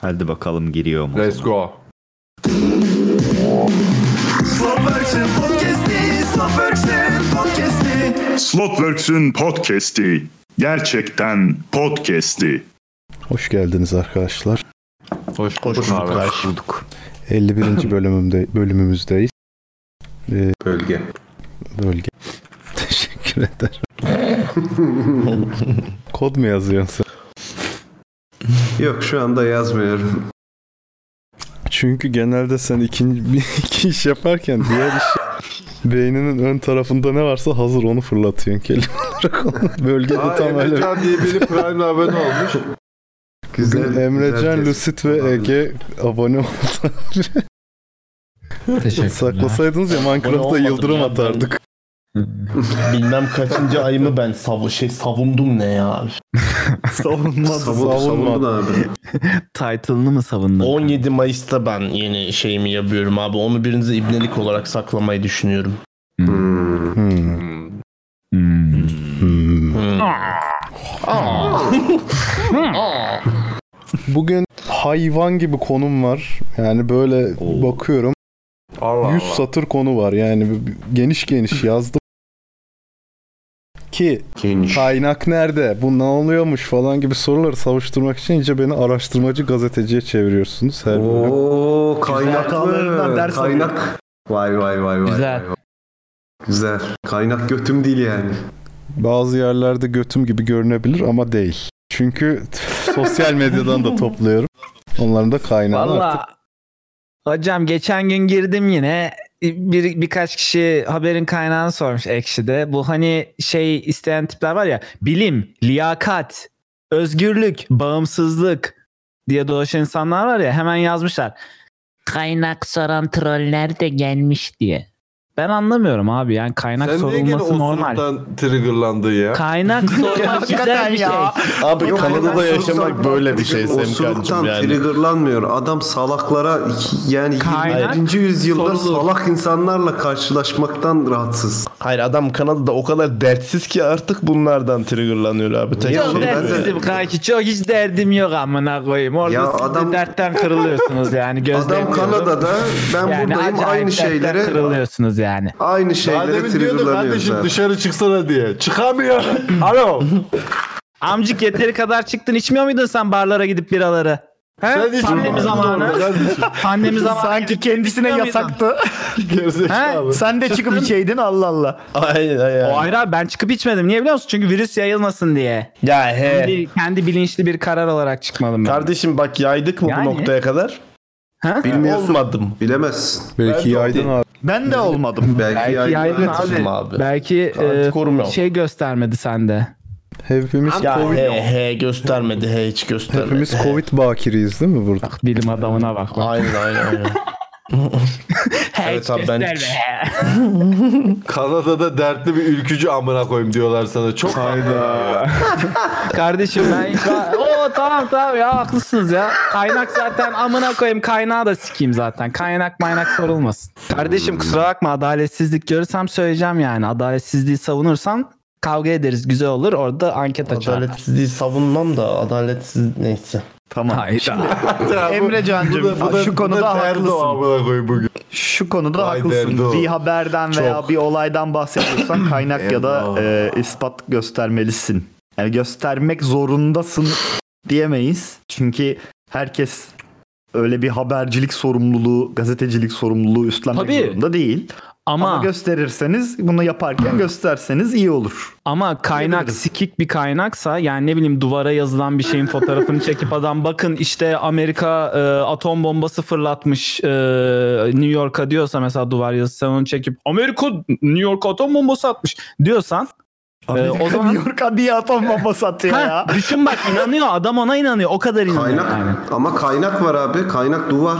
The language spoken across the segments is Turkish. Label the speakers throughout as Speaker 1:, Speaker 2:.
Speaker 1: Hadi bakalım giriyor mu?
Speaker 2: Let's go.
Speaker 3: Slotworks'ün podcast'i, Slotworks'ün podcast'i.
Speaker 4: Slotworks'ün podcast'i. Gerçekten podcast'i.
Speaker 5: Hoş geldiniz arkadaşlar.
Speaker 2: Hoş bulduk abi.
Speaker 1: Hoş bulduk.
Speaker 5: 51. bölümümde bölümümüzdeyiz. Ee,
Speaker 2: Bölge.
Speaker 5: bölge. Teşekkür ederim. Kod mu yazıyorsun? sen?
Speaker 6: Yok şu anda yazmıyorum.
Speaker 5: Çünkü genelde sen ikinci bir iki iş yaparken diğer iş beyninin ön tarafında ne varsa hazır onu fırlatıyorsun kelime olarak. Onu- Bölgede
Speaker 2: Aa,
Speaker 5: tam öyle.
Speaker 2: Emrecan diye biri Prime'le abone olmuş.
Speaker 5: Bugün Emrecan, Lucid ve Ege abone oldu.
Speaker 7: Teşekkürler.
Speaker 5: Saklasaydınız ya Minecraft'ta
Speaker 8: olmadım
Speaker 5: yıldırım
Speaker 8: ya, ben-
Speaker 5: atardık.
Speaker 8: Bilmem kaçıncı ayımı ben savu şey savundum ne ya.
Speaker 1: Savunma.
Speaker 6: Savun, savundun abi.
Speaker 7: Title'ını mı savundun?
Speaker 8: 17 Mayıs'ta ben yeni şeyimi yapıyorum abi. Onu birinize ibnelik olarak saklamayı düşünüyorum.
Speaker 6: Hmm.
Speaker 5: Hmm.
Speaker 1: Hmm.
Speaker 5: Hmm.
Speaker 8: Hmm.
Speaker 5: Bugün hayvan gibi konum var. Yani böyle
Speaker 1: Oo.
Speaker 5: bakıyorum.
Speaker 2: Allah
Speaker 5: 100
Speaker 2: Allah.
Speaker 5: satır konu var. Yani b- b- geniş geniş yazdım. Ki
Speaker 6: Geniş.
Speaker 5: kaynak nerede? Bu ne oluyormuş falan gibi soruları savuşturmak için iyice beni araştırmacı gazeteciye çeviriyorsunuz her bölüm.
Speaker 6: Oo
Speaker 7: Hatalarından
Speaker 6: kaynaklı.
Speaker 7: ders alıyor.
Speaker 6: Kaynak. Vay vay vay vay.
Speaker 7: Güzel.
Speaker 6: vay, vay. Güzel. Kaynak götüm değil yani.
Speaker 5: Bazı yerlerde götüm gibi görünebilir ama değil. Çünkü sosyal medyadan da topluyorum. Onların da kaynağı artık.
Speaker 7: Valla hocam geçen gün girdim yine bir birkaç kişi haberin kaynağını sormuş Ekşi'de. Bu hani şey isteyen tipler var ya bilim, liyakat, özgürlük, bağımsızlık diye dolaşan insanlar var ya hemen yazmışlar. Kaynak soran troller de gelmiş diye. Ben anlamıyorum abi yani kaynak
Speaker 2: Sen niye gene
Speaker 7: sorulması normal.
Speaker 2: osuruktan triggerlandın ya?
Speaker 7: Kaynak sormak güzel bir şey.
Speaker 8: Abi
Speaker 7: Yok,
Speaker 8: Kanada'da
Speaker 7: hayvan
Speaker 8: yaşamak böyle bir şey Semkancığım
Speaker 6: Osuruktan
Speaker 8: yani.
Speaker 6: triggerlanmıyor. Adam salaklara iki- yani
Speaker 7: Kaynak
Speaker 6: 21. yüzyılda
Speaker 7: sorulur.
Speaker 6: salak insanlarla karşılaşmaktan rahatsız.
Speaker 8: Hayır adam Kanada'da o kadar dertsiz ki artık bunlardan triggerlanıyor abi. Tek
Speaker 6: Ya
Speaker 8: şey
Speaker 6: oğlum,
Speaker 7: Çok
Speaker 6: ben
Speaker 8: böyle.
Speaker 6: de-
Speaker 7: dertsizim kanki. Çok hiç derdim yok amına koyayım. Orada
Speaker 6: Ya
Speaker 7: siz de
Speaker 6: adam-
Speaker 7: dertten kırılıyorsunuz yani. Gözlem
Speaker 6: Adam Kanada'da ben buradayım aynı şeylere
Speaker 7: kırılıyorsunuz yani.
Speaker 6: aynı
Speaker 2: Daha
Speaker 6: şeylere
Speaker 2: demin diyordu
Speaker 6: triggerlanıyoruz.
Speaker 2: kardeşim
Speaker 6: abi.
Speaker 2: dışarı çıksana diye. Çıkamıyor. Alo.
Speaker 7: Amcık yeteri kadar çıktın içmiyor muydun sen barlara gidip biraları? He?
Speaker 2: Sen hiç
Speaker 7: Pandemi zamanı. Pandemi zamanı.
Speaker 9: Sanki kendisine
Speaker 7: Çıkıyor
Speaker 9: yasaktı.
Speaker 2: Gerizekalı.
Speaker 9: Sen de çıkıp içeydin Allah Allah.
Speaker 8: Aynen
Speaker 7: O
Speaker 8: aynen.
Speaker 7: ayrı abi ben çıkıp içmedim. Niye biliyor musun? Çünkü virüs yayılmasın diye.
Speaker 8: Ya he.
Speaker 7: Kendi, kendi bilinçli bir karar olarak çıkmadım ben.
Speaker 8: Kardeşim bak yaydık mı
Speaker 7: Yani.
Speaker 8: bu noktaya kadar?
Speaker 7: Ha?
Speaker 6: Bilmiyorsun.
Speaker 8: Olmadım.
Speaker 6: Bilemezsin.
Speaker 5: Belki yaydın abi.
Speaker 9: Ben de olmadım.
Speaker 6: Belki,
Speaker 7: Belki yaygın
Speaker 6: yaygın.
Speaker 7: abi.
Speaker 8: abi.
Speaker 7: Belki e,
Speaker 8: Antikorum yok.
Speaker 7: şey göstermedi sende.
Speaker 5: Hepimiz
Speaker 8: Ya
Speaker 5: Covid,
Speaker 8: he he göstermedi he hiç göstermedi.
Speaker 5: hepimiz Covid bakiriyiz değil mi burada?
Speaker 7: Bak bilim adamına bak. bak.
Speaker 8: Aynen aynen aynen. Evet abi, ben-
Speaker 2: Kanada'da dertli bir ülkücü amına koyayım diyorlar sana. Çok hayda.
Speaker 7: Kardeşim ben o tamam tamam ya haklısınız ya. Kaynak zaten amına koyayım kaynağı da sikeyim zaten. Kaynak maynak sorulmasın. Kardeşim kusura bakma adaletsizlik görürsem söyleyeceğim yani. Adaletsizliği savunursan kavga ederiz güzel olur. Orada anket açar.
Speaker 8: Adaletsizliği savunmam da adaletsiz neyse.
Speaker 9: Tamam.
Speaker 7: Hayda.
Speaker 9: Emre Can'cığım, şu konuda haklısın.
Speaker 2: amına koyayım bugün.
Speaker 9: Şu konuda
Speaker 2: Vay
Speaker 9: haklısın.
Speaker 2: derdi o.
Speaker 9: Bir haberden veya bir olaydan bahsediyorsan kaynak ya da e, ispat göstermelisin. Yani göstermek zorundasın diyemeyiz. Çünkü herkes öyle bir habercilik sorumluluğu, gazetecilik sorumluluğu üstlenmek
Speaker 7: Tabii.
Speaker 9: zorunda değil.
Speaker 7: Ama
Speaker 9: Ama
Speaker 7: ama,
Speaker 9: gösterirseniz, bunu yaparken gösterseniz iyi olur.
Speaker 7: kaynak
Speaker 9: Diyebiliriz.
Speaker 7: sikik bir kaynaksa yani ne bileyim duvara yazılan bir şeyin fotoğrafını çekip adam bakın işte Amerika e, atom bombası fırlatmış e, New York'a diyorsa mesela duvar yazısı sen onu çekip Amerika New York'a atom bombası atmış diyorsan Ee, o
Speaker 9: o
Speaker 7: zaman-
Speaker 9: zaman New York'a niye atom bombası atıyor
Speaker 7: Ha,
Speaker 9: ya?
Speaker 7: düşün bak inanıyor adam ona inanıyor o kadar inanıyor
Speaker 6: Kaynak
Speaker 7: yani.
Speaker 6: ama kaynak var abi. Kaynak duvar.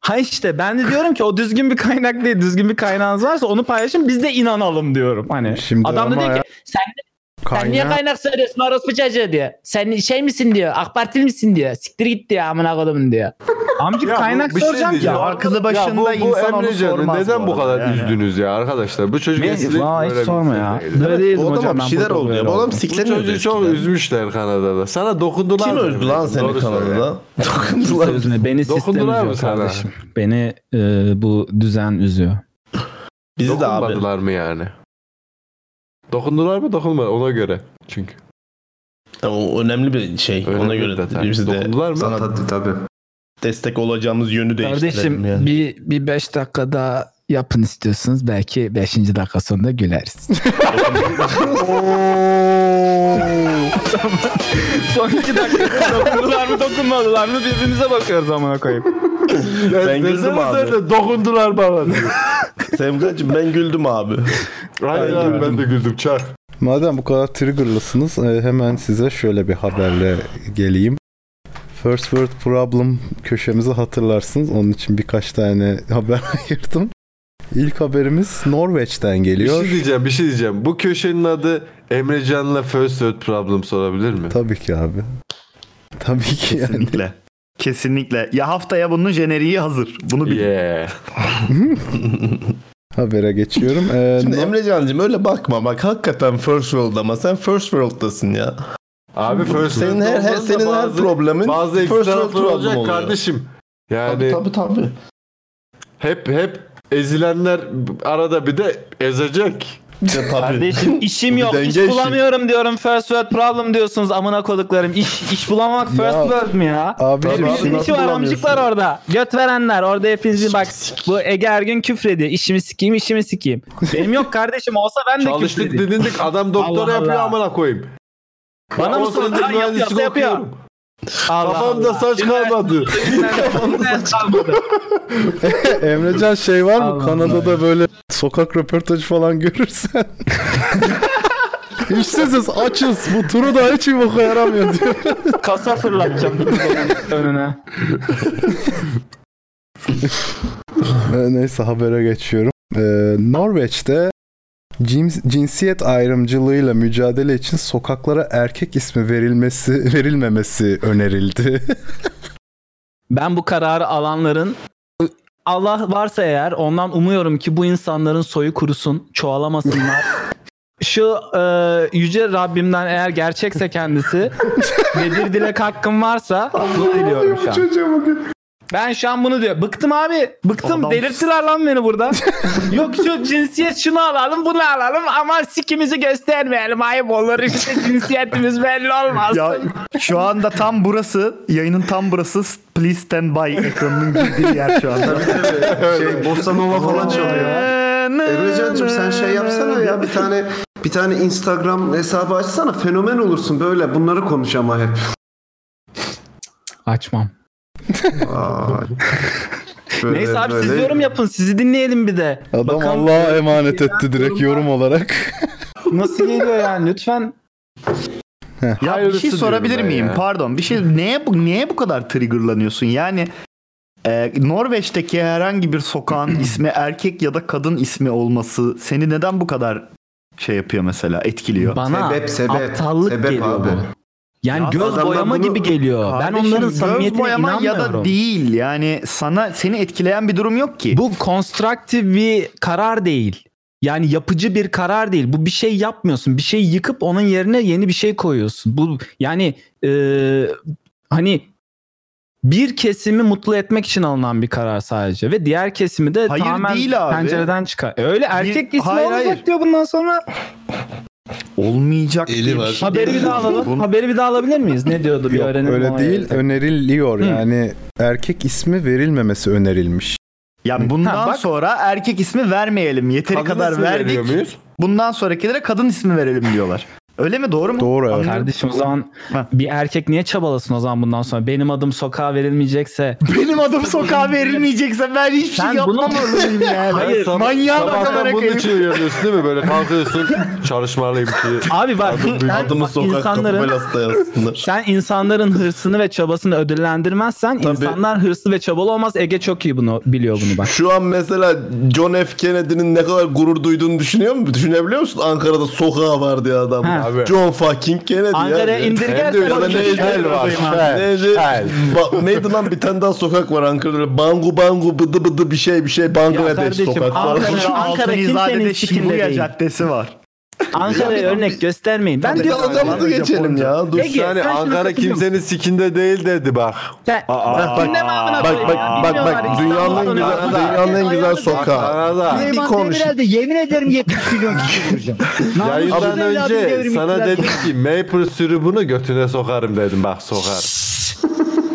Speaker 7: Ha işte ben de diyorum ki o düzgün bir kaynak değil düzgün bir kaynağınız varsa onu paylaşın biz de inanalım diyorum hani.
Speaker 5: Şimdi
Speaker 7: adam da
Speaker 5: ama
Speaker 7: diyor
Speaker 5: ya-
Speaker 7: ki sen, sen niye
Speaker 5: Kaynağı-
Speaker 7: kaynak söylüyorsun orospu çocuğu diyor. Sen şey misin diyor AK Partili misin diyor siktir git diyor amına kodumun diyor. Amcık
Speaker 2: Ya bu-
Speaker 7: kaynak
Speaker 2: bir şey
Speaker 7: soracağım
Speaker 2: diyeceğim.
Speaker 7: ya.
Speaker 9: Aklı
Speaker 2: Ya
Speaker 9: başında
Speaker 2: bu, bu
Speaker 9: insan onu
Speaker 2: Emrecan'ı
Speaker 9: sormaz.
Speaker 2: neden bu
Speaker 9: arada
Speaker 2: kadar
Speaker 9: yani.
Speaker 2: üzdünüz ya arkadaşlar? Bu çocuk eskiden
Speaker 7: Valla şey hiç
Speaker 2: böyle bir
Speaker 7: sorma
Speaker 2: şey
Speaker 7: ya.
Speaker 2: değil.
Speaker 7: Böyle değildim
Speaker 6: O
Speaker 7: hocam
Speaker 6: adama bir
Speaker 7: ben.
Speaker 6: şeyler
Speaker 7: burada
Speaker 6: oldu.
Speaker 7: oluyorum.
Speaker 6: Bu adam
Speaker 2: Bu çocuğu
Speaker 6: sikleniyordu
Speaker 2: çok üzmüşler Kanada'da. Sana dokundular
Speaker 8: Kim
Speaker 2: mı?
Speaker 8: öldü lan seni
Speaker 2: Doğru söyle.
Speaker 8: Kanada'da?
Speaker 7: Kimse üzme. Beni sistem
Speaker 2: Dokundular mı
Speaker 7: üzüyor
Speaker 2: sana?
Speaker 7: kardeşim. Beni e, bu düzen üzüyor.
Speaker 8: Bizi de abi.
Speaker 2: Dokunmadılar mı yani? Dokundular mı dokunmadı ona göre. Çünkü.
Speaker 8: O önemli bir şey.
Speaker 2: Önemli
Speaker 8: Ona
Speaker 2: bir
Speaker 8: göre
Speaker 2: detay.
Speaker 8: biz de
Speaker 2: Dokundular mı?
Speaker 8: sana
Speaker 6: Tabii tabii.
Speaker 8: destek olacağımız yönü değiştirelim
Speaker 7: Kardeşim
Speaker 8: yani.
Speaker 7: bir, bir beş dakika daha yapın istiyorsunuz. Belki beşinci dakika sonunda güleriz. Son iki dakika dokundular mı dokunmadılar mı birbirimize bakıyoruz amına koyayım.
Speaker 8: Ben güldüm
Speaker 2: Desene
Speaker 8: abi.
Speaker 2: sen de dokundular bana diyor.
Speaker 8: Semra'cığım ben güldüm abi.
Speaker 2: Aynen
Speaker 8: Ben
Speaker 2: abi ben de güldüm çak.
Speaker 5: Madem bu kadar triggerlısınız e, hemen size şöyle bir haberle geleyim. First World Problem köşemizi hatırlarsınız. Onun için birkaç tane haber ayırdım. İlk haberimiz Norveç'ten
Speaker 2: Bir şey
Speaker 5: geliyor.
Speaker 2: diyeceğim bir şey diyeceğim. Bu köşenin adı Emrecan'la First World Problem sorabilir mi?
Speaker 5: Tabii ki abi. Tabii ki yani.
Speaker 9: Kesinlikle. Kesinlikle. Ya haftaya bunun jeneriği hazır. Bunu bil.
Speaker 2: Yeah.
Speaker 5: Habere geçiyorum. E,
Speaker 8: Şimdi
Speaker 5: Nor-
Speaker 8: Emre Can'cığım öyle bakma bak hakikaten first world ama sen first world'dasın ya.
Speaker 2: Abi First
Speaker 8: Senin her,
Speaker 2: World
Speaker 8: her
Speaker 2: Problem'da
Speaker 8: senin her
Speaker 2: bazı-
Speaker 8: problemin
Speaker 2: bazı
Speaker 8: first
Speaker 2: ekstra
Speaker 8: world
Speaker 2: problem
Speaker 8: problem
Speaker 2: olacak
Speaker 8: oluyor.
Speaker 2: kardeşim. Yani
Speaker 8: tabii tabii.
Speaker 2: hep hep ezilenler arada bir de ezecek.
Speaker 8: Ya, tabii.
Speaker 7: Kardeşim işim
Speaker 8: Bir
Speaker 7: yok iş
Speaker 8: denge işi.
Speaker 7: bulamıyorum diyorum first world problem diyorsunuz amına koduklarım. İş, iş bulamak first
Speaker 5: Ya-
Speaker 7: world mu ya?
Speaker 5: Abi
Speaker 8: Tabii.
Speaker 7: Hepinizin
Speaker 8: Nasıl
Speaker 7: işi var
Speaker 8: bulamıyorsun?
Speaker 7: amcıklar orada. Göt verenler orada hepinizin bak bu Ege Ergün küfrediyor. İşimi sikeyim işimi sikeyim. Benim yok kardeşim olsa ben de
Speaker 2: Çalıştık
Speaker 7: küfredeyim.
Speaker 2: didindik adam
Speaker 7: Allah
Speaker 2: doktora yapıyor
Speaker 7: Allah.
Speaker 2: amına koyayım.
Speaker 7: Bana mı
Speaker 2: On senedir
Speaker 7: sorun? Ha, yapıyor,
Speaker 2: mühendislik
Speaker 7: yapıyor.
Speaker 2: okuyorum.
Speaker 7: Allah
Speaker 2: Kafamda
Speaker 7: Allah.
Speaker 2: saç
Speaker 7: Dinler-
Speaker 2: kalmadı.
Speaker 7: dinler- dinler kalmadı.
Speaker 5: Emrecan şey var mı?
Speaker 7: Allah
Speaker 5: Kanada'da böyle sokak röportajı falan görürsen. İşsiziz, açız. Bu turu da hiç iyi boka yaramıyor diyor.
Speaker 7: Kasa fırlatacağım önüne.
Speaker 5: Ee, Neyse habere geçiyorum. Ee, Norveç'te cins- cinsiyet ayrımcılığıyla mücadele için sokaklara erkek ismi verilmesi verilmemesi önerildi.
Speaker 7: Ben bu kararı alanların Allah varsa eğer ondan umuyorum ki bu insanların soyu kurusun, çoğalamasınlar. Şu e, yüce Rabbimden eğer gerçekse kendisi ve bir dilek hakkım varsa bunu diliyorum şu an. Ben şu an bunu diyor. Bıktım abi. Bıktım.
Speaker 9: Adam-
Speaker 7: Delirttiler lan beni burada. Yok şu cinsiyet şunu alalım bunu alalım ama sikimizi göstermeyelim. Ayıp olur işte cinsiyetimiz belli olmaz.
Speaker 9: Ya şu anda tam burası, yayının tam burası Please Stand By ekranının girdiği yer şu anda.
Speaker 6: Şey Bossa Nova falan çalıyor.
Speaker 2: Ee,
Speaker 6: Emrecan'cığım sen şey yapsana ya bir tane bir tane Instagram hesabı açsana fenomen olursun böyle bunları konuş ama hep.
Speaker 7: Açmam.
Speaker 6: Vay. Böyle,
Speaker 7: Neyse abi siz
Speaker 6: böyle.
Speaker 7: yorum yapın. Sizi dinleyelim bir de.
Speaker 5: Adam
Speaker 7: Bakalım-
Speaker 5: Allah'a emanet etti direkt yorum olarak.
Speaker 7: Nasıl geliyor yani lütfen.
Speaker 9: Ya bir
Speaker 2: Hayırlısı
Speaker 9: şey
Speaker 2: diyorum
Speaker 9: sorabilir
Speaker 2: ben
Speaker 9: miyim?
Speaker 2: ya.
Speaker 9: Pardon. Bir şey neye bu neye bu kadar triggerlanıyorsun? Yani e, Norveç'teki herhangi bir sokağın ismi erkek ya da kadın ismi olması seni neden bu kadar şey yapıyor mesela etkiliyor?
Speaker 7: Bana
Speaker 6: Sebep, sebep,
Speaker 7: aptallık
Speaker 6: sebep
Speaker 7: geliyor
Speaker 6: abi.
Speaker 7: bu. Yani
Speaker 9: Ya
Speaker 7: göz
Speaker 6: adamlar
Speaker 7: boyama
Speaker 6: bunu-
Speaker 7: gibi geliyor. ben
Speaker 9: Kardeşim,
Speaker 7: onların
Speaker 9: göz
Speaker 7: samimiyetine
Speaker 9: boyama
Speaker 7: inanmıyorum.
Speaker 9: ya da değil yani sana seni etkileyen bir durum yok ki.
Speaker 7: Bu konstruktif bir karar değil. Yani yapıcı bir karar değil. Bu bir şey yapmıyorsun. Bir şeyi yıkıp onun yerine yeni bir şey koyuyorsun. Bu yani e, hani bir kesimi mutlu etmek için alınan bir karar sadece ve diğer kesimi de
Speaker 9: Hayır,
Speaker 7: tamamen
Speaker 9: değil abi.
Speaker 7: pencereden çıkar. E, Öyle erkek ismi
Speaker 9: hayır,
Speaker 7: olacak
Speaker 9: hayır.
Speaker 7: diyor bundan sonra.
Speaker 9: Olmayacak.
Speaker 8: Eli
Speaker 9: diye bir
Speaker 8: var.
Speaker 9: şey
Speaker 7: Haberi bir daha alalım.
Speaker 9: Bun-
Speaker 7: Haberi bir daha alabilir miyiz? Ne diyordu bir
Speaker 5: Yok,
Speaker 7: öğrenelim.
Speaker 5: öyle
Speaker 7: o
Speaker 5: değil.
Speaker 7: hayaleti.
Speaker 5: Öneriliyor
Speaker 7: Hı.
Speaker 5: yani. Erkek ismi verilmemesi önerilmiş.
Speaker 9: Ya bundan
Speaker 7: Ha, bak.
Speaker 9: sonra erkek ismi vermeyelim. Yeteri
Speaker 2: Kadın
Speaker 9: kadar
Speaker 2: ismi
Speaker 9: verdik.
Speaker 2: veriyor muyuz?
Speaker 9: Bundan sonrakilere kadın ismi verelim diyorlar. Öyle mi? Doğru mu?
Speaker 5: Doğru, evet.
Speaker 9: Anladım.
Speaker 7: Kardeşim o zaman
Speaker 9: Ha.
Speaker 7: bir erkek niye çabalasın o zaman bundan sonra? Benim adım sokağa verilmeyecekse.
Speaker 9: Benim adım sokağa verilmeyecekse ben hiçbir
Speaker 7: Sen
Speaker 9: şey
Speaker 7: bunu-
Speaker 9: yapmam olayım yani.
Speaker 7: Hayır,
Speaker 2: Sabah-
Speaker 9: Manyağa bak
Speaker 2: Sabahtan
Speaker 9: amına
Speaker 2: bunun
Speaker 9: koyayım.
Speaker 2: için uyanıyorsun değil mi? Böyle kalkıyorsun çalışmalıyım ki.
Speaker 7: Abi bak sen,
Speaker 8: Adımı
Speaker 7: bak,
Speaker 8: sokak kapı
Speaker 7: insanların
Speaker 8: belasta yazsınlar.
Speaker 7: sen insanların hırsını ve çabasını ödüllendirmezsen insanlar hırslı ve çabalı olmaz. Ege çok iyi bunu biliyor bunu bak.
Speaker 8: Şu an mesela John F. Kennedy'nin ne kadar gurur duyduğunu düşünüyor musun? Düşünebiliyor musun? Ankara'da sokağı var diye adam.
Speaker 7: Ha,
Speaker 2: Abi.
Speaker 10: John fucking Kennedy.
Speaker 7: Ankara'ya
Speaker 10: ya.
Speaker 7: indirgersen
Speaker 10: Hem de öyle
Speaker 7: okey.
Speaker 10: neydi?
Speaker 7: Hel var,
Speaker 10: Neydi? Neydi? Ba- neydi lan bir tane daha sokak var Ankara'da. Bangu bangu bıdı bıdı bir şey bir şey Bangladeş
Speaker 7: kardeşim,
Speaker 10: sokak falan.
Speaker 7: Ankara-
Speaker 9: Ankara,
Speaker 7: Ankara kimsenin
Speaker 9: Altunizade'de
Speaker 7: sikinde
Speaker 9: Shibuya
Speaker 7: değil.
Speaker 9: Caddesi var.
Speaker 7: Ankara'ya örnek göstermeyin. Ben
Speaker 10: Hadi
Speaker 7: diyorum.
Speaker 10: dalgamızı geçelim ya. Dur.
Speaker 2: Dur
Speaker 7: Ege,
Speaker 2: yani
Speaker 7: sen şunu
Speaker 2: Ankara
Speaker 7: katılıyor musun?
Speaker 2: kimsenin sikinde değil dedi bak.
Speaker 7: Sen,
Speaker 10: Bak bak
Speaker 7: Ne var buna
Speaker 10: bak
Speaker 7: böyle
Speaker 10: bak
Speaker 7: ya?
Speaker 10: bak
Speaker 7: Bilmiyorlar,
Speaker 10: bak dünyanın en
Speaker 7: İstanbul'da ne
Speaker 10: güzel
Speaker 7: var?
Speaker 10: dünyanın en güzel sokağı.
Speaker 2: Sana da.
Speaker 10: Bir konuş.
Speaker 11: yemin ederim 70 milyon kişi vuracağım.
Speaker 2: Yayından önce sana
Speaker 11: dedim.
Speaker 2: dedim ki maple sürümünü götüne sokarım dedim bak sokar.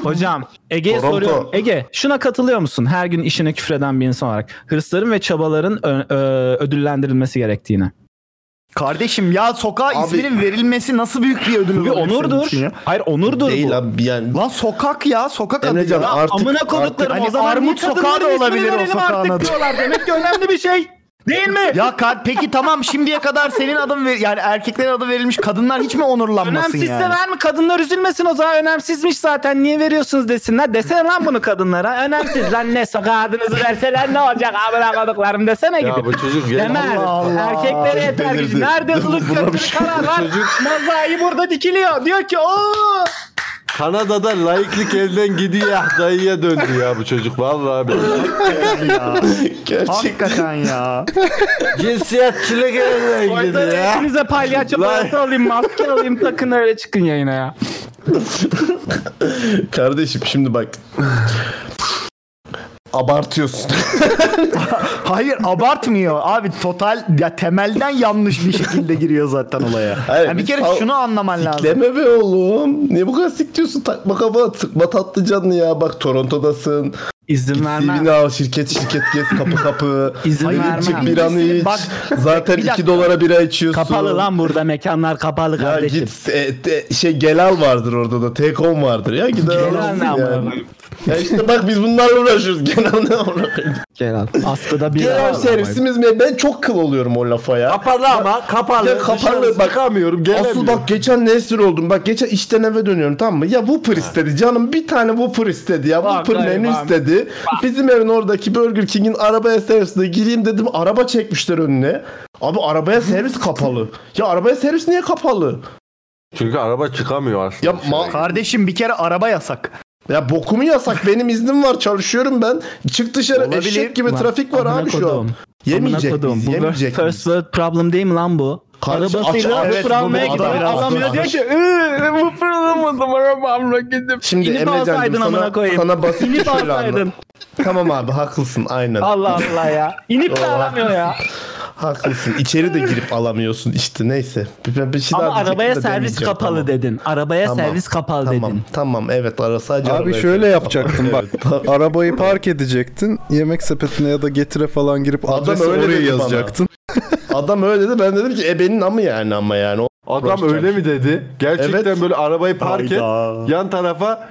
Speaker 7: Hocam Ege'ye
Speaker 10: Toronto.
Speaker 7: soruyorum. Ege şuna katılıyor musun? Her gün işine küfreden bir insan olarak. Hırsların ve çabaların ö- ö- ödüllendirilmesi gerektiğine.
Speaker 9: Kardeşim ya sokağa
Speaker 10: Abi-
Speaker 9: isminin verilmesi nasıl büyük bir şey ödül
Speaker 7: Bu bir
Speaker 9: olabilir senin
Speaker 7: onurdur.
Speaker 9: için ya?
Speaker 7: Hayır onurdur
Speaker 10: Değil
Speaker 7: bu.
Speaker 10: abi yani.
Speaker 9: Lan sokak ya sokak adı
Speaker 10: Emrecan
Speaker 9: ya.
Speaker 10: artık
Speaker 7: Amına
Speaker 10: artık
Speaker 7: koduklarım
Speaker 9: Hani
Speaker 7: o zaman
Speaker 9: armut
Speaker 7: niye kadınların
Speaker 9: sokağı da
Speaker 7: ismini
Speaker 9: olabilir o
Speaker 7: verelim
Speaker 9: sokağın
Speaker 7: artık
Speaker 9: adı.
Speaker 7: diyorlar. Demek ki önemli bir şey. Değil mi?
Speaker 9: Ya kar- peki tamam şimdiye kadar senin adın ver- yani erkeklerin adı verilmiş kadınlar hiç mi onurlanmasın
Speaker 7: Önemsizse
Speaker 9: yani?
Speaker 7: verme kadınlar üzülmesin o zaman önemsizmiş zaten niye veriyorsunuz desinler desene lan bunu kadınlara önemsiz lan ne sokağa adınızı verseler ne olacak amına koduklarım desene
Speaker 2: Ya bu
Speaker 7: gidip.
Speaker 2: çocuk
Speaker 7: Demez.
Speaker 2: ya.
Speaker 7: Erkeklere yeter gücü. Nerede kılıç kötülük
Speaker 10: şey.
Speaker 7: karar var. Mazayı burada dikiliyor. Diyor ki ooo.
Speaker 2: Kanada'da laiklik elden gidiyor ya dayıya döndü ya bu çocuk vallahi abi.
Speaker 10: gerçek
Speaker 9: Hakikaten ya.
Speaker 2: Cinsiyetçilik elden
Speaker 7: Orada
Speaker 2: gidiyor ya.
Speaker 7: hepinize palyaço parası alayım maske alayım takın öyle çıkın yayına ya.
Speaker 10: kardeşim şimdi bak. Abartıyorsun.
Speaker 9: Hayır abartmıyor abi total ya temelden yanlış bir şekilde giriyor zaten olaya.
Speaker 10: Hayır,
Speaker 9: Yani bir
Speaker 10: biz
Speaker 9: kere
Speaker 10: sal-
Speaker 9: şunu anlaman lazım.
Speaker 10: Deme be oğlum. Niye bu kadar siktiyorsun? Takma kafa sıkma tatlı canını ya. Bak Toronto'dasın.
Speaker 7: İzin vermem.
Speaker 10: CV'ni al şirket şirket gez kapı kapı.
Speaker 7: İzin
Speaker 10: Hayır,
Speaker 7: vermem.
Speaker 10: çık bir anı iç.
Speaker 9: Bak,
Speaker 10: Zaten
Speaker 9: bir
Speaker 10: 2
Speaker 9: dakika.
Speaker 10: dolara bira içiyorsun.
Speaker 7: Kapalı lan burada mekanlar kapalı
Speaker 10: Ya
Speaker 7: kardeşim.
Speaker 10: git e, te- şey Gelal vardır orada da. Tekom vardır ya. Gider
Speaker 7: Gel
Speaker 10: alırsın
Speaker 7: ne amına
Speaker 10: yani. Ya işte bak biz bunlarla uğraşıyoruz. Genel ne uğraşıyoruz?
Speaker 7: Gel al. Askıda bir
Speaker 10: Genel servisimiz mi? Ben çok kıl oluyorum o lafa ya.
Speaker 2: Kapalı ama kapalı.
Speaker 10: Ya kapalı,
Speaker 2: Dışarı
Speaker 10: bak-
Speaker 2: Çıkamıyorum gelemiyorum.
Speaker 10: Asıl bak geçen ne esir oldum. Bak geçen işten eve dönüyorum tamam mı? Ya Whopper istedi. Canım bir tane Whopper istedi ya. Whopper menü istedi. Bizim evin oradaki Burger King'in arabaya servisine gireyim dedim. Araba çekmişler önüne. Abi arabaya servis kapalı. Ya arabaya servis niye kapalı?
Speaker 2: Çünkü araba çıkamıyor aslında. Şey,
Speaker 10: Ya, ma-
Speaker 9: Kardeşim bir kere araba yasak.
Speaker 10: ya bokumu yasak. Benim iznim var. Çalışıyorum ben. Çık dışarı.
Speaker 9: Olabilir.
Speaker 10: Eşek gibi trafik var abi şu an. Yemeyecek
Speaker 7: kodum.
Speaker 10: miyiz?
Speaker 7: Bu
Speaker 10: Yemeyecek
Speaker 7: first
Speaker 10: miyiz?
Speaker 7: world problem değil mi lan bu?
Speaker 10: Kardeşim,
Speaker 7: Arabasıyla
Speaker 10: aç-
Speaker 7: vapur
Speaker 10: evet, bu- bu
Speaker 7: almaya
Speaker 10: adam
Speaker 7: gidiyor.
Speaker 10: biraz
Speaker 7: Alamıyor diyor
Speaker 10: yanlış.
Speaker 7: ki "Ee, "Iı, vapur alamadım arabamla gidip.
Speaker 10: Şimdi
Speaker 7: İnip
Speaker 10: Emrecan'cığım
Speaker 7: alsaydın amına
Speaker 10: sana,
Speaker 7: koyayım.
Speaker 10: sana basitçe
Speaker 7: İnip
Speaker 10: şöyle
Speaker 7: alsaydın.
Speaker 10: anlat. Tamam abi haklısın aynen.
Speaker 7: Allah Allah ya. İnip de
Speaker 10: Doğru,
Speaker 7: alamıyor ya.
Speaker 10: Haklısın. İçeri de girip alamıyorsun işte neyse. Bir, bir şey
Speaker 7: Ama
Speaker 10: daha diyecektim
Speaker 7: arabaya
Speaker 10: de
Speaker 7: servis
Speaker 10: demeyeceğim.
Speaker 7: kapalı
Speaker 10: Tamam.
Speaker 7: dedin. Arabaya
Speaker 10: Tamam.
Speaker 7: servis kapalı
Speaker 10: Tamam
Speaker 7: dedin.
Speaker 10: tamam evet ara sadece
Speaker 5: Abi
Speaker 10: arabaya
Speaker 5: şöyle
Speaker 10: servis.
Speaker 5: yapacaktın bak. Arabayı park edecektin. Yemek sepetine ya da getire falan girip
Speaker 10: Adam
Speaker 5: adresi
Speaker 10: öyle
Speaker 5: oraya
Speaker 10: dedi bana.
Speaker 5: yazacaktın.
Speaker 10: Adam öyle dedi ben dedim ki ebenin amı yani ama yani. O-
Speaker 2: Adam öyle mi dedi? Gerçekten
Speaker 10: Evet.
Speaker 2: böyle arabayı park et.
Speaker 9: Hayda.
Speaker 2: Yan tarafa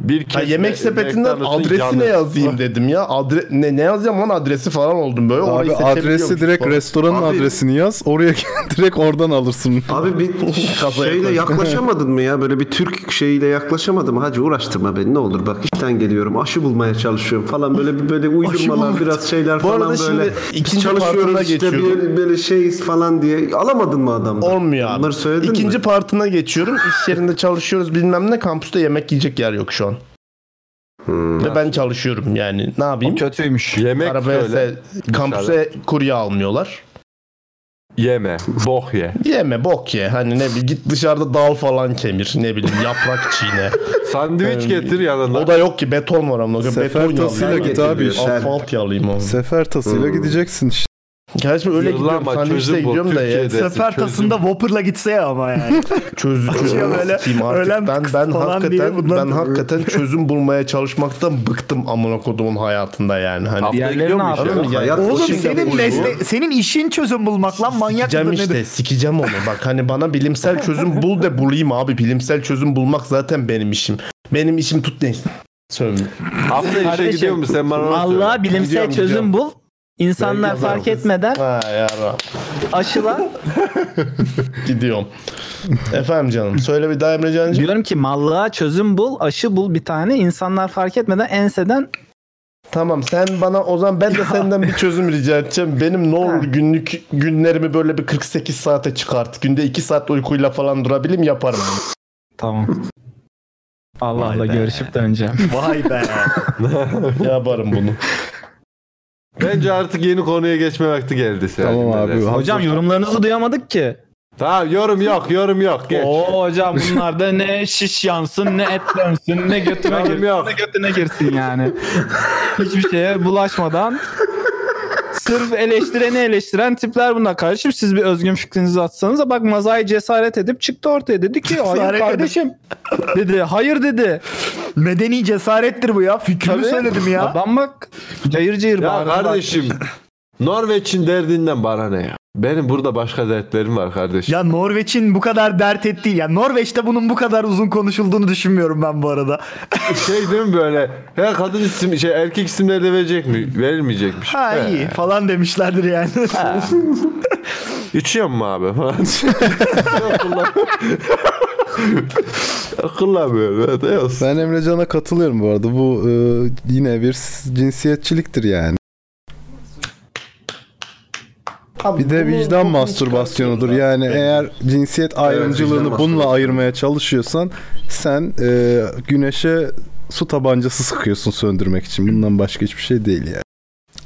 Speaker 2: bir
Speaker 10: Ha,
Speaker 2: kesme
Speaker 10: yemek sepetinden
Speaker 2: McDonald's'ın
Speaker 10: adresi ne
Speaker 2: yanı.
Speaker 10: yazayım dedim ya. Adre ne, ne yazacağım lan adresi falan oldum böyle.
Speaker 5: Abi
Speaker 10: Orayı
Speaker 5: adresi
Speaker 10: seçebiliyormuş
Speaker 5: direkt
Speaker 10: falan.
Speaker 5: restoranın
Speaker 2: Abi-
Speaker 5: adresini yaz. Oraya direkt oradan alırsın.
Speaker 6: Abi bir
Speaker 10: Kafaya
Speaker 6: şeyle
Speaker 10: koy.
Speaker 6: yaklaşamadın mı ya? Böyle bir Türk şeyiyle yaklaşamadın mı? Hacı uğraştırma beni ne olur bak işten geliyorum aşı bulmaya çalışıyorum falan böyle bir böyle uydurmalar biraz şeyler
Speaker 10: Bu
Speaker 6: falan
Speaker 10: arada şimdi
Speaker 6: böyle.
Speaker 10: ikinci partına
Speaker 6: çalışıyoruz işte
Speaker 10: geçiyorum.
Speaker 6: bir, böyle şeyiz falan diye alamadın mı adamdan?
Speaker 10: Olmuyor abi.
Speaker 6: Bunları söyledin
Speaker 10: İkinci
Speaker 6: mi?
Speaker 10: partına geçiyorum. İş yerinde çalışıyoruz bilmem ne. Kampüste yemek yiyecek yer yok şu an.
Speaker 2: Hmm.
Speaker 10: Ve ben çalışıyorum yani. Ne yapayım?
Speaker 7: Kötüymüş.
Speaker 2: Yemek
Speaker 10: Arabaya
Speaker 2: söyle.
Speaker 10: se- kampüse kurye almıyorlar.
Speaker 2: Yeme. Bok ye.
Speaker 10: Yeme bok ye. Hani ne bileyim git dışarıda dal falan kemir. Ne bileyim yaprak çiğne.
Speaker 2: Sandviç getir yanına.
Speaker 10: Ee, o da yok ki beton var ama. Beton
Speaker 5: Sefer tasıyla
Speaker 10: yalayayım.
Speaker 5: git abi.
Speaker 6: Getiriyor.
Speaker 10: Asfalt yalayayım onu.
Speaker 5: Sefer
Speaker 10: Hmm.
Speaker 5: tasıyla gideceksin işte.
Speaker 10: Gerçi öyle
Speaker 2: Yıllama,
Speaker 10: gidiyorum. Sandviçte
Speaker 2: çözüm bu,
Speaker 10: gidiyorum da ya.
Speaker 2: Türkiye'de.
Speaker 9: Sefer
Speaker 2: Çözüm.
Speaker 9: tasında Whopper'la gitse ya ama yani.
Speaker 10: Çöz, çözüm
Speaker 9: öyle-
Speaker 10: öyle,
Speaker 9: öğlen
Speaker 10: artık. Ben, ben
Speaker 9: falan diye
Speaker 10: hakikaten,
Speaker 9: bundan-
Speaker 10: ben hakikaten çözüm bulmaya çalışmaktan bıktım amına kodumun hayatında yani. Hani
Speaker 2: şey
Speaker 7: Diğerleri ne yapıyor?
Speaker 10: Anladın mı? Yani
Speaker 6: Hayat
Speaker 10: o
Speaker 6: boşu
Speaker 10: şey-
Speaker 9: Oğlum senin, mesle- senin işin çözüm bulmak lan manyak
Speaker 10: Sikeceğim
Speaker 9: mıdır nedir?
Speaker 10: işte sikeceğim onu bak hani bana bilimsel çözüm bul de bulayım abi bilimsel çözüm bulmak zaten benim işim benim işim tut ne sövme
Speaker 2: Hafta işe
Speaker 7: Kardeşim,
Speaker 2: gidiyor musun? Sen bana onu söyle.
Speaker 7: Vallahi bilimsel
Speaker 10: Gidiyorum,
Speaker 7: çözüm
Speaker 10: gidiyorum.
Speaker 7: bul. İnsanlar
Speaker 10: Belki yazarım.
Speaker 7: fark etmeden
Speaker 10: ha yara
Speaker 7: aşıla.
Speaker 10: gidiyorum efendim canım söyle bir daha Emre Can'cığım
Speaker 7: Diyorum ki mallığa çözüm bul, aşı bul bir tane. İnsanlar fark etmeden enseden
Speaker 10: Tamam sen bana o zaman ben de senden bir çözüm rica edeceğim. Benim ne olur günlük günlerimi böyle bir 48 saate çıkart. Günde 2 saat uykuyla falan durabilim yaparım.
Speaker 7: Tamam. Allah'la görüşüp döneceğim.
Speaker 9: Vay be.
Speaker 10: yaparım bunu.
Speaker 2: Bence artık yeni konuya geçme vakti geldi. Tamam abi.
Speaker 7: Hocam yorumlarınızı duyamadık ki.
Speaker 2: Tamam yorum yok yorum yok. Geç.
Speaker 7: Oo hocam bunlarda ne şiş yansın ne et dönsün ne götüne
Speaker 2: Yorum
Speaker 7: girsin ne götüne girsin yani. Hiçbir şeye bulaşmadan sırf eleştireni eleştiren tipler buna karşı siz bir özgün fikrinizi atsanız da bak Mazai cesaret edip çıktı ortaya dedi ki hayır
Speaker 9: Cesaret
Speaker 7: kardeşim dedi hayır dedi.
Speaker 9: Medeni cesarettir bu ya fikrimi söyledim ya.
Speaker 7: Adam bak cayır cayır
Speaker 2: Ya
Speaker 7: bağırdı.
Speaker 2: kardeşim Norveç'in derdinden bana ne ya? Benim burada başka dertlerim var kardeşim.
Speaker 9: Ya Norveç'in bu kadar dert ettiği ya Norveç'te bunun bu kadar uzun konuşulduğunu düşünmüyorum ben bu arada.
Speaker 2: şey değil mi böyle? Her kadın isim şey erkek isimleri de verecek mi? Verilmeyecekmiş.
Speaker 9: Ha
Speaker 2: He.
Speaker 9: iyi falan demişlerdir yani.
Speaker 2: İçiyor mu abi? Akıllamıyorum.
Speaker 5: Ben Emrecan'a katılıyorum bu arada. Bu e, yine bir s- cinsiyetçiliktir yani. bir de vicdan mastürbasyonudur. Yani eğer cinsiyet ayrımcılığını
Speaker 10: vicdan
Speaker 5: bununla ayırmaya çalışıyorsan sen e, güneşe su tabancası sıkıyorsun söndürmek için. Bundan başka hiçbir şey değil yani.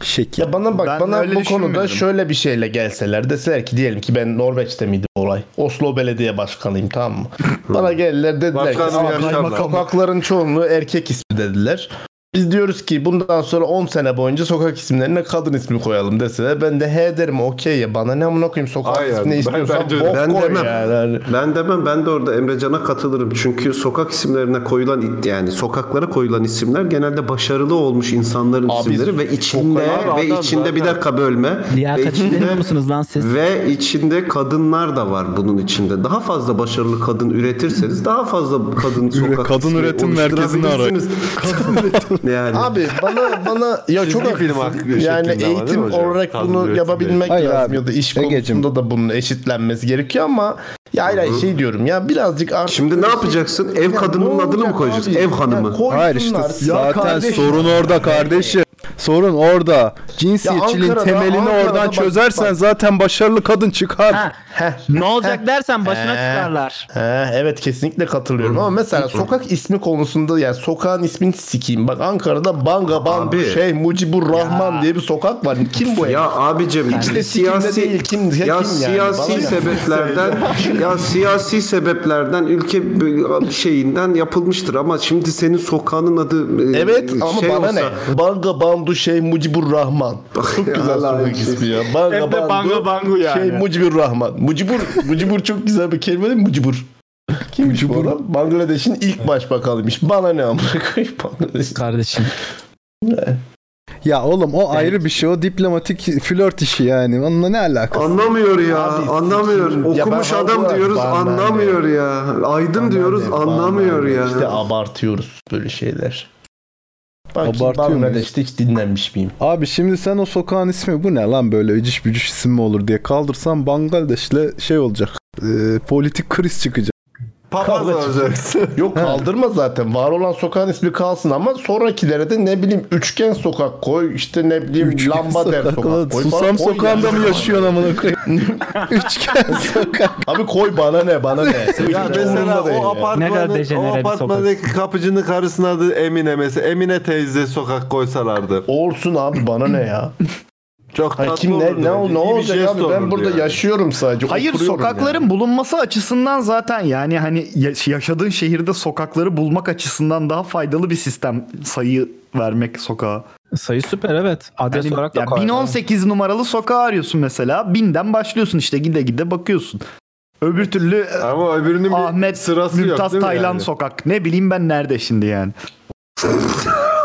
Speaker 5: Şekil.
Speaker 10: Ya bana bak
Speaker 5: Ben öyle
Speaker 10: bana bu konuda
Speaker 5: düşünmüyorum.
Speaker 10: şöyle bir şeyle gelseler deseler ki diyelim ki ben Norveç'te miydi bu olay? Oslo Belediye Başkanıyım tamam mı? bana geldiler dediler ki
Speaker 2: Başkanım
Speaker 10: "Aa,
Speaker 2: yaşarlar."
Speaker 10: sokakların çoğunluğu erkek ismi dediler. Biz diyoruz ki bundan sonra 10 sene boyunca sokak isimlerine kadın ismi koyalım deseler ben de he derim okey ya bana ne amına koyayım sokak ismini istiyorsan bok
Speaker 6: ben
Speaker 10: koy
Speaker 6: demem.
Speaker 10: yani.
Speaker 6: Ben demem. Ben de orada Emrecan'a katılırım. Çünkü sokak isimlerine koyulan yani sokaklara koyulan isimler genelde başarılı olmuş insanların
Speaker 7: Abi,
Speaker 6: isimleri ve içinde
Speaker 7: sokak-
Speaker 6: ve
Speaker 7: Adam
Speaker 6: içinde bir
Speaker 7: zaten-
Speaker 6: dakika bölme. ve
Speaker 7: Liyakatçı
Speaker 6: içinde-
Speaker 7: deniyor musunuz lan siz?
Speaker 6: Ve içinde kadınlar da var bunun içinde. Daha fazla başarılı kadın üretirseniz daha fazla kadın sokak
Speaker 5: kadın
Speaker 6: ismi
Speaker 5: üretim merkezini arayın.
Speaker 6: oluşturabilirsiniz. yani.
Speaker 10: Abi bana bana ya çok
Speaker 6: Çizgi film
Speaker 10: haklısın.
Speaker 6: hakkı
Speaker 10: Yani
Speaker 6: şeklinde ama değil mi
Speaker 10: eğitim
Speaker 6: hocam?
Speaker 10: olarak
Speaker 6: Kadın
Speaker 10: bunu
Speaker 6: üretim
Speaker 10: yapabilmek
Speaker 6: diye. Hayır
Speaker 10: lazım
Speaker 6: abi,
Speaker 10: ya da iş konusunda da bunun eşitlenmesi gerekiyor ama ya hayır hayır, şey diyorum ya birazcık artık şey-
Speaker 6: Şimdi ne yapacaksın? Ev kadının adını mı koyacaksın? Ev hanımı.
Speaker 5: Hayır işte zaten
Speaker 10: kardeşim.
Speaker 5: sorun orada kardeşim. Sorun orada. Cinsiyetçiliğin
Speaker 7: Ankara'da-
Speaker 5: temelini
Speaker 7: Ankara'da
Speaker 5: oradan
Speaker 7: bak-
Speaker 5: çözersen
Speaker 7: bak.
Speaker 5: zaten başarılı kadın çıkar.
Speaker 7: Ne olacak dersen başına
Speaker 10: He.
Speaker 7: çıkarlar.
Speaker 10: He, evet kesinlikle katılıyorum ama mesela sokak ismi konusunda yani sokağın ismini sikeyim. Bak Ankara'da Banga Ban
Speaker 6: Abi.
Speaker 10: şey Mucibur Rahman diye bir sokak var. Kim bu?
Speaker 6: Ya abicim
Speaker 10: Hiç de
Speaker 6: siyasi
Speaker 10: siyasi değil. Kim,
Speaker 6: ya,
Speaker 10: kim yani?
Speaker 6: siyasi
Speaker 10: Bana ne?
Speaker 6: sebeplerden ya siyasi sebeplerden ülke böyle şeyinden yapılmıştır ama şimdi senin sokağının adı e,
Speaker 10: Evet ama
Speaker 6: şey
Speaker 10: bana
Speaker 6: olsa,
Speaker 10: ne? Banga Bandu şey Mucibur Rahman. Çok güzel
Speaker 6: Allah
Speaker 10: sokak
Speaker 6: Allah.
Speaker 10: ismi ya. Banga
Speaker 6: Hem de
Speaker 10: Bandu,
Speaker 6: Banga Bangu yani.
Speaker 10: Şey Mucibur Rahman. Mucibur, Mucibur çok güzel bir kelime değil mi? Mucibur. Kimmiş bu adam? Bangladeş'in ilk başbakanıymış. Bana ne amına koyayım Bangladeş.
Speaker 7: Kardeşim.
Speaker 5: Ya oğlum o ayrı bir şey. O diplomatik flört işi yani. Onunla ne alakası?
Speaker 6: Anlamıyor ya,
Speaker 5: Abi,
Speaker 6: anlamıyor.
Speaker 5: sikim. Ya
Speaker 6: Okumuş
Speaker 5: ben
Speaker 6: adam
Speaker 5: haklı-
Speaker 6: diyoruz,
Speaker 5: bana ne?
Speaker 6: anlamıyor ya. Aydın diyoruz, anlamıyor ya.
Speaker 10: İşte abartıyoruz böyle şeyler. Bak
Speaker 5: Abartıyor mu?
Speaker 10: Bangladeş'te hiç dinlenmiş miyim?
Speaker 5: Abi şimdi sen o sokağın ismi bu ne lan böyle ıcış bücüş isim mi olur diye kaldırsan Bangladeş'le şey olacak. e, politik kriz çıkacak.
Speaker 2: Papaz olacaksın.
Speaker 10: Yok kaldırma zaten. Var olan sokağın ismi kalsın ama sonrakilere de ne bileyim üçgen sokak koy işte ne bileyim lamba der
Speaker 5: sokak ulan.
Speaker 10: sokak koy.
Speaker 5: Susam
Speaker 10: falan. Koy
Speaker 5: sokağında
Speaker 10: yani.
Speaker 5: mı yaşıyorsun amına koyayım? Üçgen sokak.
Speaker 10: Abi koy bana ne bana ne.
Speaker 2: ya mesela o apartmanın, o apartmandaki kapıcının karısının adı Emine mesela. Emine teyze sokak koysalardı.
Speaker 10: Olsun abi bana ne ya.
Speaker 2: Çok
Speaker 10: Ay
Speaker 2: tatlı
Speaker 10: kim ne,
Speaker 2: olurdu
Speaker 10: ne,
Speaker 2: bence.
Speaker 10: ne
Speaker 2: İyi bir
Speaker 10: olacak
Speaker 2: jest
Speaker 10: abi ben
Speaker 2: olurdu
Speaker 10: burada
Speaker 2: yani.
Speaker 10: yaşıyorum sadece.
Speaker 9: Hayır
Speaker 10: oturuyorum
Speaker 9: sokakların bulunması açısından zaten yani hani yaş- yaşadığın şehirde sokakları bulmak açısından daha faydalı bir sistem sayı vermek sokağa.
Speaker 7: Sayı süper evet. Adres
Speaker 9: Yani
Speaker 7: olarak da
Speaker 9: ya
Speaker 7: koy.
Speaker 9: 1018 numaralı sokağı arıyorsun mesela. 1000'den başlıyorsun işte gide gide bakıyorsun. Öbür türlü e,
Speaker 2: Ama öbürünün
Speaker 9: Ahmet
Speaker 2: sırası yok,
Speaker 9: Mümtaz
Speaker 2: değil mi
Speaker 9: Taylan
Speaker 2: yani?
Speaker 9: sokak. Ne bileyim ben nerede şimdi yani.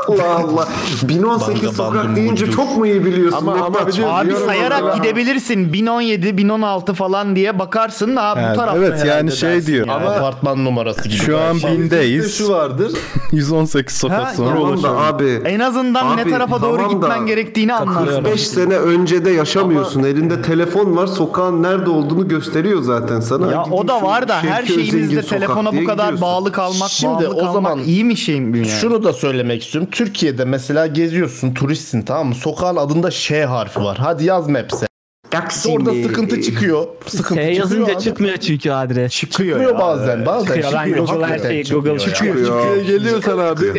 Speaker 6: Allah Allah. 1018
Speaker 9: Banga
Speaker 6: sokak
Speaker 9: bandım
Speaker 6: deyince
Speaker 9: budur.
Speaker 6: çok mu iyi biliyorsun?
Speaker 9: Ama,
Speaker 6: Mehmet?
Speaker 9: abi sayarak gidebilirsin. 1017, 1016 falan diye bakarsın. Aa, bu
Speaker 5: Evet,
Speaker 9: tarafta
Speaker 5: evet, yani
Speaker 9: herhalde
Speaker 5: şey
Speaker 9: dersin
Speaker 5: diyor.
Speaker 9: yani.
Speaker 5: Ama-
Speaker 10: apartman numarası gibi.
Speaker 5: Şu an
Speaker 10: Bak,
Speaker 5: bindeyiz.
Speaker 10: şu vardır.
Speaker 5: 118 sokak
Speaker 9: Ha,
Speaker 5: sonra
Speaker 9: tamam da
Speaker 5: ulaşalım.
Speaker 6: abi.
Speaker 9: En azından ne
Speaker 6: Abi,
Speaker 9: tarafa doğru
Speaker 6: tamam da
Speaker 9: gitmen gerektiğini anlarsın.
Speaker 6: 45 sene önce de yaşamıyorsun. Elinde telefon var. Sokağın nerede olduğunu gösteriyor zaten sana.
Speaker 9: Ya o da var da her
Speaker 6: Şevki Özengin
Speaker 9: şeyimizde
Speaker 6: sokak
Speaker 9: telefona
Speaker 6: diye
Speaker 9: bu kadar
Speaker 6: gidiyorsun.
Speaker 9: bağlı kalmak,
Speaker 10: Şimdi
Speaker 9: bağımlı
Speaker 10: o
Speaker 9: kalmak
Speaker 10: zaman
Speaker 9: iyi mi şey mi yani?
Speaker 10: Şunu da söylemek istiyorum. Türkiye'de mesela geziyorsun, turistsin tamam mı? Sokağın adında Ş harfi var. Hadi yaz Maps'e.
Speaker 6: İşte
Speaker 10: Orada sıkıntı çıkıyor. Sıkıntı
Speaker 7: Şey
Speaker 10: çıkıyor
Speaker 7: yazınca
Speaker 10: abi.
Speaker 7: çıkmıyor çünkü adres.
Speaker 10: Çıkıyor, bazen bazen
Speaker 7: Çıkıyor lan şey, Google her şeyi Google
Speaker 2: çıkıyor. Türkiye'ye geliyorsan abi.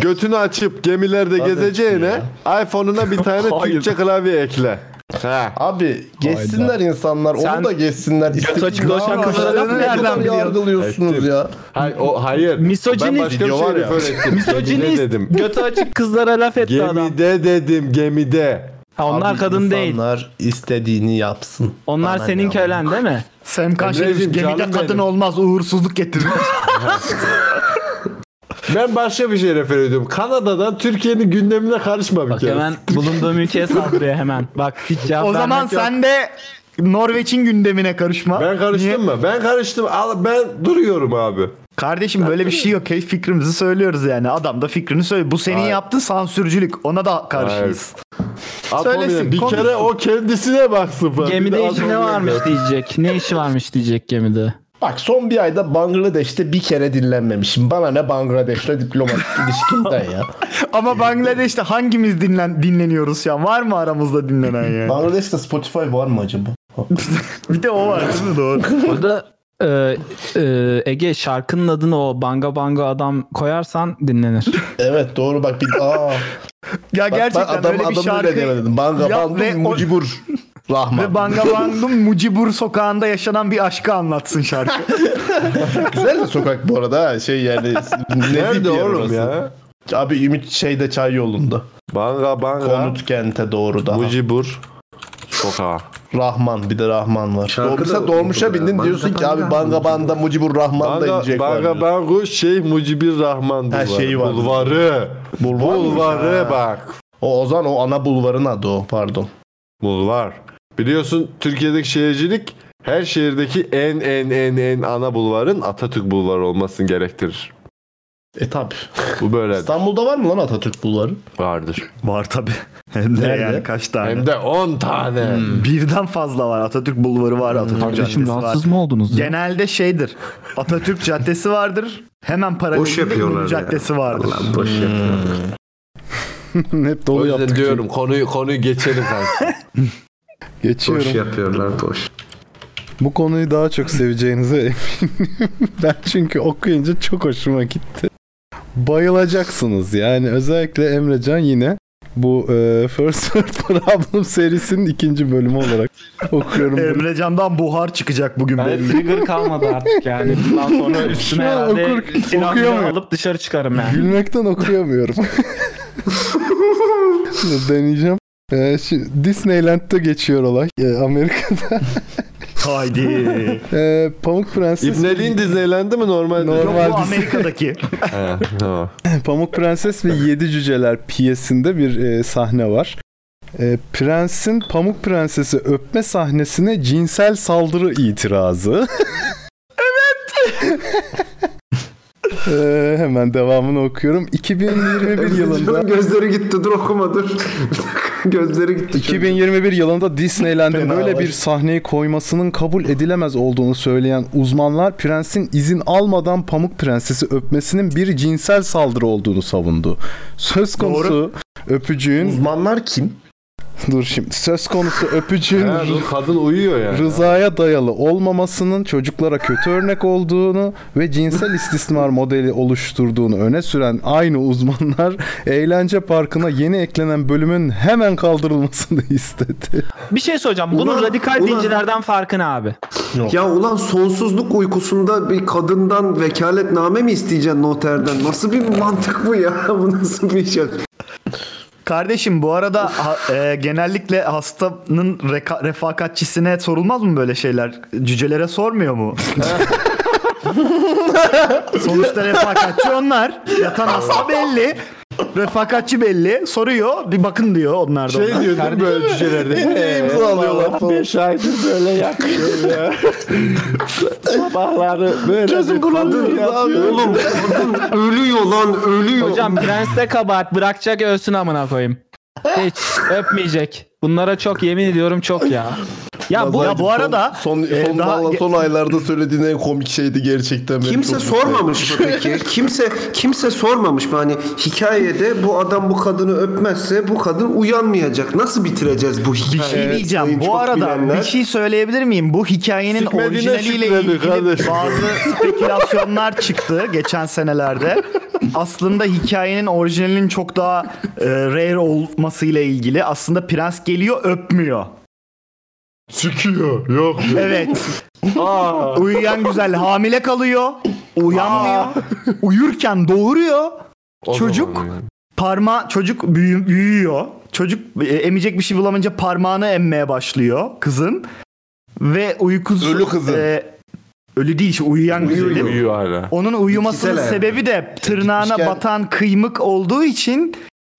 Speaker 2: Götünü açıp gemilerde
Speaker 10: Bazen
Speaker 2: gezeceğine iPhone'una bir tane
Speaker 10: Hayır.
Speaker 2: Türkçe klavye ekle. Ha.
Speaker 10: Abi geçsinler insanlar, onu da geçsinler. İstediği-
Speaker 2: açık dolaşan
Speaker 10: Ya
Speaker 2: kızlara
Speaker 10: işte
Speaker 2: lafı
Speaker 10: ne
Speaker 2: nereden
Speaker 10: kadar
Speaker 2: biliyorsun?
Speaker 10: yargılıyorsunuz ya?
Speaker 2: Hayır, o, hayır. Ben başka bir şey refer ettim. Gemide dedim.
Speaker 7: Götü açık kızlara laf etti adam.
Speaker 2: Gemide dedim gemide.
Speaker 7: Ha, onlar kadın değil.
Speaker 10: Onlar istediğini yapsın.
Speaker 7: Onlar
Speaker 10: Bana
Speaker 7: senin
Speaker 10: ne
Speaker 7: kölen değil mi?
Speaker 9: Sen kaç
Speaker 10: Emreciğim,
Speaker 9: gemide
Speaker 10: canım
Speaker 9: kadın
Speaker 10: benim.
Speaker 9: olmaz uğursuzluk getirir.
Speaker 2: Ben başka bir şey refer ediyorum. Kanada'dan Türkiye'nin gündemine karışma bir
Speaker 7: Bak
Speaker 2: kere.
Speaker 7: hemen bulunduğum ülkeye saldırıyor hemen. Bak hiç cevap
Speaker 9: o
Speaker 7: vermek
Speaker 9: zaman
Speaker 7: yok.
Speaker 9: sen de Norveç'in gündemine karışma.
Speaker 2: Ben karıştım mı? Ben karıştım. Al, ben duruyorum abi.
Speaker 9: Kardeşim böyle bir şey yok. Hey, fikrimizi söylüyoruz yani. Adam da fikrini söylüyor. Bu senin
Speaker 2: Hayır.
Speaker 9: yaptığın sansürcülük. Ona da karşıyız.
Speaker 2: At
Speaker 9: Söylesin,
Speaker 2: onu bir
Speaker 9: konuşsun.
Speaker 2: kere o kendisine baksın. falan. Bir de
Speaker 7: Gemide
Speaker 2: at
Speaker 7: işi
Speaker 2: onu
Speaker 7: ne varmış
Speaker 2: yap.
Speaker 7: diyecek. Ne işi varmış diyecek gemide.
Speaker 10: Bak son bir ayda Bangladeş'te bir kere dinlenmemişim. Bana ne Bangladeş'le diplomatik ilişkimden ya.
Speaker 9: Ama Bangladeş'te hangimiz dinlen dinleniyoruz şu an? Var mı aramızda dinlenen yani?
Speaker 10: Bangladeş'te Spotify var mı acaba?
Speaker 9: bir de o var değil mi? Doğru.
Speaker 7: Burada e, e, Ege şarkının adını o banga banga adam koyarsan dinlenir.
Speaker 10: Evet doğru bak bir aa.
Speaker 9: Ya
Speaker 10: Bak,
Speaker 9: gerçekten
Speaker 10: bak, adam-
Speaker 9: öyle bir
Speaker 10: adamı
Speaker 9: şarkı.
Speaker 10: bile demedim. Banga
Speaker 9: Ya
Speaker 10: bangu
Speaker 9: ve o-
Speaker 10: mucibur. Rahman.
Speaker 9: Ve Banga Bang'ın Mucibur sokağında yaşanan bir aşkı anlatsın şarkı.
Speaker 10: Güzel de sokak bu arada ha. şey yani nezih
Speaker 2: Nerede
Speaker 10: bir yer
Speaker 2: oğlum
Speaker 10: orası.
Speaker 2: ya?
Speaker 10: Abi Ümit şeyde çay yolunda.
Speaker 2: Banga banga.
Speaker 10: Konut kente doğru daha.
Speaker 2: Mucibur. Sokağa.
Speaker 10: Rahman bir de Rahman var.
Speaker 6: Şarkı
Speaker 10: Doğmuşa
Speaker 6: da
Speaker 10: dolmuşa
Speaker 6: unutuldu ya.
Speaker 10: bindin
Speaker 6: Banga
Speaker 10: diyorsun ki
Speaker 6: Banga
Speaker 10: abi Banga Banda Mucibur Rahman da inecek
Speaker 2: Banga, banga
Speaker 10: var.
Speaker 2: bangu Şeyh Mucibir Rahman
Speaker 10: Her
Speaker 2: bulvarı.
Speaker 10: şeyi var.
Speaker 2: Bulvarı.
Speaker 10: Bulvar mı?
Speaker 2: Bulvarı
Speaker 10: Ha.
Speaker 2: bak.
Speaker 10: O Ozan o ana bulvarın adı o pardon.
Speaker 2: Bulvar. Biliyorsun Türkiye'deki şehircilik her şehirdeki en en en en ana bulvarın Atatürk bulvarı olmasını gerektirir.
Speaker 10: E tabi.
Speaker 2: Bu böyle
Speaker 10: İstanbul'da var mı lan Atatürk bulvarı?
Speaker 2: vardır.
Speaker 9: Var tabi. Hem de
Speaker 10: Nerede?
Speaker 9: yani kaç tane.
Speaker 2: Hem de 10 tane.
Speaker 9: Hmm. Birden fazla var. Atatürk Bulvarı var, Atatürk
Speaker 7: Kardeşim
Speaker 9: Caddesi var.
Speaker 7: rahatsız mı oldunuz? ya?
Speaker 9: Genelde şeydir. Atatürk Caddesi vardır. Hemen
Speaker 6: Boş
Speaker 9: paralelinde
Speaker 6: yapıyorlar
Speaker 9: İnönü
Speaker 6: ya.
Speaker 9: Caddesi vardır. Hmm.
Speaker 6: Lan boş yapıyorlar.
Speaker 5: Hep
Speaker 2: O
Speaker 5: dolu
Speaker 2: yüzden
Speaker 5: yaptık.
Speaker 2: diyorum konuyu konuyu geçelim kanka.
Speaker 5: Geçiyorum.
Speaker 6: Boş yapıyorlar boş.
Speaker 5: Bu konuyu daha çok seveceğinize eminim. ben çünkü okuyunca çok hoşuma gitti. Bayılacaksınız yani özellikle Emrecan yine bu e, First World Problem serisinin ikinci bölümü olarak okuyorum. bunu.
Speaker 9: Emrecan'dan buhar çıkacak bugün
Speaker 7: Yani
Speaker 9: belli.
Speaker 7: trigger kalmadı artık yani. Bundan sonra üstüne
Speaker 5: Şu an
Speaker 7: herhalde
Speaker 5: okur-
Speaker 7: silahımı
Speaker 5: okuyamıyorum.
Speaker 7: alıp dışarı çıkarım yani.
Speaker 5: Gülmekten okuyamıyorum. Dur, Deneyeceğim. E, şimdi Disneyland'de geçiyor olay e, Amerika'da.
Speaker 9: Haydi.
Speaker 5: E, Pamuk Prenses
Speaker 2: İbneliğin dizelendi mi normal?
Speaker 9: Yok
Speaker 5: Normal
Speaker 9: bu
Speaker 5: dizi.
Speaker 9: Amerika'daki.
Speaker 2: He, tamam.
Speaker 5: Pamuk Prenses ve Yedi Cüceler piyesinde bir e, sahne var. E, prensin Pamuk Prenses'i öpme sahnesine cinsel saldırı itirazı. evet. E, hemen devamını okuyorum. 2021 yılında
Speaker 6: Çocuğun gözleri gitti dur okuma dur. gözleri gitti. çocuğun.
Speaker 5: 2021 yılında Disneyland'in
Speaker 10: Fena
Speaker 5: böyle
Speaker 10: var.
Speaker 5: bir sahneyi koymasının kabul edilemez olduğunu söyleyen uzmanlar prensin izin almadan Pamuk Prenses'i öpmesinin bir cinsel saldırı olduğunu savundu. Söz konusu öpücüğün
Speaker 10: Uzmanlar kim?
Speaker 5: dur şimdi söz konusu öpücüğün
Speaker 2: He, dur, kadın uyuyor yani.
Speaker 5: rızaya dayalı olmamasının çocuklara kötü örnek olduğunu ve cinsel istismar modeli oluşturduğunu öne süren aynı uzmanlar eğlence parkına yeni eklenen bölümün hemen kaldırılmasını istedi.
Speaker 7: Bir şey soracağım. Bunun
Speaker 6: Ulan,
Speaker 7: radikal
Speaker 6: ulan.
Speaker 7: dincilerden farkı ne abi?
Speaker 6: Ya ulan sonsuzluk uykusunda bir kadından vekaletname mi isteyeceksin noterden? Nasıl bir mantık bu ya? Bu nasıl bir şey?
Speaker 9: Kardeşim bu arada ha- e, genellikle hastanın reka- refakatçisine sorulmaz mı böyle şeyler? Cücelere sormuyor mu? Sonuçta refakatçi onlar. Yatan hasta belli. Refakatçi belli. Soruyor. Bir bakın diyor onlar da. ona.
Speaker 2: Şey diyor değil mi böyle cücelerde? Ee,
Speaker 10: imzalıyorlar falan.
Speaker 2: Beş aydır böyle yakıyor ya. Sabahları böyle bir kadın yapıyor.
Speaker 6: Oğlum kadın ölüyor lan ölüyor.
Speaker 7: Hocam prenste kabahat bırakacak ölsün amına koyayım. Hiç öpmeyecek. Bunlara çok yemin ediyorum çok ya. Ya bu,
Speaker 10: Vallahi
Speaker 7: ya bu
Speaker 10: son-
Speaker 7: arada
Speaker 10: son, son,
Speaker 7: e, daha
Speaker 10: vallahi
Speaker 7: ge-
Speaker 10: son aylarda söylediğin en komik şeydi gerçekten. Benim
Speaker 6: Kimse
Speaker 10: çok-
Speaker 6: sormamış mı peki? Kimse kimse sormamış mı hani hikayede bu adam bu kadını öpmezse bu kadın uyanmayacak. Nasıl bitireceğiz bu
Speaker 9: Bir
Speaker 6: hikayeyi?
Speaker 9: şey diyeceğim.
Speaker 6: Sayın
Speaker 9: Bu
Speaker 6: çok
Speaker 9: arada
Speaker 6: bilenler.
Speaker 9: bir şey söyleyebilir miyim? Bu hikayenin
Speaker 6: Sikmediğine
Speaker 9: orijinaliyle
Speaker 6: şükredin
Speaker 9: ilgili
Speaker 6: kardeşim.
Speaker 9: bazı spekülasyonlar çıktı geçen senelerde. Aslında hikayenin orijinalinin çok daha e, rare olmasıyla ilgili. Aslında prens geliyor öpmüyor.
Speaker 2: Sikiyor. Yok.
Speaker 9: Evet. Uyuyan güzel hamile kalıyor. Uyanmıyor. Uyurken doğuruyor. Çocuk parma çocuk büyü- büyüyor. Çocuk e, emecek bir şey bulamayınca parmağını emmeye başlıyor kızın. Ve uykusu
Speaker 2: Ölü kızın.
Speaker 9: e, ölü değil işte uyuyan güzelim.
Speaker 2: Uyuyor hala.
Speaker 9: Onun uyumasının
Speaker 2: Bitkisel
Speaker 9: sebebi de tırnağına
Speaker 2: Gitmişken-
Speaker 9: batan kıymık olduğu için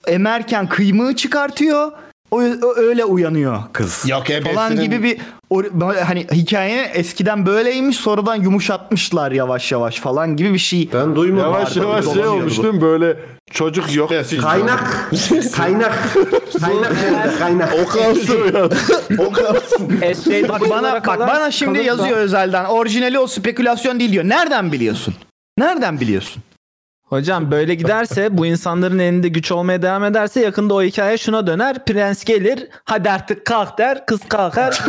Speaker 9: emerken kıymığı çıkartıyor. O, o öyle uyanıyor kız.
Speaker 8: Yok, ebesinin-
Speaker 9: falan gibi bir or- hani hikaye eskiden böyleymiş sonradan yumuşatmışlar yavaş yavaş falan gibi bir şey.
Speaker 6: Ben
Speaker 2: Yavaş yavaş şey olmuş değil mi? Böyle çocuk yok.
Speaker 6: Kaynak.
Speaker 9: şey
Speaker 6: kaynak. Kaynak. nerede? Kaynak.
Speaker 2: O kalsın ya. o kalsın.
Speaker 9: bak bana bak bana şimdi yazıyor özelden. Orijinali o spekülasyon değil diyor. Nereden biliyorsun? Nereden biliyorsun?
Speaker 7: Hocam böyle giderse bu insanların elinde güç olmaya devam ederse yakında o hikaye şuna döner. Prens gelir hadi artık kalk der kız kalkar.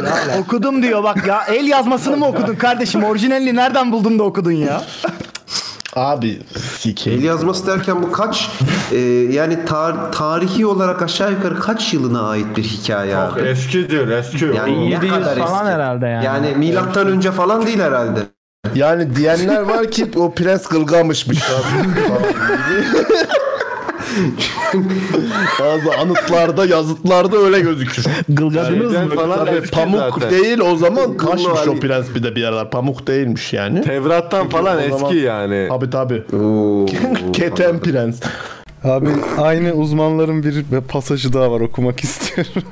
Speaker 9: Okudum diyor bak ya el yazmasını mı okudun kardeşim? Orijinalini nereden buldun da okudun ya?
Speaker 10: Abi
Speaker 6: El yazması derken bu kaç e, yani tar- tarihi olarak aşağı yukarı kaç yılına ait bir hikaye abi?
Speaker 2: Eskidir eski.
Speaker 6: Yani ne
Speaker 7: 700
Speaker 6: kadar
Speaker 7: falan
Speaker 6: eski?
Speaker 7: herhalde yani.
Speaker 6: Yani milattan önce falan değil herhalde.
Speaker 10: Yani diyenler var ki o prens kılgamışmış. Bazı anıtlarda, yazıtlarda öyle gözükür.
Speaker 7: Gılgadınız
Speaker 10: Yani
Speaker 2: mı?
Speaker 10: Falan
Speaker 2: Tabii,
Speaker 10: e, pamuk
Speaker 2: zaten.
Speaker 10: değil o zaman kaşmış o
Speaker 2: hani-
Speaker 10: prens bir de bir aralar. Pamuk değilmiş yani.
Speaker 2: Tevrat'tan falan
Speaker 10: O
Speaker 2: eski
Speaker 10: zaman-
Speaker 2: yani.
Speaker 10: Abi tabi. Keten prens.
Speaker 5: Abi aynı uzmanların bir pasajı daha var okumak istiyorum.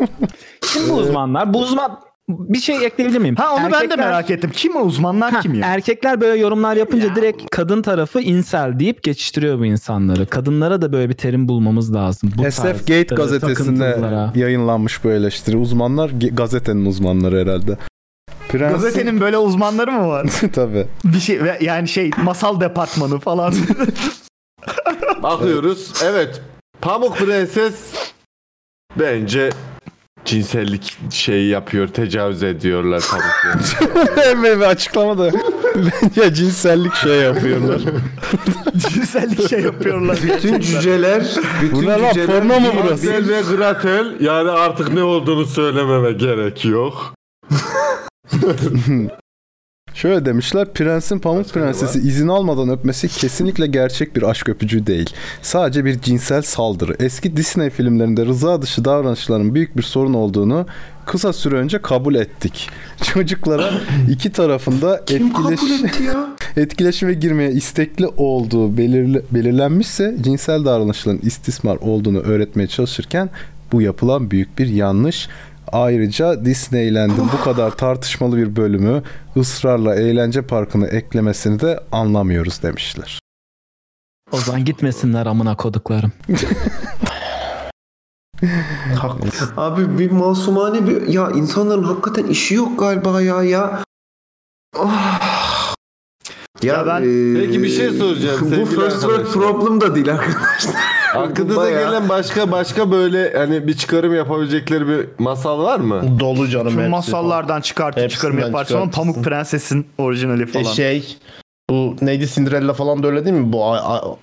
Speaker 7: Kim bu uzmanlar? Bu uzman bir şey ekleyebilir miyim?
Speaker 9: e- Ha onu ben de
Speaker 7: Erkekler-
Speaker 9: merak ettim. Kim o uzmanlar
Speaker 7: Ha, er-
Speaker 9: kim ya?
Speaker 7: Erkekler böyle yorumlar yapınca direkt kadın tarafı insel deyip geçiştiriyor bu insanları. Kadınlara da böyle bir terim bulmamız lazım. Bu tarz,
Speaker 5: SF Gate
Speaker 7: e,
Speaker 5: gazetesinde
Speaker 7: takıntılılara.
Speaker 5: yayınlanmış bu eleştiri. Uzmanlar ge- gazetenin uzmanları herhalde. Prensin...
Speaker 9: Gazetenin böyle uzmanları mı var?
Speaker 5: Tabii.
Speaker 9: Bir şey ve- yani şey masal departmanı falan.
Speaker 2: Bakıyoruz. Evet. Pamuk Prenses bence cinsellik şeyi yapıyor, tecavüz ediyorlar Pamuk Prenses.
Speaker 5: Hemen bir açıklama da bence cinsellik şey yapıyorlar.
Speaker 9: Cinsellik şey yapıyorlar.
Speaker 6: Bütün cüceler, bütün
Speaker 5: Bu ne lan,
Speaker 6: cüceler
Speaker 5: porno mu
Speaker 6: bir-
Speaker 5: burası?
Speaker 2: Hansel ve Gretel yani artık ne olduğunu söylememe gerek yok.
Speaker 5: Şöyle demişler prensin pamuk prensesi izin almadan öpmesi kesinlikle gerçek bir aşk öpücüğü değil. Sadece bir cinsel saldırı. Eski Disney filmlerinde rıza dışı davranışların büyük bir sorun olduğunu kısa süre önce kabul ettik. Çocuklara iki tarafında etkileş... etkileşime girmeye istekli olduğu belirli... belirlenmişse cinsel davranışların istismar olduğunu öğretmeye çalışırken bu yapılan büyük bir yanlış. Ayrıca Disneyland'in bu kadar tartışmalı bir bölümü ısrarla eğlence parkını eklemesini de anlamıyoruz demişler.
Speaker 7: O zaman gitmesinler amına koduklarım.
Speaker 6: Abi bir masumane bir ya insanların hakikaten işi yok galiba ya ya. Ah. Ya, ben
Speaker 2: Peki bir şey soracağım
Speaker 6: Bu
Speaker 2: sevgili
Speaker 6: first world
Speaker 2: arkadaşlar.
Speaker 6: problem da değil arkadaşlar.
Speaker 2: Aklınıza
Speaker 6: Bayağı-
Speaker 2: gelen başka başka böyle hani bir çıkarım yapabilecekleri bir masal var mı?
Speaker 9: Dolu canım
Speaker 2: hepsi.
Speaker 9: masallardan çıkartıp
Speaker 2: Hepsinden
Speaker 9: çıkarım yaparsın ama
Speaker 2: çıkartırsın.
Speaker 9: Pamuk Prenses'in orijinali falan.
Speaker 2: E
Speaker 9: şey
Speaker 12: Bu neydi Cinderella falan da öyle değil mi? Bu a- a-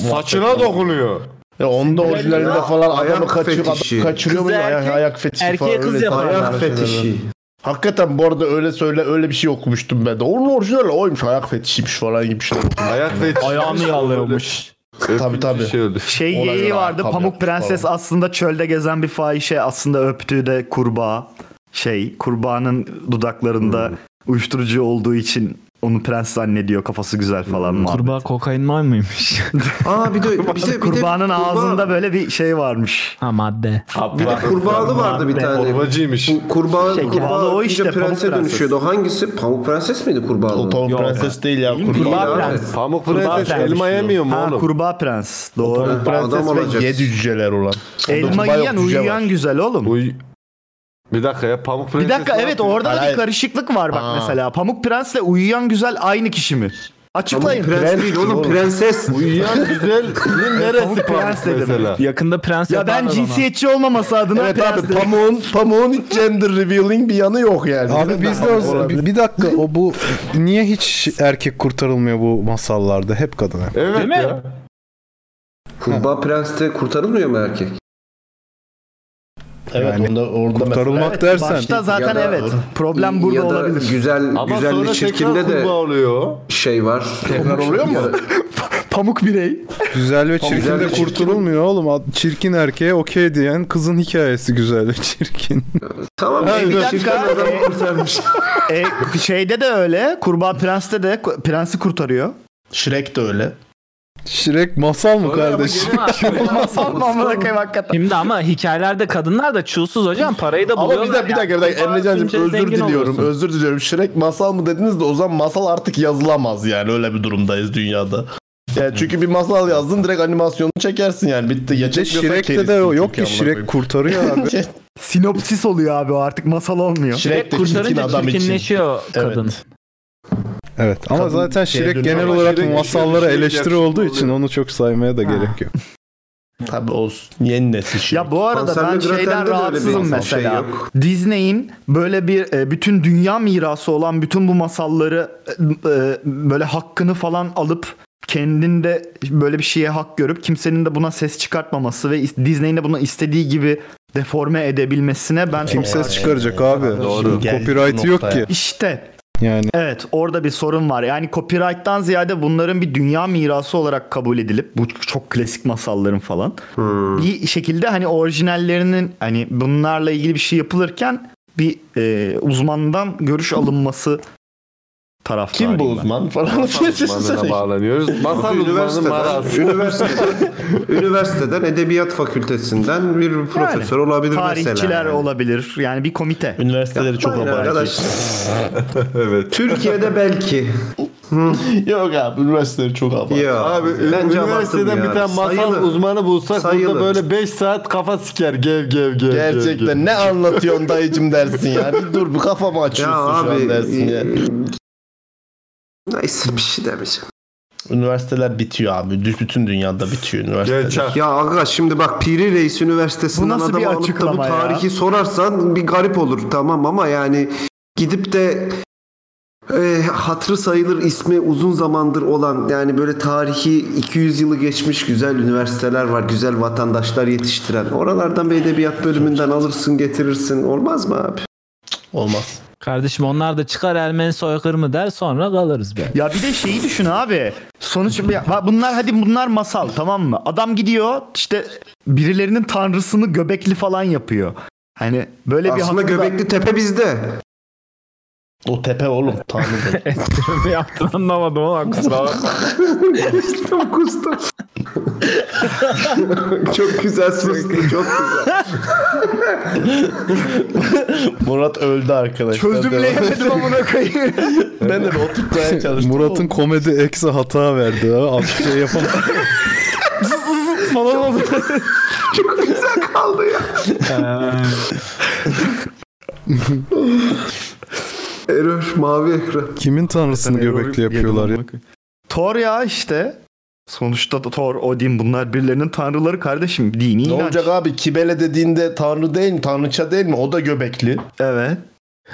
Speaker 2: Saçına dokunuyor.
Speaker 10: e,
Speaker 12: Ya onda orijinalinde falan adamı
Speaker 2: ayak
Speaker 12: kaçırıyor,
Speaker 2: fetişi.
Speaker 12: adam kaçırıyor
Speaker 2: Kız
Speaker 12: muydu? Ayak,
Speaker 2: erkek,
Speaker 12: ayak fetişi
Speaker 2: erkeğe
Speaker 12: falan
Speaker 2: kız
Speaker 12: öyle.
Speaker 2: yaparlar.
Speaker 12: Ayak fetişi. Hakikaten bu arada öyle söyle öyle bir şey okumuştum ben de. Onun orijinali oymuş ayak fetişiymiş falan gibi bir şey.
Speaker 2: Ayak fetişi.
Speaker 12: Ayağını
Speaker 2: yallıyormuş.
Speaker 12: Tabii tabii.
Speaker 9: Şey
Speaker 12: Ona
Speaker 9: geyiği
Speaker 12: göre
Speaker 9: vardı.
Speaker 12: ayakkabı
Speaker 9: Pamuk
Speaker 12: yapmış
Speaker 9: Prenses
Speaker 12: falan.
Speaker 9: aslında çölde gezen bir fahişe aslında öptüğü de kurbağa. Şey kurbağanın dudaklarında uyuşturucu olduğu için onu prens zannediyor kafası güzel falan muhabbet.
Speaker 7: Kurbağa kokain mi mıymış?
Speaker 6: Aa bir de bir de bir de
Speaker 9: Kurbağanın
Speaker 6: kurbağa-
Speaker 9: ağzında böyle bir şey varmış.
Speaker 7: Ha madde.
Speaker 6: Bir de kurbağalı vardı bir tane.
Speaker 2: Kurbacıymış.
Speaker 6: Kurbağa,
Speaker 9: Şey,
Speaker 6: kurbağa
Speaker 9: kurbağa o
Speaker 6: o
Speaker 9: işte,
Speaker 6: işte
Speaker 9: Pamuk
Speaker 6: prense
Speaker 9: Prenses.
Speaker 6: dönüşüyordu. O Hangisi? Pamuk prenses miydi kurbağalı?
Speaker 12: Pamuk Prenses değil ya.
Speaker 6: Kurbağa prens.
Speaker 2: Pamuk Prenses elma yemiyor mu
Speaker 9: şey Ha,
Speaker 2: oğlum?
Speaker 9: kurbağa prens.
Speaker 12: Pamuk
Speaker 9: Doğru.
Speaker 12: Prenses ve yedi cüceler olan. Onda
Speaker 9: Elma
Speaker 12: kurbağa yok,
Speaker 9: yiyen
Speaker 12: cüce var.
Speaker 9: uyuyan güzel oğlum.
Speaker 2: Bir dakika ya Pamuk Prenses.
Speaker 9: Bir dakika
Speaker 2: ne
Speaker 9: evet
Speaker 2: yapıyor?
Speaker 9: orada da bir
Speaker 2: Hayır,
Speaker 9: karışıklık var bak
Speaker 2: Aa.
Speaker 9: mesela. Pamuk Prens'le uyuyan güzel aynı kişi mi? Açıklayın.
Speaker 6: Pamuk Prens değil oğlum, prenses.
Speaker 2: Uyuyan güzelin neresi Pamuk
Speaker 9: dedim.
Speaker 2: mesela?
Speaker 7: Yakında prens
Speaker 9: Ya ben cinsiyetçi olmaması adına
Speaker 10: Evet
Speaker 9: prens
Speaker 10: abi
Speaker 9: dedim.
Speaker 10: pamuğun, pamuğun hiç gender revealing bir yanı yok yani.
Speaker 5: Abi biz de o- bir, bir dakika o bu niye hiç erkek kurtarılmıyor bu masallarda? Hep kadın hep.
Speaker 2: Evet
Speaker 6: Değil mi? ya. Kurbağa Prens'te kurtarılmıyor mu erkek?
Speaker 8: Evet onda orada
Speaker 5: kurtarılmak
Speaker 8: mesela-
Speaker 5: dersen-
Speaker 9: Başta zaten
Speaker 6: Ya da-
Speaker 9: evet. Problem burada
Speaker 6: ya da
Speaker 9: olabilir.
Speaker 6: Güzel,
Speaker 9: Ama
Speaker 6: güzel
Speaker 9: sonra
Speaker 6: çirkinde
Speaker 9: tekrar
Speaker 6: de
Speaker 9: kurbağa
Speaker 2: oluyor.
Speaker 6: şey var.
Speaker 9: Tekrar oluyor mu?
Speaker 6: Ya da-
Speaker 9: Pamuk birey.
Speaker 5: Güzel ve
Speaker 6: Güzel
Speaker 5: çirkin de
Speaker 6: ve çirkin.
Speaker 5: kurtulmuyor oğlum. Ad- Çirkin erkeğe okey diyen kızın hikayesi güzel ve çirkin.
Speaker 6: Tamam
Speaker 9: Ha, bir dakika.
Speaker 6: adamı
Speaker 9: E, şeyde de öyle. Kurbağa Prens'te de ku- prensi kurtarıyor.
Speaker 8: Shrek de öyle.
Speaker 5: Şirek masal mı kardeşim?
Speaker 9: Masal mı amına koyayım hakikaten.
Speaker 7: Şimdi ama hikayelerde kadınlar da çulsuz hocam parayı da
Speaker 10: Ama bir
Speaker 7: buluyorlar.
Speaker 10: dakika bir dakika, bir dakika.
Speaker 7: Yani.
Speaker 10: Emrecan'cığım
Speaker 7: Kimse
Speaker 10: özür
Speaker 7: zengin
Speaker 10: diliyorum.
Speaker 7: olmasın.
Speaker 10: Özür diliyorum. Şirek masal mı dediniz de o zaman masal artık yazılamaz yani öyle bir durumdayız dünyada. Yani çünkü bir masal yazdın direkt animasyonunu çekersin yani bitti. Ya
Speaker 5: de
Speaker 10: çekmiyorsan
Speaker 5: Shrek'te de
Speaker 10: kerissin
Speaker 5: yok ki
Speaker 10: çünkü amına
Speaker 5: Şirek kurtarıyor abi.
Speaker 10: koyayım.
Speaker 9: Sinopsis oluyor abi o artık masal olmuyor.
Speaker 10: Şey, Shrek de Kurtarınca çirkin adam için. çirkinleşiyor kadın.
Speaker 5: Evet ama
Speaker 9: Kadın
Speaker 5: zaten
Speaker 9: şeye
Speaker 5: Şirek
Speaker 9: dönüyor.
Speaker 5: genel
Speaker 9: Ama
Speaker 5: olarak
Speaker 9: Shrek-
Speaker 5: masallara
Speaker 9: Shrek- Shrek
Speaker 5: eleştiri
Speaker 9: yakışıklı
Speaker 5: olduğu için onu çok saymaya da gerek yok.
Speaker 8: Tabii olsun. Yeni nesil Shrek.
Speaker 9: Ya bu arada
Speaker 6: Konserve
Speaker 9: ben
Speaker 6: Gretel'de de öyle
Speaker 9: şeyden
Speaker 6: bir
Speaker 9: rahatsızım
Speaker 6: insan
Speaker 9: mesela.
Speaker 6: şey yok.
Speaker 9: Disney'in böyle bir e, bütün dünya mirası olan bütün bu masalları e, e, böyle hakkını falan alıp kendinde böyle bir şeye hak görüp kimsenin de buna ses çıkartmaması ve is- Disney'in de bunu istediği gibi deforme edebilmesine ben
Speaker 5: Kim
Speaker 9: çok
Speaker 5: ses
Speaker 9: karşıyım.
Speaker 5: çıkaracak abi?
Speaker 9: Doğru.
Speaker 5: Copyright yok ki.
Speaker 9: İşte
Speaker 5: Yani
Speaker 9: Evet orada bir sorun var. Yani copyright'tan ziyade bunların bir dünya mirası olarak kabul edilip bu çok klasik masalların falan bir şekilde hani orijinallerinin hani bunlarla ilgili bir şey yapılırken bir e, uzmandan görüş alınması taraftarıyım
Speaker 8: Kim bu
Speaker 9: ben.
Speaker 8: uzman falan.
Speaker 9: Masal
Speaker 2: uzmanına bağlanıyoruz. Masal uzmanı Maras.
Speaker 6: üniversiteden, üniversiteden, üniversiteden edebiyat fakültesinden bir profesör olabilir mesela.
Speaker 9: Tarihçiler
Speaker 6: yani.
Speaker 9: olabilir. Yani bir komite.
Speaker 8: Üniversiteleri çok
Speaker 6: Aynen arkadaş.
Speaker 2: evet.
Speaker 6: Türkiye'de belki.
Speaker 8: Yok abi üniversiteleri çok abartı.
Speaker 6: Ya,
Speaker 2: Abi
Speaker 6: bence
Speaker 2: üniversiteden
Speaker 6: abartıldı
Speaker 2: bir
Speaker 6: ya.
Speaker 2: tane masal
Speaker 6: Sayılır.
Speaker 2: uzmanı bulsak
Speaker 6: Sayılır.
Speaker 2: burada böyle 5 saat kafa siker gev gev gev. gev, gev.
Speaker 10: Gerçekten ne anlatıyorsun dayıcım dersin ya. Bir dur bu kafamı açıyorsun
Speaker 6: Ya
Speaker 10: şu an
Speaker 6: abi, e,
Speaker 10: dersin ya.
Speaker 6: Neyse bir şey demeyeceğim.
Speaker 8: Üniversiteler bitiyor abi. Dü- Bütün dünyada bitiyor üniversiteler.
Speaker 6: Ya aga şimdi bak Piri Reis Üniversitesi'nden
Speaker 9: Bu nasıl
Speaker 6: adamı
Speaker 9: bir
Speaker 6: alıp da bu
Speaker 9: açıklama ya?
Speaker 6: tarihi sorarsan bir garip olur tamam ama yani gidip de e, hatırı sayılır ismi uzun zamandır olan yani böyle tarihi 200 yılı geçmiş güzel üniversiteler var güzel vatandaşlar yetiştiren oralardan bir edebiyat bölümünden alırsın getirirsin olmaz mı abi?
Speaker 8: Olmaz.
Speaker 7: Kardeşim onlar da çıkar Ermeni soykırımı der sonra kalırız be.
Speaker 9: Ya bir de şeyi düşün abi. Sonuç ya bunlar hadi bunlar masal tamam mı? Adam gidiyor işte birilerinin tanrısını göbekli falan yapıyor. Hani böyle bir
Speaker 6: Aslında
Speaker 9: hakkı da-
Speaker 6: Göbekli Tepe bizde.
Speaker 8: O tepe oğlum tanrı değil.
Speaker 7: Ne yaptın anlamadım ama kusura bakma.
Speaker 6: kustum kustum. çok güzel sustu çok güzel.
Speaker 8: Murat öldü arkadaşlar.
Speaker 9: Çözümleyemedim amına koyayım.
Speaker 8: ben de bir oturtmaya çalıştım.
Speaker 5: Murat'ın komedi eksi hata verdi. abi. Az şey yapamadı.
Speaker 9: falan oldu.
Speaker 6: Çok güzel kaldı ya.
Speaker 10: Ee,
Speaker 6: Error mavi ekran.
Speaker 5: Kimin tanrısını göbekli yapıyorlar ya?
Speaker 9: Thor ya işte. Sonuçta da Thor, Odin bunlar birilerinin tanrıları kardeşim.
Speaker 10: Ne
Speaker 9: Dini inanç.
Speaker 10: olacak abi? Kibele dediğinde tanrı değil mi? Tanrıça değil mi? O da göbekli.
Speaker 9: Evet.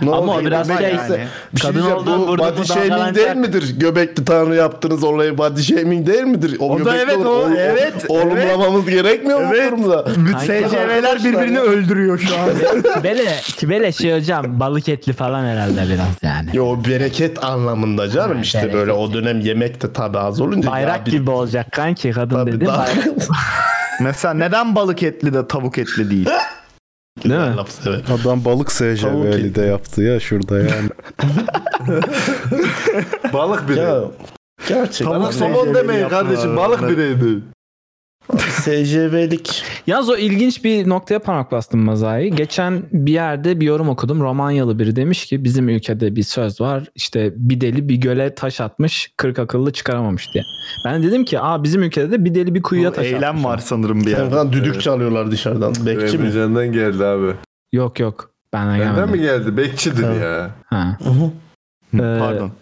Speaker 10: Ne
Speaker 7: Ama o
Speaker 10: olacak?
Speaker 7: biraz
Speaker 10: Göbekli
Speaker 7: şey
Speaker 10: ise-
Speaker 7: yani.
Speaker 10: Bir şey
Speaker 7: Kadın
Speaker 10: diyeceğim,
Speaker 7: olduğun
Speaker 10: bu
Speaker 7: burada
Speaker 10: body
Speaker 7: bu
Speaker 10: shaming
Speaker 7: davranışlar-
Speaker 10: değil midir? Göbekli tanrı yaptınız olayı body shaming değil midir?
Speaker 9: O da
Speaker 10: göbekli
Speaker 9: evet,
Speaker 10: olan-
Speaker 9: o- evet,
Speaker 10: Olumlamamız gerekmiyor mu
Speaker 9: Evet.
Speaker 10: bu durumda?
Speaker 9: SCV'ler birbirini öldürüyor şu an.
Speaker 7: Tibele, tibele şey hocam balık etli falan herhalde biraz yani.
Speaker 10: Yo bereket anlamında canım
Speaker 7: işte bereket.
Speaker 10: böyle
Speaker 8: O dönem yemek de tabi az olunca.
Speaker 7: Bayrak gibi olacak kanki kadın dedim. bayrak-
Speaker 9: Mesela neden balık etli de tavuk etli değil?
Speaker 7: Değil mi?
Speaker 8: Laf sever.
Speaker 5: Adam balık
Speaker 8: Tavuk
Speaker 5: SJV'li de yaptı ya şurada yani.
Speaker 2: Balık bireyi.
Speaker 8: Ya, gerçekten.
Speaker 2: Bana
Speaker 9: Tavuk
Speaker 2: somon
Speaker 9: SJV'li
Speaker 2: demeyin
Speaker 9: yaptılar
Speaker 2: kardeşim
Speaker 9: bunlar.
Speaker 2: balık bireydi.
Speaker 8: SCV'lik.
Speaker 7: Yalnız o ilginç bir noktaya parmak bastım Mazai. Geçen bir yerde bir yorum okudum. Romanyalı biri demiş ki bizim ülkede bir söz var. İşte bir deli bir göle taş atmış. Kırk akıllı çıkaramamış diye. Ben dedim ki aa bizim ülkede de bir deli bir kuyuya taş atmış.
Speaker 10: Ee,
Speaker 9: Eylem var sanırım bir yerde.
Speaker 8: Oradan düdük çalıyorlar dışarıdan. Bekçi mi?
Speaker 2: Emrecan'dan geldi abi.
Speaker 7: Yok yok. Benden,
Speaker 2: Benden
Speaker 7: gelmedi.
Speaker 2: mi geldi? Bekçidin ya.
Speaker 7: Ha. Pardon.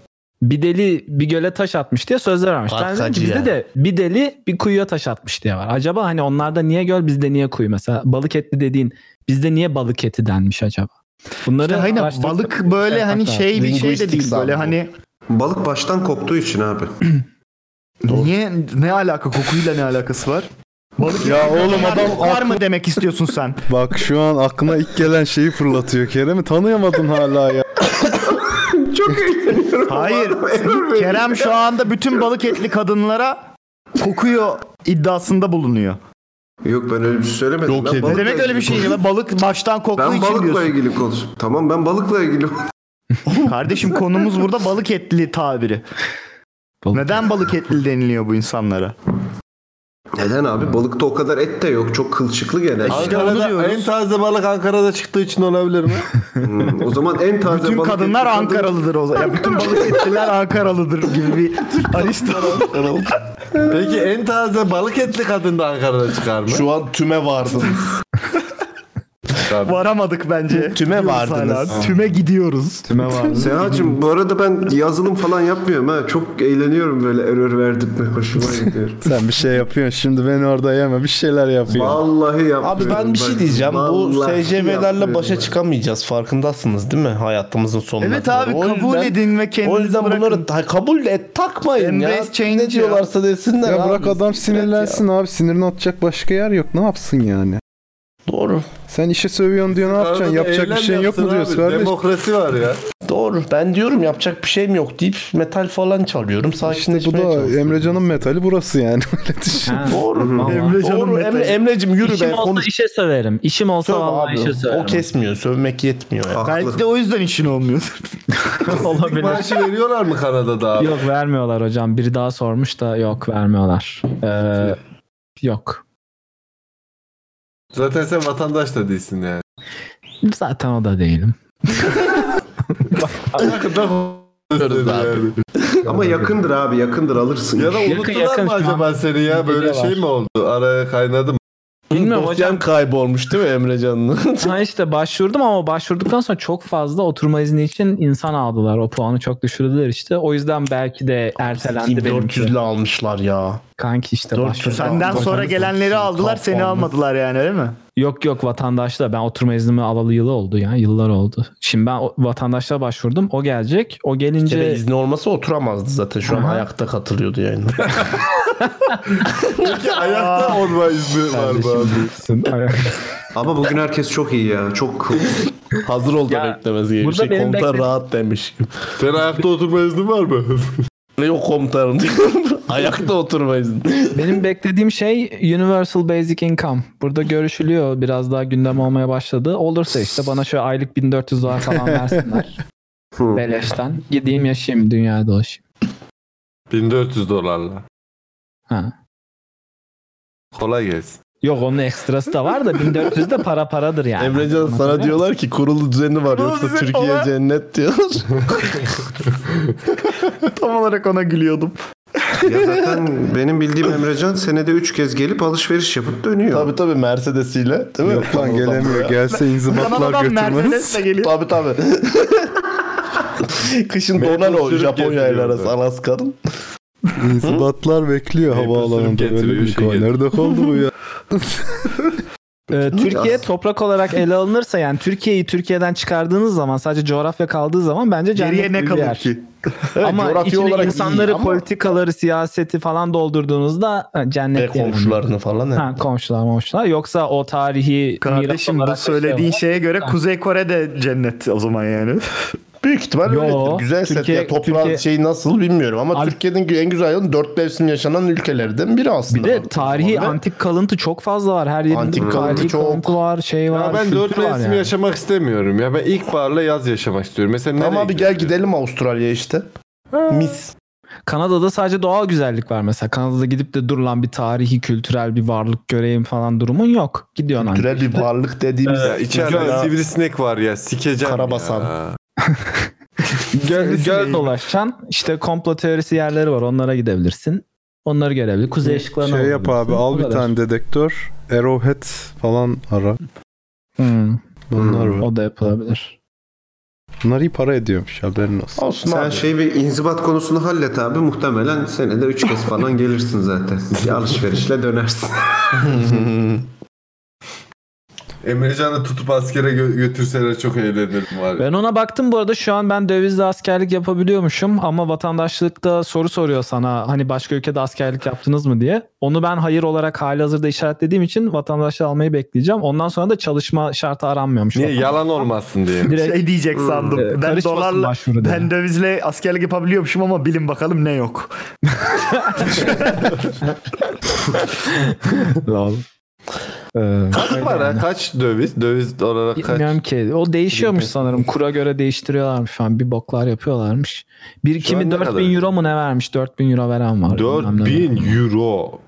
Speaker 7: Bir deli bir göle taş atmış diye sözler varmış. Ben dedim ki
Speaker 13: Arkacı
Speaker 7: bizde
Speaker 13: ya.
Speaker 7: de bir deli bir kuyuya taş atmış diye var. Acaba hani onlarda niye göl bizde niye kuyu mesela balık etli dediğin bizde niye balık eti denmiş acaba? Bunları
Speaker 9: İşte aynen,
Speaker 7: araştırsak-
Speaker 9: balık böyle hani
Speaker 7: yapmak
Speaker 9: şey
Speaker 7: lazım.
Speaker 9: bir şey de değil böyle hani
Speaker 6: Balık baştan koktuğu için abi.
Speaker 9: niye ne alaka kokuyla ne alakası var? Balık
Speaker 5: Ya oğlum adam
Speaker 9: var mı demek istiyorsun sen?
Speaker 5: Bak şu an aklına ilk gelen şeyi fırlatıyor Kerem'i tanıyamadın hala ya.
Speaker 6: Çok eğleniyorum.
Speaker 9: Hayır. Kerem şu anda bütün balık etli kadınlara kokuyor iddiasında bulunuyor.
Speaker 6: Yok ben öyle bir şey söylemedim.
Speaker 9: Yok
Speaker 6: Ben
Speaker 9: Ne
Speaker 6: balıkla
Speaker 9: demek öyle bir şey
Speaker 6: ilgili
Speaker 9: ya? Balık baştan koktuğu
Speaker 6: Ben
Speaker 9: için
Speaker 6: balıkla
Speaker 9: diyorsun.
Speaker 6: ilgili konuş. Tamam ben balıkla ilgili.
Speaker 9: Kardeşim konumuz burada balık etli tabiri. Neden balık etli deniliyor bu insanlara?
Speaker 6: Neden abi? Balıkta o kadar et de yok. Çok kılçıklı
Speaker 9: E
Speaker 6: genelde.
Speaker 2: Ankara'da en taze balık Ankara'da çıktığı için olabilir mi?
Speaker 6: Hmm, o zaman en taze
Speaker 9: Bütün
Speaker 6: balık
Speaker 9: kadınlar Ankaralıdır o zaman. Ya bütün balık etliler Ankaralıdır gibi bir Aristo.
Speaker 2: Peki en taze balık etli kadın da Ankara'da çıkar mı?
Speaker 10: Şu an tüme vardım.
Speaker 9: Varamadık bence.
Speaker 10: Tüme
Speaker 9: Gidiyoruz
Speaker 10: vardınız.
Speaker 9: hala. Tüme gidiyoruz.
Speaker 5: Tüme
Speaker 6: Sehacım bu arada ben yazılım falan yapmıyorum ha. Çok eğleniyorum böyle error verdirtme hoşuma gidiyor.
Speaker 5: Sen bir şey yapıyorsun şimdi beni orada yeme bir şeyler yapıyor.
Speaker 6: Vallahi
Speaker 10: Abi
Speaker 6: yapmıyorum.
Speaker 10: ben bir şey diyeceğim. Bu
Speaker 6: Vallahi
Speaker 10: SCV'lerle
Speaker 6: yapmıyorum.
Speaker 10: başa çıkamayacağız. Farkındasınız değil mi? Hayatımızın sonuna.
Speaker 9: Evet
Speaker 10: kadar.
Speaker 9: abi,
Speaker 10: O
Speaker 9: kabul edin ve kendinizi
Speaker 10: O yüzden bunları ta- kabul et takmayın ya.
Speaker 9: Embrace change ya.
Speaker 10: Ne diyorlarsa desinler
Speaker 5: Ya
Speaker 10: abi.
Speaker 5: bırak adam sinirlensin abi sinirini atacak başka yer yok ne yapsın yani.
Speaker 10: Doğru.
Speaker 5: Sen işe sövüyorsun diyor ne yapacaksın
Speaker 2: Ankara'da
Speaker 5: yapacak bir
Speaker 2: eylem
Speaker 5: şeyin yok mu
Speaker 2: yapsın
Speaker 5: diyoruz
Speaker 2: abi.
Speaker 5: kardeş.
Speaker 2: Demokrasi var ya.
Speaker 10: Doğru. Ben diyorum yapacak bir şeyim yok deyip metal falan çalıyorum.
Speaker 5: İşte bu
Speaker 10: Sakinleşmeye
Speaker 5: da Emrecan'ın metali burası yani öyle düşün.
Speaker 7: Ha,
Speaker 10: Doğru.
Speaker 7: vallahi.
Speaker 10: Doğru. Emre, Emrecim yürü
Speaker 7: İşim
Speaker 10: be.
Speaker 7: olsa
Speaker 10: Konuş.
Speaker 7: işe söverim. İşim olsa
Speaker 10: Sövme
Speaker 7: vallahi
Speaker 10: abi.
Speaker 7: işe söverim.
Speaker 10: O kesmiyor. Sövmek yetmiyor. ya.
Speaker 9: Belki de o yüzden işin olmuyor.
Speaker 7: Olabilir.
Speaker 2: Maaşı veriyorlar mı Kanada'da abi?
Speaker 7: Yok vermiyorlar hocam. Biri daha sormuş da yok vermiyorlar. Ee, yok.
Speaker 2: Zaten sen vatandaş da değilsin yani.
Speaker 7: Zaten o da değilim.
Speaker 2: Yani.
Speaker 6: Ama yakındır abi yakındır alırsın.
Speaker 2: Ya da
Speaker 7: Yakın,
Speaker 2: unuttular
Speaker 7: yakın
Speaker 2: mı
Speaker 7: şu an.
Speaker 2: acaba seni ya? Böyle
Speaker 7: Gece
Speaker 2: şey
Speaker 7: var.
Speaker 2: mi oldu? Araya kaynadı mı?
Speaker 7: Bilmiyorum hocam.
Speaker 10: Dosyan kaybolmuş değil mi Emrecan'ın?
Speaker 7: Ha işte başvurdum ama başvurduktan sonra çok fazla oturma izni için insan aldılar. O puanı çok düşürdüler işte. O yüzden belki de ertelendi benim.
Speaker 10: 400'lü almışlar ya.
Speaker 7: Kanki işte
Speaker 10: 400
Speaker 7: başvurdum.
Speaker 9: Senden sonra gelenleri aldılar seni almadılar yani öyle mi?
Speaker 7: Yok yok vatandaşla ben oturma iznimi alalı yılı oldu ya. Yıllar oldu. Şimdi ben o- vatandaşla başvurdum. O gelecek. O
Speaker 10: Bir kere
Speaker 7: gelince
Speaker 10: izni olmasa oturamazdı zaten. Şu an
Speaker 7: Aha.
Speaker 10: ayakta katılıyordu yayında.
Speaker 2: Peki ayakta olma izni var mı abi?
Speaker 6: Ama bugün herkes çok iyi ya. Çok cool.
Speaker 10: Hazır ol da beklemez gibi bir
Speaker 7: burada
Speaker 10: şey.
Speaker 7: benim
Speaker 10: Komutan
Speaker 7: bekle-
Speaker 10: rahat demiş.
Speaker 2: Sen ayakta oturma iznin var mı?
Speaker 10: Yok komutanım diyorum. ayakta oturmayız.
Speaker 7: Benim beklediğim şey Universal Basic Income. Burada görüşülüyor. Biraz daha gündem olmaya başladı. Olursa işte bana şöyle aylık 1400 dolar falan versinler. Beleşten. Gideyim yaşayayım dünyada dolaşayım.
Speaker 2: 1400 dolarla.
Speaker 7: Ha.
Speaker 2: Kolay gelsin.
Speaker 7: Yok onun ekstrası da var da 1400 de para paradır yani.
Speaker 10: Emrecan sana diyorlar ki kurulu düzeni var yoksa Türkiye cennet diyor.
Speaker 9: Tam olarak ona gülüyordum.
Speaker 6: ya zaten benim bildiğim Emrecan senede 3 kez gelip alışveriş yapıp dönüyor.
Speaker 10: tabii tabii Mercedes'iyle değil mi?
Speaker 5: Yok lan gelemiyor gelse inzibatlar
Speaker 9: Kanada'dan
Speaker 5: götürmez.
Speaker 9: Mercedes'le geliyor.
Speaker 10: Tabii tabii. Kışın donar o
Speaker 2: sürüp
Speaker 10: Japonya ile
Speaker 2: getiriyor
Speaker 10: arası Alaska'nın.
Speaker 5: İnzibatlar bekliyor havaalanında
Speaker 2: getiriyor,
Speaker 5: böyle bir
Speaker 2: şey
Speaker 5: koy.
Speaker 2: getiriyor.
Speaker 5: Nerede kaldı bu ya?
Speaker 7: Ee, Türkiye toprak olarak ele alınırsa yani Türkiye'yi Türkiye'den çıkardığınız zaman sadece coğrafya kaldığı zaman bence cennet
Speaker 9: Geriye ne
Speaker 7: gibi bir
Speaker 9: kalır
Speaker 7: yer.
Speaker 9: ki?
Speaker 7: ama
Speaker 10: coğrafi
Speaker 7: içine
Speaker 10: olarak
Speaker 7: insanları,
Speaker 10: iyi ama-
Speaker 7: politikaları, siyaseti falan doldurduğunuzda ha,
Speaker 10: Ve
Speaker 7: cennet diyemem.
Speaker 10: komşularını falan.
Speaker 7: Ha, komşular komşular. Yoksa o tarihi şey
Speaker 9: Kardeşim bu söylediğin şeye göre Kuzey Kore de cennet o zaman yani.
Speaker 10: Büyük ihtimal
Speaker 7: Yo,
Speaker 10: öyledir. Güzel set
Speaker 7: Türkiye-
Speaker 10: ya toprağın
Speaker 7: Türkiye-
Speaker 10: şeyi nasıl bilmiyorum ama
Speaker 7: Abi-
Speaker 10: Türkiye'nin en güzel yanı dört mevsim yaşanan ülkelerden biri aslında.
Speaker 7: Bir de
Speaker 10: baktığın
Speaker 7: tarihi
Speaker 10: şey zaman.
Speaker 7: antik kalıntı çok fazla var. Her yerinde
Speaker 10: Antik kalıntı
Speaker 7: tarihi
Speaker 10: çok.
Speaker 7: kalıntı var, şey var.
Speaker 2: Ya ben
Speaker 7: kültür
Speaker 2: dört
Speaker 7: var
Speaker 2: mevsim
Speaker 7: yani.
Speaker 2: yaşamak istemiyorum ya. Ben ilkbaharla yaz yaşamak istiyorum. Mesela
Speaker 10: Tamam
Speaker 2: nereye
Speaker 10: abi gel
Speaker 2: gidiyorsun?
Speaker 10: gidelim Avustralya'ya işte. Mis.
Speaker 7: Kanada'da sadece doğal güzellik var mesela. Kanada'da gidip de dur lan bir tarihi, kültürel bir varlık göreyim falan durumun yok. Gidiyorsun hani. anca.
Speaker 10: Türel bir varlık dediğimiz
Speaker 2: Ya içeride
Speaker 10: Mesela
Speaker 2: sivrisinek var ya sikeceğim
Speaker 10: Karabasan.
Speaker 2: ya.
Speaker 7: Göl, göl dolaşacaksın. İşte komplo teorisi yerleri var. Onlara gidebilirsin. Onları görebilir. Kuzey ışıklarına
Speaker 5: Şey yap
Speaker 7: bakabilirsin.
Speaker 5: abi al
Speaker 7: O
Speaker 5: bir
Speaker 7: kadar.
Speaker 5: tane dedektör. Arrowhead falan ara.
Speaker 7: Hmm.
Speaker 5: Bunlar var.
Speaker 14: O da yapılabilir.
Speaker 5: Bunlar iyi para ediyormuş haberin olsun.
Speaker 6: Sen şey bir inzibat konusunu hallet abi. Muhtemelen senede 3 kez falan gelirsin zaten. Bir alışverişle dönersin.
Speaker 2: Emrecan'ı tutup askere gö- götürseler çok eğlenirim var.
Speaker 7: Ben ona baktım bu arada şu an ben dövizle askerlik yapabiliyormuşum ama vatandaşlıkta soru soruyor sana hani başka ülkede askerlik yaptınız mı diye. Onu ben hayır olarak halihazırda işaretlediğim için vatandaşlığı almayı bekleyeceğim. Ondan sonra da çalışma şartı aranmıyormuş.
Speaker 2: Niye yalan olmasın diye.
Speaker 9: şey diyecek sandım. ben dolarla ben dövizle askerlik yapabiliyormuşum ama bilin bakalım ne yok.
Speaker 2: Kaç para? Kaç döviz? Döviz olarak kaç?
Speaker 7: Bilmiyorum ki. O değişiyormuş sanırım. Kura göre değiştiriyorlarmış falan. Bir boklar yapıyorlarmış. Bir
Speaker 2: Şu
Speaker 7: kimi
Speaker 2: an ne kadar?
Speaker 7: 4000 euro mu ne vermiş? 4000 euro veren var. Bilmem ne.
Speaker 2: 4000 euro.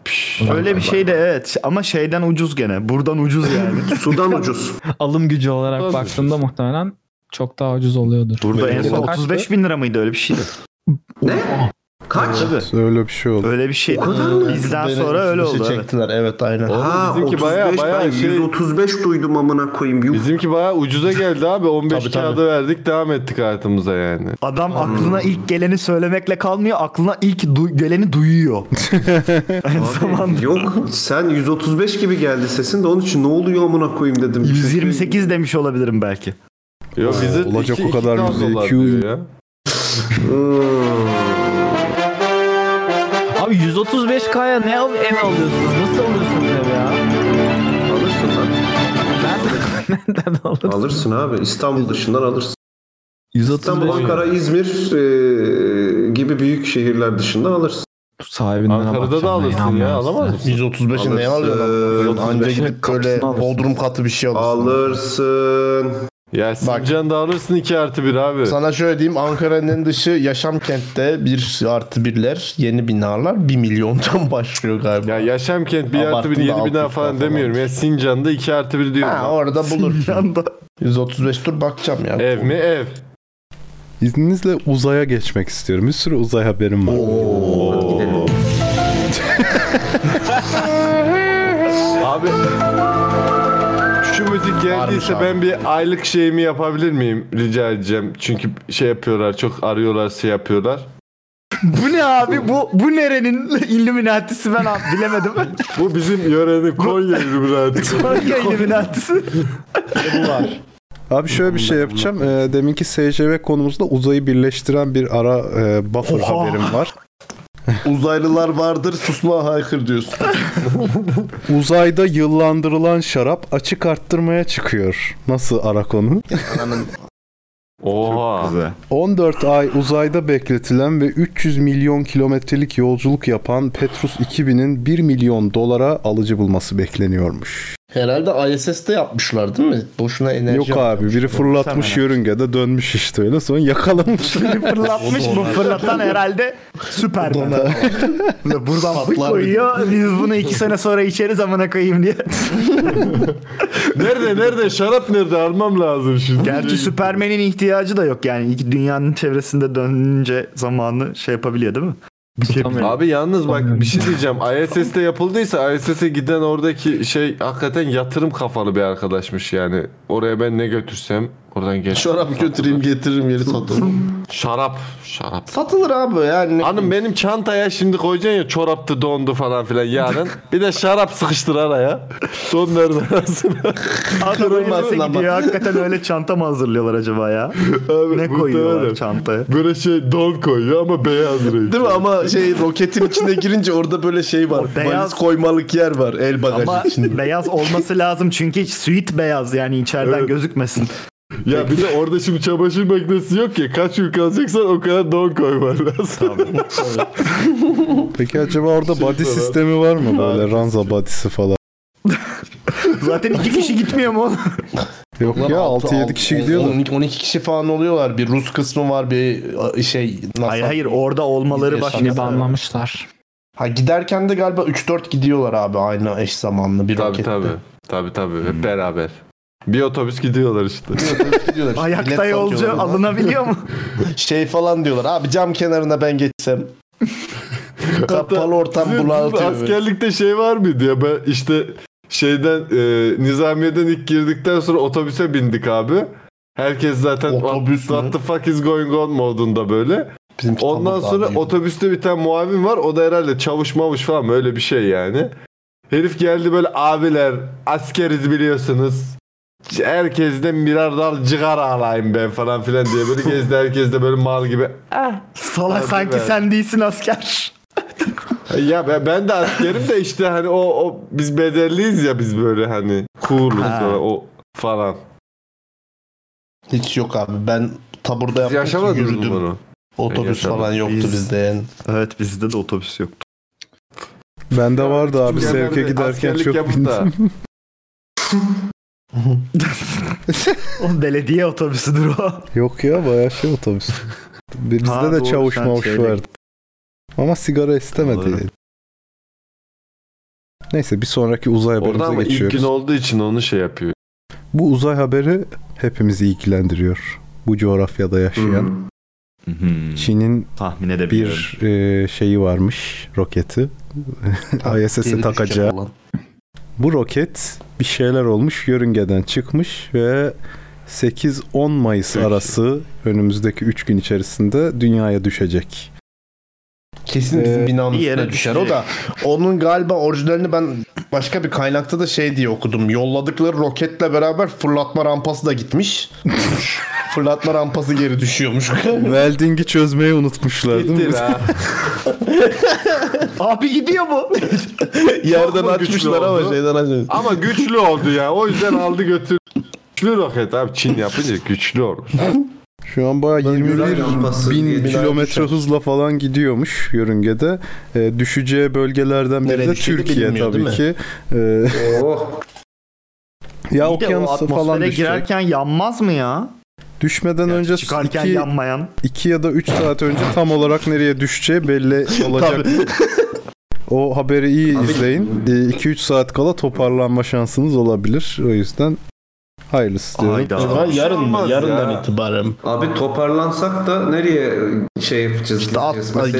Speaker 9: Öyle bir şey de evet ama şeyden ucuz gene. Buradan ucuz yani.
Speaker 6: Sudan ucuz.
Speaker 7: Alım gücü olarak baktığında muhtemelen çok daha ucuz oluyordur.
Speaker 9: Burada en son 35 bin lira mıydı öyle bir şey. şeydi.
Speaker 6: Kaç?
Speaker 5: Öyle bir şey oldu.
Speaker 9: Öyle bir şey. Bizden sonra öyle
Speaker 10: şey
Speaker 9: oldu. evet.
Speaker 12: Çektiler evet aynen.
Speaker 6: Ha, 35 ben 135 duydum amına koyayım. Yuh.
Speaker 2: Bizimki bayağı ucuza geldi abi. 15 kağıda verdik devam ettik hayatımıza yani.
Speaker 9: Adam aklına ilk geleni söylemekle kalmıyor. Aklına ilk du- geleni duyuyor.
Speaker 6: Abi, yok sen 135 gibi geldi sesin de onun için ne oluyor amına koyayım
Speaker 9: şey
Speaker 6: dedim.
Speaker 9: 128 demiş olabilirim belki.
Speaker 2: Yok bize
Speaker 5: Olacak
Speaker 2: iki-
Speaker 5: o kadar
Speaker 2: iki
Speaker 5: bize
Speaker 2: tablolar
Speaker 5: iki-
Speaker 2: diyor ya.
Speaker 7: Abi 135k'ya ne al- ev alıyorsunuz? Nasıl alıyorsunuz ev ya?
Speaker 6: Alırsın lan.
Speaker 7: Nereden alırsın?
Speaker 6: Alırsın abi İstanbul dışından alırsın.
Speaker 7: 135
Speaker 6: İstanbul, Ankara, İzmir e, gibi büyük şehirler dışında alırsın.
Speaker 7: Sahibinden
Speaker 2: Ankara'da da alırsın ya alamaz mısın?
Speaker 12: 135'i neye alıyorsun? Anca gidip böyle bodrum katı bir şey alırsın.
Speaker 6: Alırsın.
Speaker 2: Ya Sincan'da alırsın 2 artı 1 abi.
Speaker 12: Sana şöyle diyeyim Ankara'nın dışı yaşam kentte 1 artı 1'ler yeni binalar 1 milyondan başlıyor galiba.
Speaker 2: Ya yaşam kent 1 artı
Speaker 12: Abarttım
Speaker 2: 1
Speaker 12: da
Speaker 2: 7 bina
Speaker 12: altı
Speaker 2: falan demiyorum ya. Sincan'da 2 artı 1 diyorum.
Speaker 12: Ha orada bulursun. 135 tur bakacağım ya.
Speaker 2: Ev mi ev?
Speaker 5: İzninizle uzaya geçmek istiyorum. Bir sürü uzay haberim var.
Speaker 2: Abi şu müzik geldiyse ben bir aylık şeyimi yapabilir miyim rica edeceğim. Çünkü şey yapıyorlar çok arıyorlar şey yapıyorlar.
Speaker 9: Bu ne abi? Bu bu nerenin Illuminati'si ben abi bilemedim.
Speaker 2: Bu bizim yörenin Konya Illuminati.
Speaker 9: Konya Illuminati'si.
Speaker 5: Abi şöyle bir şey yapacağım. Ee, deminki SCV konumuzda uzayı birleştiren bir ara e, buffer
Speaker 12: Oha.
Speaker 5: haberim var.
Speaker 12: Uzaylılar vardır susma haykır diyorsun.
Speaker 5: Uzayda yıllandırılan şarap açık arttırmaya çıkıyor. Nasıl ara konu?
Speaker 2: Oha.
Speaker 5: 14 ay uzayda bekletilen ve 300 milyon kilometrelik yolculuk yapan Petrus 2000'in 1 milyon dolara alıcı bulması bekleniyormuş.
Speaker 12: Herhalde ISS'te yapmışlar değil mi? Boşuna enerji
Speaker 5: Yok abi biri fırlatmış yörüngede dönmüş işte öyle sonra yakalamış.
Speaker 9: Fırlatmış bu fırlatan herhalde süper. Buradan
Speaker 12: Patlar
Speaker 9: bu
Speaker 12: bir de.
Speaker 9: koyuyor. Biz bunu iki sene sonra içeriz amına koyayım diye.
Speaker 2: nerede nerede şarap nerede almam lazım şimdi.
Speaker 9: Gerçi Süpermen'in ihtiyacı da yok yani. İki dünyanın çevresinde dönünce zamanı şey yapabiliyor değil mi?
Speaker 2: Abi yalnız bak bir şey diyeceğim. ISS'te yapıldıysa ISS'e giden oradaki şey hakikaten yatırım kafalı bir arkadaşmış yani. Oraya ben ne götürsem oradan geç.
Speaker 12: Şarap götüreyim getiririm yeri satarım.
Speaker 2: Şarap, şarap.
Speaker 12: Satılır abi yani.
Speaker 2: Hanım benim çantaya şimdi koyacaksın ya çoraptı dondu falan filan yarın. bir de şarap sıkıştır araya. Donların arasına.
Speaker 9: Adam
Speaker 2: Kırılmaz
Speaker 9: gidiyor.
Speaker 2: ama.
Speaker 9: Hakikaten öyle çanta mı hazırlıyorlar acaba ya? ne koyuyorlar
Speaker 2: muhtemelen.
Speaker 9: çantaya?
Speaker 2: Böyle şey don koyuyor ama beyaz renk.
Speaker 12: Değil mi ama şey roketin içine girince orada böyle şey var.
Speaker 9: beyaz-
Speaker 12: Valiz koymalık yer var el bagajı
Speaker 9: Ama
Speaker 12: içinde.
Speaker 9: beyaz olması lazım çünkü sweet beyaz yani içeriden gözükmesin.
Speaker 2: Ya bir de orada şimdi çamaşır makinesi yok ya. Kaç gün kalacaksan o kadar don koyman lazım.
Speaker 5: Peki acaba orada body
Speaker 2: falan.
Speaker 5: sistemi var mı böyle ranza body'si falan?
Speaker 9: Zaten iki kişi gitmiyor mu?
Speaker 5: Yok
Speaker 12: Lan
Speaker 5: ya
Speaker 12: altı,
Speaker 5: 6-7
Speaker 12: altı,
Speaker 5: kişi
Speaker 12: on-
Speaker 5: gidiyor da.
Speaker 12: 12, 12 kişi falan oluyorlar. Bir Rus kısmı var bir a, şey.
Speaker 9: Hayır hayır orada olmaları başka.
Speaker 7: banlamışlar.
Speaker 12: Ha giderken de galiba 3-4 gidiyorlar abi aynı eş zamanlı bir
Speaker 2: Tabii
Speaker 12: rokette.
Speaker 2: tabii. Tabii tabii. Hep beraber. Bir otobüs gidiyorlar işte.
Speaker 12: Gidiyorlar işte, bilet
Speaker 9: Ayakta
Speaker 12: satıyorlar
Speaker 9: yolcu
Speaker 12: falan.
Speaker 9: alınabiliyor mu?
Speaker 12: Şey falan diyorlar abi cam kenarına ben geçsem. Kapalı ortam
Speaker 2: Sizin
Speaker 12: bunaltıyor. beni.
Speaker 2: Askerlikte şey var mıydı ya ben işte şeyden e, Nizamiye'den ilk girdikten sonra otobüse bindik abi. Herkes zaten Otobüs what the fuck is going on modunda böyle. Ondan sonra otobüste bir tane muavin var. O da herhalde çavuş mavuş falan mı, öyle bir şey yani. Herif geldi böyle abiler askeriz biliyorsunuz. Herkesten birer dal cigara alayım ben falan filan diye böyle gezdi. Herkes de böyle mal gibi.
Speaker 9: Ah, Salak
Speaker 2: Abi
Speaker 9: sanki
Speaker 2: ben-
Speaker 9: sen değilsin asker.
Speaker 2: Ya ben, ben de askerim de işte hani o, o biz bedelliyiz ya biz böyle hani cool'uz
Speaker 12: Ha.
Speaker 2: falan, o falan.
Speaker 12: Hiç yok abi ben taburda
Speaker 2: Siz
Speaker 12: yaptım
Speaker 2: yaşamadınız mı
Speaker 12: yürüdüm.
Speaker 2: bunu?
Speaker 12: Otobüs
Speaker 9: Yaşadım.
Speaker 12: falan yoktu
Speaker 9: Biz-
Speaker 12: bizde yani.
Speaker 9: Evet bizde de otobüs yoktu.
Speaker 5: Bende vardı abi
Speaker 9: genelde
Speaker 5: sevke giderken
Speaker 9: askerlik
Speaker 5: çok
Speaker 9: yapıp da-
Speaker 5: bindim.
Speaker 9: O belediye otobüsüdür o.
Speaker 5: Yok ya bayağı şey otobüs. Bizde
Speaker 9: Ha,
Speaker 5: de
Speaker 9: doğru,
Speaker 5: çavuş
Speaker 9: sen
Speaker 5: mavuş
Speaker 9: şeyle-
Speaker 5: vardı. Ama sigara istemedi. Neyse bir sonraki uzay
Speaker 2: Orada
Speaker 5: haberimize
Speaker 2: ama ilk
Speaker 5: geçiyoruz.
Speaker 2: gün olduğu için onu şey yapıyor.
Speaker 5: Bu uzay haberi hepimizi ilgilendiriyor. Bu coğrafyada
Speaker 12: Şey
Speaker 5: yaşayan.
Speaker 9: Hmm.
Speaker 5: Çin'in bir e, şeyi varmış roketi. ISS'e
Speaker 12: Geri
Speaker 5: takacağı.
Speaker 12: düşecek olan.
Speaker 5: Bu roket bir şeyler olmuş yörüngeden çıkmış ve 8-10 Mayıs arası önümüzdeki 3 gün içerisinde dünyaya düşecek.
Speaker 12: Kesin bizim
Speaker 5: Ee,
Speaker 12: binanın
Speaker 5: bir
Speaker 12: üstüne
Speaker 5: yere
Speaker 12: düşer.
Speaker 5: düşecek.
Speaker 12: O da onun galiba orijinalini ben başka bir kaynakta da şey diye okudum. Yolladıkları roketle beraber fırlatma rampası da gitmiş. fırlatma rampası geri düşüyormuş.
Speaker 5: Welding'i çözmeyi unutmuşlar değil mi?
Speaker 9: Abi gidiyor mu?
Speaker 12: Yerden
Speaker 2: Ama güçlü
Speaker 12: açmışlar ama
Speaker 2: oldu.
Speaker 12: şeyden açmışlar.
Speaker 2: Ama güçlü oldu ya. O yüzden aldı götürdü. Güçlü roket abi Çin yapınca güçlü olur.
Speaker 5: Şu an bayağı 21 bin kilometre hızla falan gidiyormuş yörüngede. Ee, düşeceği bölgelerden biri
Speaker 12: Nereye
Speaker 5: de
Speaker 12: düşeceği
Speaker 5: Türkiye
Speaker 12: bilinmiyor,
Speaker 5: tabii
Speaker 12: değil mi?
Speaker 5: ki. Ee,
Speaker 6: Oh.
Speaker 9: Bir de
Speaker 5: ya
Speaker 9: o
Speaker 5: okyanusa falan
Speaker 9: atmosfere
Speaker 5: düşecek.
Speaker 9: girerken yanmaz mı ya?
Speaker 5: Düşmeden önce
Speaker 9: çıkarken
Speaker 5: iki-
Speaker 9: yanmayan.
Speaker 5: 2 ya da 3 saat önce tam olarak nereye düşeceği belli olacak. o haberi iyi izleyin. 2-3 saat kala toparlanma şansınız olabilir. O yüzden hayırlısı diyorum.
Speaker 12: Şey
Speaker 9: yarın mı? Yarından
Speaker 12: itibaren.
Speaker 6: Abi toparlansak da nereye şey yapacağız? İşte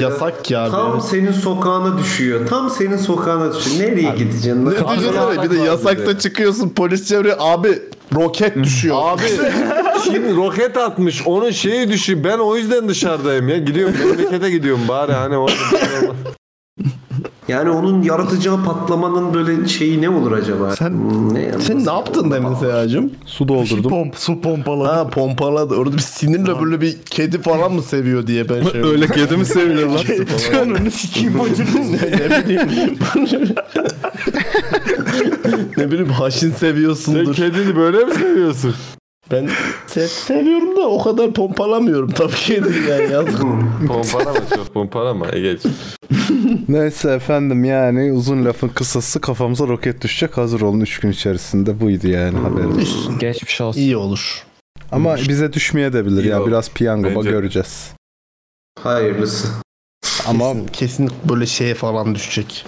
Speaker 12: yasak ya abi.
Speaker 6: Tam senin sokağına düşüyor. Tam senin sokağına düşüyor. Nereye gideceksin?
Speaker 12: Ne düşünsene bir de yasakta çıkıyorsun polis çeviriyor abi roket düşüyor.
Speaker 2: Abi Çin roket atmış. Onun şeyi düşüyor. Ben o yüzden dışarıdayım ya. Gidiyorum memlekete gidiyorum bari hani orada.
Speaker 6: Yani onun yaratacağı patlamanın böyle şeyi ne olur acaba? Sen, ne,
Speaker 12: Sen ne yaptın demin Seyacım?
Speaker 5: Su doldurdum.
Speaker 12: Pomp, su pompaladı. Ha pompaladı. Orada bir sinirle böyle bir kedi falan mı seviyor diye ben şey
Speaker 5: Öyle kedi mi sevilir lan?
Speaker 12: Canını sikeyim bacını. ne, ne bileyim. ne bileyim haşin seviyorsundur.
Speaker 2: Sen kedini böyle mi seviyorsun?
Speaker 12: Ben se- seviyorum da o kadar pompalamıyorum tabii kedi yani yazık.
Speaker 2: Pompalama çok pompalama. Geç.
Speaker 5: Neyse efendim yani uzun lafın kısası kafamıza roket düşecek hazır olun 3 gün içerisinde buydu yani haberimiz.
Speaker 7: Geçmiş olsun.
Speaker 12: İyi olur.
Speaker 5: Ama bize düşmeye de bilir ya biraz piyango bak göreceğiz.
Speaker 6: Hayırlısı.
Speaker 12: Ama kesin, kesin böyle şeye falan düşecek.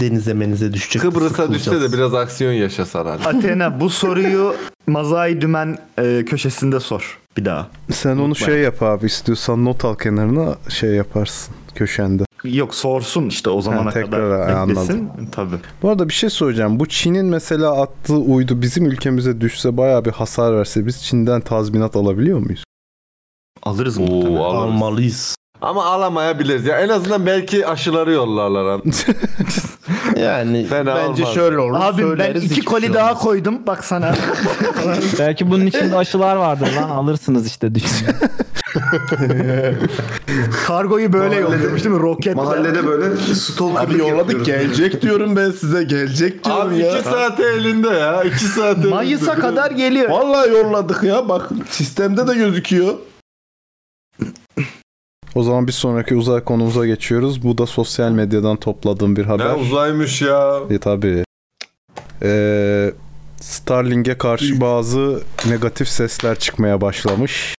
Speaker 12: Denize menize düşecek.
Speaker 2: Kıbrıs'a
Speaker 12: Sıkılacağız.
Speaker 2: düşse de biraz aksiyon yaşasan hani.
Speaker 9: Athena bu soruyu Mazai Dümen e, köşesinde sor bir daha.
Speaker 5: Sen onu şey yap abi istiyorsan not al kenarına şey yaparsın köşende.
Speaker 9: Yok sorsun işte o zamana
Speaker 5: tekrar, ha,
Speaker 9: kadar beklesin.
Speaker 5: anladım.
Speaker 9: Tabii.
Speaker 5: Bu arada bir şey soracağım. Bu Çin'in mesela attığı uydu bizim ülkemize düşse bayağı bir hasar verse biz Çin'den tazminat alabiliyor muyuz?
Speaker 9: Alırız
Speaker 2: Oo, alırız. Ama alamayabiliriz. Ya en azından belki aşıları yollarlar. hani.
Speaker 12: Yani
Speaker 2: Fena
Speaker 12: bence
Speaker 2: olmaz.
Speaker 12: şöyle olur.
Speaker 9: Abi ben
Speaker 12: söyleriz,
Speaker 9: iki
Speaker 12: hiçbir
Speaker 9: koli
Speaker 12: şey
Speaker 9: daha koydum bak sana.
Speaker 7: Belki bunun içinde aşılar vardır lan alırsınız işte düşün.
Speaker 9: Kargoyu böyle yolluyormuş değil mi? Roketle.
Speaker 6: Mahallede böyle stalkerlık
Speaker 12: Abi yolladık gelecek diyorum ben size gelecek diyorum
Speaker 2: Abi
Speaker 12: ya.
Speaker 2: iki saate elinde ya. iki saate
Speaker 9: Mayıs'a
Speaker 2: elinde.
Speaker 9: kadar geliyor.
Speaker 12: Vallahi yolladık ya bak sistemde de gözüküyor.
Speaker 5: O zaman bir sonraki uzay konumuza geçiyoruz. Bu da sosyal medyadan topladığım bir haber.
Speaker 2: Ne uzaymış ya.
Speaker 5: E tabii. Ee, Starlink'e karşı bazı negatif sesler çıkmaya başlamış.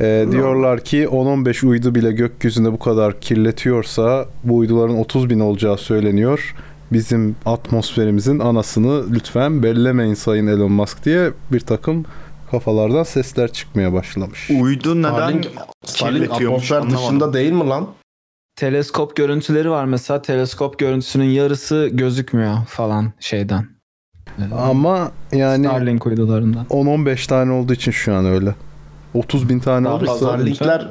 Speaker 5: Ee, diyorlar ki 10-15 uydu bile gökyüzünde bu kadar kirletiyorsa bu uyduların 30 bin olacağı söyleniyor. Bizim atmosferimizin anasını lütfen bellemeyin Sayın Elon Musk diye bir takım kafalardan sesler çıkmaya başlamış.
Speaker 9: Uydu
Speaker 12: Starlink- Starlink atmosfer dışında değil mi lan?
Speaker 7: Teleskop görüntüleri var mesela. Teleskop görüntüsünün yarısı gözükmüyor falan şeyden.
Speaker 5: Ama yani
Speaker 7: Starlink uydularından.
Speaker 5: 10-15 tane olduğu için şu an öyle. 30 bin tane
Speaker 12: Daha
Speaker 5: olursa.
Speaker 12: Starlink'ler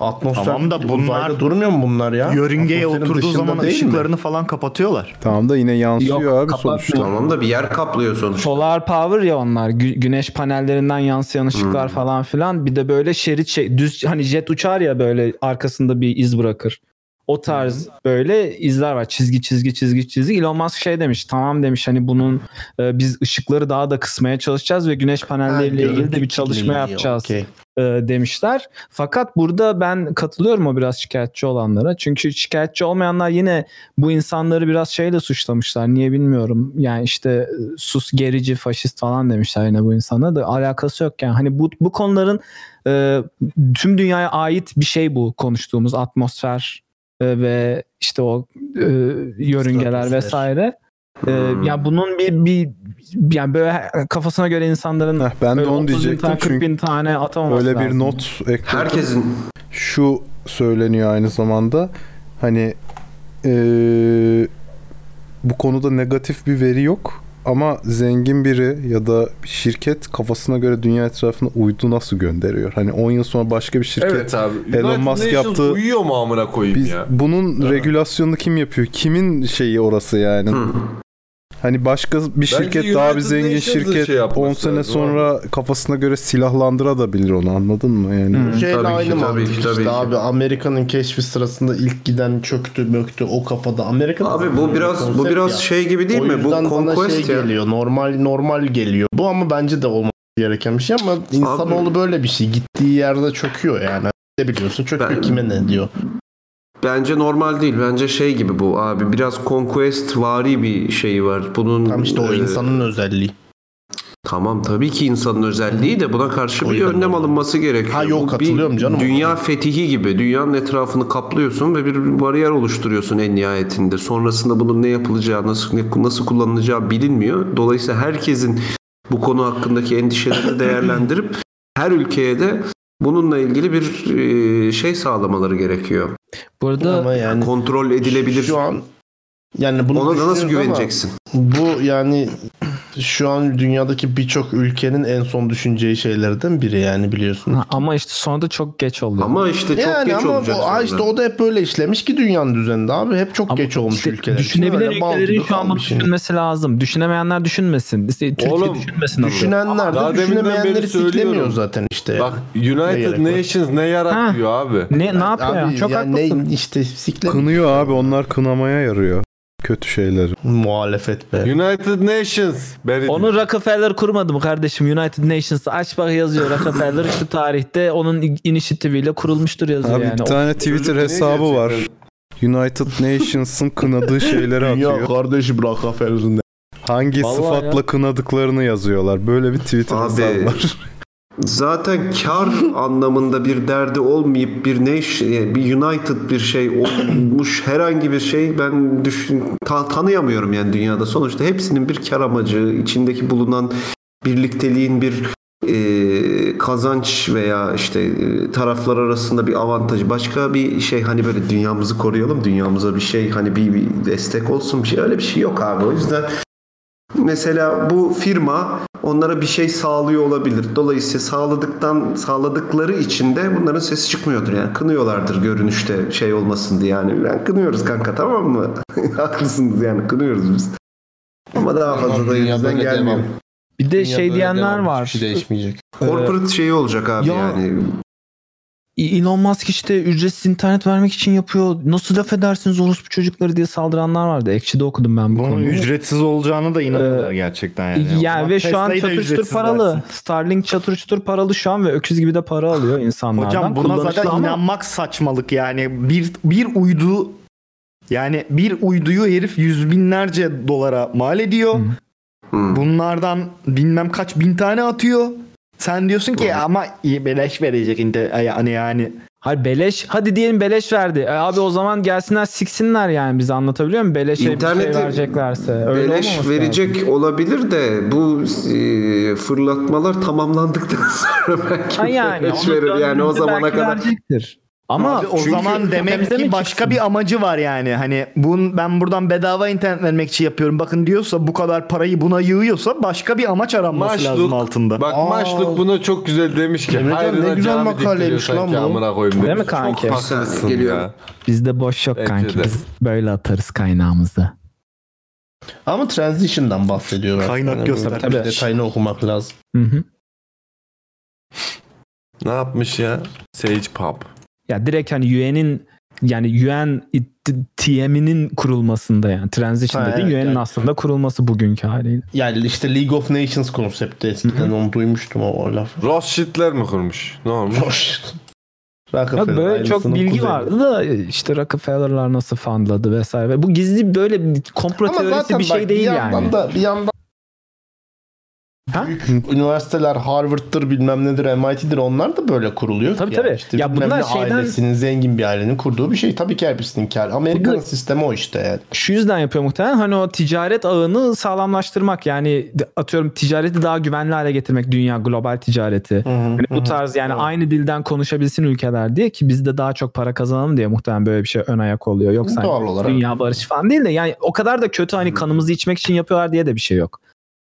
Speaker 12: atmosfer
Speaker 9: Tamam da bunlar-
Speaker 12: uzayda durmuyor mu bunlar ya?
Speaker 9: Yörüngeye
Speaker 12: Atmosferin
Speaker 9: oturduğu
Speaker 12: dışında
Speaker 9: zaman
Speaker 12: değil mi?
Speaker 9: ışıklarını falan kapatıyorlar.
Speaker 5: Tamam da yine yansıyor abi sonuçta.
Speaker 6: Tamam da bir yer kaplıyor sonuçta.
Speaker 7: Solar power ya onlar. Gü- güneş panellerinden yansıyan ışıklar
Speaker 8: Hmm.
Speaker 7: falan filan. Bir de böyle şerit şey düz hani jet uçar ya böyle arkasında bir iz bırakır. O tarz
Speaker 8: Hmm.
Speaker 7: böyle izler var. Çizgi çizgi çizgi çizgi. Elon Musk şey demiş. Tamam demiş hani bunun e, biz ışıkları daha da kısmaya çalışacağız ve güneş panelleriyle
Speaker 8: görüntü
Speaker 7: ilgili de bir çalışma
Speaker 8: kirliliği,
Speaker 7: yapacağız
Speaker 8: okey.
Speaker 7: e, demişler. Fakat burada ben katılıyorum o biraz şikayetçi olanlara. Çünkü şikayetçi olmayanlar yine bu insanları biraz şeyle suçlamışlar. Niye bilmiyorum. Yani işte e, sus gerici faşist falan demişler yine bu insana da alakası yok yani. Hani bu bu konuların e, tüm dünyaya ait bir şey bu konuştuğumuz atmosfer e, ve işte o e, yörüngeler vesaire. E, ya bunun bir bir yani böyle kafasına göre insanların
Speaker 5: ben de
Speaker 7: böyle
Speaker 5: onu
Speaker 7: 30 bin
Speaker 5: diyecektim
Speaker 7: tane, 40
Speaker 5: çünkü
Speaker 7: bin tane atamaması
Speaker 5: Öyle bir
Speaker 7: lazım.
Speaker 5: not ekledim.
Speaker 6: Herkesin.
Speaker 5: Şu söyleniyor aynı zamanda. Hani eee, bu konuda negatif bir veri yok. Ama zengin biri ya da bir şirket kafasına göre dünya etrafına uydu nasıl gönderiyor? Hani 10 yıl sonra başka bir şirket
Speaker 2: Evet abi.
Speaker 5: Elon Musk yaptığı
Speaker 2: uyuyor mu amına koyayım
Speaker 5: Biz-
Speaker 2: ya?
Speaker 5: bunun regülasyonunu kim yapıyor? Kimin şeyi orası yani? Hani başka bir
Speaker 2: Bence
Speaker 5: şirket daha bir
Speaker 2: United
Speaker 5: zengin
Speaker 2: Nations'ın
Speaker 5: şirket
Speaker 2: şey
Speaker 5: 10
Speaker 2: yapması
Speaker 5: sene
Speaker 2: lazım
Speaker 5: sonra kafasına göre silahlandırabilir onu anladın mı yani?
Speaker 10: Bu Şeyle aynı mantık işte abi Amerika'nın keşfi sırasında ilk giden çöktü möktü o kafada Amerika'da
Speaker 6: Abi bu
Speaker 10: zaten
Speaker 6: biraz- bu
Speaker 10: konsept
Speaker 6: biraz şey gibi değil
Speaker 10: O
Speaker 6: mi? Bu
Speaker 10: yüzden bana
Speaker 6: conquest
Speaker 10: şey
Speaker 6: ya.
Speaker 10: geliyor normal normal geliyor bu ama bence de olmaması gereken bir şey ama insanoğlu böyle bir şey gittiği yerde çöküyor yani ne biliyorsun çöküyor kime ne diyor
Speaker 6: Bence normal değil. Bence şey gibi bu abi. Biraz conquest vari bir şey var. Bunun e, Tam
Speaker 10: işte o insanın özelliği.
Speaker 6: Tamam tabii ki insanın özelliği de buna karşı bir önlem alınması gerekiyor. Ha yok
Speaker 10: katılıyorum canım.
Speaker 6: Dünya fetihi gibi dünyanın etrafını kaplıyorsun ve bir bariyer oluşturuyorsun en nihayetinde. Sonrasında bunun ne yapılacağı, nasıl ne- nasıl kullanılacağı bilinmiyor. Dolayısıyla herkesin bu konu hakkındaki endişelerini değerlendirip her ülkeye de bununla ilgili bir e, şey sağlamaları gerekiyor.
Speaker 7: Burada
Speaker 6: kontrol edilebilir.
Speaker 10: Şu an yani bunu
Speaker 6: Ona da nasıl
Speaker 10: düşünüyoruz ama
Speaker 6: güveneceksin?
Speaker 10: Bu yani şu an dünyadaki birçok ülkenin en son düşüneceği şeylerden biri yani biliyorsun.
Speaker 7: Ha, ama işte sonra da çok geç oldu.
Speaker 6: Ama işte çok
Speaker 10: yani
Speaker 6: geç
Speaker 10: ama
Speaker 6: olacak
Speaker 10: o-
Speaker 6: sonra.
Speaker 10: Aa işte o da hep böyle işlemiş ki dünyanın düzeninde abi. Hep çok geç olmuş ülkeler. için.
Speaker 7: Düşünebilen
Speaker 10: Öyle bal
Speaker 7: ülkelerin
Speaker 10: gibi
Speaker 7: şu an bunu
Speaker 10: kalmış yani.
Speaker 7: düşünmesi lazım. Düşünemeyenler düşünmesin. İşte Türkiye
Speaker 2: Oğlum,
Speaker 7: düşünmesin. ama.
Speaker 10: düşünenler de
Speaker 2: Daha deminden
Speaker 10: düşünemeyenleri
Speaker 2: beri söylüyorum.
Speaker 10: siklemiyor zaten
Speaker 9: Ee,
Speaker 10: işte.
Speaker 2: Bak
Speaker 10: Ne gerek
Speaker 2: United
Speaker 10: var?
Speaker 2: Nations ne yaratıyor abi?
Speaker 7: E, Ne ne yapıyor? ya?
Speaker 10: Abi
Speaker 7: Çok
Speaker 10: yani ne-
Speaker 7: haklısın.
Speaker 10: işte siklemiyor.
Speaker 5: Kınıyor abi onlar kınamaya yarıyor. Kötü şeyleri.
Speaker 10: Muhalefet be.
Speaker 2: United Nations. Ben
Speaker 7: Onu Rockefeller kurmadı mı kardeşim? United Nations'ı aç bak yazıyor Rockefeller şu tarihte onun inisiyatifiyle kurulmuştur yazıyor
Speaker 5: Abi
Speaker 7: yani.
Speaker 5: bir
Speaker 7: O-
Speaker 5: tane Twitter hesabı var. United Nations'ın kınadığı şeyleri
Speaker 10: Dünya
Speaker 5: atıyor.
Speaker 10: kardeşim Rockefeller'ın.
Speaker 5: Hangi
Speaker 6: Vallahi
Speaker 5: sıfatla
Speaker 6: ya.
Speaker 5: kınadıklarını yazıyorlar. Böyle bir Twitter
Speaker 6: Abi.
Speaker 5: hesabı var.
Speaker 6: Zaten kar anlamında bir derdi olmayıp bir nation, bir united bir şey olmuş herhangi bir şey ben düşün ta- tanıyamıyorum yani dünyada. Sonuçta hepsinin bir kar amacı, içindeki bulunan birlikteliğin bir e, kazanç veya işte e, taraflar arasında bir avantajı başka bir şey hani böyle dünyamızı koruyalım dünyamıza bir şey hani bir, bir destek olsun bir şey öyle bir şey yok abi o yüzden mesela bu firma onlara bir şey sağlıyor olabilir. Dolayısıyla sağladıktan sağladıkları için de bunların sesi çıkmıyordur. Yani kınıyorlardır görünüşte şey olmasın diye. Yani ben kınıyoruz kanka tamam mı? Haklısınız yani kınıyoruz biz. Ama daha fazla da elimizden gelmiyor.
Speaker 7: Bir de şey diyenler var.
Speaker 5: şey
Speaker 10: değişmeyecek.
Speaker 6: Corporate şeyi olacak abi
Speaker 7: Ee, Ya-
Speaker 6: yani.
Speaker 7: Elon Musk işte ücretsiz internet vermek için yapıyor. Nasıl laf edersiniz orospu çocukları diye saldıranlar vardı. Ekşi'de okudum ben bu
Speaker 9: Bunun
Speaker 7: konuyu.
Speaker 9: ücretsiz olacağına da inanıyorlar gerçekten yani. O zaman
Speaker 7: Yani ve şu an
Speaker 9: Tesla'yı da
Speaker 7: çatır çutur
Speaker 9: ücretsiz
Speaker 7: paralı.
Speaker 9: versin.
Speaker 7: Starlink çatır çutur paralı şu an ve öküz gibi de para alıyor insanlardan.
Speaker 9: Hocam buna
Speaker 7: Kullanışlı
Speaker 9: zaten
Speaker 7: ama-
Speaker 9: inanmak saçmalık yani. Bir, bir uydu yani bir uyduyu herif yüz binlerce dolara mal ediyor.
Speaker 7: Hmm.
Speaker 9: Bunlardan bilmem kaç bin tane atıyor. Sen diyorsun ki ama iyi, beleş verecek inte- yani yani.
Speaker 7: Hayır beleş. Hadi diyelim beleş verdi. E abi o zaman gelsinler siksinler yani bizi anlatabiliyor muyum? Beleşe bir
Speaker 6: İnterneti
Speaker 7: şey vereceklerse. Öyle
Speaker 6: Beleş
Speaker 7: olmaması
Speaker 6: verecek
Speaker 7: lazım.
Speaker 6: olabilir de bu e, fırlatmalar tamamlandıktan sonra belki
Speaker 7: Ha yani,
Speaker 6: beleş
Speaker 7: onun
Speaker 6: verir. Yani o
Speaker 7: döneminde
Speaker 6: zamana
Speaker 7: belki
Speaker 6: kadar
Speaker 7: verecektir. Ama
Speaker 9: Abi o zaman demek ki başka bir amacı var yani. Hani bun ben buradan bedava internet vermek için yapıyorum. Bakın diyorsa bu kadar parayı buna yığıyorsa başka bir amaç aranması lazım altında.
Speaker 2: Bak maçluk buna çok güzel demiş ki.
Speaker 9: Emrecan,
Speaker 2: Hayrına
Speaker 9: ne güzel
Speaker 2: cami
Speaker 9: makaleymiş
Speaker 2: diktiriyor
Speaker 9: lan
Speaker 2: sanki
Speaker 9: bu.
Speaker 2: amına koyayım
Speaker 7: Değil mi
Speaker 2: demiş.
Speaker 7: kanki?
Speaker 2: Çok haklısın
Speaker 7: Geliyor.
Speaker 2: ya.
Speaker 7: Bizde boş yok kanki.
Speaker 2: de.
Speaker 7: Biz böyle atarız kaynağımızda.
Speaker 10: Ama transition'dan bahsediyorlar.
Speaker 9: Kaynak
Speaker 10: yani
Speaker 9: göstermiş.
Speaker 10: Tabii detayını okumak lazım.
Speaker 7: Hı hı.
Speaker 2: Ne yapmış ya? Sage Pub.
Speaker 7: Ya direkt hani UN'in yani UN TM'inin kurulmasında yani transition
Speaker 10: Ha,
Speaker 7: dediğin
Speaker 10: evet,
Speaker 7: UN'in aslında kurulması bugünkü haliyle.
Speaker 10: Yani işte League of Nations konsepti eskiden onu duymuştum o, o laf.
Speaker 2: Rothschild'ler mi kurmuş? Ne olmuş?
Speaker 10: Rothschild.
Speaker 7: Yok böyle çok bilgi vardı da işte Rockefeller'lar nasıl fundladı vesaire. Ve Bu gizli böyle bir komplo
Speaker 10: Ama
Speaker 7: teorisi
Speaker 10: zaten
Speaker 7: bir şey
Speaker 10: bak,
Speaker 7: değil
Speaker 10: bir yandan
Speaker 7: yani.
Speaker 10: Da, bir yandan Büyük üniversiteler Harvard'dır bilmem nedir MIT'dir onlar da böyle kuruluyor.
Speaker 7: Tabii,
Speaker 10: ki
Speaker 7: tabii.
Speaker 10: Yani işte
Speaker 7: Ya
Speaker 10: bilmem
Speaker 7: bunlar
Speaker 10: ne
Speaker 7: şeyden-
Speaker 10: ailesinin zengin bir ailenin kurduğu bir şey. Tabii ki hepsinin kârı. Amerikan sistemi o işte yani.
Speaker 7: Şu yüzden yapıyor muhtemelen hani o ticaret ağını sağlamlaştırmak yani de- atıyorum ticareti daha güvenli hale getirmek dünya global ticareti. Hani bu tarz yani aynı dilden konuşabilsin ülkeler diye ki biz de daha çok para kazanalım diye muhtemelen böyle bir şey ön ayak oluyor. Yoksa
Speaker 10: Doğal
Speaker 7: hani
Speaker 10: olarak.
Speaker 7: dünya barışı falan değil de yani o kadar da kötü hani kanımızı içmek için yapıyorlar diye de bir şey yok.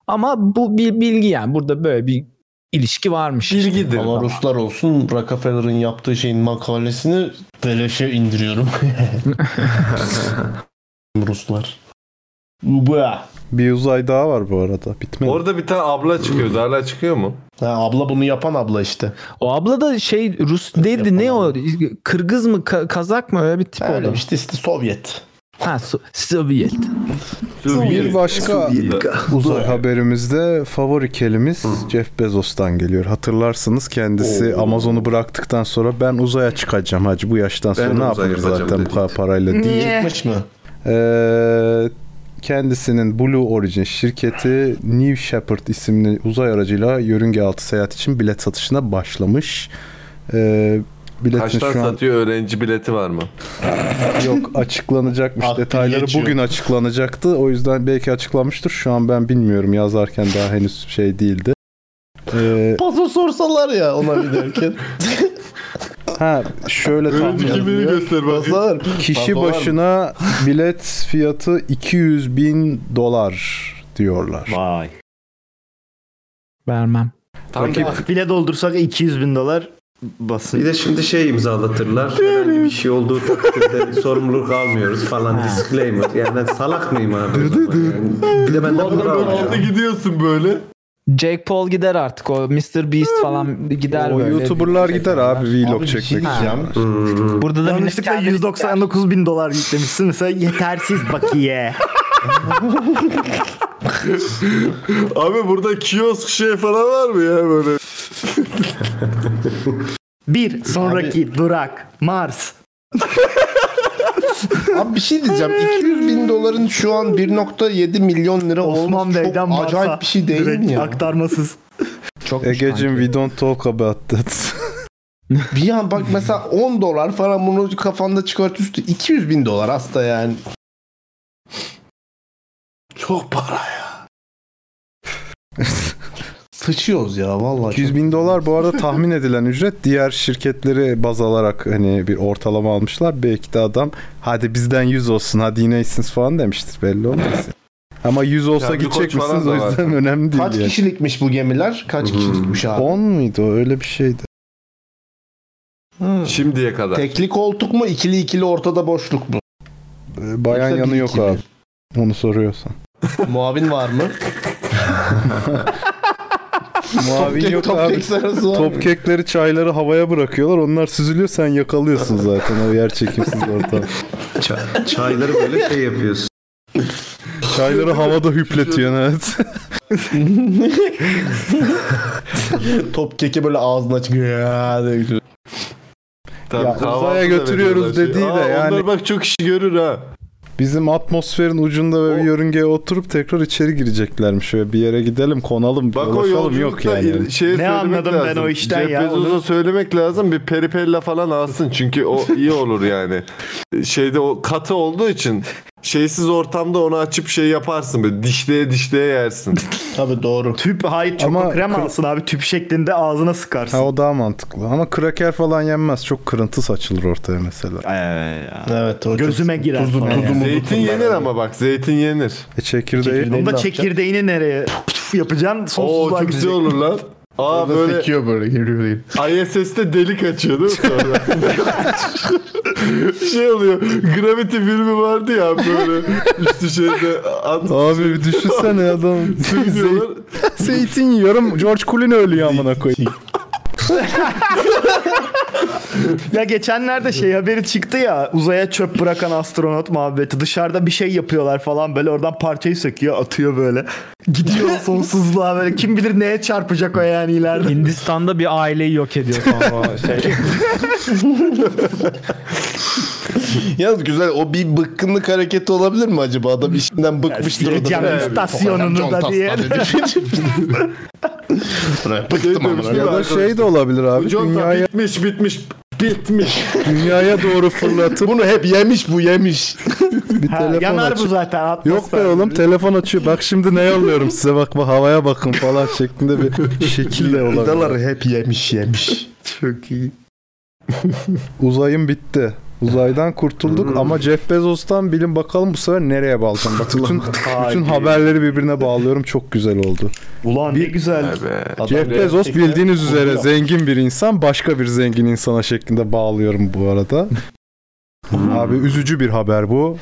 Speaker 7: Ama bu bir bilgi yani burada böyle bir ilişki varmış.
Speaker 10: Bilgidir. Ama Ruslar olsun Rockefeller'ın yaptığı şeyin makalesini beleşe indiriyorum. Ruslar. Bu
Speaker 5: Bir uzay daha var bu arada. Bitmedi.
Speaker 2: Orada bir tane abla çıkıyordu. Hala çıkıyor mu?
Speaker 10: Ha, abla bunu yapan abla işte.
Speaker 7: O abla da şey Rus değildi ne o Kırgız mı Ka- Kazak mı öyle bir tip
Speaker 10: Öyle
Speaker 7: oldu.
Speaker 10: işte, işte Sovyet.
Speaker 7: Ha So- Sovyet.
Speaker 5: Bir başka uzay haberimizde favori kelimiz Jeff Bezos'tan geliyor. Hatırlarsınız kendisi Amazon'u bıraktıktan sonra ben uzaya çıkacağım hacı bu yaştan sonra
Speaker 12: Ben
Speaker 5: ne
Speaker 12: uzaya
Speaker 5: yapılır
Speaker 12: yapacağım
Speaker 5: zaten bu
Speaker 12: dedi.
Speaker 5: kadar parayla diye.
Speaker 10: Çıkmış mı?
Speaker 5: Ee, kendisinin Blue Origin şirketi New Shepard isimli uzay aracıyla yörünge altı seyahat için bilet satışına başlamış. Ee, biletin
Speaker 2: Kaçtan
Speaker 5: şu an
Speaker 2: satıyor öğrenci bileti var mı?
Speaker 5: Yok açıklanacakmış. Detayları
Speaker 2: geçiyor.
Speaker 5: bugün açıklanacaktı. O yüzden belki açıklanmıştır. Şu an ben bilmiyorum. Yazarken daha henüz şey değildi. Ee,
Speaker 10: Paso sorsalar ya ona giderken.
Speaker 5: ha şöyle tahmin ediliyor.
Speaker 10: Paso-
Speaker 5: Kişi
Speaker 10: Paso var mı?
Speaker 5: başına bilet fiyatı 200 bin dolar diyorlar.
Speaker 1: Vay.
Speaker 7: Vermem.
Speaker 9: Tam bile doldursak 200 bin dolar basın.
Speaker 6: Bir de şimdi şey imzalatırlar. Herhangi bir şey olduğu takdirde sorumluluk almıyoruz falan disclaimer. Yani ben salak mıyım abi? Yani bir de benden para alıyor.
Speaker 2: gidiyorsun böyle.
Speaker 7: Jake Paul gider artık o Mr. Beast falan gider
Speaker 5: O
Speaker 7: böyle.
Speaker 5: YouTuber'lar gider abi vlog
Speaker 7: bir şey
Speaker 5: çekmek
Speaker 7: diyeceğim.
Speaker 5: için.
Speaker 6: Hmm.
Speaker 7: Burada da
Speaker 9: Yanlışlıkla 199 bin dolar yüklemişsin mesela yetersiz bakiye.
Speaker 2: Abi burada kiosk şey falan var mı ya böyle?
Speaker 9: Bir sonraki durak Mars.
Speaker 10: Abi bir şey diyeceğim. 200 bin doların şu an 1.7 milyon lira olması çok acayip bir şey değil mi ya?
Speaker 9: Aktarmasız.
Speaker 7: Çok
Speaker 5: Egecim we don't talk about that.
Speaker 10: Bir yan bak mesela 10 dolar falan bunu kafanda çıkart üstü 200 bin dolar hasta yani. Çok para ya. Sıçıyoruz ya vallahi.
Speaker 5: 200 bin dolar bu arada tahmin edilen ücret diğer şirketleri baz alarak hani bir ortalama almışlar. Belki de adam hadi bizden 100 olsun hadi yine iyisiniz falan demiştir belli olmaz. Ama 100 olsa
Speaker 10: Ya bir
Speaker 5: gidecek
Speaker 10: koç falan
Speaker 5: misiniz
Speaker 10: da
Speaker 5: o
Speaker 10: var.
Speaker 5: yüzden önemli değil.
Speaker 10: Kaç kişilikmiş bu gemiler? Kaç kişilikmiş abi?
Speaker 5: 10 muydu o? öyle bir şeydi.
Speaker 2: Şimdiye kadar.
Speaker 10: Tekli koltuk mu? ikili ikili ortada boşluk mu?
Speaker 5: Ee, Bayan
Speaker 10: Yoksa
Speaker 5: yanı
Speaker 10: bir
Speaker 5: yok
Speaker 10: iki
Speaker 5: abi. Onu soruyorsan.
Speaker 10: Muavin var mı?
Speaker 5: Muavin
Speaker 10: Top-
Speaker 5: yok
Speaker 10: top
Speaker 5: abi.
Speaker 10: kek sarısı var.
Speaker 5: Top kekleri çayları havaya bırakıyorlar. Onlar süzülüyor sen yakalıyorsun zaten o yer çekimsiz ortam.
Speaker 6: Çay- çayları böyle şey yapıyorsun.
Speaker 5: Çayları havada hüpletiyorsun evet.
Speaker 10: Top keki böyle ağzını açık. Ya diye gidiyor.
Speaker 5: Ya uzaya götürüyoruz
Speaker 10: şey.
Speaker 5: dediği de yani.
Speaker 2: bak çok işi görür ha.
Speaker 5: Bizim atmosferin ucunda ve bir yörüngeye oturup tekrar içeri gireceklermiş. Şöyle bir yere gidelim konalım
Speaker 2: Bak o
Speaker 5: dolaşalım yok
Speaker 2: yolculukta
Speaker 5: yani.
Speaker 2: il- şeye söylemek lazım. Jeff Bezos'a söylemek lazım bir peripella falan alsın çünkü o iyi olur yani. Şeyde o katı olduğu için şeysiz ortamda onu açıp şey yaparsın böyle dişleye dişleye yersin.
Speaker 10: Tabii doğru.
Speaker 9: Tüp hayır çok
Speaker 5: Ama
Speaker 9: krem
Speaker 5: kır-
Speaker 9: alsın abi tüp şeklinde ağzına sıkarsın.
Speaker 5: Ha o daha mantıklı. Ama kraker falan yenmez. Çok kırıntı saçılır ortaya mesela.
Speaker 10: Evet o
Speaker 9: Gözüme girer. falan.
Speaker 2: Zeytin yenir ama bak zeytin yenir.
Speaker 5: E çekirdeği.
Speaker 9: Onu da çekirdeğini nereye püf yapacaksın
Speaker 2: Oo
Speaker 9: sonsuzluğa
Speaker 2: çok güzel
Speaker 9: gidecek.
Speaker 2: olur lan. Aa
Speaker 10: Orada
Speaker 2: böyle
Speaker 10: sekiyor böyle geliyor değil.
Speaker 2: ISS'te delik açıyor değil mi sonra? şey oluyor. Gravity filmi vardı ya böyle üstü şeyde at
Speaker 5: Abi bir düşünsene adam.
Speaker 2: sürüyorlar.
Speaker 5: Zeytin yiyorum. George Clooney ölüyor amına koyayım.
Speaker 9: Ya geçenlerde şey haberi çıktı ya uzaya çöp bırakan astronot muhabbeti dışarıda bir şey yapıyorlar falan böyle oradan parçayı söküyor atıyor böyle gidiyor sonsuzluğa böyle kim bilir neye çarpacak o yani ileride.
Speaker 7: Hindistan'da bir aileyi yok ediyor sonra şey.
Speaker 10: Yalnız güzel o bir bıkkınlık hareketi olabilir mi acaba? Adam işinden bıkmıştır. o da.
Speaker 9: Sileceğim
Speaker 10: Evet.
Speaker 9: istasyonunu
Speaker 10: John
Speaker 9: da
Speaker 10: Tasman
Speaker 9: diye.
Speaker 10: dedi.
Speaker 2: Şey
Speaker 10: Bıktım
Speaker 2: demiş
Speaker 10: amına.
Speaker 2: değil
Speaker 5: Ya
Speaker 2: mi
Speaker 5: da
Speaker 2: arkadaşlar?
Speaker 5: şey de olabilir abi.
Speaker 2: Hocam da
Speaker 5: Dünyaya,
Speaker 2: bitmiş bitmiş bitmiş.
Speaker 5: dünyaya doğru fırlatıp
Speaker 10: Bunu hep yemiş bu yemiş.
Speaker 5: bir
Speaker 9: Ha,
Speaker 5: telefon
Speaker 9: yanar bu
Speaker 5: açıp.
Speaker 9: zaten. atmosfer.
Speaker 5: Yok be oğlum telefon açıyor. Bak şimdi ne yolluyorum size bak bu havaya bakın falan şeklinde bir şekil de olabilir.
Speaker 10: Gıdaları hep yemiş yemiş. Çok iyi.
Speaker 5: Uzayım bitti. Uzaydan kurtulduk
Speaker 9: Hmm.
Speaker 5: ama Jeff Bezos'tan bilin bakalım bu sefer nereye bağlayacağım. Bak bütün, bütün haberleri birbirine bağlıyorum. Çok güzel oldu.
Speaker 9: Ulan ne güzel.
Speaker 5: Jeff Bezos bildiğiniz üzere zengin bir insan başka bir zengin insana şeklinde bağlıyorum bu arada.
Speaker 9: Hmm.
Speaker 5: Abi üzücü bir haber bu.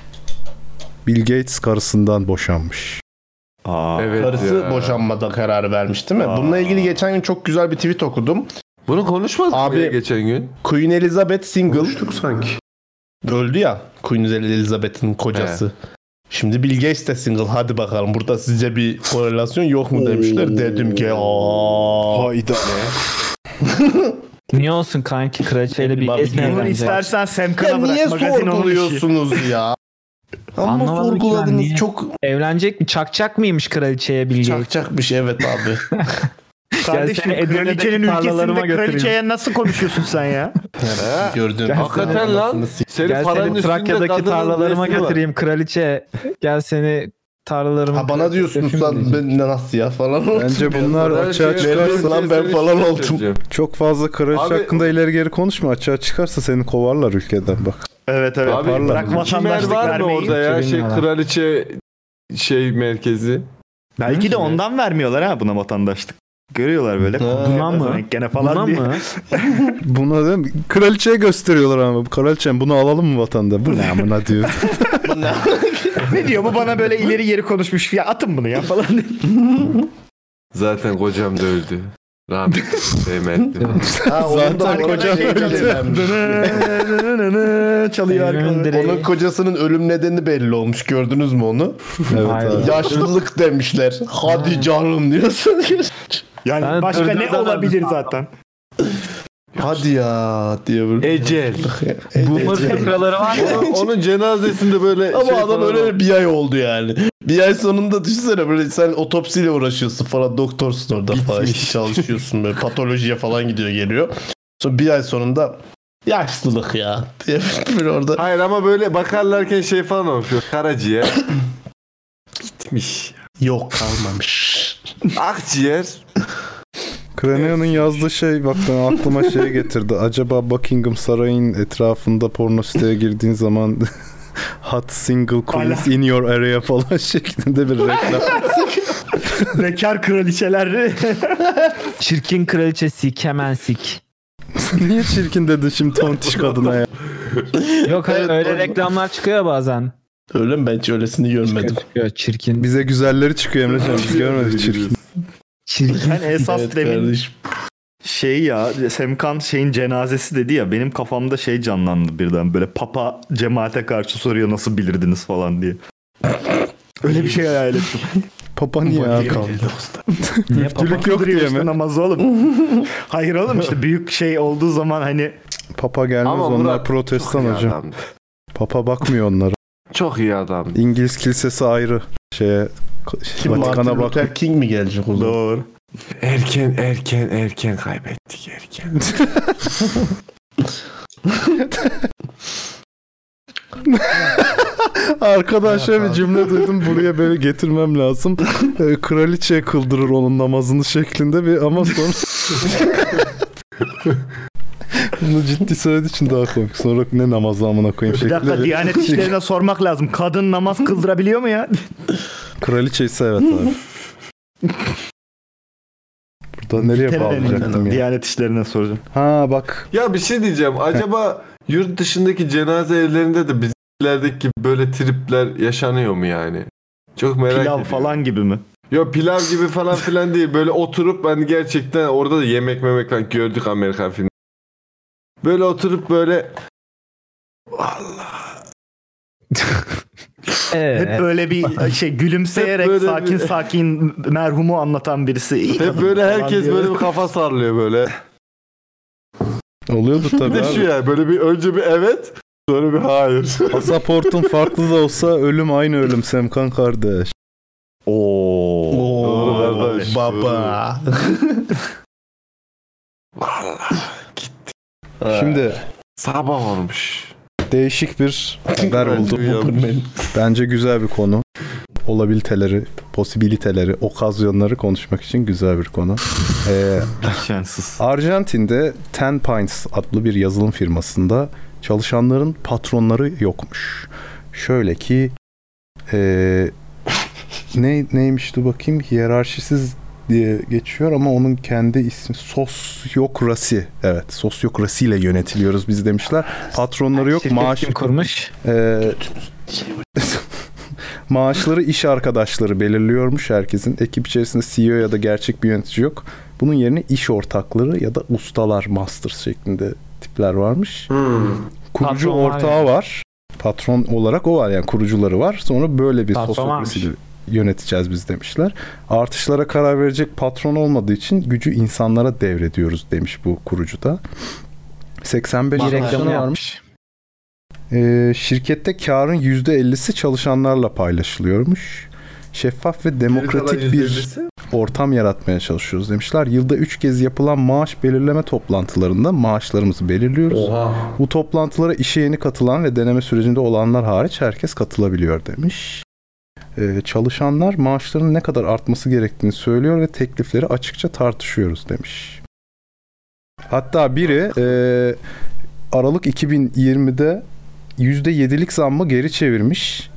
Speaker 5: Bill Gates karısından boşanmış.
Speaker 15: Aa,
Speaker 2: Evet
Speaker 10: Karısı
Speaker 2: ya.
Speaker 10: boşanmada karar vermiş değil mi? Bununla ilgili geçen gün çok güzel bir tweet okudum.
Speaker 2: Bunu konuşmadık
Speaker 10: Abi-
Speaker 2: mı ya geçen gün?
Speaker 10: Queen Elizabeth Single
Speaker 6: Konuştuk sanki.
Speaker 10: öldü ya. Queen Elizabeth'in kocası. Şimdi Bill Gates de single. Hadi bakalım burada sizce bir korelasyon yok mu demişler. Dedim ki aa.
Speaker 5: Hayda.
Speaker 7: Niye olsun kanki kraliçeyle bir
Speaker 10: Bak,
Speaker 7: esme
Speaker 10: bilmiyorum.
Speaker 9: Bunu
Speaker 7: evlenecek.
Speaker 9: istersen
Speaker 10: Ya
Speaker 9: Semkan'a bırak.
Speaker 10: niye
Speaker 9: magazin onun işi.
Speaker 10: sorguluyorsunuz ya? Ama
Speaker 7: Anlamadım ki ben niye.
Speaker 10: sorguladınız çok
Speaker 7: Evlenecek mi? Çakacak mıymış kraliçeye Bill Gates?
Speaker 10: çakçakmış evet abi.
Speaker 9: Kardeşim
Speaker 7: Gelsene Edirne'deki
Speaker 9: kraliçenin
Speaker 7: tarlalarıma
Speaker 9: ülkesinde
Speaker 7: götüreyim.
Speaker 9: kraliçeye nasıl konuşuyorsun sen ya?
Speaker 10: Gördüğüm
Speaker 2: Hakikaten lan. Senin
Speaker 7: Gel
Speaker 2: paranın
Speaker 7: seni
Speaker 2: üstünde
Speaker 7: Trakya'daki
Speaker 2: kadının
Speaker 7: tarlalarıma
Speaker 2: resmi var.
Speaker 7: götüreyim kraliçe. Gel seni tarlalarıma
Speaker 10: Ha bana diyorsunuz lan ben nasıl ya falan.
Speaker 5: Bence bunlar
Speaker 2: Her
Speaker 5: açığa
Speaker 2: şey-
Speaker 5: çıkarsa
Speaker 10: lan ben
Speaker 2: Seni
Speaker 10: falan
Speaker 2: şey
Speaker 10: oldum.
Speaker 2: söyleyeceğim.
Speaker 5: çok fazla kraliçe
Speaker 2: Abi-
Speaker 5: hakkında ileri geri konuşma. Açığa çıkarsa seni kovarlar ülkeden bak.
Speaker 9: Evet evet.
Speaker 2: Abi,
Speaker 9: bırak
Speaker 2: Kimer
Speaker 9: vatandaşlık
Speaker 2: var mı
Speaker 9: vermeyi.
Speaker 2: orada ya şey kraliçe şey merkezi.
Speaker 9: Belki de ondan vermiyorlar ha buna vatandaşlık. Görüyorlar böyle.
Speaker 7: Buna mı?
Speaker 9: Sanki Gene falan
Speaker 7: Buna
Speaker 9: diye.
Speaker 7: mı?
Speaker 5: Buna değil mi? Kraliçeye gösteriyorlar ama. Kraliçem bunu alalım mı vatanda? Bu ne amına diyor.
Speaker 9: ne diyor bu bana böyle ileri geri konuşmuş. Ya atın bunu ya falan. diye.
Speaker 2: Zaten kocam da öldü. şey Rahmetli sevmezdim.
Speaker 10: Ha, onun da
Speaker 5: Zaten
Speaker 10: arkadan
Speaker 5: koca
Speaker 10: şey çalıyor.
Speaker 9: Çalıyor arkadan.
Speaker 10: Onun kocasının ölüm nedeni belli olmuş. Gördünüz mü onu?
Speaker 5: evet
Speaker 7: Aynen.
Speaker 5: abi.
Speaker 10: Yaşlılık demişler. Hadi canım diyorsun.
Speaker 9: Yani
Speaker 7: Ben
Speaker 9: başka ne
Speaker 7: öldürdüm
Speaker 9: olabilir zaten?
Speaker 10: Hadi ya diye böyle.
Speaker 2: Ecel.
Speaker 10: E,
Speaker 7: Boomer fıkraları var ya.
Speaker 2: Onun- Onun cenazesinde böyle
Speaker 10: Ama
Speaker 2: şey
Speaker 10: adam
Speaker 2: falan
Speaker 10: öyle bir ay oldu yani. Bir ay sonunda düşünsene böyle sen otopsiyle uğraşıyorsun falan doktorsun orada falan işte çalışıyorsun böyle patolojiye falan gidiyor geliyor. Sonra bir ay sonunda yaşlılık ya diye böyle orada
Speaker 2: Hayır ama böyle bakarlarken şey falan olmuş. böyle Karaciğer. Bitmiş.
Speaker 10: yok kalmamış.
Speaker 2: Akciğer.
Speaker 5: Cranio'nun yazdığı şey bak ben aklıma şey getirdi. Acaba Buckingham Sarayı'nın etrafında porno siteye girdiğin zaman hot single queens in your area falan şeklinde bir reklam.
Speaker 9: Bekar kraliçeler.
Speaker 7: Çirkin kraliçesi kemen sik.
Speaker 5: Niye çirkin dedin şimdi tontiş kadına ya?
Speaker 7: Yok hayır öyle reklamlar çıkıyor bazen.
Speaker 10: Öyle mi ben hiç öylesini görmedim.
Speaker 7: Çıkıyor çirkin.
Speaker 5: Bize güzelleri çıkıyor Emrecan biz görmedik çirkin.
Speaker 7: Çirkin.
Speaker 9: Yani esas
Speaker 10: Evet
Speaker 9: demin
Speaker 10: kardeşim.
Speaker 9: şey ya Semkan şeyin cenazesi dedi ya benim kafamda şey canlandı birden böyle papa cemaate karşı soruyor nasıl bilirdiniz falan diye. Öyle bir şey hayal ettim.
Speaker 5: Papa niye ayağa kaldı?
Speaker 7: Niye
Speaker 5: Üftülük yok
Speaker 9: Duruyor
Speaker 5: diye
Speaker 9: işte
Speaker 5: mi?
Speaker 9: namaz oğlum. Hayır oğlum işte büyük şey olduğu zaman hani
Speaker 5: Papa gelmez
Speaker 2: Ama
Speaker 5: onlar
Speaker 2: Murat
Speaker 5: protestan
Speaker 2: Çok iyi
Speaker 5: hocam.
Speaker 2: adamdı.
Speaker 5: Papa bakmıyor onlara.
Speaker 2: Çok iyi adam.
Speaker 5: İngiliz kilisesi ayrı. Şeye
Speaker 10: Kim
Speaker 5: Vatikan'a
Speaker 10: Martin
Speaker 5: bak.
Speaker 10: Luther King mi gelecek o zaman?
Speaker 9: doğru.
Speaker 2: Erken erken erken kaybettik erken.
Speaker 5: Arkadan şöyle bir cümle duydum buraya böyle getirmem lazım. Ee, Kraliçe kıldırır onun namazını şeklinde bir ama sonra... Bunu ciddi söylediği için daha komik. Sonra ne namazı amına koyayım
Speaker 9: Bir
Speaker 5: şeklinde. Şey,
Speaker 9: dakika Diyanet İşleri'ne sormak lazım. Kadın namaz kıldırabiliyor mu ya?
Speaker 5: Kraliçe ise evet abi. Burada nereye bağlayacaktım ya?
Speaker 9: Diyanet İşleri'ne soracağım.
Speaker 5: Ha bak.
Speaker 2: Ya bir şey diyeceğim. Acaba yurt dışındaki cenaze evlerinde de bizlerdeki gibi böyle tripler yaşanıyor mu yani? Çok merak
Speaker 9: Pilav
Speaker 2: ediyorum.
Speaker 9: falan gibi mi?
Speaker 2: Yo pilav gibi falan filan değil. Böyle oturup ben gerçekten orada da yemek memek falan gördük Amerikan filmi. Böyle oturup böyle
Speaker 9: Hep böyle bir şey gülümseyerek
Speaker 2: Hep böyle
Speaker 9: sakin
Speaker 2: bir-
Speaker 9: sakin merhumu anlatan birisi. İyi
Speaker 2: hep
Speaker 9: kadın
Speaker 2: böyle
Speaker 9: falan
Speaker 2: herkes
Speaker 9: diyor.
Speaker 2: böyle bir kafa sallıyor böyle.
Speaker 5: Oluyordu
Speaker 2: Bir
Speaker 5: tabii
Speaker 2: de şu
Speaker 5: abi.
Speaker 2: ya böyle bir önce bir evet sonra bir hayır.
Speaker 5: Pasaportun farklı da olsa ölüm aynı ölüm Semkan kardeş. Oo.
Speaker 2: Doğru kardeş,
Speaker 12: baba.
Speaker 5: Şimdi
Speaker 2: sabah olmuş.
Speaker 5: Değişik bir haber
Speaker 2: Ben
Speaker 5: buldum.
Speaker 2: duyuyorum.
Speaker 5: Bence güzel bir konu. Olabiliteleri, posibiliteleri, okazyonları konuşmak için güzel bir konu. Ee, Arjantin'de Ten Pines adlı bir yazılım firmasında çalışanların patronları yokmuş. Şöyle ki ee, ne neymiş dur bakayım hiyerarşisiz diye geçiyor ama onun kendi ismi sosyokrasi. Evet, sosyokrasiyle yönetiliyoruz biz demişler. Patronları yok, maaş
Speaker 7: kurmuş.
Speaker 5: Ee, maaşları iş arkadaşları belirliyormuş herkesin. Ekip içerisinde CEO ya da gerçek bir yönetici yok. Bunun yerine iş ortakları ya da ustalar, master şeklinde tipler varmış. Kurucu
Speaker 7: Patron var
Speaker 5: ortağı
Speaker 7: yani.
Speaker 5: var. Patron olarak o var yani kurucuları var. Sonra böyle bir
Speaker 7: Patron
Speaker 5: sosyokrasi yöneteceğiz biz demişler. Artışlara karar verecek patron olmadığı için gücü insanlara devrediyoruz demiş bu kurucuda. 85
Speaker 7: Bir
Speaker 5: çalışanı
Speaker 7: reklamı yapmış.
Speaker 5: varmış. Ee, şirkette karın %50'si çalışanlarla paylaşılıyormuş. Şeffaf ve demokratik bir ortam yaratmaya çalışıyoruz demişler. Yılda 3 kez yapılan maaş belirleme toplantılarında maaşlarımızı belirliyoruz. Bu toplantılara işe yeni katılan ve deneme sürecinde olanlar hariç herkes katılabiliyor demiş. Ee, çalışanlar maaşlarının ne kadar artması gerektiğini söylüyor ve teklifleri açıkça tartışıyoruz demiş. Hatta biri e, Aralık 2020'de %7'lik zammı geri çevirmiş.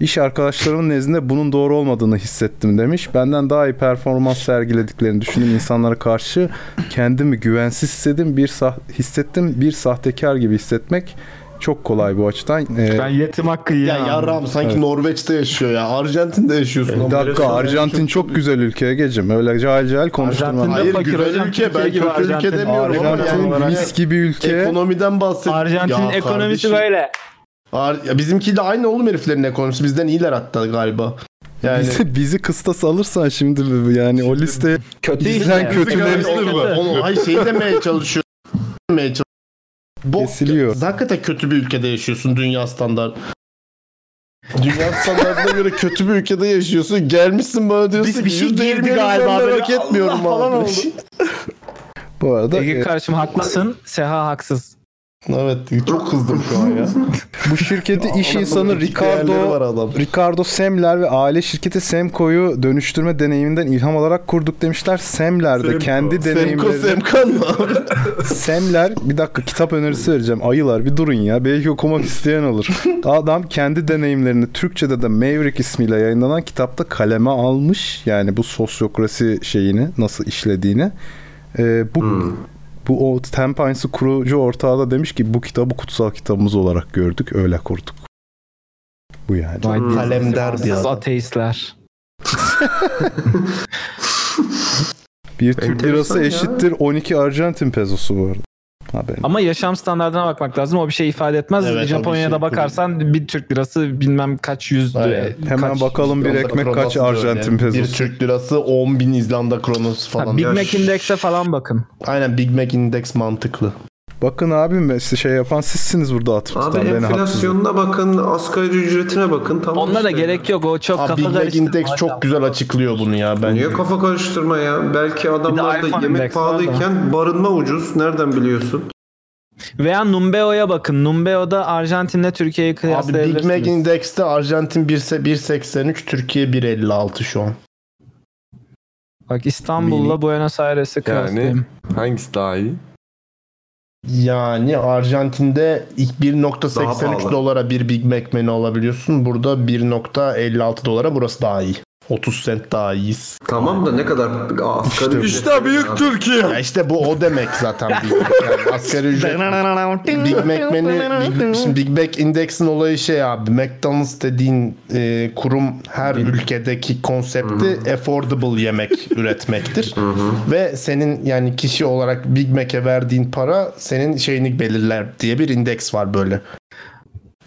Speaker 5: İş arkadaşlarımın nezdinde bunun doğru olmadığını hissettim demiş. Benden daha iyi performans sergilediklerini düşündüğüm insanlara karşı kendimi güvensiz hissettim. Bir sah- hissettim bir sahtekar gibi hissetmek çok kolay bu açıdan. Ee,
Speaker 12: Ben
Speaker 7: yetim hakkı
Speaker 12: Ya yarram sanki
Speaker 5: Evet.
Speaker 12: Norveç'te yaşıyor ya. Arjantin'de yaşıyorsun.
Speaker 5: Bir dakika Arjantin çok güzel ülke Egeciğim. Öyle cahil cahil konuşturma.
Speaker 12: Hayır güzel ülke. Ben kötü ülke demiyorum ama
Speaker 5: Arjantin
Speaker 12: yani
Speaker 5: mis gibi ülke.
Speaker 12: Ekonomiden bahsediyorum.
Speaker 7: Arjantin'in ekonomisi böyle.
Speaker 12: Ar- ya bizimkiyle aynı oğlum heriflerin ekonomisi. Bizden iyiler hatta galiba. Yani
Speaker 5: Bizi, bizi kıstas alırsan şimdi yani o liste
Speaker 7: kötü
Speaker 5: bizden kötüleri
Speaker 12: Onu, hayır şey demeye çalışıyor. demeye çalışıyor. Bok,
Speaker 5: Kesiliyor.
Speaker 12: Hakikaten kötü bir ülkede yaşıyorsun dünya standart. Dünya standartına göre kötü bir ülkede yaşıyorsun. Gelmişsin bana diyorsun
Speaker 9: Biz bir şey
Speaker 12: "Yüzde elli
Speaker 9: girdi galiba
Speaker 12: ben
Speaker 9: böyle.
Speaker 12: Merak etmiyorum
Speaker 9: Allah falan
Speaker 12: abi.
Speaker 9: oldu.
Speaker 5: Bu arada
Speaker 7: Ege
Speaker 5: e,
Speaker 7: kardeşim haklısın. Seha haksız.
Speaker 12: Evet çok kızdım şu an ya.
Speaker 5: bu şirketi iş
Speaker 12: Adamın
Speaker 5: insanı
Speaker 12: etik değerleri var
Speaker 5: Ricardo
Speaker 12: adam.
Speaker 5: Ricardo Semler ve aile şirketi Semco'yu dönüştürme deneyiminden ilham alarak kurduk demişler. Semler de kendi
Speaker 12: Semko
Speaker 5: deneyimleri.
Speaker 12: Semkan mı?
Speaker 5: Semler bir dakika kitap önerisi vereceğim. Ayılar bir durun ya. Belki okumak isteyen olur. Adam kendi deneyimlerini Türkçe'de de Maverick ismiyle yayınlanan kitapta kaleme almış. Yani bu sosyokrasi şeyini nasıl işlediğini. Ee, bu
Speaker 7: Hmm.
Speaker 5: bu o Ten Pines'ı kurucu ortağı da demiş ki bu kitabı kutsal kitabımız olarak gördük. Öyle kurduk. Bu yani.
Speaker 12: Kalemdar bir
Speaker 7: Siz
Speaker 12: adam.
Speaker 7: ateistler.
Speaker 5: Bir Türk
Speaker 7: Enteresan
Speaker 5: lirası
Speaker 7: ya.
Speaker 5: eşittir 12 Arjantin pezosu bu arada. Haberin.
Speaker 7: Ama yaşam standartına bakmak lazım. O bir şey ifade etmez.
Speaker 12: Evet, o bir
Speaker 7: Japonya'da
Speaker 12: şey-
Speaker 7: bakarsan bir Türk lirası bilmem kaç yüzdü.
Speaker 12: Aynen.
Speaker 5: Hemen
Speaker 7: kaç-
Speaker 5: bakalım bir
Speaker 12: İzlanda
Speaker 5: ekmek kaç
Speaker 12: kronosu da öyle. Bir
Speaker 5: Arjantin pezosu.
Speaker 12: Türk lirası 10 bin İzlanda kronosu
Speaker 7: Ha,
Speaker 12: falan.
Speaker 7: Big
Speaker 12: Ya
Speaker 7: Mac
Speaker 12: şu-
Speaker 7: Index'e falan bakın.
Speaker 12: Aynen Big Mac Index mantıklı.
Speaker 5: Bakın abim ben size şey yapan sizsiniz burada atıp
Speaker 6: Abi
Speaker 5: tutan beni haksız.
Speaker 6: enflasyonuna bakın, asgari ücretine bakın. Tamam
Speaker 7: Onlara
Speaker 6: işte.
Speaker 7: gerek yok. O çok
Speaker 12: Ha,
Speaker 7: kafa
Speaker 12: Big Mac
Speaker 7: karıştırma.
Speaker 12: Index çok güzel açıklıyor bunu ya bence.
Speaker 6: Niye kafa karıştırma ya? Belki adamlarda
Speaker 7: iPhone
Speaker 6: yemek
Speaker 7: Index var da.
Speaker 6: pahalıyken barınma ucuz. Nereden biliyorsun?
Speaker 7: Veya Numbeo'ya bakın. Numbeo'da Arjantin'le Türkiye'yi
Speaker 10: Abi Big
Speaker 7: kıyaslayabilirsiniz.
Speaker 10: Mac Index'te Arjantin 1'se 1.83, Türkiye 1.56 şu an.
Speaker 7: Bak İstanbul'la Buenos Aires'i
Speaker 10: Yani
Speaker 7: kıyaslayayım.
Speaker 2: hangisi daha iyi?
Speaker 10: Yani Arjantin'de ilk
Speaker 2: Daha
Speaker 10: 1.83
Speaker 2: pahalı.
Speaker 10: dolara bir Big Mac menü alabiliyorsun. Burada 1.56 dolara burası daha iyi. 30 cent daha iyiyiz.
Speaker 6: Tamam da ne kadar asgari
Speaker 10: bu.
Speaker 2: İşte büyük Türkiye.
Speaker 10: Ya işte bu o demek zaten Big Mac. Yani asgari ücret. Big Mac menü, Big, şimdi Big Mac indeksin olayı şey abi. McDonald's dediğin e, kurum her ülkedeki konsepti affordable yemek üretmektir. Ve senin yani kişi olarak Big Mac'e verdiğin para senin şeyini belirler diye bir indeks var böyle.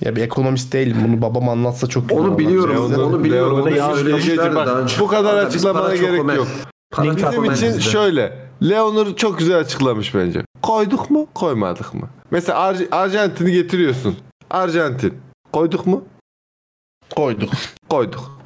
Speaker 10: Ya bir ekonomist değilim. Bunu babam anlatsa çok iyi olur.
Speaker 2: Leon'un- Leon'un söyleyeceği bak, bu kadar açıklamana gerek yok. Bizim için şöyle. Leonur çok güzel açıklamış bence. Koyduk mu, koymadık mı? Mesela Ar- Arjantin'i getiriyorsun. Arjantin. Koyduk mu?
Speaker 10: Koyduk.
Speaker 2: Koyduk.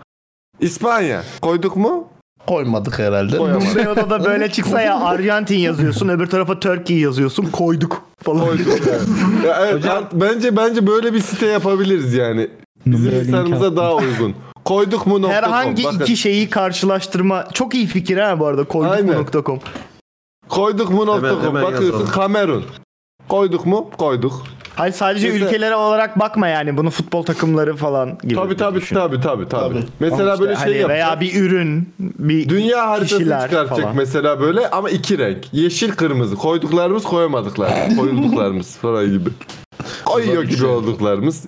Speaker 2: İspanya. Koyduk mu?
Speaker 10: Koymadık herhalde.
Speaker 9: Numbeo'da da böyle çıksa ya Arjantin yazıyorsun öbür tarafa Turkey yazıyorsun koyduk falan.
Speaker 2: Ya evet, art- bence bence böyle bir site yapabiliriz yani. Bizim
Speaker 9: Numara linki
Speaker 2: insanımıza
Speaker 9: attım.
Speaker 2: daha uygun. Koyduk mu nokta com.
Speaker 9: Herhangi
Speaker 2: Bakın.
Speaker 9: iki şeyi karşılaştırma çok iyi fikir ha bu arada koyduk.com.
Speaker 2: Koyduk mu nokta
Speaker 9: Hemen-
Speaker 2: com.
Speaker 9: hemen
Speaker 2: Bakıyorsun
Speaker 9: yazalım.
Speaker 2: Kamerun. Koyduk mu? Koyduk.
Speaker 9: Hayır sadece
Speaker 2: Mesela-
Speaker 9: ülkelere olarak bakma yani bunu futbol takımları falan gibi.
Speaker 2: Tabii tabii, tabii tabii tabii. Mesela
Speaker 9: Ama işte
Speaker 2: böyle şey
Speaker 9: hani Veya
Speaker 2: yapacak.
Speaker 9: bir ürün, bir
Speaker 2: Dünya haritası
Speaker 9: kişiler
Speaker 2: çıkartacak
Speaker 9: falan.
Speaker 2: mesela böyle ama iki renk. Yeşil kırmızı. Koyduklarımız koyamadıklarımız. Koyulduklarımız falan gibi. Koyuyor gibi olduklarımız.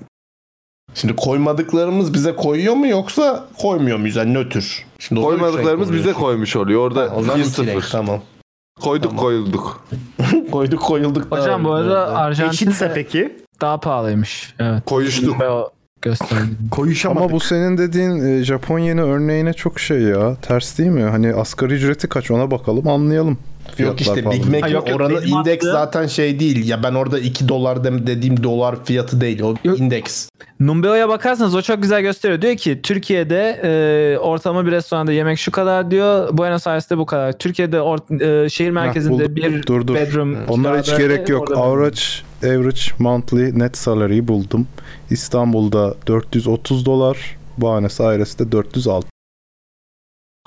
Speaker 10: Şimdi koymadıklarımız bize koyuyor mu yoksa koymuyor muyuz? Yani nötr. Şimdi o şey zaman üç renk
Speaker 2: Koymadıklarımız bize
Speaker 10: oluyor.
Speaker 2: koymuş oluyor. Orada
Speaker 10: O zaman
Speaker 2: 1-0.
Speaker 10: iki renk, şey Tamam.
Speaker 2: Koyduk koyulduk.
Speaker 10: koyduk koyulduk.
Speaker 7: Hocam bu arada Arjantin de
Speaker 9: peki?
Speaker 7: daha pahalıymış. Evet.
Speaker 2: Koyuştuk.
Speaker 7: gösterdi.
Speaker 9: Koyuşamadık.
Speaker 5: Ama bu senin dediğin e, Japon yeni örneğine çok şey ya. Ters değil mi? Hani asgari ücreti kaç ona bakalım anlayalım.
Speaker 10: Yok
Speaker 5: Fiyatlar
Speaker 10: işte Big
Speaker 5: pahalı.
Speaker 10: Mac'in oranı indeks zaten şey değil. Ya ben orada 2 dolar dem- dediğim dolar fiyatı değil. O indeks.
Speaker 7: Numbeo'ya bakarsanız o çok güzel gösteriyor. Diyor ki Türkiye'de e, ortalama bir restoranda yemek şu kadar diyor. Buenos Aires'te bu kadar. Türkiye'de or- e, şehir
Speaker 5: Heh,
Speaker 7: merkezinde
Speaker 5: buldum.
Speaker 7: bir
Speaker 5: dur, dur.
Speaker 7: bedroom.
Speaker 5: Onlara hiç
Speaker 7: kirada,
Speaker 5: gerek yok.
Speaker 7: orada-
Speaker 5: Average, average monthly net salary'i buldum. İstanbul'da 430 dolar. Buenos Aires'te 406.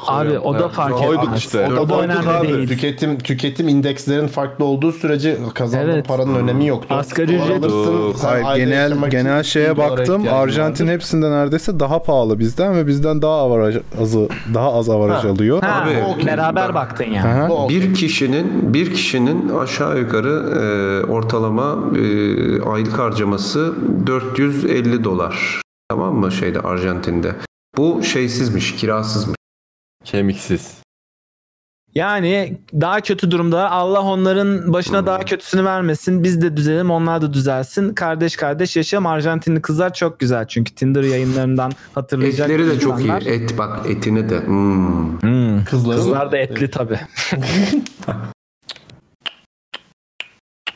Speaker 7: Abi o da fark etmez. O da,
Speaker 10: Koyduk
Speaker 7: önemli
Speaker 10: abi.
Speaker 7: değil.
Speaker 10: Tüketim tüketim indekslerin farklı olduğu sürece kazandığın
Speaker 7: Evet.
Speaker 10: paranın önemi yoktu.
Speaker 7: Asgari
Speaker 10: Dolar
Speaker 7: ücret-
Speaker 10: alırsın, sen
Speaker 5: Hayır,
Speaker 10: ayda
Speaker 5: genel
Speaker 10: yaşamak
Speaker 5: genel
Speaker 10: için
Speaker 5: şeye
Speaker 10: bir dolara
Speaker 5: baktım.
Speaker 10: ihtiyacın
Speaker 5: Arjantin
Speaker 10: vardır.
Speaker 5: hepsinden neredeyse daha pahalı bizden ve bizden daha avaraj azı daha az avaraj alıyor.
Speaker 7: Ha,
Speaker 6: Abi,
Speaker 7: okey. beraber baktın yani.
Speaker 5: Aha.
Speaker 6: Bir kişinin bir kişinin aşağı yukarı e, ortalama e, aylık harcaması 450 dolar. Tamam mı şeyde Arjantin'de? Bu şeysizmiş, kirasızmış.
Speaker 2: Kemiksiz.
Speaker 7: Yani daha kötü durumda Allah onların
Speaker 6: Hmm.
Speaker 7: başına daha kötüsünü vermesin. Biz de düzelim onlar da düzelsin. Kardeş kardeş yaşayalım. Arjantinli kızlar çok güzel çünkü Tinder yayınlarından hatırlayacak.
Speaker 6: Etleri de çok iyi.
Speaker 7: insanlar.
Speaker 6: Et bak etini de. Hmm.
Speaker 10: Kızlar,
Speaker 7: Kızlar da etli tabi.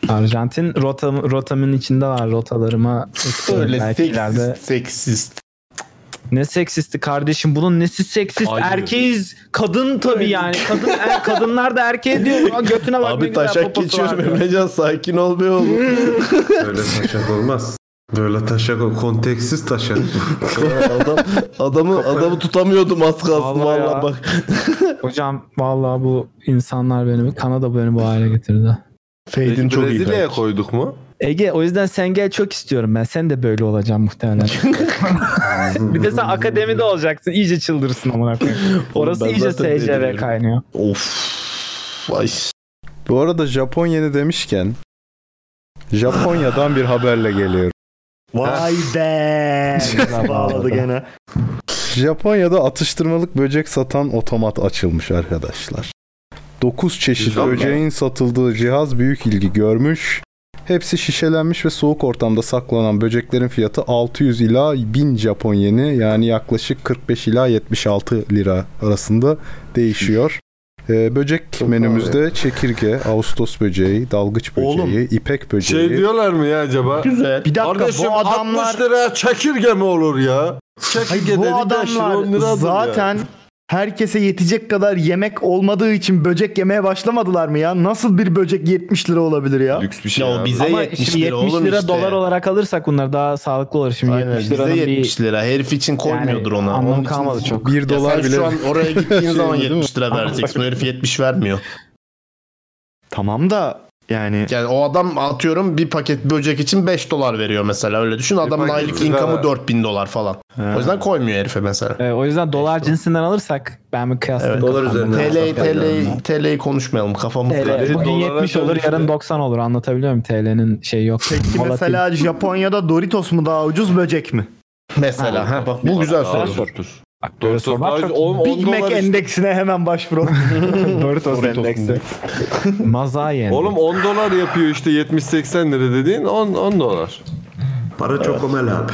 Speaker 7: Arjantin rotam, rotamın içinde var rotalarıma. eklerim
Speaker 10: Öyle
Speaker 7: belki
Speaker 10: seksist,
Speaker 7: ileride.
Speaker 10: seksist.
Speaker 7: Ne seksisti kardeşim bunun nesi seksist
Speaker 10: Hayır.
Speaker 7: erkeğiz kadın tabi yani kadın er- kadınlar da erkeğe diyor "Aa, götüne bak ne
Speaker 10: Abi
Speaker 7: güzel
Speaker 10: taşak
Speaker 7: poposu var"
Speaker 10: geçiyorum
Speaker 7: diyor.
Speaker 10: Emrecan sakin ol be oğlum.
Speaker 6: Böyle taşak olmaz. Böyle taşak ol. Konteksiz taşak.
Speaker 10: adam, adamı adamı tutamıyordum az kalsın
Speaker 7: Vallahi ya.
Speaker 10: valla bak.
Speaker 7: Hocam vallahi bu insanlar beni Kanada beni bu hale getirdi.
Speaker 10: Fade'in çok iyi.
Speaker 2: Brezilya'ya koyduk mu?
Speaker 7: Ege o yüzden sen gel çok istiyorum ben. Sen de böyle olacaksın muhtemelen. bir de sen akademide olacaksın. İyice çıldırırsın amına koyayım. Orası
Speaker 5: ben
Speaker 7: iyice
Speaker 5: zaten
Speaker 7: SCV
Speaker 5: deliriyorum.
Speaker 7: kaynıyor.
Speaker 10: Of. Vay.
Speaker 5: Bu arada Japon yeni demişken Japonya'dan bir haberle geliyorum.
Speaker 9: Vay be. Güzel Bağladı gene.
Speaker 5: Japonya'da atıştırmalık böcek satan otomat açılmış arkadaşlar. 9 çeşit
Speaker 16: Güzel
Speaker 5: böceğin satıldığı cihaz büyük ilgi görmüş. Hepsi şişelenmiş ve soğuk ortamda saklanan böceklerin fiyatı 600 ila 1000 Japon yeni yani yaklaşık 45 ila 76 lira arasında değişiyor. Ee, böcek menümüzde çekirge, ağustos böceği, dalgıç böceği, ipek böceği.
Speaker 2: Şey diyorlar mı ya acaba?
Speaker 10: Güzel.
Speaker 9: Bir dakika
Speaker 2: Kardeşim
Speaker 9: bu adamlar
Speaker 2: 60 lira çekirge mi olur ya? Çekirge
Speaker 9: Hayır, bu
Speaker 2: dedik 5 lira 10
Speaker 9: adamlar
Speaker 2: lira olur ya.
Speaker 9: zaten herkese yetecek kadar yemek olmadığı için böcek yemeye başlamadılar mı ya? Nasıl bir böcek 70 lira olabilir ya?
Speaker 2: Lüks bir
Speaker 17: şey Ya o abi. bize
Speaker 7: Ama
Speaker 17: 70
Speaker 7: şimdi
Speaker 17: lira
Speaker 7: 70
Speaker 17: oğlum
Speaker 7: lira
Speaker 17: işte.
Speaker 7: dolar olarak alırsak bunlar daha sağlıklı olur. Şimdi
Speaker 17: Aynen,
Speaker 7: 70
Speaker 17: bize
Speaker 7: liranın bir-
Speaker 17: 70 lira. Herif için koymuyordur ona.
Speaker 7: anlamı
Speaker 17: Onun için-
Speaker 7: kalmadı çok.
Speaker 17: Ya
Speaker 7: Bir dolar
Speaker 17: sen
Speaker 7: bile-
Speaker 17: şu an oraya
Speaker 7: Şey
Speaker 17: gittiğin zaman
Speaker 7: değil mi?
Speaker 17: 70 lira vereceksin. O herif 70 vermiyor.
Speaker 9: Tamam da yani
Speaker 17: Yani o adam atıyorum bir paket böcek için 5 dolar veriyor mesela öyle düşün. Adamın
Speaker 7: paket
Speaker 17: aylık
Speaker 7: sigara.
Speaker 17: income'ı 4000 dolar falan.
Speaker 9: e,
Speaker 17: O yüzden koymuyor herife mesela.
Speaker 7: Ee, o yüzden dolar cinsinden alırsak ben bir kıyaslayayım. kafamda.
Speaker 17: TL, TL, TL'yi konuşmayalım kafamız
Speaker 7: TL. Bugün 70 olur yarın 90 olur anlatabiliyor muyum? TL'nin şeyi yok.
Speaker 9: Ki
Speaker 7: Volatil.
Speaker 9: mesela Japonya'da Doritos mu daha ucuz böcek mi?
Speaker 17: Mesela ha, bak bu güzel soru.
Speaker 2: Doritos daha ucuz. On- on
Speaker 9: Big Mac
Speaker 2: dolar işte.
Speaker 9: endeksine hemen başvurun.
Speaker 7: Doritos endeksi. Mazayen.
Speaker 2: Oğlum 10 dolar yapıyor işte 70-80 lira dediğin 10, 10 dolar.
Speaker 6: Para çok omel abi.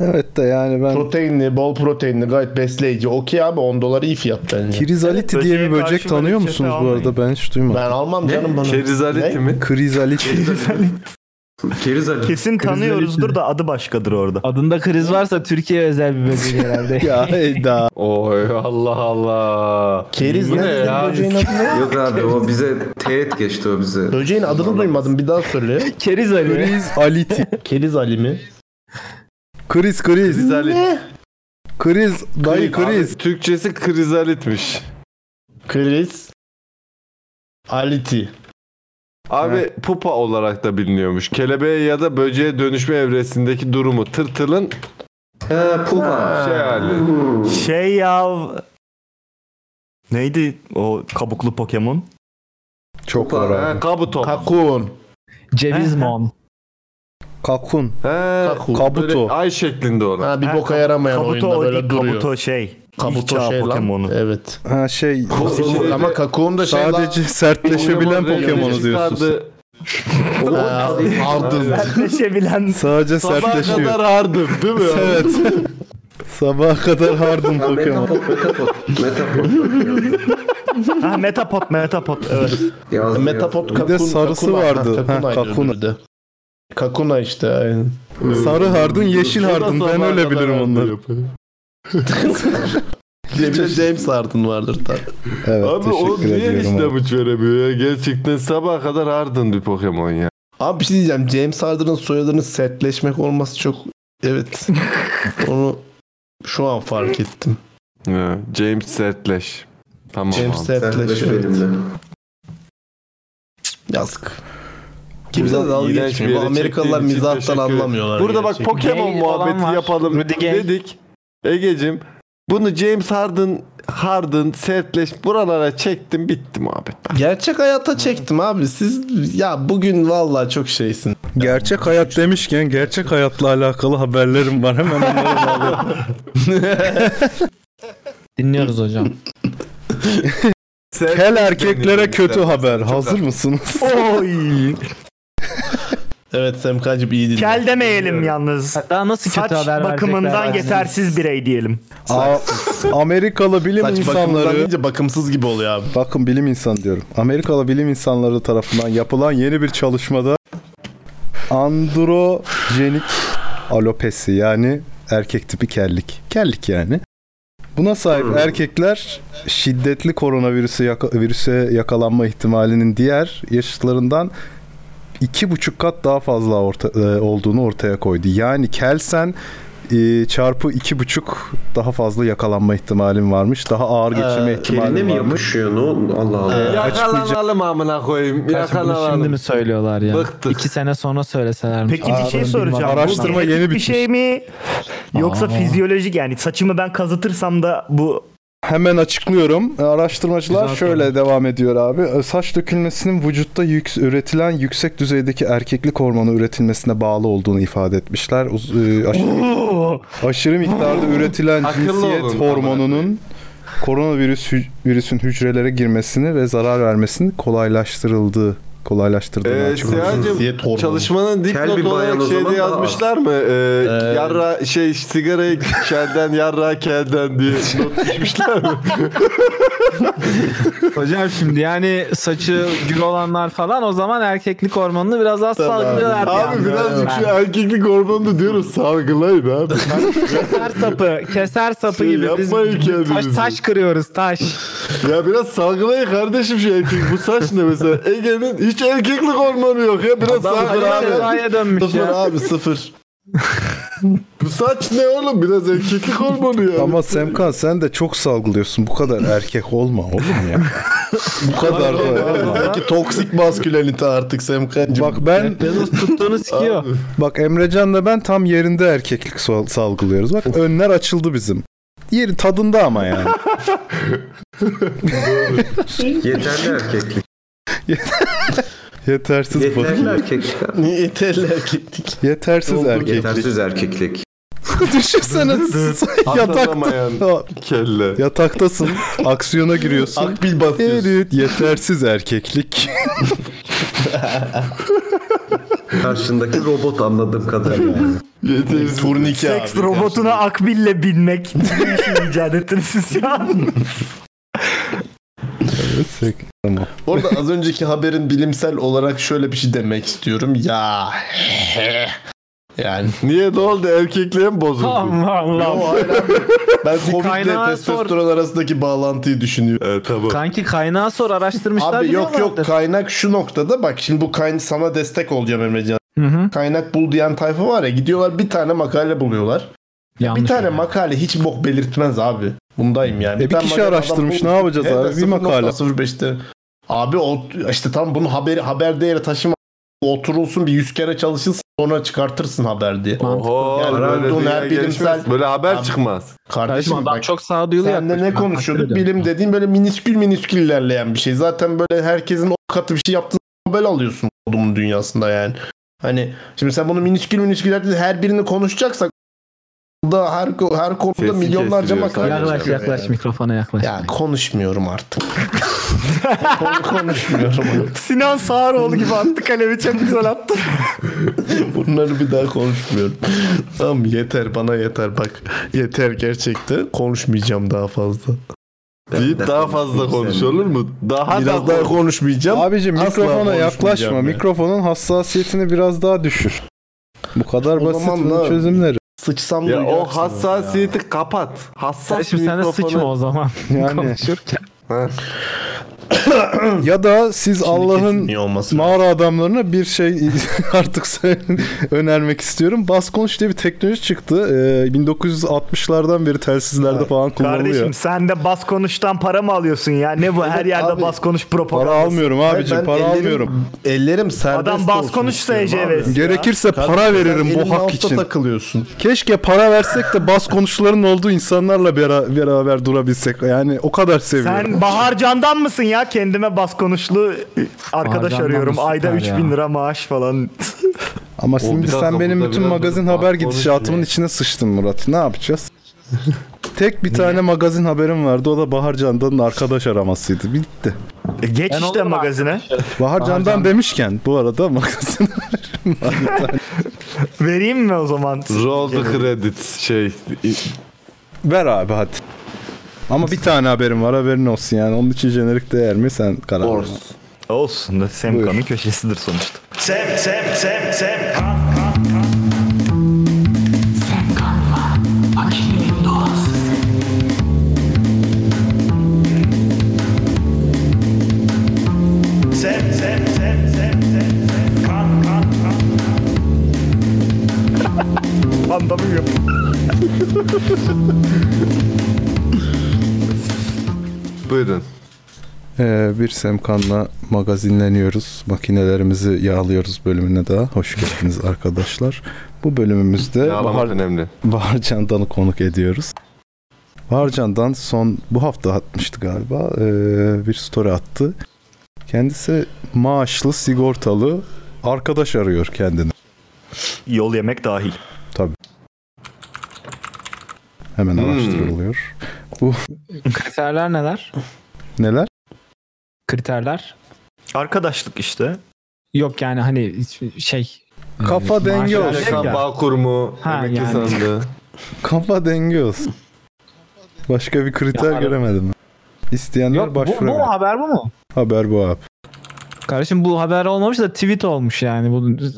Speaker 5: Evet de yani ben...
Speaker 10: Proteinli, bol proteinli, gayet besleyici. Okey abi 10 dolar iyi fiyat bence.
Speaker 5: Kirizaliti diye bir böcek tanıyor musunuz bu arada? Ben hiç duymadım.
Speaker 10: Ben almam canım bana.
Speaker 2: Kerizaliti mi?
Speaker 5: Krizaliti.
Speaker 6: Kerizaliti.
Speaker 9: Kesin tanıyoruzdur da adı başkadır orada.
Speaker 7: Adında kriz varsa Türkiye özel bir bölge herhalde.
Speaker 5: ya Eda.
Speaker 2: Oy Allah Allah.
Speaker 10: Keriz
Speaker 2: Bu ne
Speaker 10: nerede
Speaker 2: ya?
Speaker 10: böceğin adı ne?
Speaker 6: Yok abi o bize teğet geçti o bize.
Speaker 10: Böceğin adını duymadım bir daha söyle.
Speaker 7: Keriz Ali.
Speaker 5: Kriz Aliti.
Speaker 10: Keriz Ali mi?
Speaker 5: Kriz kriz.
Speaker 2: Krizalit.
Speaker 5: Kriz. Dayı kriz.
Speaker 2: Abi, Türkçesi krizalitmiş.
Speaker 10: Kriz. Aliti.
Speaker 2: Abi pupa olarak da biliniyormuş. Kelebeğe ya da böceğe dönüşme evresindeki durumu tırtılın
Speaker 6: He pupa.
Speaker 2: şey hali.
Speaker 9: Şey ya... Neydi o kabuklu Pokemon?
Speaker 5: Çok var abi.
Speaker 2: He, kabuto.
Speaker 10: Kakun.
Speaker 7: Cevizmon.
Speaker 5: Kakun.
Speaker 2: He,
Speaker 10: Kakun.
Speaker 5: Kabuto.
Speaker 2: Böyle ay şeklinde olan.
Speaker 10: Ha, bir
Speaker 9: Ha,
Speaker 10: boka
Speaker 9: kab-
Speaker 10: yaramayan
Speaker 9: Kabuto
Speaker 10: oyunda
Speaker 9: o
Speaker 10: böyle
Speaker 9: değil,
Speaker 10: duruyor.
Speaker 9: Kabuto şey.
Speaker 10: Kabuto
Speaker 9: Kabuto çağ
Speaker 10: şey lan.
Speaker 9: Pokemon'u.
Speaker 10: Evet.
Speaker 5: Ha şey.
Speaker 10: Ama Kakun da şey lan-
Speaker 5: Sadece sertleşebilen
Speaker 2: Pokemon
Speaker 5: Pokemon'u
Speaker 2: rengi
Speaker 5: diyorsun.
Speaker 2: çıkardı.
Speaker 10: Ha, Ardın.
Speaker 9: Sertleşebilen
Speaker 5: Sadece
Speaker 2: Sabaha kadar
Speaker 5: sertleşiyor.
Speaker 2: ardım değil mi?
Speaker 5: Evet. Sabaha kadar hardım Pokemon.
Speaker 6: Metapod, metapod. Metapod.
Speaker 9: ha, Metapod, Metapod. Evet.
Speaker 6: Yazdı,
Speaker 10: Metapod
Speaker 6: yazdı.
Speaker 10: Kakun.
Speaker 5: de sarısı
Speaker 10: Kakuna-
Speaker 5: vardı.
Speaker 10: Ha, Kakuna.
Speaker 5: Ha, Kakuna.
Speaker 10: öldürdü. Kakuna işte aynen.
Speaker 5: Sarı hardın, yeşil
Speaker 10: O da
Speaker 5: hardın. Ben
Speaker 10: sabaha
Speaker 5: öyle
Speaker 10: kadar
Speaker 5: bilirim
Speaker 10: ardı
Speaker 5: onları.
Speaker 10: yapıyor. Bir de James Harden vardır tabii.
Speaker 5: Evet,
Speaker 2: Abi o
Speaker 5: teşekkür
Speaker 2: niye hiç
Speaker 5: ediyorum. abi.
Speaker 2: damage veremiyor ya? Gerçekten sabaha kadar ardın bir Pokemon ya.
Speaker 10: Abi bir şey diyeceğim. James Harden'ın soyadının setleşmek olması çok... Evet. Onu şu an fark ettim.
Speaker 2: Ya, James Sertleş. Tamam
Speaker 10: James
Speaker 2: abi.
Speaker 10: setleş.
Speaker 6: Sertleş
Speaker 10: evet.
Speaker 6: benimle.
Speaker 10: Yazık. Kimse de
Speaker 2: Buradan
Speaker 10: dalga
Speaker 2: iğrenç bir
Speaker 10: geçmiyor. Bu
Speaker 2: yere
Speaker 10: Amerikalılar
Speaker 2: çektiğin için
Speaker 10: mizahtan
Speaker 2: teşekkür ederim.
Speaker 10: anlamıyorlar.
Speaker 2: Burada bak
Speaker 10: gerçekten.
Speaker 2: Pokemon
Speaker 7: Gay olan
Speaker 2: muhabbeti
Speaker 7: var.
Speaker 2: yapalım
Speaker 7: Rudy Gay.
Speaker 2: dedik. Egecim bunu James Harden Harden sertleş buralara çektim bitti muhabbet.
Speaker 10: Gerçek hayata çektim abi. Siz ya bugün vallahi çok şeysin.
Speaker 5: Gerçek hayat demişken gerçek hayatla alakalı haberlerim var. Hemen onları bağlayayım.
Speaker 7: Dinliyoruz hocam.
Speaker 5: Kel erkeklere kötü haber. Hazır mısınız?
Speaker 9: Oy.
Speaker 10: Evet Semkacım iyi dinle.
Speaker 9: Kel demeyelim yalnız.
Speaker 7: Daha nasıl
Speaker 9: Saç
Speaker 7: kötü haber
Speaker 9: bakımından yetersiz birey diyelim.
Speaker 5: A- Amerikalı bilim
Speaker 10: Saç bakımından
Speaker 5: insanları
Speaker 10: deyince bakımsız gibi oluyor abi.
Speaker 5: Bakın bilim insan diyorum. Amerikalı bilim insanları tarafından yapılan yeni bir çalışmada androjenik alopesi yani erkek tipi kellik. Kellik yani. Buna sahip erkekler şiddetli koronavirüse yaka- virüse yakalanma ihtimalinin diğer yaşıtlarından iki buçuk kat daha fazla orta- e, olduğunu ortaya koydu. Yani kelsen e, çarpı iki buçuk daha fazla yakalanma ihtimalin varmış. Daha ağır geçirme
Speaker 6: Keline
Speaker 5: ihtimalin
Speaker 6: mi
Speaker 5: varmış.
Speaker 6: yapışıyor? Ne? Allah Allah.
Speaker 2: Yakalanalım amına koyayım.
Speaker 7: Kaç bunu şimdi
Speaker 2: Yakalanalım. Ee,
Speaker 7: mi söylüyorlar ya?
Speaker 2: Bıktık.
Speaker 7: İki sene sonra söyleseler.
Speaker 9: Peki bir şey soracağım.
Speaker 5: araştırma
Speaker 9: Bu
Speaker 5: yeni
Speaker 9: genetik bir
Speaker 5: bitmiş.
Speaker 9: şey mi? Yoksa
Speaker 7: Aa.
Speaker 9: fizyolojik yani saçımı ben kazıtırsam da bu
Speaker 5: Hemen açıklıyorum. E, Araştırmacılar
Speaker 7: Güzel
Speaker 5: şöyle devam ediyor abi. E, Saç dökülmesinin vücutta yük- üretilen yüksek düzeydeki erkeklik hormonu üretilmesine bağlı olduğunu ifade etmişler. Uz- e, aşırı, aşırı miktarda üretilen
Speaker 2: Akıllı
Speaker 5: cinsiyet
Speaker 2: olun,
Speaker 5: hormonunun koronavirüs hü- virüsün hücrelere girmesini ve zarar vermesini kolaylaştırıldığı kolaylaştırdığını
Speaker 2: Ee,
Speaker 5: açıklamışsınız.
Speaker 2: Siyah'cığım çalışmanın dipnot olarak şeyde yazmışlar mı? Ee, Yarra şey sigarayı kelden yarra kelden diye not düşmüşler mi?
Speaker 7: Hocam şimdi yani saçı gür olanlar falan o zaman erkeklik hormonunu biraz daha salgılıyorlar.
Speaker 2: Abi birazcık şu erkeklik hormonunu diyoruz salgılayın abi.
Speaker 7: keser sapı, keser sapı
Speaker 2: Şey
Speaker 7: gibi biz
Speaker 2: yapmayın
Speaker 7: taş,
Speaker 2: kendinizi.
Speaker 7: taş kırıyoruz taş.
Speaker 2: ya biraz salgılayın kardeşim şu erkek bu saç ne mesela Ege'nin hiç erkeklik hormonu yok ya biraz
Speaker 12: Adam
Speaker 2: salgılayın.
Speaker 12: Ferrari'ye
Speaker 2: abi.
Speaker 12: dönmüş
Speaker 2: sıfır
Speaker 12: ya.
Speaker 2: abi sıfır. bu saç ne oğlum biraz erkeklik hormonu ya.
Speaker 5: Ama Semkan sen de çok salgılıyorsun. Bu kadar erkek olma oğlum ya.
Speaker 12: Bu kadar da. Peki toksik maskülenite artık Semkancığım.
Speaker 5: Bak ben
Speaker 7: tuttuğunu sikiyor.
Speaker 5: Bak Emrecan'la ben tam yerinde erkeklik sal- salgılıyoruz. Bak önler açıldı bizim. Yeri tadında ama yani.
Speaker 6: Yeterli erkeklik.
Speaker 5: Yetersiz
Speaker 6: Yeterli
Speaker 5: bakıyor.
Speaker 6: erkeklik.
Speaker 12: Niye yeterli erkeklik?
Speaker 5: Yetersiz erkeklik.
Speaker 6: Yetersiz erkeklik.
Speaker 5: Düşünsene s- yatakta.
Speaker 2: Kelle.
Speaker 5: Yataktasın. Aksiyona giriyorsun.
Speaker 12: Akbil
Speaker 5: basıyorsun. Evet, yetersiz erkeklik.
Speaker 6: Karşındaki robot anladığım kadarıyla.
Speaker 12: Turnike
Speaker 9: Seks robotuna akbille binmek. Ne işin icat ettiniz siz ya?
Speaker 5: Tamam.
Speaker 12: Orada az önceki haberin bilimsel olarak şöyle bir şey demek istiyorum. Ya he. yani
Speaker 2: Niye ne oldu erkekliğe mi bozuldu?
Speaker 7: Allah Allah.
Speaker 12: Yo, hayır abi. ben Covid ile
Speaker 7: kaynağa sor.
Speaker 12: testosteron arasındaki bağlantıyı düşünüyorum.
Speaker 2: Evet tamam.
Speaker 7: Kanki kaynağı sor araştırmışlar.
Speaker 12: Abi yok yok
Speaker 7: biliyorlardır.
Speaker 12: kaynak şu noktada bak şimdi bu kayn sana destek olacağım Emrecan. Kaynak bul diyen tayfa var ya gidiyorlar bir tane makale buluyorlar. Ya
Speaker 7: Yanlış
Speaker 12: bir tane makale hiç bok belirtmez abi. Bundayım yani.
Speaker 5: E bir
Speaker 12: tane
Speaker 5: kişi
Speaker 12: makale adam
Speaker 5: araştırmış,
Speaker 12: bul-
Speaker 5: ne yapacağız abi? Bir makale.
Speaker 12: 0.05'te. Abi o işte tam bunu haberi haber değeri taşıma oturulsun bir yüz kere çalışılsın sonra çıkartırsın haber diye.
Speaker 2: Oho,
Speaker 12: Yani
Speaker 2: böyle
Speaker 12: bulduğun
Speaker 2: dünya
Speaker 12: her bilimsel
Speaker 2: gelişmez. Böyle haber
Speaker 12: Abi,
Speaker 2: çıkmaz.
Speaker 12: Kardeşim
Speaker 7: Adam
Speaker 12: bak,
Speaker 7: çok sağduyulu
Speaker 12: Sen de ne
Speaker 7: yaklaşıyor.
Speaker 12: konuşuyorduk?
Speaker 7: Hakikaten.
Speaker 12: Bilim dediğin böyle miniskül miniskül ilerleyen bir şey. Zaten böyle herkesin o katı bir şey yaptığı Nobel alıyorsun kodumun dünyasında yani. Hani şimdi sen bunu miniskül miniskül ilerledin, her birini konuşacaksak da her, ko- her konuda
Speaker 2: Sesi
Speaker 12: milyonlarca
Speaker 2: kesiliyor
Speaker 12: makale
Speaker 2: sadece.
Speaker 7: Yaklaş
Speaker 12: çıkıyor
Speaker 7: yaklaş
Speaker 12: yani.
Speaker 7: mikrofona yaklaş.
Speaker 12: Ya konuşmuyorum artık. Kon- konuşmuyorum artık.
Speaker 9: Sinan Sağaroğlu gibi attı kalemi çok güzel attı.
Speaker 12: Bunları bir daha konuşmuyorum. tamam yeter bana yeter bak. Yeter gerçekten. Konuşmayacağım daha fazla.
Speaker 2: Deyip daha fazla konuş olur mu? Daha
Speaker 12: Biraz daha konuşmayacağım.
Speaker 5: Abicim
Speaker 12: Asla
Speaker 5: mikrofona
Speaker 12: konuşmayacağım
Speaker 5: yaklaşma.
Speaker 12: yani.
Speaker 5: Mikrofonun hassasiyetini biraz daha düşür. Bu kadar
Speaker 12: O
Speaker 5: basit
Speaker 12: zaman
Speaker 5: bunun
Speaker 12: ne-
Speaker 5: çözümleri.
Speaker 12: Sıçsam
Speaker 2: Ya o
Speaker 12: duyacaksınız
Speaker 2: hassasiyeti kapat.
Speaker 7: Ya
Speaker 2: Hassas
Speaker 7: Şimdi sen de
Speaker 2: mikrofonu-
Speaker 7: sıçma o zaman.
Speaker 5: Yani.
Speaker 7: Konuşurken.
Speaker 5: Ya da siz Allah'ın
Speaker 12: kesinliği olması
Speaker 5: mağara adamlarına bir şey artık söyleyin- önermek istiyorum. Baskonç diye bir teknoloji çıktı. Ee, 1960'lardan beri telsizlerde falan kullanılıyor.
Speaker 9: Kardeşim sen de bas konuştan para mı alıyorsun ya? Ne bu her yerde
Speaker 12: abi.
Speaker 9: bas konuş
Speaker 5: para
Speaker 9: propaganda.
Speaker 5: almıyorum abicim,
Speaker 12: Ben
Speaker 5: para
Speaker 12: ellerim-
Speaker 5: almıyorum.
Speaker 12: Ellerim serbest
Speaker 9: Adam bas
Speaker 12: olsun
Speaker 9: konuş
Speaker 12: istiyorum abi.
Speaker 9: SCV'si.
Speaker 5: Gerekirse para
Speaker 12: Sen
Speaker 5: veririm
Speaker 12: elin
Speaker 5: bu hak
Speaker 12: mouse'ta
Speaker 5: için.
Speaker 12: takılıyorsun.
Speaker 5: Keşke para versek de bas konuşların olduğu insanlarla bera- beraber durabilsek. Yani o kadar seviyorum.
Speaker 9: Sen Baharcan'dan mısın ya? Kendime bas konuşlu arkadaş
Speaker 7: Baharcan'dan
Speaker 9: arıyorum.
Speaker 7: mı
Speaker 9: Ayda
Speaker 7: süper
Speaker 9: 3000
Speaker 7: ya?
Speaker 9: lira maaş falan.
Speaker 5: Ama
Speaker 2: bir
Speaker 5: şimdi
Speaker 2: dakika,
Speaker 5: sen benim
Speaker 2: burada
Speaker 5: bütün
Speaker 2: biraz
Speaker 5: magazin
Speaker 2: durup
Speaker 5: haber
Speaker 2: bas konuş
Speaker 5: gidişatımın
Speaker 2: ne?
Speaker 5: içine sıçtın Murat. Ne yapacağız? Tek bir tane magazin haberim vardı. O da Bahar Candan'ın arkadaş aramasıydı. Bitti.
Speaker 9: E, Geç
Speaker 7: Ben
Speaker 9: işte
Speaker 7: olurum
Speaker 9: magazine.
Speaker 5: Bahar Candan
Speaker 7: Candan.
Speaker 5: demişken bu arada magazin
Speaker 9: Vereyim mi o zaman?
Speaker 2: Roll the credits şey.
Speaker 5: ver abi hadi. Ama bir tane haberim var haberin olsun yani. Onun için jenerik değer mi sen karar ver.
Speaker 9: Olsun da Semkan'ın köşesidir sonuçta.
Speaker 3: Sem sem sem sem Sem sem sem sem sem sem kan kan kan
Speaker 9: Pandamı yap.
Speaker 2: Buyurun.
Speaker 5: Ee, bir Semkan'la magazinleniyoruz. Makinelerimizi yağlıyoruz bölümüne daha. Hoş geldiniz arkadaşlar. Bu bölümümüzde
Speaker 2: Yağlamak
Speaker 5: Bahar,
Speaker 2: önemli.
Speaker 5: Bahar Candan'ı konuk ediyoruz. Bahar Candan son bu hafta atmıştı galiba. Ee, bir story attı. Kendisi maaşlı sigortalı arkadaş arıyor kendini.
Speaker 9: Yol yemek dahil.
Speaker 5: Tabii. Hemen araştırılıyor. Bu
Speaker 7: Kriterler neler?
Speaker 5: neler?
Speaker 7: Kriterler.
Speaker 9: Arkadaşlık işte.
Speaker 7: Yok yani hani hiç- şey.
Speaker 5: Kafa
Speaker 7: Maaş
Speaker 5: dengi
Speaker 7: alakalı-
Speaker 5: olsun.
Speaker 7: Ya.
Speaker 2: Bağkur mu?
Speaker 7: Ha,
Speaker 2: emekli
Speaker 7: yani.
Speaker 2: sandığı.
Speaker 5: Kafa denge olsun. Başka bir kriter
Speaker 7: Ya, ara-
Speaker 5: göremedim. İsteyenler
Speaker 7: Bu, bu
Speaker 5: başvurabilir.
Speaker 7: mu haber bu mu?
Speaker 5: Haber bu abi.
Speaker 7: Kardeşim bu haber olmamış da tweet olmuş yani. Bu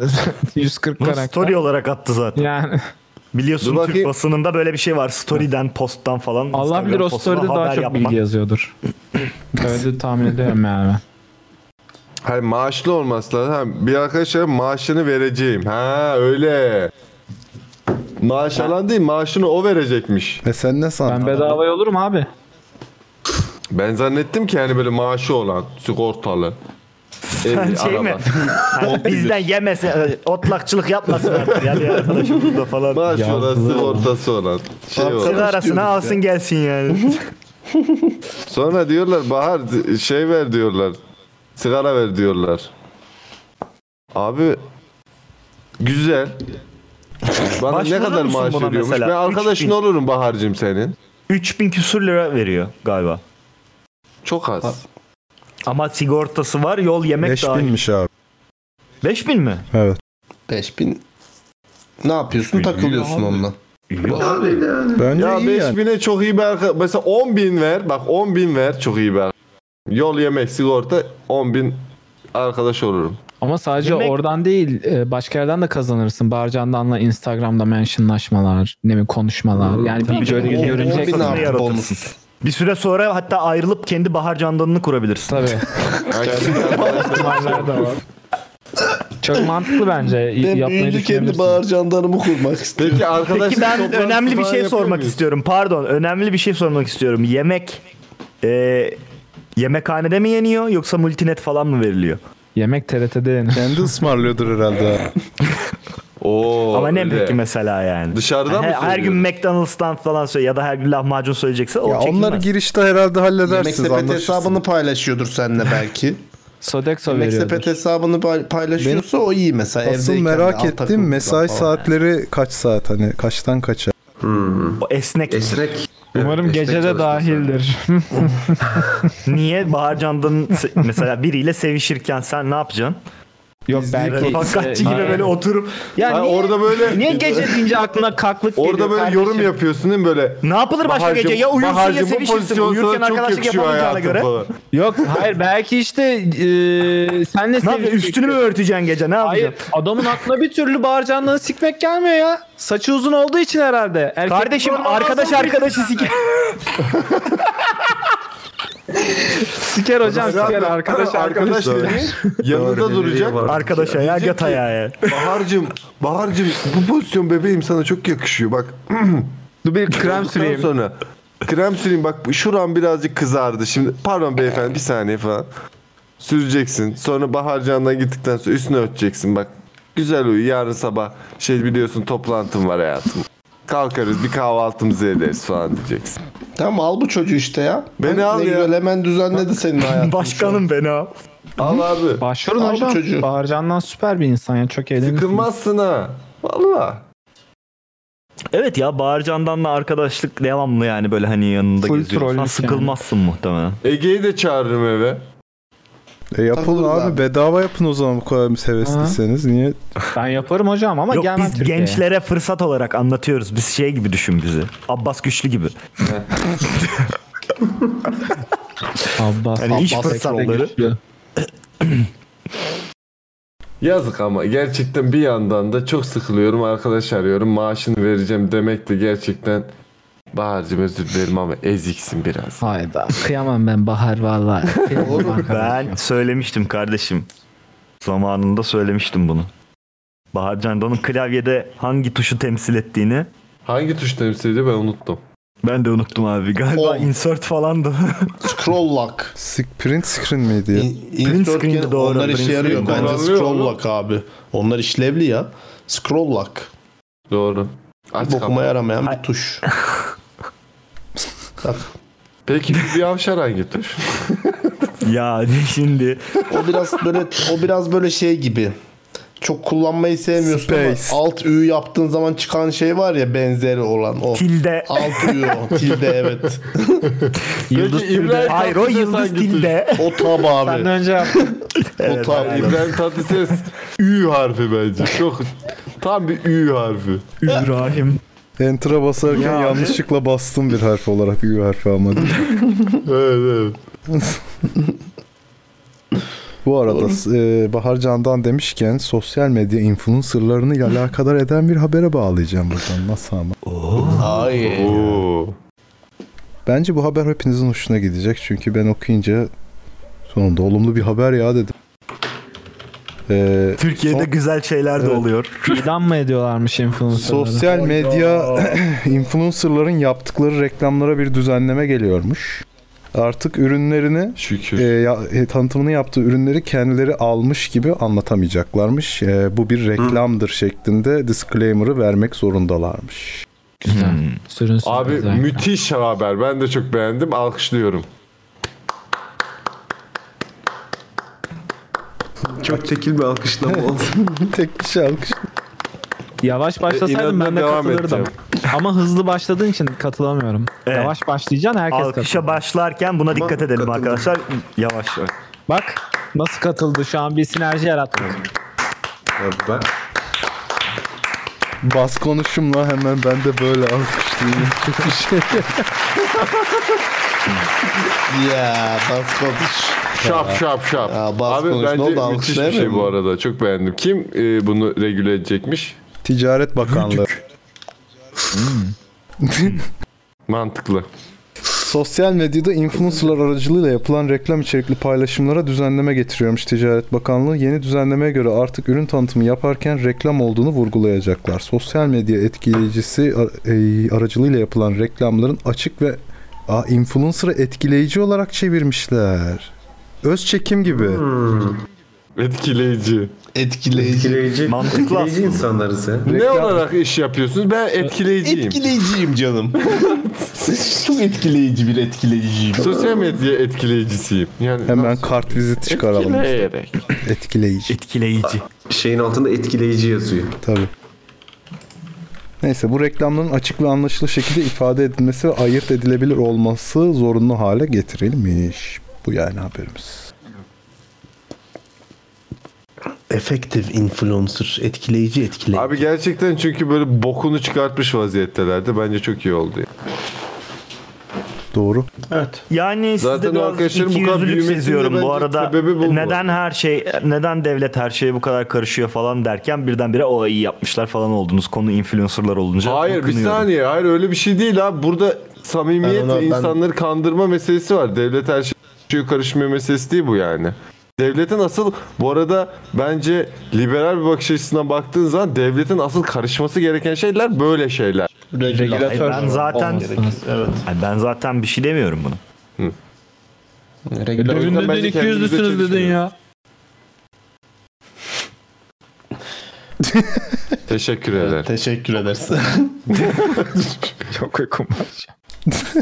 Speaker 7: 140
Speaker 9: Bunu
Speaker 7: karakter.
Speaker 9: story olarak attı zaten.
Speaker 7: Yani.
Speaker 9: Biliyorsun
Speaker 7: Dur
Speaker 9: Türk
Speaker 7: bakayım.
Speaker 9: basınında böyle bir şey var. Story'den, posttan falan.
Speaker 7: Allah
Speaker 9: Instagram
Speaker 7: bilir o
Speaker 9: postuna
Speaker 7: story'de daha
Speaker 9: haber
Speaker 7: çok
Speaker 9: yapmak.
Speaker 7: bilgi yazıyordur. Öyle tahmin ediyorum yani ben.
Speaker 2: Hayır maaşlı olması lazım. Ha, bir arkadaşa maaşını vereceğim. Ha öyle. Maaş alan değil maaşını o verecekmiş.
Speaker 5: E sen ne
Speaker 7: Ben
Speaker 5: sandın?
Speaker 7: bedavaya olurum abi.
Speaker 2: Ben zannettim ki hani böyle maaşı olan sigortalı.
Speaker 9: Sen şey mi? Yani bizden yemese, e, otlakçılık yapmasın artık. Yani arkadaşım burada falan.
Speaker 2: Maaşı olan sigortası olan. Şey olan.
Speaker 9: Sigarasını alsın gelsin yani.
Speaker 2: Sonra diyorlar Bahar şey ver diyorlar. Sigara ver diyorlar. Abi güzel. Bana ne
Speaker 9: Başvurur
Speaker 2: kadar
Speaker 9: musun
Speaker 2: maaş
Speaker 9: buna
Speaker 2: veriyormuş?
Speaker 9: mesela?
Speaker 2: Ben arkadaşın
Speaker 9: 3000.
Speaker 2: olurum Bahar'cığım senin.
Speaker 9: 3000 küsur lira veriyor galiba.
Speaker 2: Çok az.
Speaker 9: Ama sigortası var, yol yemek dahil.
Speaker 5: 5000'miş abi.
Speaker 9: 5000 mi?
Speaker 5: Evet.
Speaker 12: 5000 ne yapıyorsun? Takılıyorsun onunla.
Speaker 5: Bence
Speaker 2: ya 5000'e çok iyi bir arka... Mesela 10 bin ver. Bak 10 bin ver çok iyi bir arka- Yol yemek sigorta 10 bin arkadaş olurum.
Speaker 7: Ama sadece oradan değil e, başka yerden de kazanırsın. Barcandanla Instagram'da mentionlaşmalar, ne bileyim konuşmalar. Yani bir göre görünecek.
Speaker 9: Bir süre sonra hatta ayrılıp kendi bahar candanını kurabilirsin.
Speaker 7: Tabii. Ihtimaller de var. Çok mantıklı bence.
Speaker 10: Ben
Speaker 7: y- Yapmayı
Speaker 10: büyüyünce kendi
Speaker 7: düşünebilirsin.
Speaker 10: bağır candanımı kurmak istiyorum.
Speaker 2: Peki
Speaker 9: Peki ben önemli bir şey sormak istiyorum. Pardon, önemli bir şey sormak istiyorum. Yemek e, yemekhanede mi yeniyor yoksa multinet falan mı veriliyor?
Speaker 7: Yemek TRT'de yenir.
Speaker 5: Kendi ısmarlıyordur herhalde.
Speaker 2: Oo,
Speaker 9: Ama ne
Speaker 2: öyle.
Speaker 9: peki mesela yani?
Speaker 2: Dışarıdan
Speaker 9: Yani
Speaker 2: mı
Speaker 9: her, her gün
Speaker 2: söylüyorsun?
Speaker 9: McDonald's'tan falan söyle ya da her gün lahmacun söyleyecekse o
Speaker 5: Ya
Speaker 9: çekilmez.
Speaker 5: onları girişte herhalde
Speaker 12: Yemek
Speaker 5: halledersiniz.
Speaker 12: sepeti
Speaker 5: anlaşırsınız.
Speaker 12: hesabını paylaşıyordur seninle belki.
Speaker 7: Sodexo
Speaker 12: Yemek
Speaker 5: veriyordur.
Speaker 12: sepeti hesabını pay- paylaşıyorsa o iyi mesela.
Speaker 5: Asıl
Speaker 12: evdeyken de
Speaker 5: merak
Speaker 12: alt
Speaker 5: ettim
Speaker 12: takımlar
Speaker 5: mesai
Speaker 12: falan.
Speaker 5: saatleri kaç saat hani kaçtan kaça?
Speaker 9: O esnek.
Speaker 6: Esnek.
Speaker 7: Umarım gecede dahildir.
Speaker 9: Niye Bahar Candan'ın se- mesela biriyle sevişirken sen ne yapacaksın?
Speaker 7: Yok
Speaker 9: Belki Fakatçı gibi böyle oturup
Speaker 7: Ya
Speaker 2: Ha,
Speaker 7: niye,
Speaker 2: orada böyle-
Speaker 7: niye gece deyince aklına kaklık geliyor
Speaker 2: Orada böyle
Speaker 7: kardeşim?
Speaker 2: yorum yapıyorsun değil mi böyle?
Speaker 9: ne yapılır başka
Speaker 2: Bahar'cığım-
Speaker 9: gece? Ya uyursun
Speaker 2: Bahar'cığım
Speaker 9: ya
Speaker 2: bu
Speaker 9: sevişirsin.
Speaker 2: pozisyon sana
Speaker 9: Uyurken
Speaker 2: çok
Speaker 9: arkadaşlık
Speaker 2: yakışıyor
Speaker 9: yapamayacağına
Speaker 2: hayatım
Speaker 9: göre.
Speaker 2: falan.
Speaker 7: Yok hayır belki işte e, senle
Speaker 9: Ne yapacaksın?
Speaker 7: sevişecek.
Speaker 9: Üstünü mü örteceksin gece? Ne
Speaker 7: Hayır
Speaker 9: yapacaksın?
Speaker 7: adamın aklına bir türlü bağırcanlığını sikmek gelmiyor ya. Saçı uzun olduğu için herhalde. Erkek
Speaker 9: Kardeşim arkadaş arkadaşı siker.
Speaker 7: Siker hocam siker arkadaş arkadaş.
Speaker 2: Arkadaş dediğin yanında duracak.
Speaker 9: Arkadaşa ya
Speaker 2: Diyecek
Speaker 9: göt
Speaker 2: ki,
Speaker 9: ayağı ya.
Speaker 2: Bahar'cığım, Bahar'cığım bu pozisyon bebeğim sana çok yakışıyor bak.
Speaker 7: Dur bir krem süreyim.
Speaker 2: Ondan sonra krem süreyim bak şuram birazcık kızardı. Şimdi pardon beyefendi bir saniye falan. Süreceksin. Sonra bahar canına gittikten sonra üstünü örteceksin bak. Güzel uyu yarın sabah şey biliyorsun toplantım var hayatım. Kalkarız bir kahvaltımızı ederiz falan diyeceksin.
Speaker 12: Tamam al bu çocuğu işte ya.
Speaker 2: Beni
Speaker 12: Ne
Speaker 2: al ya.
Speaker 12: güzel hemen düzenledi senin hayatını.
Speaker 9: Başkanım beni al.
Speaker 2: Al abi.
Speaker 7: Başvurun
Speaker 12: Al bu
Speaker 7: hocam.
Speaker 12: çocuğu.
Speaker 7: Bağırcandan süper bir insan ya çok eğlenceli.
Speaker 2: Sıkılmazsın ha. Valla.
Speaker 9: Evet ya Bağırcandan'la arkadaşlık devamlı yani böyle hani yanında
Speaker 7: Full
Speaker 9: geziyorsan
Speaker 7: trollmüş
Speaker 9: sıkılmazsın muhtemelen.
Speaker 2: Ege'yi de çağırırım eve.
Speaker 5: E yapın
Speaker 12: Takılırız
Speaker 5: abi,
Speaker 12: abi.
Speaker 5: bedava yapın o zaman bu kadar hevesliyseniz. Niye?
Speaker 7: Ben yaparım hocam ama
Speaker 9: Yok
Speaker 7: gelmem
Speaker 9: biz
Speaker 7: Türkiye'ye.
Speaker 9: gençlere fırsat olarak anlatıyoruz. Biz şey gibi düşün bizi. Abbas Güçlü gibi.
Speaker 7: Abbas,
Speaker 9: Hani iş fırsatları.
Speaker 2: Yazık ama gerçekten bir yandan da çok sıkılıyorum arkadaş arıyorum maaşını vereceğim demek de gerçekten Bahar'cığım özür dilerim ama eziksin biraz.
Speaker 7: Hayda kıyamam ben Bahar valla.
Speaker 9: Ben söylemiştim kardeşim. Zamanında söylemiştim bunu. Bahar Candan'ın klavyede hangi tuşu temsil ettiğini
Speaker 2: Hangi tuş temsil ediyor ben unuttum.
Speaker 9: ben de unuttum abi. Galiba
Speaker 12: On.
Speaker 9: insert falan da.
Speaker 12: Scroll lock.
Speaker 5: Sik- Print screen miydi ya?
Speaker 12: Print
Speaker 9: screen'de doğru,
Speaker 12: Onlar
Speaker 9: print
Speaker 12: işe yarıyor.
Speaker 9: screen
Speaker 12: Bence
Speaker 2: kullanılıyor
Speaker 12: scroll
Speaker 2: mu?
Speaker 12: lock abi. Onlar işlevli ya. Scroll lock.
Speaker 2: Doğru. Aç
Speaker 12: Bokuma
Speaker 2: kapı.
Speaker 12: yaramayan bir tuş. Bak.
Speaker 2: Peki bir avşar hangi tuş?
Speaker 9: ya şimdi
Speaker 12: O biraz böyle o biraz böyle şey gibi. çok kullanmayı sevmiyorsun
Speaker 10: Space.
Speaker 12: ama alt ü yaptığın zaman çıkan şey var ya benzeri olan o.
Speaker 9: Tilde.
Speaker 12: Alt ü o. Tilde evet.
Speaker 9: Yıldız Peki, İbrahim tilde. Hayır, o Tatlıses'e yıldız sen götür. tilde.
Speaker 12: O tab abi.
Speaker 7: Sen de önce
Speaker 12: o tab.
Speaker 2: İbrahim Tatlıses Ü harfi bence. Çok tam bir Ü harfi.
Speaker 9: İbrahim.
Speaker 5: Enter'a basarken
Speaker 2: Ya.
Speaker 5: yanlışlıkla bastım bir harf olarak Ü harfi ama.
Speaker 2: evet
Speaker 5: evet. Bu arada e, Bahar Can'dan demişken sosyal medya influencerlarını ile alakadar eden bir habere bağlayacağım buradan. Nasıl ama?
Speaker 12: Ay.
Speaker 5: Bence bu haber hepinizin hoşuna gidecek. Çünkü ben okuyunca sonunda olumlu bir haber ya dedim. Ee,
Speaker 9: Türkiye'de
Speaker 5: son-
Speaker 9: güzel şeyler de
Speaker 5: Evet.
Speaker 9: oluyor.
Speaker 7: İdam mı ediyorlarmış influencerları?
Speaker 5: Sosyal medya influencerların yaptıkları reklamlara bir düzenleme geliyormuş. Artık ürünlerini e, ya- e, tanıtımını yaptığı ürünleri kendileri almış gibi anlatamayacaklarmış. E, bu bir reklamdır şeklinde disclaimer'ı vermek zorundalarmış.
Speaker 7: Güzel.
Speaker 2: Abi müthiş haber. Ben de çok beğendim. Alkışlıyorum.
Speaker 6: Çok tekil bir alkışlama oldu.
Speaker 5: Tek kişi alkış.
Speaker 7: Yavaş başlasaydım
Speaker 6: inadına
Speaker 7: ben de
Speaker 6: devam
Speaker 7: katılırdım. Ama hızlı başladığın için katılamıyorum.
Speaker 9: Evet.
Speaker 7: Yavaş başlayacaksın herkes
Speaker 9: Alkışa
Speaker 7: katılır.
Speaker 9: başlarken buna dikkat edelim arkadaşlar. Yavaş.
Speaker 7: Bak nasıl katıldı şu an bir sinerji yaratmıyor.
Speaker 5: Bas konuşumla hemen ben de böyle alkışlayayım. Çok bir şey.
Speaker 12: Ya bas konuş.
Speaker 2: Şap şap şap.
Speaker 12: Ya, bas
Speaker 2: Abi
Speaker 12: konuş. ne
Speaker 2: bence
Speaker 12: oldu
Speaker 2: müthiş bir
Speaker 12: alkışlayamıyor
Speaker 2: şey bu
Speaker 12: musun?
Speaker 2: arada. Çok beğendim. Kim e, bunu regüle edecekmiş?
Speaker 5: Ticaret Bakanlığı.
Speaker 12: Hmm.
Speaker 5: Hmm.
Speaker 2: Mantıklı.
Speaker 5: Sosyal medyada influencerlar aracılığıyla yapılan reklam içerikli paylaşımlara düzenleme getiriyormuş Ticaret Bakanlığı. Yeni düzenlemeye göre artık ürün tanıtımı yaparken reklam olduğunu vurgulayacaklar. Sosyal medya etkileyicisi ar- e, aracılığıyla yapılan reklamların açık ve Aa, influencer'ı etkileyici olarak çevirmişler. Öz çekim gibi.
Speaker 2: Etkileyici.
Speaker 12: Etkileyici.
Speaker 6: Etkileyici.
Speaker 9: Mantıklı
Speaker 6: Etkileyici insanlarız ya.
Speaker 2: Ne olarak iş yapıyorsunuz? Ben etkileyiciyim.
Speaker 12: Etkileyiciyim canım. Çok etkileyici bir etkileyiciyim.
Speaker 2: Sosyal medya etkileyicisiyim. Yani
Speaker 5: Hemen kart vizit çıkaralım.
Speaker 2: Etkileyerek.
Speaker 5: Etkileyici.
Speaker 9: Etkileyici.
Speaker 6: Şeyin altında etkileyici yazıyor.
Speaker 5: Tabii. Neyse bu reklamların açık ve anlaşılır şekilde ifade edilmesi ve ayırt edilebilir olması zorunlu hale getirilmiş. Bu yani haberimiz.
Speaker 12: Effective influencer. Etkileyici etkileyici.
Speaker 2: Abi gerçekten çünkü böyle bokunu çıkartmış vaziyettelerdi. Bence çok iyi oldu.
Speaker 5: Doğru.
Speaker 12: Evet.
Speaker 9: Yani
Speaker 2: Zaten
Speaker 9: sizde biraz
Speaker 2: arkadaşlarım bu kadar
Speaker 9: ikiyüzlülük
Speaker 2: büyümesinin de
Speaker 9: seziyorum
Speaker 2: bence
Speaker 9: bu arada.
Speaker 2: sebebi bu.
Speaker 9: Neden her şey, neden devlet her şeye bu kadar karışıyor falan derken birdenbire o iyi yapmışlar falan oldunuz. Konu influencerlar olunca.
Speaker 2: Hayır bir
Speaker 9: kınıyorum.
Speaker 2: saniye. Hayır öyle bir şey değil abi. Burada samimiyet
Speaker 9: Ben ona-
Speaker 2: ve
Speaker 9: ben-
Speaker 2: insanları kandırma meselesi var. Devlet her şeye karışmıyor meselesi değil bu yani. Devletin asıl bu arada bence liberal bir bakış açısından baktığın zaman devletin asıl karışması gereken şeyler böyle
Speaker 9: E,
Speaker 2: şeyler.
Speaker 9: Ay, ben zaten evet. Ay, ben zaten bir şey demiyorum bunu.
Speaker 2: O yüzden
Speaker 7: Dün
Speaker 2: bence
Speaker 7: dedin
Speaker 2: kendimize
Speaker 7: 200'lüsünüz dedin ya.
Speaker 2: Teşekkür ederim.
Speaker 12: Teşekkür edersin.
Speaker 7: Çok uykum var.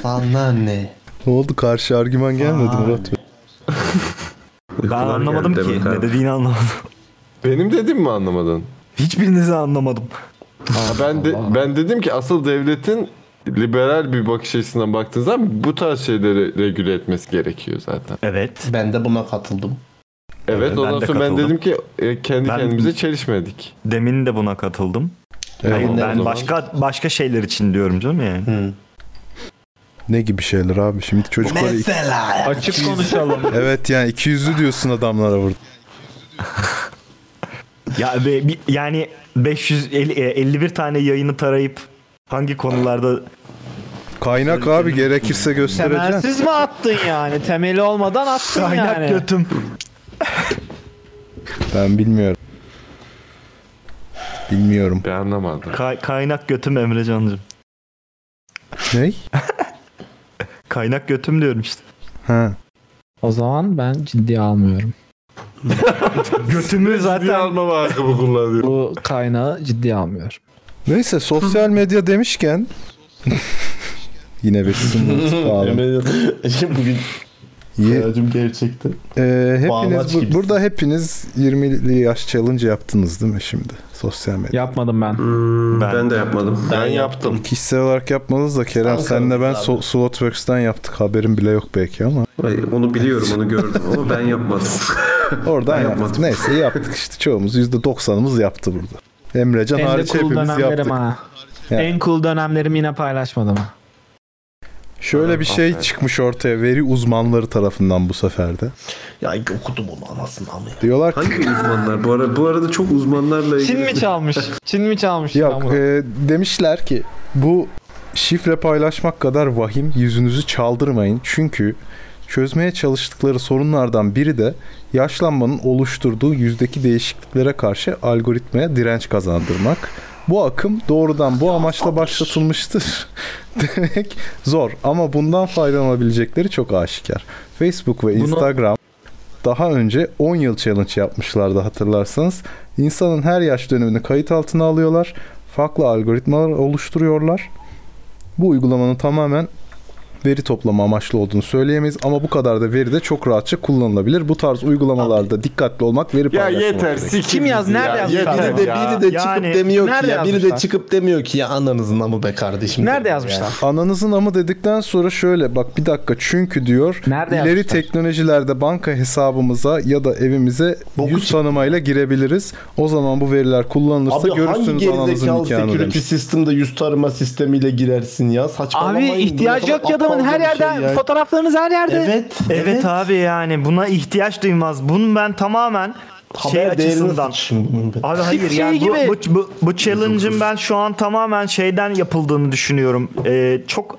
Speaker 12: Sana ne?
Speaker 5: Ne oldu karşı argüman gelmedi Murat Bey?
Speaker 9: Ben anlamadım
Speaker 2: geldi
Speaker 9: ki.
Speaker 2: demek
Speaker 9: Ne
Speaker 2: abi.
Speaker 9: dediğini anlamadım.
Speaker 2: Benim dedim mi anlamadın?
Speaker 9: Hiçbirinizi anlamadım.
Speaker 2: Ha, ben de, ben dedim ki asıl devletin liberal bir bakış açısından baktığın zaman bu tarz şeyleri regüle etmesi gerekiyor zaten.
Speaker 9: Evet.
Speaker 12: Ben de buna katıldım.
Speaker 2: Evet,
Speaker 9: Evet,
Speaker 2: ondan
Speaker 9: ben de
Speaker 2: sonra ben
Speaker 9: katıldım.
Speaker 2: dedim ki e, kendi
Speaker 9: Ben-
Speaker 2: kendimize çelişmedik.
Speaker 9: Demin de buna katıldım. Hayır,
Speaker 2: o
Speaker 9: ben
Speaker 2: zaman.
Speaker 9: başka başka şeyler için diyorum canım yani.
Speaker 5: Ne gibi şeyler abi şimdi çocuklar...
Speaker 7: Açık konuşalım.
Speaker 5: Evet yani 200'lü diyorsun adamlara burada.
Speaker 9: Ya ve bi- yani 550 e, 51 tane yayını tarayıp hangi konularda
Speaker 5: Kaynak abi gerekirse göstereceğim.
Speaker 7: Temelsiz mi attın yani? Temeli olmadan attın
Speaker 9: kaynak
Speaker 7: yani.
Speaker 9: götüm.
Speaker 5: Ben bilmiyorum. Bilmiyorum.
Speaker 2: Ben anlamadım.
Speaker 9: Kay- kaynak götüm Emre Can'cığım.
Speaker 5: Ney?
Speaker 9: Kaynak götüm diyorum işte.
Speaker 5: Ha.
Speaker 7: O zaman ben ciddiye almıyorum.
Speaker 9: Götümü zaten
Speaker 2: alma hakkımı kullanıyor.
Speaker 7: Bu kaynağı ciddiye almıyorum.
Speaker 5: Neyse sosyal medya demişken... Yine bir sınırımız pahalı.
Speaker 12: Emre- Şimdi bugün
Speaker 10: Feracım gerçekten.
Speaker 5: Ee,
Speaker 10: Bağlaç
Speaker 5: hepiniz bu-
Speaker 10: gibisin.
Speaker 5: burada hepiniz 20'li yaş challenge yaptınız değil mi şimdi sosyal medya?
Speaker 7: Yapmadım ben.
Speaker 6: Hmm, ben. de yapmadım.
Speaker 2: Ben yaptım.
Speaker 5: Kişisel olarak yapmadınız da Kerem
Speaker 2: Tamam,
Speaker 5: senle ben
Speaker 2: tamam,
Speaker 5: so- Slotworks'ten yaptık haberin bile yok belki ama.
Speaker 6: Ay, onu biliyorum onu gördüm ama ben yapmadım.
Speaker 5: Oradan yaptık. Neyse yaptık işte çoğumuz %90'ımız yaptı burada. Emrecan
Speaker 7: en de
Speaker 5: hariç
Speaker 7: cool
Speaker 5: hepimiz
Speaker 7: dönemlerim
Speaker 5: yaptık.
Speaker 7: ha.
Speaker 5: Yani.
Speaker 7: En cool dönemlerimi yine paylaşmadım.
Speaker 5: Şöyle bir şey çıkmış ortaya veri uzmanları tarafından bu seferde.
Speaker 10: Ya okudum onu anasını amına.
Speaker 5: Diyorlar ki
Speaker 6: Hangi uzmanlar? Bu arada, bu arada çok uzmanlarla ilgili.
Speaker 7: Çin mi çalmış? Çin mi çalmış?
Speaker 5: Yok e, demişler ki bu şifre paylaşmak kadar vahim yüzünüzü çaldırmayın. Çünkü çözmeye çalıştıkları sorunlardan biri de yaşlanmanın oluşturduğu yüzdeki değişikliklere karşı algoritmaya direnç kazandırmak. Bu akım doğrudan bu amaçla başlatılmıştır. Demek zor ama bundan faydalanabilecekleri çok aşikar. Facebook ve Instagram daha önce 10 yıl challenge yapmışlardı hatırlarsanız. İnsanın her yaş dönemini kayıt altına alıyorlar. Farklı algoritmalar oluşturuyorlar. Bu uygulamanın tamamen veri toplama amaçlı olduğunu söyleyemeyiz ama bu kadar da veri de çok rahatça kullanılabilir. Bu tarz uygulamalarda dikkatli olmak veri
Speaker 2: Ya
Speaker 5: paylaşmamak
Speaker 2: yeter
Speaker 5: gerek.
Speaker 2: sikim bizi
Speaker 10: Ya
Speaker 2: Yeter
Speaker 10: biri de,
Speaker 2: ya.
Speaker 10: biri de çıkıp
Speaker 7: Yani
Speaker 10: demiyor ki
Speaker 7: nerede
Speaker 10: ya. Biri de
Speaker 7: yazmışlar?
Speaker 10: çıkıp demiyor ki ya ananızın amı be kardeşim.
Speaker 7: Nerede
Speaker 10: Ya.
Speaker 7: yazmışlar?
Speaker 5: Ananızın amı dedikten sonra şöyle bak bir dakika çünkü diyor
Speaker 7: Nerede
Speaker 5: ileri
Speaker 7: yapmışlar?
Speaker 5: teknolojilerde banka hesabımıza ya da evimize yüz tanımayla girebiliriz. O zaman bu veriler kullanılırsa
Speaker 10: Abi hangi
Speaker 5: görürsünüz ananızın
Speaker 10: gerizekalı
Speaker 5: nikahını
Speaker 10: security
Speaker 5: demiş.
Speaker 10: system'da yüz tarama sistemiyle girersin ya?
Speaker 7: Abi
Speaker 10: Saçmalamayın.
Speaker 7: ihtiyacı
Speaker 10: Bu ne
Speaker 7: yok ki
Speaker 10: kadar
Speaker 7: adamın her
Speaker 10: aptalca bir şey
Speaker 7: yerden
Speaker 10: ya.
Speaker 7: fotoğraflarınız her yerde.
Speaker 10: Evet.
Speaker 9: Evet, abi yani buna ihtiyaç duymaz. Bunu ben tamamen
Speaker 10: Haber
Speaker 9: şey
Speaker 10: değerini
Speaker 9: açısından. Abi hayır
Speaker 7: Şey
Speaker 9: yani bu,
Speaker 7: gibi.
Speaker 9: bu, bu, bu challenge'ın ben şu an tamamen şeyden yapıldığını düşünüyorum. Ee, çok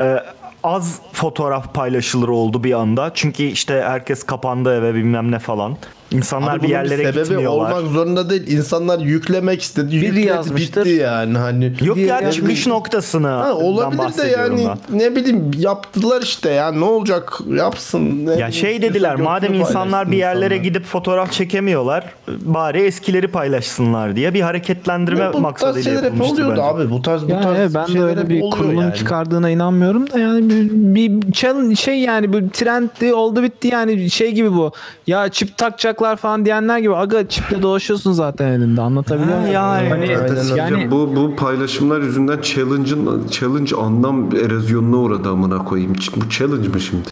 Speaker 9: e, az fotoğraf paylaşılır oldu bir anda. Çünkü işte herkes kapandı eve bilmem ne falan. İnsanlar
Speaker 10: Abi
Speaker 9: bir
Speaker 10: bunun
Speaker 9: yerlere
Speaker 10: sebebi
Speaker 9: gitmiyorlar.
Speaker 10: olmak zorunda değil. İnsanlar yüklemek istedi. Yükledi
Speaker 7: yazmıştır.
Speaker 10: bitti yani hani.
Speaker 9: Yok yani çıkış noktasını
Speaker 10: Ha, olabilir de
Speaker 9: bahsediyorum
Speaker 10: yani
Speaker 9: ben.
Speaker 10: ne bileyim yaptılar işte ya ne olacak yapsın. Ne
Speaker 9: Ya şey dediler madem insanlar bir yerlere gidip fotoğraf çekemiyorlar bari eskileri paylaşsınlar diye bir hareketlendirme
Speaker 10: Ya bu tarz
Speaker 9: maksadıyla
Speaker 10: şeyler hep
Speaker 9: yapılmıştı
Speaker 10: oluyordu
Speaker 9: bence.
Speaker 10: abi. Bu tarz bu
Speaker 7: Yani
Speaker 10: tarz
Speaker 7: evet, ben de
Speaker 10: şeyler
Speaker 7: öyle
Speaker 10: hep
Speaker 7: bir
Speaker 10: oluyor
Speaker 7: kurulun
Speaker 10: yani.
Speaker 7: çıkardığına inanmıyorum da yani bir, bir challenge şey yani bu trendi oldu bitti yani şey gibi bu. Ya çip takacaklar falan diyenler gibi aga çiple dolaşıyorsun zaten elinde anlatabiliyor
Speaker 9: Ha,
Speaker 7: muyum?
Speaker 9: yani.
Speaker 7: Hani-
Speaker 6: Zaten
Speaker 7: yani
Speaker 6: söyleyeceğim, bu, bu paylaşımlar yüzünden challenge'ın challenge anlam erozyonuna uğradı amına koyayım. Bu challenge mı şimdi?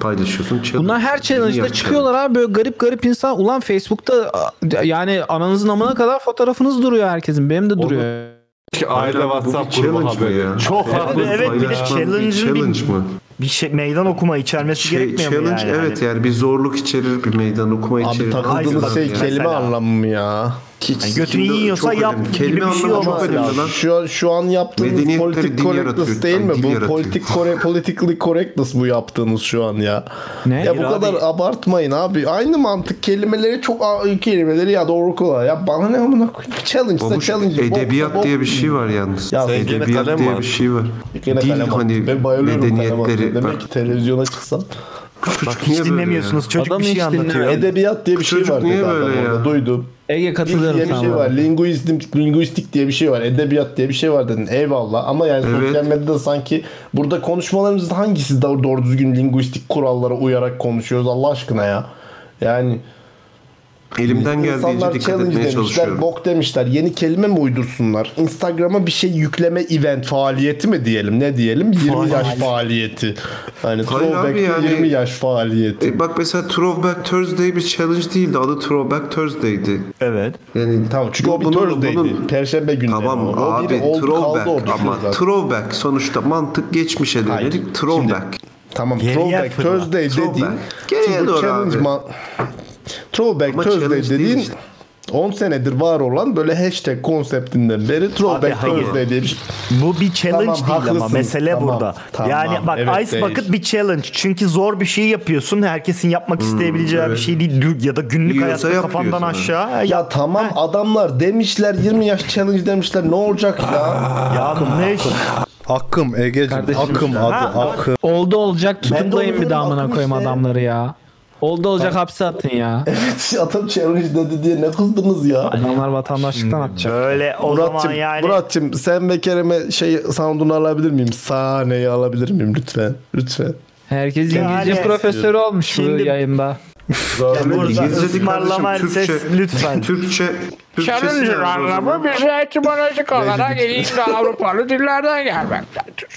Speaker 6: Paylaşıyorsun challenge.
Speaker 7: Bunlar her
Speaker 6: Yeni
Speaker 7: challenge'da
Speaker 6: yap
Speaker 7: çıkıyorlar abi böyle garip garip insan. Ulan Facebook'ta a- yani ananızın amına kadar fotoğrafınız duruyor herkesen. Benim de duruyor.
Speaker 2: Ki aile
Speaker 6: Hayır, bu
Speaker 2: WhatsApp
Speaker 6: bir
Speaker 2: grubu
Speaker 6: challenge mı
Speaker 2: haberi.
Speaker 6: ya?
Speaker 2: Çok
Speaker 9: Evet,
Speaker 2: haklısın.
Speaker 9: evet, bir de
Speaker 2: ya.
Speaker 9: challenge'ın
Speaker 6: Bir challenge
Speaker 9: bir-
Speaker 6: mı?
Speaker 9: Bir şey meydan okuma içermesi
Speaker 6: Şey,
Speaker 9: gerekmiyor mu
Speaker 6: challenge
Speaker 9: yani?
Speaker 6: evet yani bir zorluk içerir, bir meydan okuma
Speaker 10: Abi
Speaker 6: içerir.
Speaker 10: takıldığınız
Speaker 6: Anladınız
Speaker 10: şey
Speaker 6: yani.
Speaker 10: kelime
Speaker 9: Mesela.
Speaker 10: anlamı mı ya?
Speaker 6: Hiç
Speaker 9: Yani götü
Speaker 6: sikimde
Speaker 9: iyi yiyorsa
Speaker 6: çok
Speaker 9: yap
Speaker 6: önemli.
Speaker 9: gibi bir
Speaker 6: Kelime
Speaker 9: şey
Speaker 6: anlamı çok
Speaker 9: olması
Speaker 6: önemli
Speaker 9: lazım.
Speaker 6: lan.
Speaker 10: Şu an şu an yaptığınız
Speaker 6: Medeniyetleri
Speaker 10: politik
Speaker 6: din
Speaker 10: correctness
Speaker 6: yaratıyor,
Speaker 10: değil mi?
Speaker 6: ay, dil
Speaker 10: Bu
Speaker 6: yaratıyor.
Speaker 10: politik kore, politically correctness bu yaptığınız şu an ya.
Speaker 7: Ne?
Speaker 10: Ya bu kadar abartmayın abi. Aynı mantık kelimeleri çok a- kelimeleri ya doğru kolay. Ya bana ne amına koyayım? Challenge'sa
Speaker 6: Babuş,
Speaker 10: challenge.
Speaker 6: edebiyat diye bir şey var yalnız.
Speaker 10: Ya sen gene
Speaker 6: edebiyat
Speaker 10: kalem
Speaker 6: diye
Speaker 10: var.
Speaker 6: bir şey var.
Speaker 10: Gene
Speaker 6: Dil
Speaker 10: kalem
Speaker 6: hani
Speaker 10: hani ben bayılıyorum medeniyetleri.
Speaker 6: medeniyetleri.
Speaker 10: Demek
Speaker 6: Bak,
Speaker 10: ki televizyona çıksam.
Speaker 6: çocuk
Speaker 9: Hiç
Speaker 6: niye böyle ya?
Speaker 9: dinlemiyorsunuz. Çocuk
Speaker 7: Adamı
Speaker 9: bir şey
Speaker 7: hiç
Speaker 9: anlatıyor.
Speaker 7: dinlemiyorum.
Speaker 10: Edebiyat diye bir şey
Speaker 6: Çocuk
Speaker 10: var.
Speaker 6: niye
Speaker 10: dedi adam
Speaker 6: böyle ya?
Speaker 10: orada, Duydum.
Speaker 7: Ege
Speaker 10: Dil
Speaker 7: katılıyorum
Speaker 10: diye bir
Speaker 7: sana.
Speaker 10: şey var. Linguistim, linguistik diye bir şey var. Edebiyat diye bir şey var dedin. Eyvallah. Ama yani sosyal
Speaker 6: Evet.
Speaker 10: medyada sanki burada konuşmalarımızda hangisi daha doğru düzgün linguistik kurallara uyarak konuşuyoruz Allah aşkına ya. Yani
Speaker 6: elimden geldiğince
Speaker 10: insanlar
Speaker 6: dikkat
Speaker 10: challenge
Speaker 6: etmeye
Speaker 10: demişler,
Speaker 6: çalışıyorum.
Speaker 10: bok demişler. Yeni kelime mi uydursunlar? Instagram'a bir şey yükleme event faaliyeti mi diyelim? Ne diyelim? 20 yaş faaliyeti. Hani
Speaker 6: Hayır abi
Speaker 10: throwback
Speaker 6: yani-
Speaker 10: 20 yaş faaliyeti.
Speaker 6: E bak mesela Throwback Thursday bir challenge değildi. Adı Throwback Thursday'di.
Speaker 9: Evet.
Speaker 6: Yani
Speaker 10: Tamam çünkü o bir
Speaker 6: bunun-
Speaker 10: Thursday'di.
Speaker 6: bunun-
Speaker 10: Perşembe günü.
Speaker 6: Tamam
Speaker 10: o, o
Speaker 6: abi
Speaker 10: biri oldu kaldı
Speaker 6: throwback
Speaker 10: orada
Speaker 6: ama
Speaker 10: zaten.
Speaker 6: throwback sonuçta mantık geçmişe
Speaker 10: Hayır.
Speaker 6: dönelik throwback.
Speaker 10: Tamam
Speaker 9: Geriye
Speaker 10: throwback
Speaker 9: fırla.
Speaker 10: Thursday
Speaker 6: Throwback.
Speaker 10: dediğin
Speaker 6: Geriye
Speaker 10: Şimdi
Speaker 6: doğru
Speaker 10: challenge
Speaker 6: abi.
Speaker 10: ma- throwback
Speaker 6: Ama
Speaker 10: Thursday
Speaker 6: challenge değil
Speaker 10: dediğin
Speaker 6: işte.
Speaker 10: 10 senedir var olan böyle hashtag konseptinden beri throwback
Speaker 9: hayır.
Speaker 10: Thursday diye bir şey.
Speaker 9: Bu bir challenge
Speaker 10: Tamam,
Speaker 9: değil ama
Speaker 10: haklısınız.
Speaker 9: mesele
Speaker 10: Tamam,
Speaker 9: burada.
Speaker 10: tamam,
Speaker 9: yani bak
Speaker 10: evet,
Speaker 9: Ice
Speaker 10: değil.
Speaker 9: Bucket bir challenge. Çünkü zor bir şey yapıyorsun. Herkesin yapmak isteyebileceği bir şey değil. Dü- Ya da günlük
Speaker 6: Yiyorsa
Speaker 9: hayatta
Speaker 6: yap
Speaker 9: kafandan
Speaker 6: diyorsun.
Speaker 9: aşağı. Ya,
Speaker 10: Ya tamam adamlar demişler 20 yaş challenge demişler ne olacak ya?
Speaker 9: ya ne?
Speaker 5: Hakkım Ege'cim hakkım adı
Speaker 9: Ha,
Speaker 5: hakkım.
Speaker 7: Oldu olacak tutuklayın
Speaker 10: Ben de
Speaker 7: bir damına
Speaker 10: bakmış
Speaker 7: koyayım
Speaker 10: işte.
Speaker 7: adamları ya. Oldu olacak hapse atın ya.
Speaker 10: Adam challenge dedi diye ne kızdınız ya?
Speaker 7: Adamlar vatandaşlıktan atacak.
Speaker 9: Böyle o zaman
Speaker 10: Murat'cığım,
Speaker 9: yani.
Speaker 10: Murat'cığım sen ve Kerem'e şey sound'unu alabilir miyim? Sahneyi alabilir miyim lütfen? Lütfen.
Speaker 7: Herkes
Speaker 9: Yani-
Speaker 7: İngilizce profesörü olmuş
Speaker 9: Şimdi-
Speaker 7: bu yayında.
Speaker 9: Ya burada ısmarlama ses lütfen.
Speaker 6: Türkçe,
Speaker 14: Challenger anlamı bize etimolojik olarak İngiliz ve Avrupalı dillerden gelmektedir.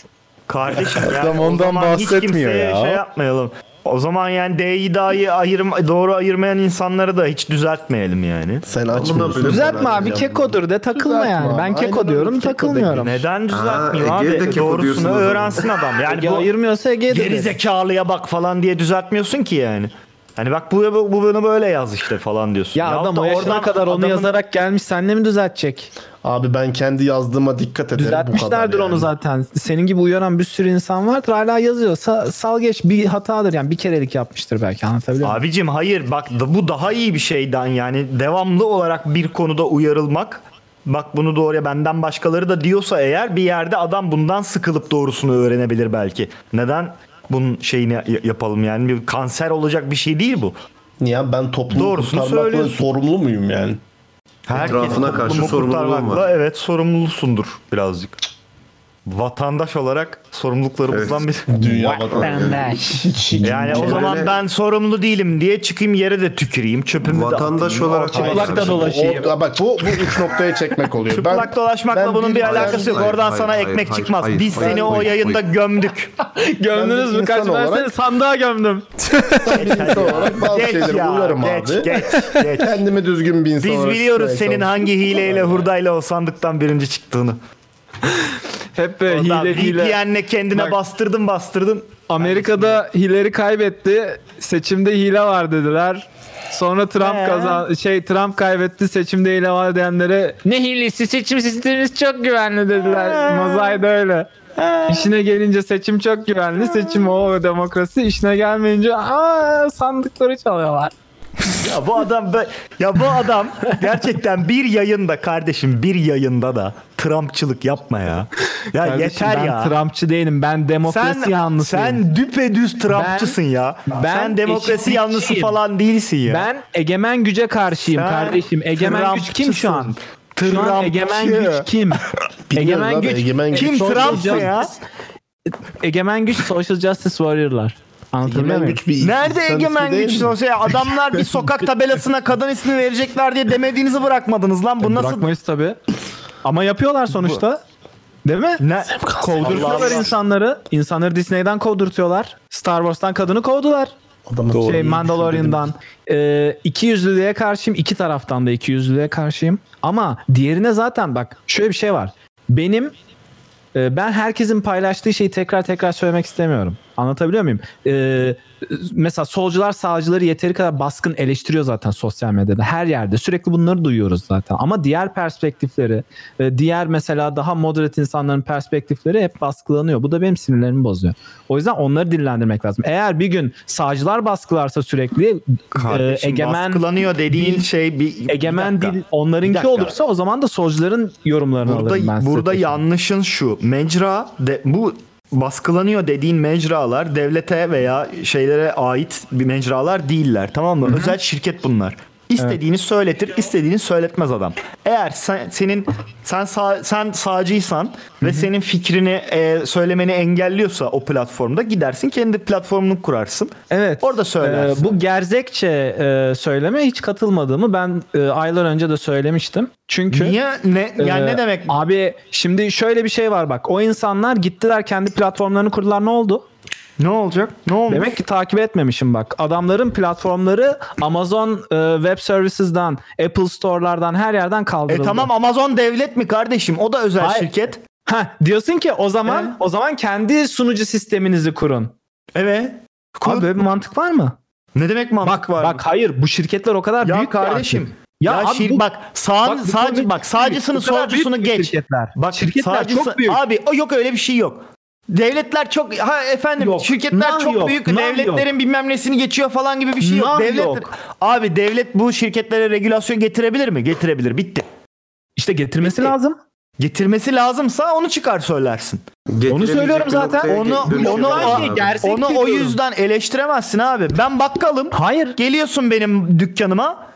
Speaker 9: Kardeşim yani
Speaker 5: Adam
Speaker 9: o
Speaker 5: ondan
Speaker 9: zaman hiç
Speaker 5: bahsetmiyor
Speaker 9: kimseye
Speaker 5: ya.
Speaker 9: şey yapmayalım. O zaman yani D'yi dahi ayırma, doğru ayırmayan insanları da hiç düzeltmeyelim yani. Sen
Speaker 7: Düzeltme abi kekodur de takılma yani. Ben keko diyorum takılmıyorum.
Speaker 9: Neden düzeltmiyor abi? Doğrusunu öğrensin adam. Yani
Speaker 7: Ege ayırmıyorsa Ege'de
Speaker 9: Geri zekalıya bak falan diye düzeltmiyorsun ki yani. Hani bak bu, bu, bu bunu böyle yaz işte falan diyorsun.
Speaker 7: Ya adam o yaşına kadar onu yazarak gelmiş senle mi düzeltecek?
Speaker 12: Abi ben kendi yazdığıma dikkat ederim bu kadar
Speaker 7: Düzeltmişlerdir onu
Speaker 12: yani.
Speaker 7: zaten. Senin gibi uyaran bir sürü insan vardır. Hala yazıyorsa sal geç bir hatadır yani bir kerelik yapmıştır belki anlatabiliyor muyum?
Speaker 9: Abicim hayır bak da- bu daha iyi bir şeyden yani devamlı olarak bir konuda uyarılmak. Bak bunu doğruya benden başkaları da diyorsa eğer bir yerde adam bundan sıkılıp doğrusunu öğrenebilir belki. Neden bunun şeyini ya- yapalım yani bir kanser olacak bir şey değil bu.
Speaker 12: Niye ben toplumu
Speaker 9: Doğrusunu
Speaker 12: kurtarmakla
Speaker 9: söylüyorsun.
Speaker 12: sorumlu muyum yani?
Speaker 9: Herkes toplumu kurtarmakla evet sorumlusundur birazcık. Vatandaş olarak sorumluluklarımızdan bir
Speaker 12: Dünya vatandaş.
Speaker 9: Yani o zaman ben sorumlu değilim diye çıkayım yere de tüküreyim, çöpümü
Speaker 6: Vatandaş
Speaker 9: de atayım.
Speaker 6: olarak
Speaker 9: Ortalıkta
Speaker 6: çıkıyorsun.
Speaker 9: dolaşayım.
Speaker 12: O- bak Şey, bu, bu üç noktaya çekmek oluyor.
Speaker 9: Çıplak dolaşmakla
Speaker 12: ben
Speaker 9: bunun bir
Speaker 12: bilmeyen-
Speaker 9: alakası yok. Oradan sana ekmek çıkmaz. Biz seni o yayında gömdük.
Speaker 7: Gömdünüz mü? Kaç ben seni sandığa gömdüm.
Speaker 12: olarak bazı
Speaker 9: Geç
Speaker 12: şeyleri
Speaker 9: ya,
Speaker 12: buluyorum
Speaker 9: geç,
Speaker 12: abi.
Speaker 9: Geç, geç.
Speaker 12: Kendimi düzgün bir insan
Speaker 9: Biz
Speaker 12: olarak
Speaker 9: biliyoruz
Speaker 12: tutmaya
Speaker 9: senin
Speaker 12: çalışıyorum.
Speaker 9: hangi hileyle hurdayla o sandıktan birinci çıktığını.
Speaker 7: Hep böyle hile hile.
Speaker 9: VPN'le kendine bastırdın bastırdın.
Speaker 7: Amerika'da Hillary kaybetti. Seçimde hile var dediler. Sonra Trump
Speaker 14: Ee?
Speaker 7: kazan şey Trump kaybetti seçimde hile var diyenlere ne hilesi seçim sistemimiz çok güvenli
Speaker 9: Ee?
Speaker 7: dediler. Mozay da öyle. İşine gelince seçim çok
Speaker 9: Ee?
Speaker 7: güvenli. Seçim o ve demokrasi. İşine gelmeyince aa sandıkları çalıyorlar.
Speaker 9: Ya bu adam be- ya bu adam gerçekten bir yayında kardeşim bir yayında da Trumpçılık yapma ya. Ya
Speaker 7: Kardeşim,
Speaker 9: yeter
Speaker 7: ben
Speaker 9: ya.
Speaker 7: Trumpçı değilim. Ben demokrasi
Speaker 9: sen,
Speaker 7: yanlısıyım.
Speaker 9: Sen düpedüz Trumpçısın
Speaker 7: Ben-
Speaker 9: ya.
Speaker 7: ben
Speaker 9: sen demokrasi
Speaker 7: eşitlikçiyim.
Speaker 9: yanlısı falan değilsin ya.
Speaker 7: Ben egemen güce karşıyım
Speaker 9: Sen
Speaker 7: kardeşim. Egemen güç kim şu an? Şu an egemen
Speaker 9: Trumpçı.
Speaker 7: güç kim?
Speaker 9: Biliyorum abi, egemen güç. Kim
Speaker 7: Social
Speaker 9: Trump'sa ya?
Speaker 7: justice- Egemen güç social justice warrior'lar. Anlatabiliyor muyum?
Speaker 9: Nerede egemen güç olsa ya adamlar bir sokak tabelasına kadın ismi verecekler diye demediğinizi bırakmadınız lan. Bu nasıl
Speaker 7: Bırakmayız tabii. Ama yapıyorlar sonuçta. Değil mi?
Speaker 9: Ne?
Speaker 7: Kovdurtuyorlar
Speaker 9: Allah Allah.
Speaker 7: insanları. İnsanları Disney'den kovdurtuyorlar. Star Wars'tan kadını kovdular. şey Mandalorian'dan. Ee, iki yüzlülüğe karşıyım. iki taraftan da iki yüzlülüğe karşıyım. Ama diğerine zaten bak şöyle bir şey var. Benim e, ben herkesin paylaştığı şeyi tekrar tekrar söylemek istemiyorum. Anlatabiliyor muyum? Ee, mesela solcular sağcıları yeteri kadar baskın eleştiriyor zaten sosyal medyada. Her yerde sürekli bunları duyuyoruz zaten. Ama diğer perspektifleri, e, diğer mesela daha moderate insanların perspektifleri hep baskılanıyor. Bu da benim sinirlerimi bozuyor. O yüzden onları dillendirmek lazım. Eğer bir gün sağcılar baskılarsa sürekli e,
Speaker 9: Kardeşim, baskılanıyor dediğin şey bir
Speaker 7: Ee, egemen
Speaker 9: dakika.
Speaker 7: dil
Speaker 9: Bir
Speaker 7: onlarınki
Speaker 9: dakika.
Speaker 7: olursa o zaman da solcuların yorumlarını alırım ben.
Speaker 9: Burada,
Speaker 7: size.
Speaker 9: burada yanlışın şu. Mecra de, bu baskılanıyor dediğin mecralar devlete veya şeylere ait bir mecralar değiller. Tamam mı? Özel şirket bunlar. İstediğini söyletir, istediğini söyletmez adam. Eğer sen senin sen sağ, sen sağcıysan ve senin fikrini e, söylemeni engelliyorsa o platformda gidersin kendi platformunu kurarsın.
Speaker 7: Evet.
Speaker 9: Orada söylersin.
Speaker 7: Ee, bu gerzekçe e, söyleme hiç katılmadığımı ben e, aylar önce de söylemiştim. Çünkü e,
Speaker 9: Niye? Ne- yani ne demek?
Speaker 7: Abi şimdi şöyle bir şey var bak. O insanlar gittiler kendi platformlarını kurdular ne oldu?
Speaker 9: Ne olacak? Ne olmuş?
Speaker 7: Demek ki takip etmemişim bak. Adamların platformları Amazon e, Web Services'dan, Apple Store'lardan her yerden
Speaker 9: E
Speaker 7: kaldırıldı.
Speaker 9: tamam Amazon devlet mi kardeşim? O da özel
Speaker 7: Hayır.
Speaker 9: şirket.
Speaker 7: Ha diyorsun ki o zaman
Speaker 9: E?
Speaker 7: o zaman kendi sunucu sisteminizi kurun.
Speaker 9: Evet.
Speaker 7: Abi böyle bir mantık var mı?
Speaker 9: Ne demek mantık
Speaker 7: bak, var? Bak hayır bu şirketler o kadar
Speaker 9: Ya
Speaker 7: büyük ki
Speaker 9: kardeşim,
Speaker 7: artık.
Speaker 9: ya şir-
Speaker 7: bu-
Speaker 9: bak, sağın-
Speaker 7: bu
Speaker 9: sağcı-
Speaker 7: komik
Speaker 9: bak,
Speaker 7: değil.
Speaker 9: sağcısını,
Speaker 7: O kadar büyük
Speaker 9: solcusunu
Speaker 7: ki
Speaker 9: geç.
Speaker 7: Şirketler.
Speaker 9: Bak
Speaker 7: şirketler
Speaker 9: sadece-
Speaker 7: çok büyük.
Speaker 9: Abi o yok öyle bir şey yok. Devletler çok ha efendim
Speaker 7: Yok,
Speaker 9: şirketler
Speaker 7: nah
Speaker 9: çok
Speaker 7: yok,
Speaker 9: büyük
Speaker 7: nah
Speaker 9: devletlerin
Speaker 7: yok.
Speaker 9: bilmem nesini geçiyor falan gibi bir şey yok.
Speaker 7: Nah
Speaker 9: devlet
Speaker 7: yok.
Speaker 9: abi devlet bu şirketlere regülasyon getirebilir mi? Getirebilir. Bitti.
Speaker 7: İşte getirmesi lazım.
Speaker 9: Getirmesi lazımsa onu çıkar söylersin.
Speaker 7: Onu söylüyorum zaten.
Speaker 9: Onu onu
Speaker 6: şey
Speaker 9: şey onu o yüzden eleştiremezsin abi. Ben bakkalım.
Speaker 7: Hayır.
Speaker 9: Geliyorsun benim dükkanıma.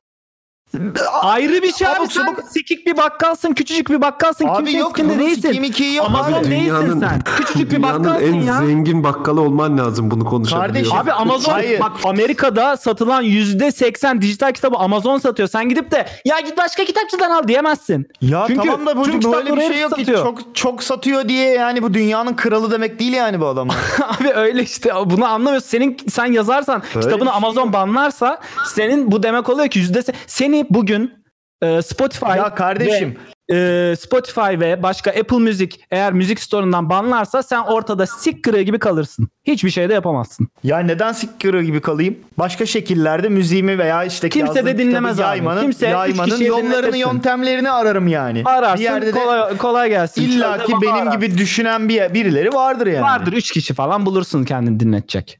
Speaker 7: Ayrı bir şey abi sen sikik bir bakkalsın küçücük bir bakkalsın
Speaker 9: Abi
Speaker 7: kimse
Speaker 9: yok,
Speaker 7: eskinde
Speaker 9: bunun
Speaker 7: değilsin.
Speaker 9: sikiği mikiği yok
Speaker 7: Amazon
Speaker 9: abi.
Speaker 7: değilsin sen. Küçücük bir
Speaker 6: dünyanın
Speaker 7: bakkalsın
Speaker 6: en
Speaker 7: ya.
Speaker 6: zengin bakkalı olman lazım bunu konuşabiliyor.
Speaker 7: abi Amazon bak Amerika'da satılan %80 dijital kitabı Amazon satıyor. Sen gidip de ya git başka kitapçıdan al diyemezsin.
Speaker 9: Ya
Speaker 7: Çünkü
Speaker 9: tamam da
Speaker 7: tüm
Speaker 9: bu
Speaker 7: kitapları
Speaker 9: böyle bir şey
Speaker 7: hepsi
Speaker 9: yok.
Speaker 7: satıyor.
Speaker 9: Çok çok satıyor diye yani bu dünyanın kralı demek değil yani bu adamlar.
Speaker 7: Abi öyle işte bunu anlamıyorsun. Senin sen yazarsan kitabını
Speaker 9: şey
Speaker 7: Amazon banlarsa senin bu demek oluyor ki yüzde se- seni bugün e, Spotify
Speaker 9: Ya kardeşim.
Speaker 7: ve, e, Spotify ve başka Apple Music eğer müzik store'undan banlarsa sen ortada sik kırığı gibi kalırsın. Hiçbir şey de yapamazsın.
Speaker 9: Ya neden sik kırığı gibi kalayım? Başka şekillerde müziğimi veya işte
Speaker 7: Kimse de
Speaker 9: yazdığım kitabı
Speaker 7: dinlemez abi.
Speaker 9: yaymanın,
Speaker 7: Kimse üç
Speaker 9: yaymanın
Speaker 7: kişiyi
Speaker 9: yollarını
Speaker 7: dinletirsin.
Speaker 9: yöntemlerini ararım yani.
Speaker 7: Ararsın,
Speaker 9: Bir yerde de
Speaker 7: kolay- kolay gelsin.
Speaker 9: İlla ki
Speaker 7: Çözüm
Speaker 9: benim
Speaker 7: ararsın.
Speaker 9: gibi düşünen bir birileri vardır yani.
Speaker 7: Vardır 3 kişi falan bulursun kendini dinletecek.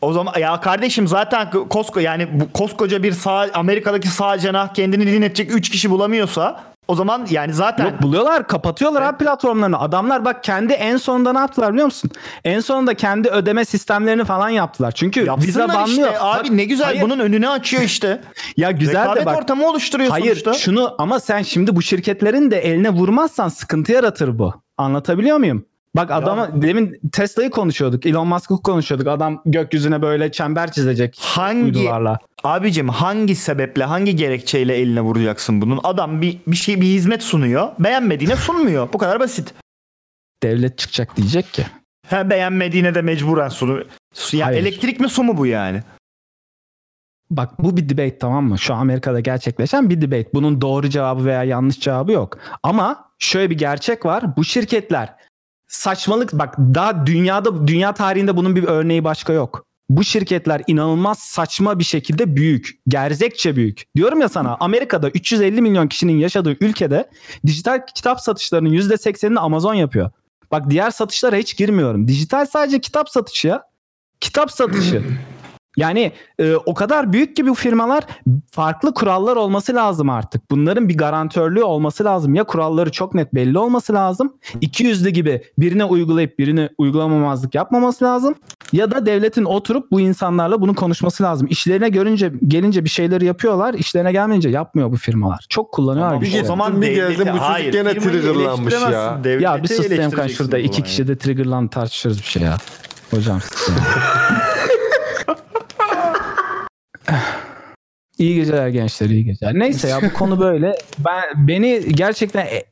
Speaker 9: O zaman ya kardeşim zaten kosko yani bu koskoca bir sağ Amerika'daki sağ cenah kendini dinletecek 3 kişi bulamıyorsa o zaman yani zaten
Speaker 7: Yok buluyorlar kapatıyorlar abi platformlarını. Adamlar bak kendi en sonunda ne yaptılar biliyor musun? En sonunda kendi ödeme sistemlerini falan yaptılar. Çünkü
Speaker 9: Yapsınlar
Speaker 7: Visa banlıyor.
Speaker 9: işte. Abi
Speaker 7: Bak-
Speaker 9: ne güzel
Speaker 7: Hayır.
Speaker 9: bunun önünü açıyor işte.
Speaker 7: Ya güzel
Speaker 9: Rekabet
Speaker 7: de bak.
Speaker 9: ortamı oluşturuyor
Speaker 7: Hayır,
Speaker 9: sonuçta.
Speaker 7: şunu ama sen şimdi bu şirketlerin de eline vurmazsan sıkıntı yaratır bu. Anlatabiliyor muyum? Bak adama demin Tesla'yı konuşuyorduk. Elon Musk'ı konuşuyorduk. Adam gökyüzüne böyle çember çizecek.
Speaker 9: Hangi
Speaker 7: uydularla.
Speaker 9: abicim hangi sebeple hangi gerekçeyle eline vuracaksın bunun? Adam bir bir şey bir hizmet sunuyor. Beğenmediğine sunmuyor. Bu kadar basit.
Speaker 7: Devlet çıkacak diyecek ki.
Speaker 9: Ha beğenmediğine de mecburen sunuyor. Ya elektrik mi su mu bu yani?
Speaker 7: Bak bu bir debate tamam mı? Şu Amerika'da gerçekleşen bir debate. Bunun doğru cevabı veya yanlış cevabı yok. Ama şöyle bir gerçek var. Bu şirketler saçmalık bak daha dünyada dünya tarihinde bunun bir örneği başka yok. Bu şirketler inanılmaz saçma bir şekilde büyük. Gerzekçe büyük. Diyorum ya sana Amerika'da 350 milyon kişinin yaşadığı ülkede dijital kitap satışlarının %80'ini Amazon yapıyor. Bak diğer satışlara hiç girmiyorum. Dijital sadece kitap satışı ya. Kitap satışı. Yani e, o kadar büyük ki bu firmalar farklı kurallar olması lazım artık. Bunların bir garantörlüğü olması lazım. Ya kuralları çok net belli olması lazım. İki yüzlü gibi birine uygulayıp birine uygulamamazlık yapmaması lazım. Ya da devletin oturup bu insanlarla bunu konuşması lazım. İşlerine görünce gelince bir şeyleri yapıyorlar. işlerine gelmeyince yapmıyor bu firmalar. Çok kullanıyorlar.
Speaker 2: Tamam,
Speaker 7: bir
Speaker 2: bir
Speaker 7: şey.
Speaker 2: gittin zaman bir devleti- geldin, bu çocuk hayır, gene firmayı triggerlanmış ya. eleştiremezsin, devleti
Speaker 7: Ya bir sus Semkan
Speaker 2: eleştireceksin
Speaker 7: şurada
Speaker 2: o
Speaker 7: iki
Speaker 2: zaman
Speaker 7: kişi de triggerlandı tartışırız bir şey ya. Hocam sus ya. İyi geceler gençler, iyi geceler. Neyse ya bu konu böyle. Ben beni gerçekten e,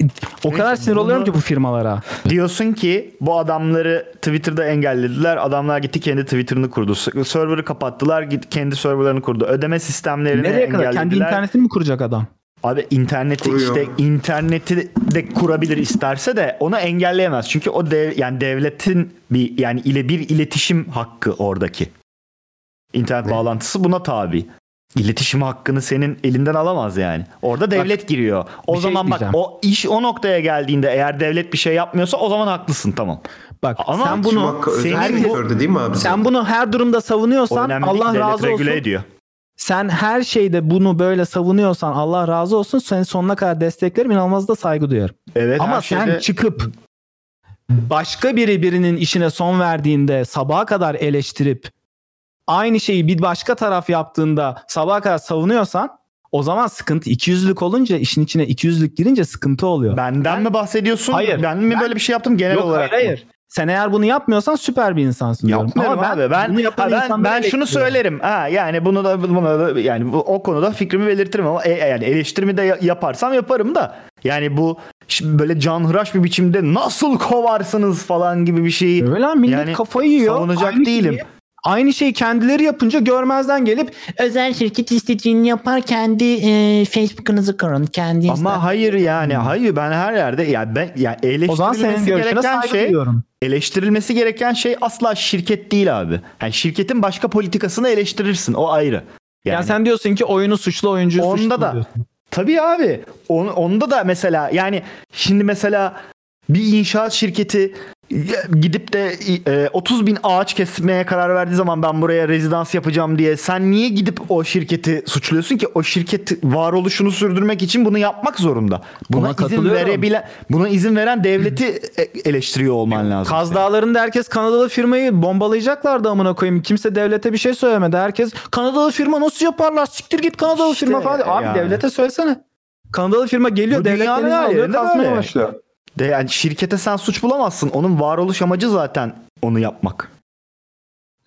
Speaker 7: o kadar sinir oluyorum ki bu firmalara.
Speaker 9: Diyorsun ki bu adamları Twitter'da engellediler. Adamlar gitti kendi Twitter'ını kurdu. S- Server'ı kapattılar. Git kendi server'larını kurdu. Ödeme sistemlerini
Speaker 7: Nereye kadar
Speaker 9: engellediler.
Speaker 7: kendi internetini mi kuracak adam?
Speaker 9: Abi interneti
Speaker 7: Kuruyor.
Speaker 9: işte interneti de kurabilir isterse de onu engelleyemez. Çünkü o dev, yani devletin bir yani ile bir iletişim hakkı oradaki. İnternet bağlantısı buna tabi. İletişim hakkını senin elinden alamaz yani. Orada devlet giriyor. O
Speaker 7: bir şey
Speaker 9: zaman bak
Speaker 7: diyeceğim.
Speaker 9: o iş o noktaya geldiğinde eğer devlet bir şey yapmıyorsa o zaman haklısın tamam.
Speaker 7: Bak
Speaker 9: Ama
Speaker 7: sen bunu
Speaker 6: şey
Speaker 9: senin bu-
Speaker 7: Sen bunu her durumda savunuyorsan
Speaker 9: Önemli değil,
Speaker 7: Allah
Speaker 9: devlet
Speaker 7: razı olsun.
Speaker 9: regüle ediyor.
Speaker 7: Sen her şeyde bunu böyle savunuyorsan Allah razı olsun. Seni sonuna kadar desteklerim. inanılmaz da saygı duyarım.
Speaker 9: Evet,
Speaker 7: Ama
Speaker 9: her
Speaker 7: sen
Speaker 9: şeyde-
Speaker 7: çıkıp başka biri birinin işine son verdiğinde sabaha kadar eleştirip aynı şeyi bir başka taraf yaptığında sabaha kadar savunuyorsan o zaman sıkıntı ikiyüzlülük olunca işin içine ikiyüzlülük girince sıkıntı oluyor.
Speaker 9: Benden mi bahsediyorsun?
Speaker 7: Hayır.
Speaker 9: Ben mi böyle bir şey yaptım genel
Speaker 7: Yok,
Speaker 9: olarak
Speaker 7: Hayır,
Speaker 9: mı?
Speaker 7: hayır. Sen eğer bunu yapmıyorsan süper bir insansın diyorum.
Speaker 9: Yapmıyorum
Speaker 7: Ama
Speaker 9: abi. Ben
Speaker 7: bunu yapan
Speaker 9: ha, ben,
Speaker 7: insanları
Speaker 9: ben şunu
Speaker 7: eleştiriyorum.
Speaker 9: söylerim. Ha yani bunu da buna da yani bu, o konuda fikrimi belirtirim ama e, e, yani eleştirimi de ya- yaparsam yaparım da. Yani bu şi- böyle canhıraş bir biçimde nasıl kovarsınız falan gibi bir şey. şeyi.
Speaker 7: Öyle lan millet
Speaker 9: yani
Speaker 7: kafayı yiyor.
Speaker 9: Savunacak
Speaker 7: Aynı
Speaker 9: değilim.
Speaker 7: şeyi- aynı şeyi kendileri yapınca görmezden gelip özel şirket istediğini yapar kendi e, Facebook'ınızı kurun kendi
Speaker 9: Ama hayır yani hayır ben her yerde ya ben ya
Speaker 7: Hmm. O zaman senin
Speaker 9: eleştirilmesi
Speaker 7: görüşüne
Speaker 9: gereken
Speaker 7: saygı
Speaker 9: şey
Speaker 7: duyuyorum.
Speaker 9: eleştirilmesi gereken şey asla şirket değil abi. Yani şirketin başka politikasını eleştirirsin o ayrı.
Speaker 7: Yani, sen diyorsun ki oyunu suçlu oyuncu
Speaker 9: onda
Speaker 7: suçlu
Speaker 9: da
Speaker 7: diyorsun.
Speaker 9: tabii abi on- onda da mesela yani şimdi mesela bir inşaat şirketi ya- gidip de e, 30 bin ağaç kesmeye karar verdiği zaman ben buraya rezidans yapacağım diye sen niye gidip o şirketi suçluyorsun ki o şirket varoluşunu sürdürmek için bunu yapmak zorunda.
Speaker 7: Ona
Speaker 9: Buna izin
Speaker 7: katılıyorum.
Speaker 9: verebilen buna izin veren devleti e- eleştiriyor olman lazım.
Speaker 7: Kaz Dağları'nda herkes Kanadalı firmayı bombalayacaklardı amına koyayım. Kimse devlete bir şey söylemedi. Herkes Kanadalı firma nasıl yaparlar? Siktir git Kanadalı firma falan. diyor. Abi
Speaker 9: yani.
Speaker 7: devlete söylesene. Kanadalı firma geliyor
Speaker 9: Bu
Speaker 7: devlet
Speaker 9: dünyanın
Speaker 7: elini
Speaker 9: her
Speaker 7: alıyor
Speaker 9: yerinde
Speaker 7: kasmaya
Speaker 9: böyle.
Speaker 7: başlıyor.
Speaker 9: De yani şirkete sen suç bulamazsın. Onun varoluş amacı zaten onu yapmak.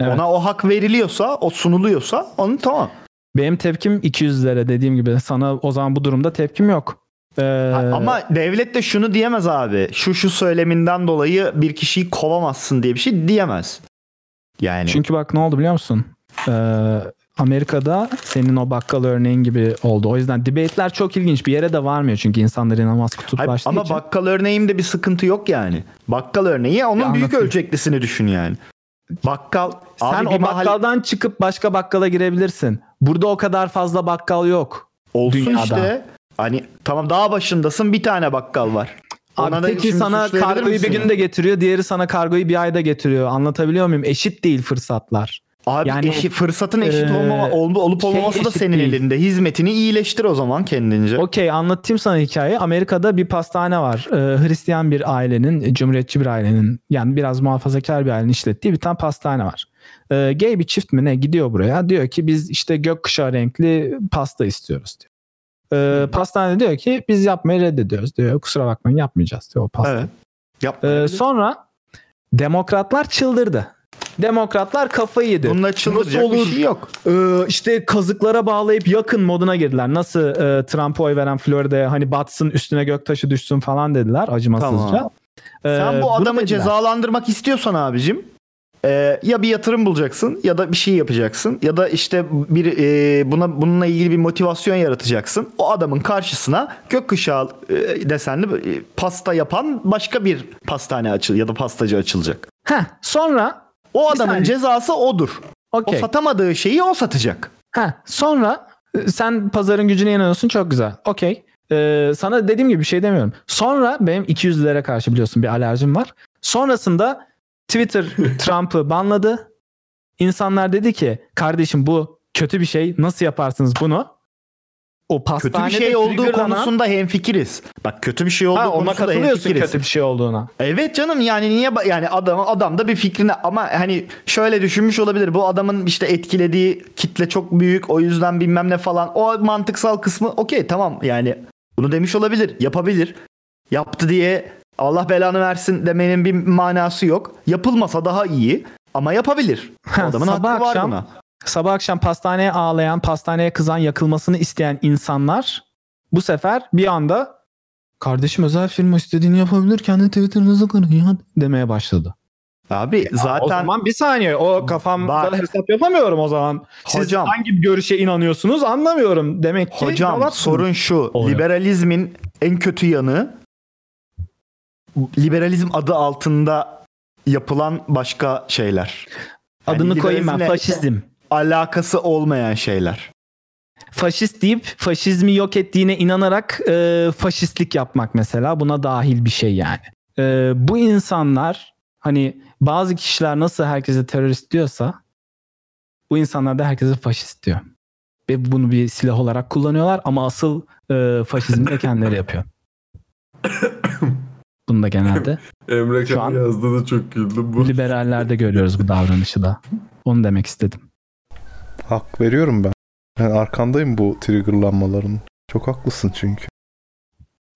Speaker 9: Ona o hak veriliyorsa, o sunuluyorsa onu tamam.
Speaker 7: Benim tepkim 200'lere dediğim gibi. Sana o zaman bu durumda tepkim yok. Ee,
Speaker 9: Ama devlet de şunu diyemez abi. Şu şu söyleminden dolayı bir kişiyi kovamazsın diye bir şey diyemez. Yani
Speaker 7: Çünkü bak ne oldu biliyor musun? Ee, Amerika'da senin o bakkal örneğin gibi oldu. O yüzden debate'ler çok ilginç. Bir yere de varmıyor çünkü insanlar inanılmaz kutuplaştığı
Speaker 9: ama
Speaker 7: için.
Speaker 9: bakkal örneğimde bir sıkıntı yok yani. Bakkal örneği onun büyük ölçeklisini düşün yani. Bakkal
Speaker 7: Sen
Speaker 9: abi
Speaker 7: o
Speaker 9: bir mahalle-
Speaker 7: bakkaldan çıkıp başka bakkala girebilirsin. Burada o kadar fazla bakkal yok.
Speaker 9: Olsun
Speaker 7: dünyada.
Speaker 9: işte. Hani tamam dağ başındasın bir tane bakkal var. Ona
Speaker 7: Abi
Speaker 9: da
Speaker 7: teki
Speaker 9: şimdi
Speaker 7: sana
Speaker 9: suçlayabilir
Speaker 7: kargoyu bir
Speaker 9: misin?
Speaker 7: günde getiriyor, diğeri sana kargoyu bir ayda getiriyor. Anlatabiliyor muyum? Eşit değil fırsatlar.
Speaker 9: Abi eşi- fırsatın
Speaker 7: Ee,
Speaker 9: eşit olmama, ol- olup
Speaker 7: şey
Speaker 9: olmaması da senin
Speaker 7: elinde.
Speaker 9: elinde. Hizmetini iyileştir o zaman kendince.
Speaker 7: Okey anlatayım sana hikayeyi. Amerika'da bir pastane var. Ee, Hristiyan bir ailenin, cumhuriyetçi bir ailenin yani biraz muhafazakar bir ailenin işlettiği bir tane pastane var. Ee, gay bir çift mi ne gidiyor buraya. Diyor ki biz işte gökkuşağı renkli pasta istiyoruz diyor. Ee, pastane diyor ki biz yapmayı reddediyoruz diyor. Kusura bakmayın yapmayacağız diyor o pasta. Ee, sonra demokratlar çıldırdı. Demokratlar kafayı yedi. Bununla
Speaker 9: çıldıracak bir şey yok.
Speaker 7: Ee, işte kazıklara bağlayıp yakın moduna girdiler. Nasıl e, Trump'a oy veren Florida'ya hani batsın üstüne göktaşı düşsün falan dediler acımasızca.
Speaker 9: Tamam. Sen
Speaker 7: Ee,
Speaker 9: bu
Speaker 7: bunu
Speaker 9: adamı
Speaker 7: dediler.
Speaker 9: cezalandırmak istiyorsan abicim e, ya bir yatırım bulacaksın ya da bir şey yapacaksın ya da işte bir e, buna bununla ilgili bir motivasyon yaratacaksın. O adamın karşısına gökkuşağı e, desenli e, pasta yapan başka bir pastane açıl ya da pastacı açılacak.
Speaker 7: Heh, sonra
Speaker 9: o
Speaker 7: Bir
Speaker 9: adamın
Speaker 7: saniye.
Speaker 9: cezası odur.
Speaker 7: Okey.
Speaker 9: O satamadığı şeyi o satacak.
Speaker 7: Ha, sonra e, sen pazarın gücüne inanıyorsun çok güzel. Okey. Ee, sana dediğim gibi bir şey demiyorum. Sonra benim 200'lere karşı biliyorsun bir alerjim var. Sonrasında Twitter Trump'ı banladı. İnsanlar dedi ki kardeşim bu kötü bir şey. Nasıl yaparsınız bunu? O
Speaker 9: Kötü
Speaker 7: pastanede
Speaker 9: bir şey olduğu
Speaker 7: triggerlanan-
Speaker 9: konusunda hemfikiriz. Bak kötü bir şey olduğu
Speaker 7: Ha, ona
Speaker 9: konusunda
Speaker 7: katılıyorsun
Speaker 9: hemfikiriz.
Speaker 7: kötü bir şey olduğuna.
Speaker 9: Evet canım yani niye ba- yani adam adam da bir fikrine ama hani şöyle düşünmüş olabilir bu adamın işte etkilediği kitle çok büyük o yüzden bilmem ne falan o mantıksal kısmı okey tamam yani bunu demiş olabilir yapabilir yaptı diye Allah belanı versin demenin bir manası yok yapılmasa daha iyi ama yapabilir o adamın
Speaker 7: sabah
Speaker 9: hakkı var
Speaker 7: akşam,
Speaker 9: buna.
Speaker 7: Sabah akşam pastaneye ağlayan, pastaneye kızan, yakılmasını isteyen insanlar bu sefer bir anda kardeşim özel firma istediğini yapabilir kendi Twitter'ınızı kurun ya demeye başladı.
Speaker 9: Abi zaten
Speaker 7: o zaman bir saniye o kafamda
Speaker 9: Bak.
Speaker 7: hesap yapamıyorum o zaman. Siz
Speaker 9: Hocam.
Speaker 7: hangi görüşe inanıyorsunuz anlamıyorum demek
Speaker 2: Şey,
Speaker 7: ki.
Speaker 9: Hocam
Speaker 7: salatsınız.
Speaker 9: sorun şu.
Speaker 7: Oluyor.
Speaker 9: Liberalizmin en kötü yanı liberalizm adı altında yapılan başka şeyler.
Speaker 7: Adını koyayım ben,
Speaker 9: liberalizmle
Speaker 7: faşizm.
Speaker 9: Alakası olmayan şeyler.
Speaker 7: faşist deyip faşizmi yok ettiğine inanarak e, faşistlik yapmak mesela buna dahil bir şey yani. E, bu insanlar hani bazı kişiler nasıl herkese terörist diyorsa bu insanlar da herkese faşist diyor. Ve bunu bir silah olarak kullanıyorlar ama asıl e, faşizmi de kendileri yapıyor. Bunu da genelde
Speaker 2: Emre
Speaker 7: Şu an-
Speaker 2: Can yazdı da çok güldüm bu.
Speaker 7: liberallerde görüyoruz bu davranışı da. Onu demek istedim.
Speaker 5: Hak veriyorum ben. Yani arkandayım bu triggerlanmaların. Çok haklısın çünkü.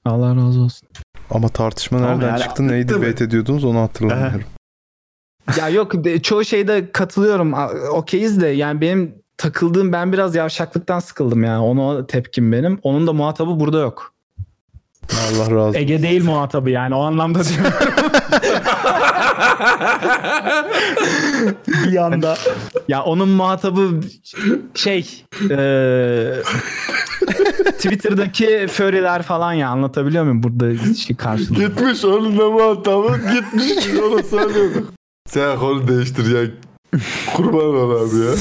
Speaker 7: Allah razı olsun.
Speaker 5: Ama tartışma
Speaker 7: Tamam
Speaker 5: nereden
Speaker 7: yani,
Speaker 5: çıktı, neyi
Speaker 7: bitti mi?
Speaker 5: debate ediyordunuz onu hatırlamıyorum.
Speaker 7: Ya yok de- çoğu şeyde katılıyorum. A- Okeyiz de yani benim takıldığım ben biraz yavşaklıktan sıkıldım yani. Ona tepkim benim. Onun da muhatabı burada yok.
Speaker 5: Allah razı olsun.
Speaker 7: Ege değil muhatabı yani o anlamda diyorum.
Speaker 9: bir anda.
Speaker 7: Ya onun muhatabı şey eee, Twitter'daki furry'ler falan ya anlatabiliyor muyum burada şey karşılığı?
Speaker 2: Gitmiş onun da muhatabı gitmiş biz ona söylüyorduk. Sen konu değiştir ya. Kurban ol abi ya.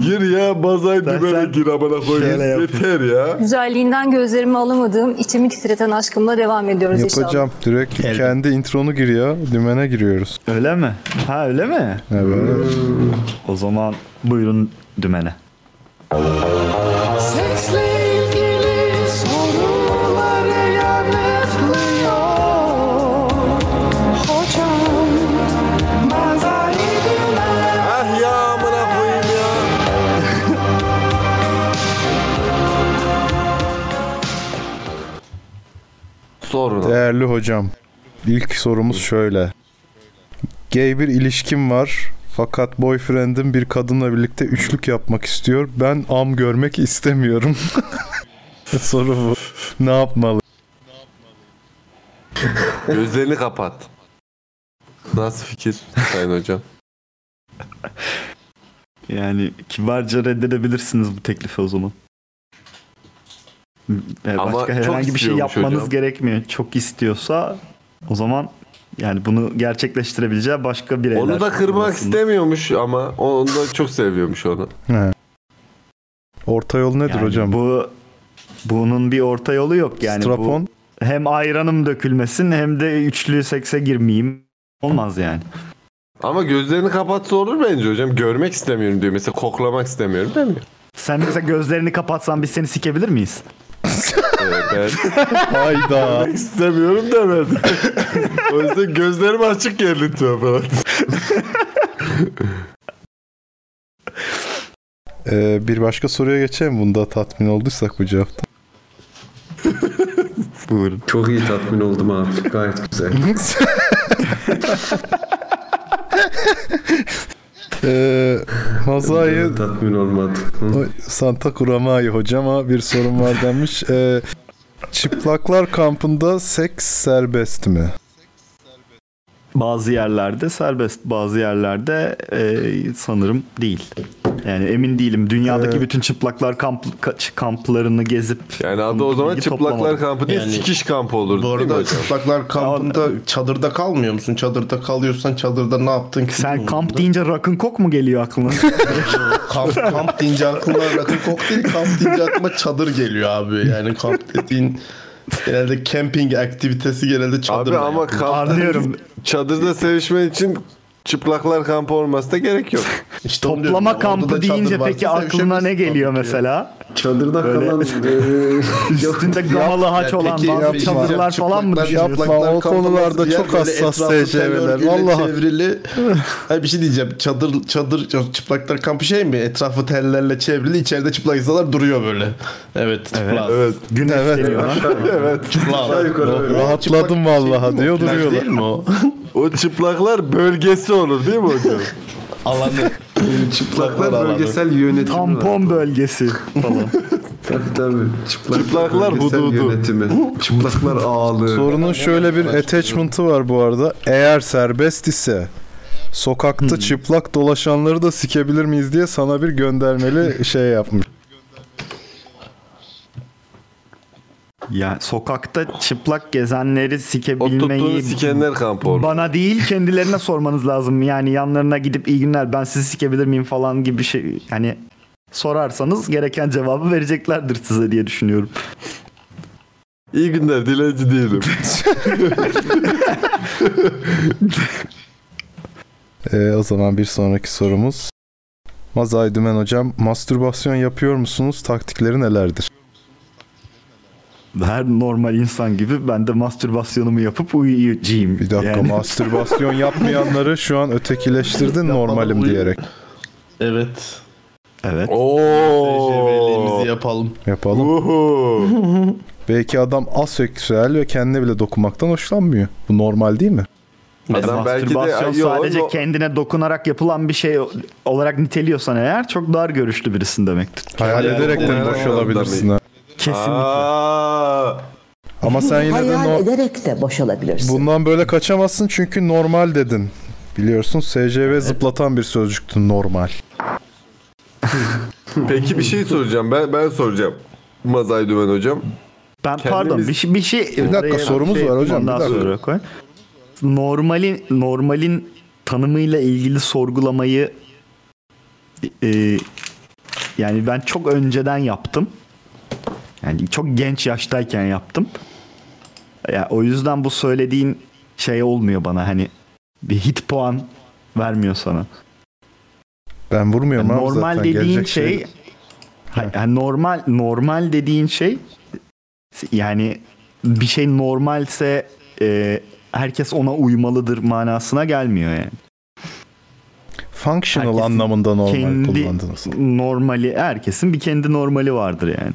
Speaker 2: gir ya bazay dümene gir amına
Speaker 5: şöyle yap.
Speaker 2: koyayım. Yeter ya.
Speaker 18: Güzelliğinden gözlerimi alamadığım, içimi titreten aşkımla devam ediyoruz inşallah.
Speaker 5: Yapacağım. Direkt kendi intronu giriyor. Dümene giriyoruz.
Speaker 9: Öyle mi? Ha öyle mi?
Speaker 5: Evet.
Speaker 9: O zaman buyurun dümene.
Speaker 3: Seksle ilgili soruları yanıtlıyor Hocam Mazai Dümen Ah ya amına koyayım
Speaker 5: Değerli hocam. ilk sorumuz şöyle. Gay bir ilişkim var. Fakat boyfriend'im bir kadınla birlikte üçlük yapmak istiyor. Ben am görmek istemiyorum. Soru bu. Ne yapmalı?
Speaker 2: Gözlerini kapat. Nasıl fikir sayın hocam?
Speaker 9: Yani kibarca reddedebilirsiniz bu teklifi o zaman. Yani
Speaker 2: Ama
Speaker 9: başka
Speaker 2: çok
Speaker 9: herhangi bir şey
Speaker 2: istiyormuş
Speaker 9: yapmanız
Speaker 2: hocam.
Speaker 9: gerekmiyor. Çok istiyorsa o zaman yani bunu gerçekleştirebileceği başka bireyler.
Speaker 2: Onu da kırmak
Speaker 9: arasında.
Speaker 2: istemiyormuş ama onu da çok seviyormuş onu.
Speaker 5: He. Orta yol nedir
Speaker 9: Yani
Speaker 5: hocam?
Speaker 9: Bu bunun bir orta yolu yok yani.
Speaker 5: Strapon?
Speaker 9: Bu, hem ayranım dökülmesin hem de üçlü sekse girmeyeyim. Olmaz yani.
Speaker 2: Ama gözlerini kapatsa olur bence hocam. Görmek istemiyorum diyor. Mesela koklamak istemiyorum demiyor.
Speaker 9: Sen mesela gözlerini kapatsan biz seni sikebilir miyiz?
Speaker 2: Evet.
Speaker 5: Hayda.
Speaker 2: Görmek istemiyorum demedi. o yüzden gözlerim açık gerlitiyor falan.
Speaker 5: Ee, bir başka soruya geçelim. Bunda tatmin olduysak bu cevapta.
Speaker 9: Buyurun.
Speaker 6: Çok iyi tatmin oldum abi. Gayet güzel.
Speaker 5: Ee, Mazai
Speaker 6: tatmin olmadım.
Speaker 5: Santa Kuramai hocama bir sorum var demiş. Ee, çıplaklar kampında seks serbest mi?
Speaker 9: Bazı yerlerde serbest, bazı yerlerde e, sanırım değil. Yani emin değilim. Dünyadaki bütün çıplaklar kamp ka- kamplarını gezip
Speaker 2: Yani adı o zaman çıplaklar kampı değil sikiş kampı olurdu.
Speaker 12: Bu
Speaker 2: değil
Speaker 12: arada
Speaker 2: mi hocam?
Speaker 12: çıplaklar kampında çadırda kalmıyor musun? Çadırda kalıyorsan çadırda ne yaptın?
Speaker 9: Sen kamp deyince rock'ın kok mu geliyor aklına?
Speaker 12: kamp, kamp deyince aklıma rakı kok değil, kamp deyince aklıma çadır geliyor abi. Yani kamp dediğin genelde camping aktivitesi genelde çadır.
Speaker 2: Abi ama kamp, Çadırda sevişmen için çıplaklar kampı olması da gerek yok.
Speaker 9: Toplama kampı deyince peki aklına ne geliyor mesela?
Speaker 6: Çadırda
Speaker 12: e,
Speaker 6: kalan
Speaker 9: üstünde gamalı haç olan bazı çadırlar falan mı düşünüyorsun?
Speaker 5: Yapma, o konularda çok hassas TCV'ler, vallahi.
Speaker 12: Vallahi çevrili. Hayır bir şey diyeceğim. Çadır çadır yok, çıplaklar kampı şey mi? Etrafı tellerle çevrili. içeride çıplak insanlar duruyor böyle. Evet. Çıplak.
Speaker 5: Evet. Güneş Evet. geliyor ha.
Speaker 2: evet.
Speaker 12: Çıplak.
Speaker 2: Aşağı yukarı
Speaker 12: O-
Speaker 2: öyle.
Speaker 12: çıplak
Speaker 5: Rahatladım vallahi diyor
Speaker 12: plaj
Speaker 5: duruyorlar.
Speaker 12: değil mi o?
Speaker 2: O çıplaklar bölgesi olur değil mi hocam?
Speaker 12: Alanı.
Speaker 6: Çıplaklar bölgesel yönetimi.
Speaker 9: Tampon bölgesi falan.
Speaker 6: tabii tabii. Çıplak
Speaker 5: Çıplaklar
Speaker 6: bölgesel
Speaker 5: hududu.
Speaker 6: Yönetimi. Çıplaklar ağlı.
Speaker 5: Sorunun şöyle bir attachment'ı var bu arada. Eğer serbest ise sokakta çıplak dolaşanları da sikebilir miyiz diye sana bir göndermeli şey yapmış.
Speaker 9: Ya sokakta çıplak gezenleri sikebilmeyi...
Speaker 2: Oturttuğunu sikenler kampı olur.
Speaker 9: Bana değil kendilerine sormanız lazım. Yani yanlarına gidip iyi günler ben sizi sikebilir miyim falan gibi şey. Yani sorarsanız gereken cevabı vereceklerdir size diye düşünüyorum.
Speaker 2: İyi günler dilenci değilim.
Speaker 5: Ee, o zaman bir sonraki sorumuz. Mazay Dümen hocam, mastürbasyon yapıyor musunuz? Taktikleri nelerdir?
Speaker 9: Her normal insan gibi ben de mastürbasyonumu yapıp uyuyacağım. Bir dakika
Speaker 5: Mastürbasyon yapmayanları şu an ötekileştirdin normalim diyerek.
Speaker 12: Evet.
Speaker 9: Evet.
Speaker 12: TCV'liğimizi yapalım.
Speaker 5: Yapalım. Belki adam aseksüel ve kendine bile dokunmaktan hoşlanmıyor. Bu normal değil mi?
Speaker 9: Adam mastürbasyon sadece kendine dokunarak yapılan bir şey olarak niteliyorsan eğer çok dar görüşlü birisin demektir.
Speaker 5: Hayal ederekten boş olabilirsin. ha.
Speaker 9: Kesinlikle.
Speaker 5: Ama sen yine de
Speaker 19: Hayal
Speaker 5: no-
Speaker 19: ederek de boş olabilirsin.
Speaker 5: bundan böyle kaçamazsın çünkü normal dedin. Biliyorsun SCV zıplatan bir sözcüktü normal.
Speaker 2: Peki bir şey soracağım. Ben ben soracağım. Mazay Dümen hocam.
Speaker 9: Ben pardon bir şey, bir şey
Speaker 2: Bir dakika,
Speaker 9: oraya
Speaker 2: sorumuz var hocam,
Speaker 9: ondan
Speaker 2: bir dakika.
Speaker 9: sonra koy. Normalin normalin tanımıyla ilgili sorgulamayı e, yani ben çok önceden yaptım. Yani çok genç yaştayken yaptım. Ya o yüzden bu söylediğin şey olmuyor bana hani bir hit puan vermiyor sana.
Speaker 5: Ben vurmuyorum
Speaker 9: Yani
Speaker 5: abi
Speaker 9: normal
Speaker 5: zaten,
Speaker 9: dediğin
Speaker 5: gelecek
Speaker 9: şey, Ha- yani normal normal dediğin şey yani bir şey normalse e, herkes ona uymalıdır manasına gelmiyor yani.
Speaker 5: Functional anlamında normal kullandınız.
Speaker 9: Normali herkesin bir kendi normali vardır yani.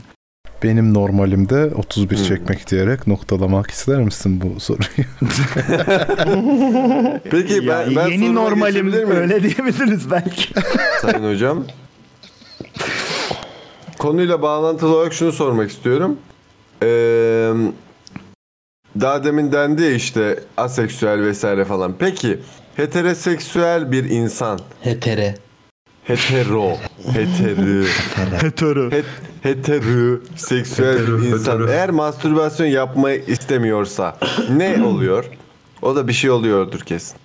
Speaker 5: Benim normalimde 31 çekmek diyerek noktalamak ister misin bu soruyu?
Speaker 2: Peki ben,
Speaker 9: Yani
Speaker 2: ben
Speaker 9: yeni
Speaker 2: soruma
Speaker 9: normalim
Speaker 2: geçebilir miyim?
Speaker 9: öyle diyebiliriz belki.
Speaker 2: Sayın hocam. Konuyla bağlantılı olarak şunu sormak istiyorum. Ee, daha demin dendi ya işte aseksüel vesaire falan. Peki heteroseksüel bir insan. Hetere. Hetero. Heteri.
Speaker 9: Hetero.
Speaker 2: hetero. Seksüel bir insan. Eğer mastürbasyon yapmayı istemiyorsa ne oluyor? O da bir şey oluyordur kesin.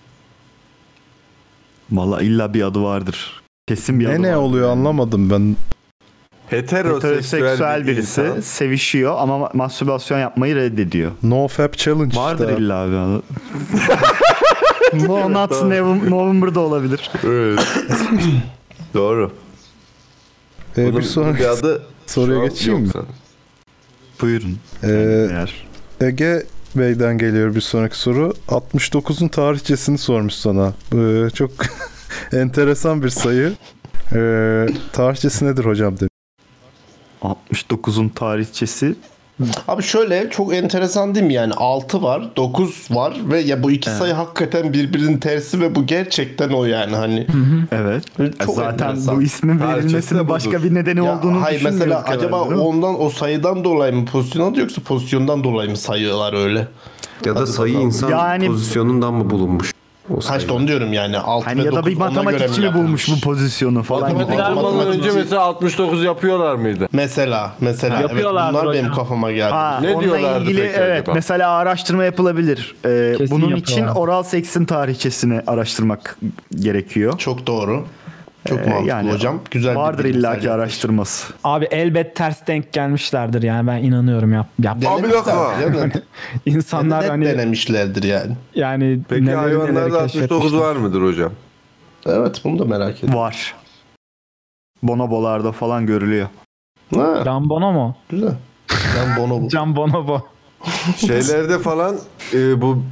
Speaker 9: Valla illa bir adı vardır. Kesin bir
Speaker 5: ne
Speaker 9: adı
Speaker 5: ne oluyor anlamadım ben.
Speaker 2: Heteroseksüel,
Speaker 9: Heteroseksüel
Speaker 2: bir
Speaker 9: birisi
Speaker 2: insan.
Speaker 9: sevişiyor ama ma- mastürbasyon yapmayı reddediyor.
Speaker 5: No Fab Challenge
Speaker 9: Vardır
Speaker 5: işte.
Speaker 9: illa bir adı. no Nuts
Speaker 5: Tamam.
Speaker 9: Nov- November'da olabilir.
Speaker 2: Doğru.
Speaker 5: Ee,
Speaker 9: Bunun
Speaker 5: bir sonraki
Speaker 9: bir
Speaker 2: adı
Speaker 5: soruya geçeyim mi?
Speaker 9: Buyurun.
Speaker 5: Ee, Ege Bey'den geliyor bir sonraki soru. 69'un tarihçesini sormuş sana. Ee, çok enteresan bir sayı. Ee, tarihçesi nedir hocam demiş.
Speaker 9: 69'un tarihçesi
Speaker 12: Abi şöyle çok enteresan değil mi yani 6 var 9 var ve ya bu iki sayı hakikaten birbirinin tersi ve bu gerçekten o yani hani.
Speaker 9: Evet.
Speaker 12: Çok
Speaker 9: Zaten
Speaker 12: enteresan.
Speaker 9: bu ismin
Speaker 12: Tarihçesi de
Speaker 9: verilmesinin
Speaker 12: budur.
Speaker 9: başka bir nedeni
Speaker 12: Ya
Speaker 9: olduğunu
Speaker 12: Hayır mesela
Speaker 9: düşünmüyoruz
Speaker 12: acaba
Speaker 9: herhalde, değil mi?
Speaker 12: ondan o sayıdan dolayı mı pozisyon adı yoksa pozisyondan dolayı mı sayıyorlar öyle?
Speaker 6: Ya da sayı insan pozisyonundan mı bulunmuş? O
Speaker 12: Ha işte onu diyorum yani 6
Speaker 9: Hani
Speaker 12: ve
Speaker 9: ya da
Speaker 12: 9
Speaker 9: bir matematikçi mi bulmuş bu pozisyonu falan gibi.
Speaker 12: Matematikçi
Speaker 2: Ondan önce mesela 69 yapıyorlar mıydı?
Speaker 12: Mesela mesela evet,
Speaker 9: Yapıyorlardır
Speaker 12: bunlar benim
Speaker 9: hocam.
Speaker 12: kafama geldi.
Speaker 9: Ha, onunla ilgili evet mesela araştırma yapılabilir. Ee,
Speaker 12: Kesin
Speaker 9: bunun için
Speaker 12: yapıyorlar.
Speaker 9: oral seksin tarihçesini araştırmak gerekiyor.
Speaker 12: Çok doğru. Çok mantıklı hocam. Güzel bir
Speaker 9: Ee, vardır
Speaker 12: bilimsel
Speaker 9: illaki
Speaker 12: yaklaşım.
Speaker 9: araştırması.
Speaker 7: Abi elbet ters denk gelmişlerdir yani ben inanıyorum yap. yap. İnsanlar
Speaker 12: net
Speaker 7: hani-
Speaker 12: denemişlerdir yani.
Speaker 7: Yani
Speaker 12: Peki
Speaker 7: neleri
Speaker 12: hayvanlarda
Speaker 7: neleri
Speaker 12: 69
Speaker 7: keşfetmişler.
Speaker 12: var
Speaker 2: mıdır hocam?
Speaker 12: Evet bunu da merak ediyorum.
Speaker 9: Var. Bonobolarda falan görülüyor.
Speaker 12: Ha.
Speaker 7: Can Bonomo.
Speaker 12: Güzel. Can Bonobo.
Speaker 7: Can Bonobo.
Speaker 2: Şeylerde falan e, bu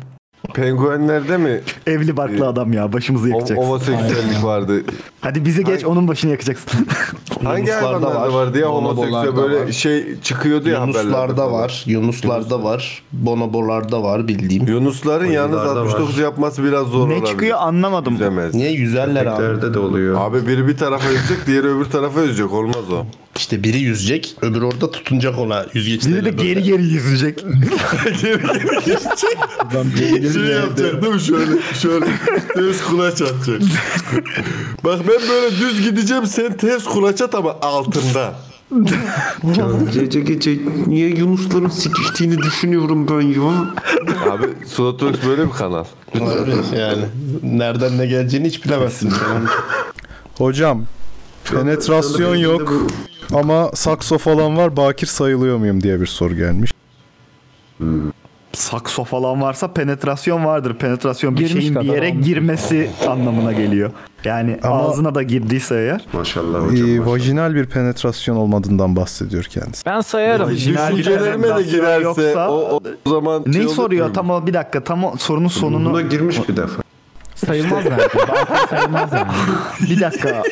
Speaker 2: penguenlerde mi?
Speaker 9: Evli barklı adam ya başımızı
Speaker 2: yakacaksın. Homoseksüellik vardı.
Speaker 9: Hadi bizi geç onun başını yakacaksın.
Speaker 2: Hangi hayvanlarda vardı ya homoseksüel böyle şey çıkıyordu ya haberlerde
Speaker 12: Yunuslarda
Speaker 2: falan.
Speaker 12: var. Yunuslarda var. Bonobolarda var bildiğim.
Speaker 2: Yunusların yalnız 69 yapması biraz zor olabilir.
Speaker 9: anlamadım.
Speaker 2: Yüzemez.
Speaker 12: Niye yüzerler abi?
Speaker 2: de oluyor. Abi biri bir tarafa yüzecek diğeri öbür tarafa yüzecek olmaz o.
Speaker 12: İşte biri yüzecek, öbürü orada tutunacak ona yüzgeçlerle. Biri de
Speaker 9: geri geri yüzecek.
Speaker 2: geri geri yüzecek. şey yapacak değil mi şöyle şöyle ters kulaç atacak. Bak ben böyle düz gideceğim sen ters kulaç at ama altında.
Speaker 6: Gece gece niye Yunusların sikiştiğini düşünüyorum ben ya.
Speaker 2: Abi Slotox böyle bir kanal.
Speaker 12: yani nereden ne geleceğini hiç bilemezsin.
Speaker 5: Hocam penetrasyon
Speaker 12: Şöyle bir
Speaker 5: yok ama sakso falan var bakir sayılıyor muyum diye bir soru gelmiş.
Speaker 9: Sakso falan varsa penetrasyon vardır. Penetrasyon bir
Speaker 5: Girmiş
Speaker 9: şeyin bir
Speaker 5: kadar
Speaker 9: yere
Speaker 5: olmuş.
Speaker 9: girmesi anlamına geliyor. Yani ağzına da girdiyse eğer.
Speaker 6: Maşallah
Speaker 5: Ee, vajinal bir penetrasyon olmadığından bahsediyor kendisi.
Speaker 7: Ben sayarım.
Speaker 2: Düşüncelerime de girerse o, o, o zaman
Speaker 9: Neyi
Speaker 2: şey olur
Speaker 9: soruyor
Speaker 2: mu?
Speaker 9: tam o bir dakika tam o sorunun sonunu.
Speaker 6: Buna girmiş bir defa.
Speaker 7: Sayılmaz yani. sayılmaz yani.
Speaker 9: bir dakika.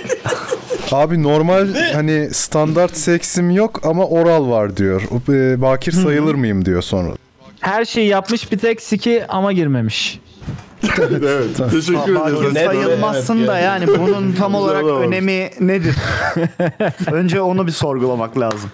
Speaker 5: Abi normal hani standart seksim yok ama oral var diyor. Ee, Bakir sayılır mıyım diyor sonra.
Speaker 7: Her şeyi yapmış bir tek siki ama girmemiş.
Speaker 2: evet.
Speaker 9: Teşekkür Aa, ederim. bak, sayılmazsın da yani bunun tam olarak önemi nedir? Önce onu bir sorgulamak lazım.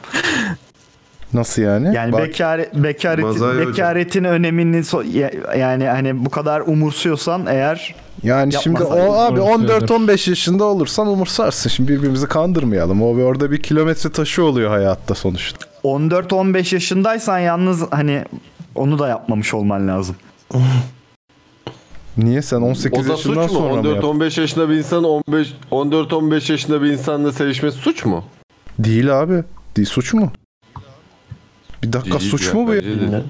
Speaker 5: Nasıl yani?
Speaker 9: Yani
Speaker 5: Bak-
Speaker 9: bekare, bekaretin,
Speaker 5: Mazai hocam.
Speaker 9: bekaretin önemini so- ya- yani hani bu kadar umursuyorsan eğer
Speaker 5: Yani şimdi
Speaker 9: yapmasaydın.
Speaker 5: o abi 14-15 yaşında olursan umursarsın. Şimdi birbirimizi kandırmayalım. O bir- orada bir kilometre taşı oluyor hayatta sonuçta.
Speaker 9: 14-15 yaşındaysan yalnız hani onu da yapmamış olman lazım.
Speaker 5: Niye sen 18
Speaker 2: O da suç mu?
Speaker 5: yaşından sonra mı yaptın?
Speaker 2: 14-15 yaşında bir insan 15 14-15 yaşında bir insanla sevişmesi suç mu?
Speaker 5: Değil abi. Değil suç mu? Bir dakika
Speaker 2: Değil
Speaker 5: suç
Speaker 2: ya,
Speaker 5: mu bu ya?
Speaker 2: bence de değil.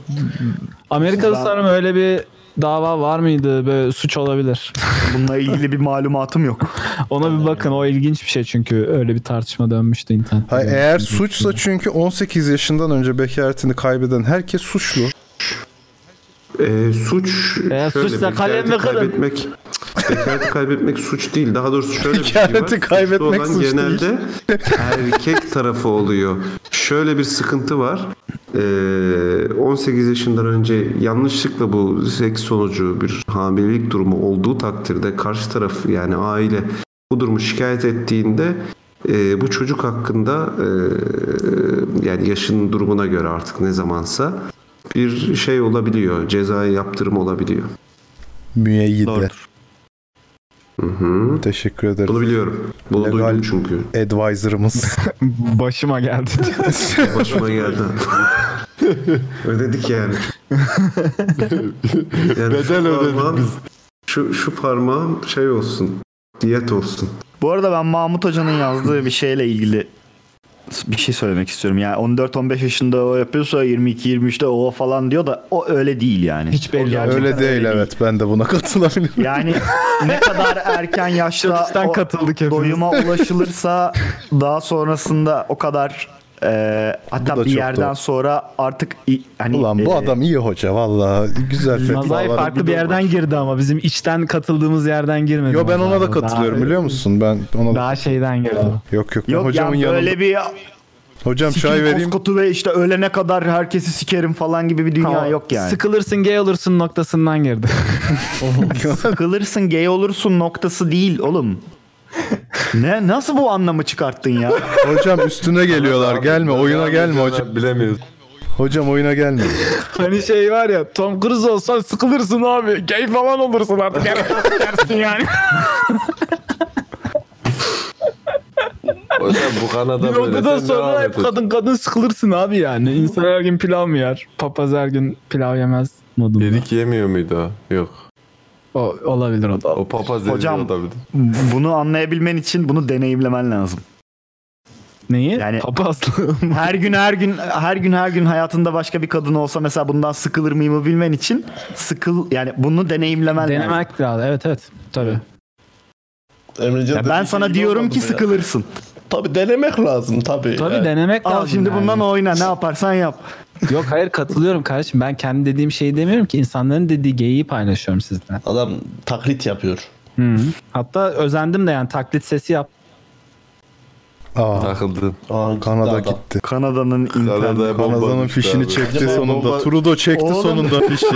Speaker 7: Amerika'da sanırım öyle bir dava var mıydı? Böyle suç olabilir.
Speaker 9: Bununla ilgili bir malumatım yok.
Speaker 7: Ona bir bakın. O ilginç bir şey çünkü öyle bir tartışma dönmüştü internette.
Speaker 5: Hayır, eğer suçsa çünkü 18 yaşından önce bekaretini kaybeden herkes suçlu.
Speaker 6: Ee, suç
Speaker 7: Eğer
Speaker 6: şöyle,
Speaker 7: suçsa
Speaker 6: bekareti
Speaker 7: kalem mi kırın?
Speaker 6: kaybetmek, bekareti kaybetmek suç değil. Daha doğrusu şöyle bir şey var.
Speaker 5: Bekareti
Speaker 6: Suçlu
Speaker 5: kaybetmek
Speaker 6: olan
Speaker 5: suç değil.
Speaker 6: genelde erkek tarafı oluyor. Şöyle bir sıkıntı var. Ee, 18 yaşından önce yanlışlıkla bu seks sonucu bir hamilelik durumu olduğu takdirde karşı taraf yani aile bu durumu şikayet ettiğinde e, bu çocuk hakkında e, yani yaşının durumuna göre artık ne zamansa bir şey olabiliyor. Cezai yaptırım olabiliyor.
Speaker 5: Müeyyide. Teşekkür ederim.
Speaker 6: Bunu biliyorum. Bunu duydum çünkü.
Speaker 5: Advisor'ımız.
Speaker 7: Başıma geldi.
Speaker 6: Başıma geldi. ödedik yani. Neden ödedik biz? Şu, şu parmağım şey olsun. Diyet olsun.
Speaker 9: Bu arada ben Mahmut Hoca'nın yazdığı bir şeyle ilgili bir şey söylemek istiyorum. Yani 14-15 yaşında o yapıyorsa 22-23'te o falan diyor da o öyle değil yani. Hiç
Speaker 5: Öyle değil evet ben de buna katılabilirim.
Speaker 9: Yani ne kadar erken yaşta
Speaker 5: Çalıştan
Speaker 9: o
Speaker 5: katıldık hepimiz.
Speaker 9: doyuma ulaşılırsa daha sonrasında o kadar e, hatta
Speaker 5: Bu da
Speaker 9: bir
Speaker 5: çok
Speaker 9: yerden
Speaker 5: doğru.
Speaker 9: sonra artık i- hani
Speaker 5: Ulan bu adam iyi hoca valla güzel
Speaker 7: Mazai
Speaker 5: fetvalar.
Speaker 7: farklı bir yerden girdi ama bizim içten katıldığımız yerden girmedi.
Speaker 5: Yo ben ona da
Speaker 7: Mazai.
Speaker 5: katılıyorum
Speaker 7: Daha-
Speaker 5: biliyor musun? Ben ona
Speaker 7: Daha şeyden girdim.
Speaker 5: Yok yok ben
Speaker 9: Yok
Speaker 5: hocamın
Speaker 9: yani böyle
Speaker 5: yanında.
Speaker 9: bir
Speaker 5: Hocam çay
Speaker 9: sikim
Speaker 5: vereyim.
Speaker 9: koskotu ve işte ölene kadar herkesi sikerim falan gibi bir dünya
Speaker 7: Tamam.
Speaker 9: yok yani.
Speaker 7: Sıkılırsın gay olursun noktasından girdi.
Speaker 9: Sıkılırsın gay olursun noktası değil oğlum. ne nasıl bu anlamı çıkarttın ya?
Speaker 5: Hocam üstüne geliyorlar gelme oyuna gelme hocam.
Speaker 2: Bilemiyoruz.
Speaker 5: Hocam oyuna gelme.
Speaker 7: hani şey var ya Tom Cruise olsan sıkılırsın abi. Gay falan olursun artık. Dersin yani.
Speaker 2: Hocam bu kanada
Speaker 7: Bir
Speaker 2: böyle.
Speaker 7: noktadan
Speaker 2: Sen devam
Speaker 7: sonra
Speaker 2: et
Speaker 7: hep
Speaker 2: hocam.
Speaker 7: kadın kadın sıkılırsın abi yani. İnsan her gün pilav mı yer? Papaz her gün pilav yemez.
Speaker 2: Yedik yemiyor muydu o? Yok.
Speaker 7: O olabilir o da.
Speaker 2: O papaz Hocam,
Speaker 9: Hocam-
Speaker 2: olabilir.
Speaker 9: Bunu anlayabilmen için bunu deneyimlemen lazım.
Speaker 7: Neyi?
Speaker 9: Yani
Speaker 7: Papazlığı
Speaker 9: her gün her gün her gün her gün hayatında başka bir kadın olsa mesela bundan sıkılır mıyımı bilmen için sıkıl yani bunu deneyimlemen lazım.
Speaker 7: Denemek lazım. Evet evet. Tabii.
Speaker 12: Emrecan
Speaker 9: Ya
Speaker 12: da
Speaker 9: ben
Speaker 12: bir
Speaker 9: sana
Speaker 12: şey
Speaker 9: diyorum
Speaker 12: olmadı
Speaker 9: ki
Speaker 12: ya.
Speaker 9: sıkılırsın.
Speaker 12: Tabii denemek lazım tabii.
Speaker 7: Tabii denemek
Speaker 9: Al
Speaker 7: lazım.
Speaker 9: şimdi
Speaker 7: yani.
Speaker 9: bundan oyna ne yaparsan yap.
Speaker 7: Yok hayır katılıyorum kardeşim. Ben kendi dediğim şeyi demiyorum ki. insanların dediği geyiği paylaşıyorum sizden.
Speaker 12: Adam taklit yapıyor.
Speaker 7: Hı. Hatta özendim de yani taklit sesi yap.
Speaker 5: Aa.
Speaker 2: Takıldın.
Speaker 5: Kanada gitti.
Speaker 9: Kanada'nın internet.
Speaker 5: Kanada'nın fişini çekti sonunda. Trudeau çekti
Speaker 9: Oğlum.
Speaker 5: sonunda fişi.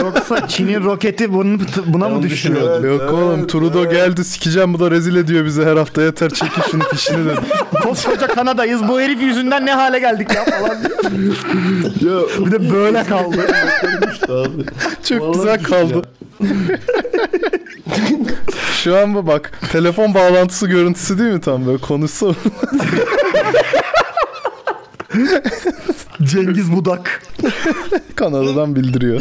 Speaker 9: Yoksa Çin'in roketi bunun, buna mı düşüyor?
Speaker 5: Yok oğlum Trudeau geldi sikeceğim bu da rezil ediyor bizi her hafta yeter çekin şunu fişini dedi.
Speaker 9: Koskoca Kanada'yız bu herif yüzünden ne hale geldik ya falan diye.
Speaker 12: Ya,
Speaker 9: Bir de böyle kaldı.
Speaker 5: Çok güzel kaldı. Şu an bu bak telefon bağlantısı görüntüsü değil mi tam böyle konuşsa.
Speaker 9: Cengiz Budak.
Speaker 5: Kanada'dan bildiriyor.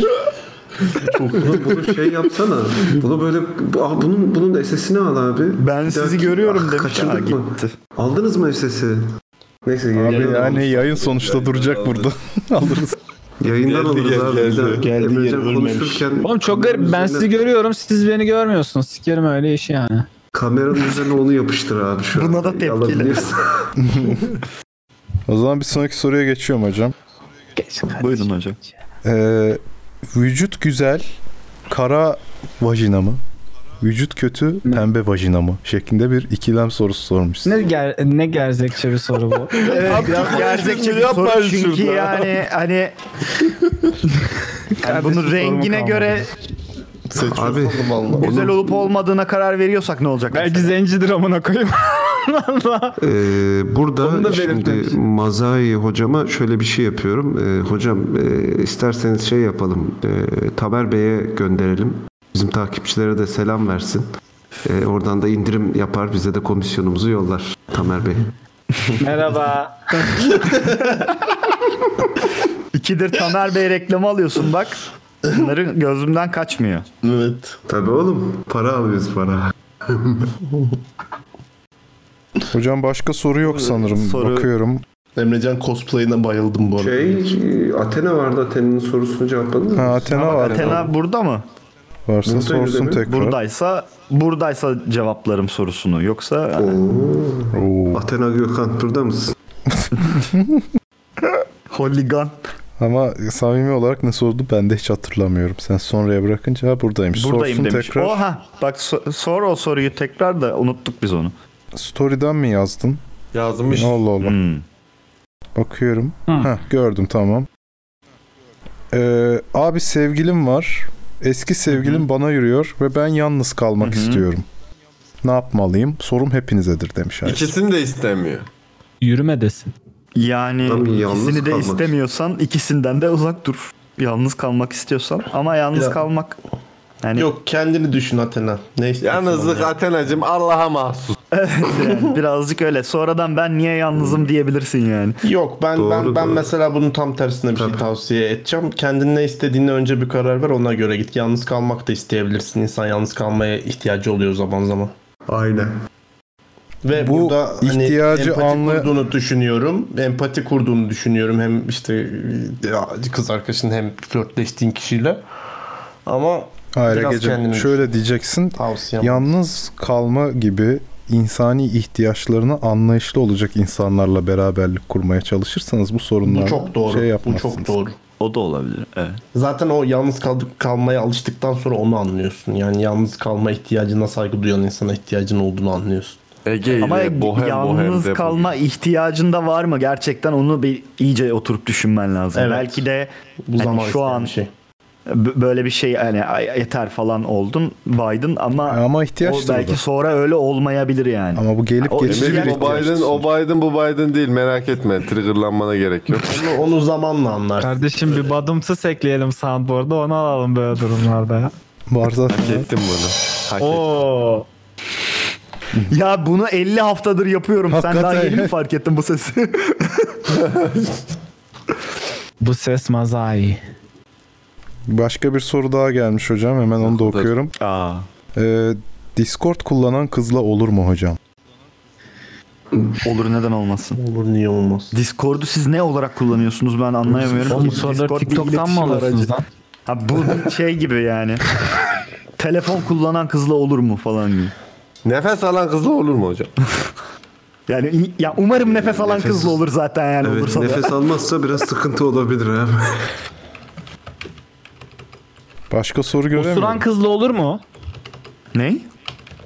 Speaker 6: Bunu, bunu şey yapsana. Bunu böyle bu- ah, bunun bunun SS'ini al abi. Ah,
Speaker 9: Ben sizi görüyorum demiş. Aa,
Speaker 6: Kaçırdık mı? Aldınız mı SS'i? Neyse
Speaker 5: Abi
Speaker 6: yayından
Speaker 5: yani
Speaker 6: alırız.
Speaker 5: yayın sonuçta duracak burada. Alırız.
Speaker 6: Yayından alırız abi. bir daha. Emrecan konuşurken
Speaker 7: Oğlum çok garip. Ben sizi görüyorum. Siz beni görmüyorsunuz. Sikerim öyle işi yani.
Speaker 6: kameranın üzerine onu yapıştır abi şu an.
Speaker 9: Buna da tepkili.
Speaker 6: Alabilirsin.
Speaker 5: O zaman bir sonraki soruya geçiyorum hocam.
Speaker 9: Buyurun hocam.
Speaker 5: Ee, vücut güzel, kara vajina mı? Vücut kötü, pembe vajina mı? Şeklinde bir ikilem sorusu sormuş.
Speaker 7: Ne ger ne gerzekçi bir soru bu.
Speaker 9: Evet, biraz gerçekçi bir soru çünkü yani hani yani bunun
Speaker 7: sorumu
Speaker 9: rengine
Speaker 7: kalmadı.
Speaker 9: göre
Speaker 6: abi
Speaker 9: güzel olup olmadığına karar veriyorsak ne olacak?
Speaker 7: Belki zencidir amına koyayım. Valla.
Speaker 6: Ee,
Speaker 7: Onu da
Speaker 6: burada
Speaker 7: belirtmemiş.
Speaker 6: şimdi Mazai hocama şöyle bir şey yapıyorum. Ee, hocam e, isterseniz şey yapalım. E, Tamer Bey'e gönderelim. Bizim takipçilere de selam versin. Ee, oradan da indirim yapar. Bize de komisyonumuzu yollar Tamer Bey.
Speaker 7: Merhaba.
Speaker 9: İkidir Tamer Bey reklamı alıyorsun bak. Bunları gözümden kaçmıyor.
Speaker 12: Evet.
Speaker 6: Tabii oğlum. Para alıyoruz para.
Speaker 5: Hocam başka soru yok sanırım.
Speaker 12: Soru-
Speaker 5: Bakıyorum.
Speaker 12: Emrecan cosplay'ine bayıldım bu arada.
Speaker 6: Şey Athena vardı Athena'nın sorusunu cevapladın mı?
Speaker 5: Ha, Athena Ama vardı.
Speaker 9: Athena burada mı?
Speaker 5: Varsa
Speaker 9: Buradaydı
Speaker 5: sorsun
Speaker 9: değil mi?
Speaker 5: tekrar.
Speaker 9: Buradaysa buradaysa cevaplarım sorusunu. Yoksa hani,
Speaker 6: Athena Gökhan burada mısın?
Speaker 9: Holigan.
Speaker 5: Ama samimi olarak ne sordu ben de hiç hatırlamıyorum. Sen sonraya bırakınca ha, buradaymış.
Speaker 9: buradayım
Speaker 5: sorsun
Speaker 9: demiş. Oh.
Speaker 5: tekrar.
Speaker 9: Oha bak so- sor o soruyu tekrar da unuttuk biz onu.
Speaker 5: Story'den mi yazdın?
Speaker 2: Yazmış.
Speaker 5: Allah Allah.
Speaker 9: Hmm.
Speaker 5: Bakıyorum. Heh, gördüm tamam. Ee, abi sevgilim var. Eski sevgilim bana yürüyor ve ben yalnız kalmak istiyorum. Ne yapmalıyım? Sorum hepinizedir demiş abi.
Speaker 2: İkisini de istemiyor.
Speaker 7: Yürüme desin.
Speaker 9: Yani
Speaker 5: Tabii yalnız
Speaker 9: ikisini de
Speaker 5: kalmak.
Speaker 9: istemiyorsan ikisinden de uzak dur. Yalnız kalmak istiyorsan ama yalnız
Speaker 12: Ya.
Speaker 9: kalmak yani
Speaker 12: Yok kendini düşün Athena. Ne istiyorsun
Speaker 2: Yalnızlık
Speaker 12: ondan?
Speaker 2: Athena'cığım Allah'a mahsus.
Speaker 9: Evet yani birazcık öyle. Sonradan ben niye yalnızım diyebilirsin yani.
Speaker 12: Yok ben ben ben mesela bunun tam tersine bir şey tavsiye edeceğim. Kendin ne istediğine önce bir karar ver ona göre git. Yalnız kalmak da isteyebilirsin. İnsan yalnız kalmaya ihtiyacı oluyor zaman zaman.
Speaker 6: Aynen.
Speaker 12: Ve
Speaker 5: Bu
Speaker 12: burada hani
Speaker 5: ihtiyacı
Speaker 12: empati
Speaker 5: anla-
Speaker 12: kurduğunu düşünüyorum. Empati kurduğunu düşünüyorum hem işte ya, kız arkadaşın hem flörtleştiğin kişiyle. Ama
Speaker 5: Hayır
Speaker 12: biraz
Speaker 5: Egecim,
Speaker 12: kendini
Speaker 5: şöyle diyeceksin.
Speaker 12: Tavsiyem.
Speaker 5: Yalnız kalma gibi insani ihtiyaçlarına anlayışlı olacak insanlarla beraberlik kurmaya çalışırsanız bu sorunlar
Speaker 12: Bu çok doğru.
Speaker 5: şey
Speaker 12: bu
Speaker 5: yapmazsınız.
Speaker 12: çok doğru.
Speaker 9: O da olabilir. Evet.
Speaker 12: Zaten o yalnız kal- kalmaya alıştıktan sonra onu anlıyorsun. Yani yalnız kalma ihtiyacına saygı duyan insana ihtiyacın olduğunu anlıyorsun.
Speaker 2: Ege
Speaker 9: Ama yalnız kalma ihtiyacında var mı gerçekten onu bir iyice oturup düşünmen lazım.
Speaker 12: Evet.
Speaker 9: Belki de
Speaker 12: Bu
Speaker 9: hani
Speaker 12: zaman
Speaker 9: şu
Speaker 12: isteyen
Speaker 9: an
Speaker 12: bir şey.
Speaker 9: b- böyle bir şey hani "Ay, yeter falan oldun Biden ama
Speaker 5: ama
Speaker 9: o
Speaker 5: ihtiyaçtır
Speaker 9: belki
Speaker 5: o da.
Speaker 9: sonra öyle olmayabilir yani.
Speaker 5: Ama bu gelip
Speaker 9: o
Speaker 5: geçici
Speaker 9: ihtiyaç-
Speaker 5: bir
Speaker 2: O Biden, o Biden bu Biden değil merak etme. Triggerlanmana gerek yok.
Speaker 12: Onu, onu zamanla anlarsın.
Speaker 7: Kardeşim bir badımsız ekleyelim soundboard'a onu alalım böyle durumlarda ya.
Speaker 5: Var zaten.
Speaker 2: Hak ettim bunu. Hak
Speaker 7: Oo.
Speaker 9: Ya bunu 50 haftadır yapıyorum. Sen daha
Speaker 7: Hakikaten.
Speaker 9: yeni mi fark ettin bu sesi?
Speaker 7: Bu ses mazai.
Speaker 5: Başka bir soru daha gelmiş hocam. Hemen onu da okuyorum. Ee, Discord kullanan kızla olur mu hocam?
Speaker 9: Olur neden olmasın?
Speaker 12: Olur niye olmaz?
Speaker 9: Discord'u siz ne olarak kullanıyorsunuz ben anlayamıyorum.
Speaker 7: Oğlum,
Speaker 9: ki.
Speaker 7: bu soruları
Speaker 9: Discord bir
Speaker 7: TikTok'tan
Speaker 9: iletişim
Speaker 7: mı alıyorsunuz
Speaker 9: aracı.
Speaker 7: lan?
Speaker 9: Ha bu şey gibi yani. Telefon kullanan kızla olur mu falan gibi.
Speaker 2: Nefes alan kızla olur mu hocam?
Speaker 9: Yani ya
Speaker 7: Ee,
Speaker 9: umarım nefes alan kızla olur zaten yani
Speaker 6: Evet,
Speaker 9: olursa da.
Speaker 6: nefes almazsa biraz sıkıntı olabilir abi.
Speaker 5: Başka soru göremiyorum.
Speaker 7: Osuran kızla olur mu?
Speaker 9: Ne?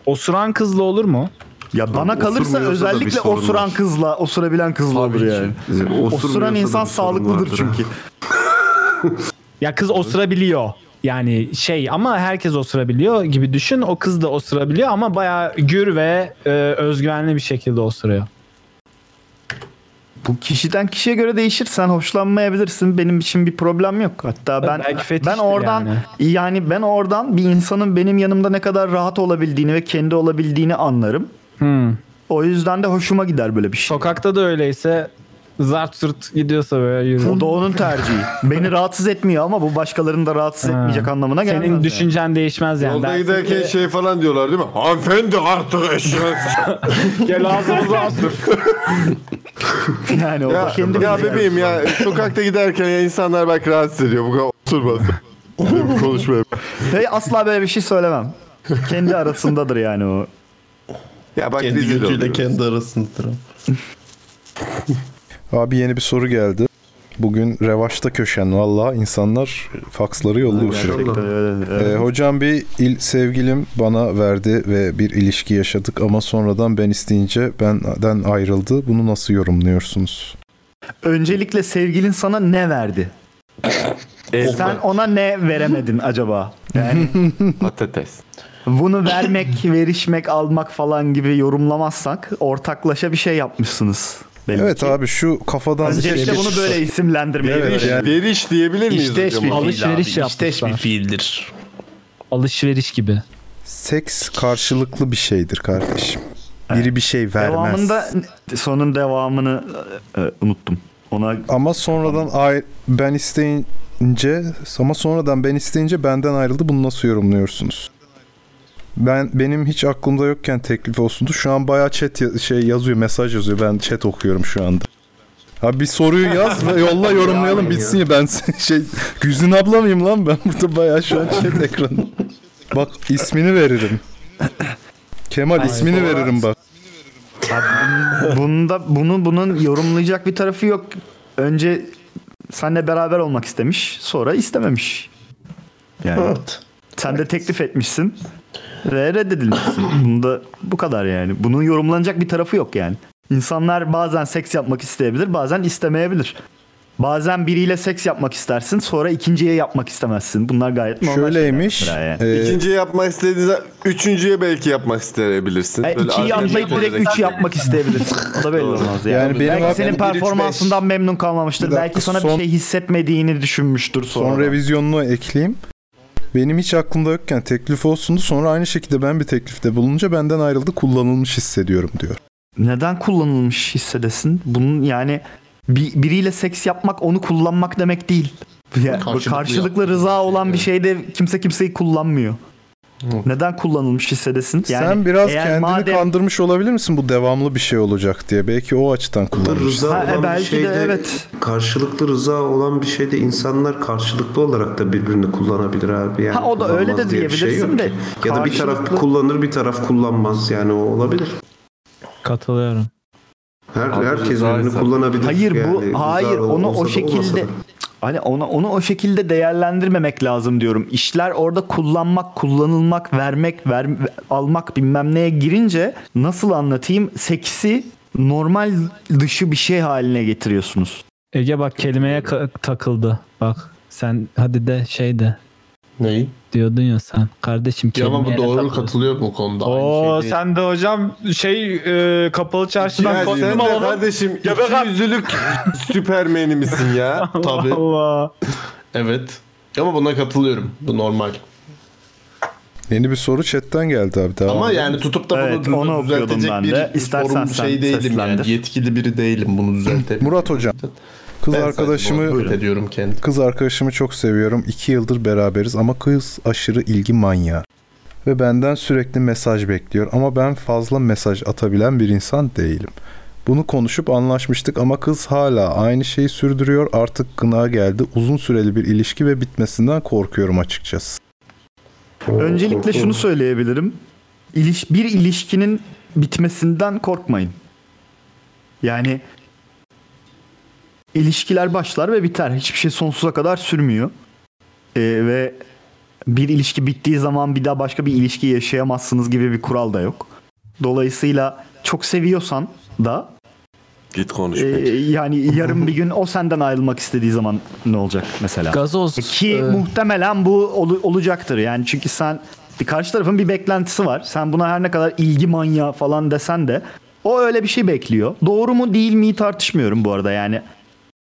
Speaker 7: Osuran kızla olur mu?
Speaker 9: Ya Bana kalırsa özellikle osuran kızla, osurabilen kızla olur yani.
Speaker 7: Osurmuyorsa
Speaker 9: Osuran
Speaker 7: da
Speaker 9: insan
Speaker 7: bir sorun
Speaker 9: sağlıklıdır
Speaker 7: vardır ha.
Speaker 9: çünkü.
Speaker 7: Ya kız osurabiliyor. Yani şey ama herkes osurabiliyor gibi düşün. O kız da osurabiliyor ama bayağı gür ve e, özgüvenli bir şekilde osuruyor.
Speaker 9: Bu kişiden kişiye göre değişir. Sen hoşlanmayabilirsin. Benim için bir problem yok. Hatta ben
Speaker 7: belki
Speaker 9: ben,
Speaker 7: fetiştir
Speaker 9: oradan yani. ben oradan bir insanın benim yanımda ne kadar rahat olabildiğini ve kendi olabildiğini anlarım. O yüzden de hoşuma gider böyle bir şey.
Speaker 7: Hmm. Sokakta da öyleyse zart zurt gidiyorsa böyle yürü.
Speaker 9: Bu da onun tercihi. Beni rahatsız etmiyor ama bu başkalarını da rahatsız etmeyecek anlamına gelmez.
Speaker 7: Senin
Speaker 9: yani.
Speaker 7: düşüncen değişmez yani.
Speaker 2: Yolda
Speaker 7: Dersin
Speaker 2: giderken
Speaker 7: ki,
Speaker 2: şey falan diyorlar değil mi? Hanımefendi artık eşiniz.
Speaker 7: Gel ağzımıza
Speaker 9: Yani o da
Speaker 2: ya,
Speaker 9: kendi
Speaker 2: ya
Speaker 9: bileceği.
Speaker 2: bebeğim ya e, sokakta giderken ya insanlar belki rahatsız ediyor. Bu kadar oturmasın. Benim konuşmaya.
Speaker 9: Ve asla böyle bir şey söylemem. Kendi arasındadır yani o.
Speaker 2: Ya bak
Speaker 12: kendi
Speaker 2: rezil
Speaker 12: götüyle
Speaker 2: oluyoruz.
Speaker 12: kendi arasındadır.
Speaker 5: Abi yeni bir soru geldi. Bugün revaçta köşen valla insanlar faksları yolluyor.
Speaker 9: Gerçekten öyle. Evet.
Speaker 5: Ee, hocam bir il sevgilim bana verdi ve bir ilişki yaşadık ama sonradan ben isteyince benden ayrıldı. Bunu nasıl yorumluyorsunuz?
Speaker 9: Öncelikle sevgilin sana ne verdi? Sen ona ne veremedin acaba? Yani
Speaker 2: Patates.
Speaker 9: bunu vermek, verişmek, almak falan gibi yorumlamazsak ortaklaşa bir şey yapmışsınız. Belli
Speaker 5: evet
Speaker 9: ki.
Speaker 5: abi şu kafadan bir şey
Speaker 9: Öncelikle bunu
Speaker 5: geçirse-
Speaker 9: böyle isimlendirmeyi
Speaker 5: Evet,
Speaker 9: öğrenelim.
Speaker 5: yani-
Speaker 2: Veriş diyebilir miyiz
Speaker 9: İşteş
Speaker 2: hocam?
Speaker 9: bir fiil
Speaker 7: Alışveriş
Speaker 9: abi,
Speaker 7: yapmışlar.
Speaker 9: işteş bir
Speaker 12: fiildir.
Speaker 7: Alışveriş gibi.
Speaker 5: Seks karşılıklı bir şeydir kardeşim. Biri bir şey vermez.
Speaker 9: Devamında sonun devamını e, e, unuttum. Ona
Speaker 5: Ama sonradan ay ben isteyin önce ama sonradan ben isteyince benden ayrıldı. Bunu nasıl yorumluyorsunuz? Ben benim hiç aklımda yokken teklif olsundu. Şu an bayağı chat ya- şey yazıyor, mesaj yazıyor. Ben chat okuyorum şu anda. Abi bir soruyu yaz ve yolla yorumlayalım bitsin ya. Ben se- şey Güzin abla mıyım lan ben burada bayağı şu an chat ekranı. Bak ismini veririm. Kemal
Speaker 9: Ay,
Speaker 5: ismini
Speaker 9: sonra-
Speaker 5: veririm bak.
Speaker 9: Abi, bunda bunu bunun yorumlayacak bir tarafı yok. Önce senle beraber olmak istemiş, sonra istememiş. Yani
Speaker 12: Evet.
Speaker 9: sen de teklif etmişsin ve reddedilmişsin. Bunda bu kadar yani. Bunun yorumlanacak bir tarafı yok yani. İnsanlar bazen seks yapmak isteyebilir, bazen istemeyebilir. Bazen biriyle seks yapmak istersin, sonra ikinciye yapmak istemezsin. Bunlar gayet normal.
Speaker 5: Şöyleymiş. Ee,
Speaker 2: İkinciyi yapmak istediğinizde üçüncüye belki yapmak isteyebilirsin.
Speaker 9: E, ikiyi atlayıp direkt üçü yapmak isteyebilirsin. O da belli olmaz yani.
Speaker 5: Yani benim
Speaker 9: belki
Speaker 5: hak-
Speaker 9: senin
Speaker 5: Yani bir, üç,
Speaker 9: performansından memnun kalmamıştır.
Speaker 5: Bir dakika,
Speaker 9: belki sana
Speaker 5: son-
Speaker 9: bir şey hissetmediğini düşünmüştür sonra.
Speaker 5: Son revizyonunu ekleyeyim. Benim hiç aklımda yokken teklif olsundu. Sonra aynı şekilde ben bir teklifte bulununca benden ayrıldı kullanılmış hissediyorum diyor.
Speaker 9: Neden kullanılmış hissedesin? Bunun yani bir, biriyle seks yapmak onu kullanmak demek değil. Ya, bu
Speaker 8: Karşılıklı
Speaker 9: karşılıklı, rıza olan bir şeyde kimse kimseyi kullanmıyor. Neden kullanılmış hissedesin? Yani
Speaker 5: Sen biraz
Speaker 9: eğer
Speaker 5: kendini
Speaker 9: madem-
Speaker 5: kandırmış olabilir misin bu devamlı bir şey olacak diye. Belki o açıdan kullanmış.
Speaker 9: e,
Speaker 6: Rıza olan bir şeyde, karşılıklı rıza olan bir şeyde insanlar karşılıklı olarak da birbirini kullanabilir abi. Yani
Speaker 9: Ha, o da
Speaker 6: kullanmaz
Speaker 9: öyle de
Speaker 6: diye bir şey
Speaker 9: diyebilirsin
Speaker 6: yok
Speaker 9: de
Speaker 6: ki. Ya da bir taraf
Speaker 9: karşılıklı-
Speaker 6: kullanır bir taraf kullanmaz yani o olabilir.
Speaker 7: Katılıyorum.
Speaker 6: Her,
Speaker 9: Abi
Speaker 6: herkes
Speaker 9: rıza
Speaker 6: birbirini
Speaker 9: ise-
Speaker 6: kullanabilir.
Speaker 9: Hayır bu
Speaker 6: Yani
Speaker 9: hayır
Speaker 6: rıza
Speaker 9: onu
Speaker 6: olsa da
Speaker 9: o
Speaker 6: olmasa
Speaker 9: şekilde
Speaker 6: da.
Speaker 9: hani ona onu o şekilde değerlendirmemek lazım diyorum. İşler orada kullanmak, kullanılmak, vermek, ver, almak bilmem neye girince nasıl anlatayım? Seksi normal dışı bir şey haline getiriyorsunuz.
Speaker 7: Ege bak kelimeye ka- takıldı. Bak sen hadi de şey de.
Speaker 12: Neyi?
Speaker 7: Diyordun ya sen. Kardeşim
Speaker 12: Ya
Speaker 7: kelimeye
Speaker 12: ama bu doğru
Speaker 7: takıldı.
Speaker 12: katılıyor bu konuda.
Speaker 7: Oo sen de hocam şey e, kapalı çarşıdan
Speaker 2: Ya
Speaker 12: Şey,
Speaker 7: kostüm
Speaker 2: sen de
Speaker 7: alalım.
Speaker 2: kardeşim
Speaker 7: Ya be
Speaker 2: iki yüzlülük süpermeni misin ya?
Speaker 12: Tabii.
Speaker 7: Allah.
Speaker 12: Evet. Ama buna katılıyorum. Bu normal.
Speaker 5: Yeni bir soru chatten geldi abi. Devam
Speaker 12: Ama
Speaker 5: edelim.
Speaker 12: yani tutup da
Speaker 5: Evet,
Speaker 12: bunu
Speaker 5: onu
Speaker 12: onu
Speaker 5: okuyordum
Speaker 12: düzeltecek
Speaker 5: ben
Speaker 12: bir
Speaker 5: de. İstersen
Speaker 12: sorumlu
Speaker 5: sen
Speaker 12: şey değilim
Speaker 5: seslendir.
Speaker 12: yani. Yetkili biri değilim bunu düzeltebilir.
Speaker 5: Murat hocam. Kız arkadaşımı
Speaker 12: ediyorum kendi.
Speaker 5: Kız arkadaşımı çok seviyorum. İki yıldır beraberiz ama kız aşırı ilgi manyağı. Ve benden sürekli mesaj bekliyor ama ben fazla mesaj atabilen bir insan değilim. Bunu konuşup anlaşmıştık ama kız hala aynı şeyi sürdürüyor. Artık gına geldi. Uzun süreli bir ilişki ve bitmesinden korkuyorum açıkçası.
Speaker 9: Öncelikle şunu söyleyebilirim. İliş, bir ilişkinin bitmesinden korkmayın. Yani ilişkiler başlar ve biter. Hiçbir şey sonsuza kadar sürmüyor. Ee, ve bir ilişki bittiği zaman bir daha başka bir ilişki yaşayamazsınız gibi bir kural da yok. Dolayısıyla çok seviyorsan da
Speaker 2: Git konuş.
Speaker 9: ee, yani yarın bir gün o senden ayrılmak istediği zaman ne olacak mesela?
Speaker 7: Gazoz.
Speaker 9: Ki
Speaker 7: e,
Speaker 9: muhtemelen bu olu- olacaktır yani çünkü sen bir karşı tarafın bir beklentisi var. Sen buna her ne kadar ilgi manyağı falan desen de o öyle bir şey bekliyor. Doğru mu değil mi tartışmıyorum bu arada yani.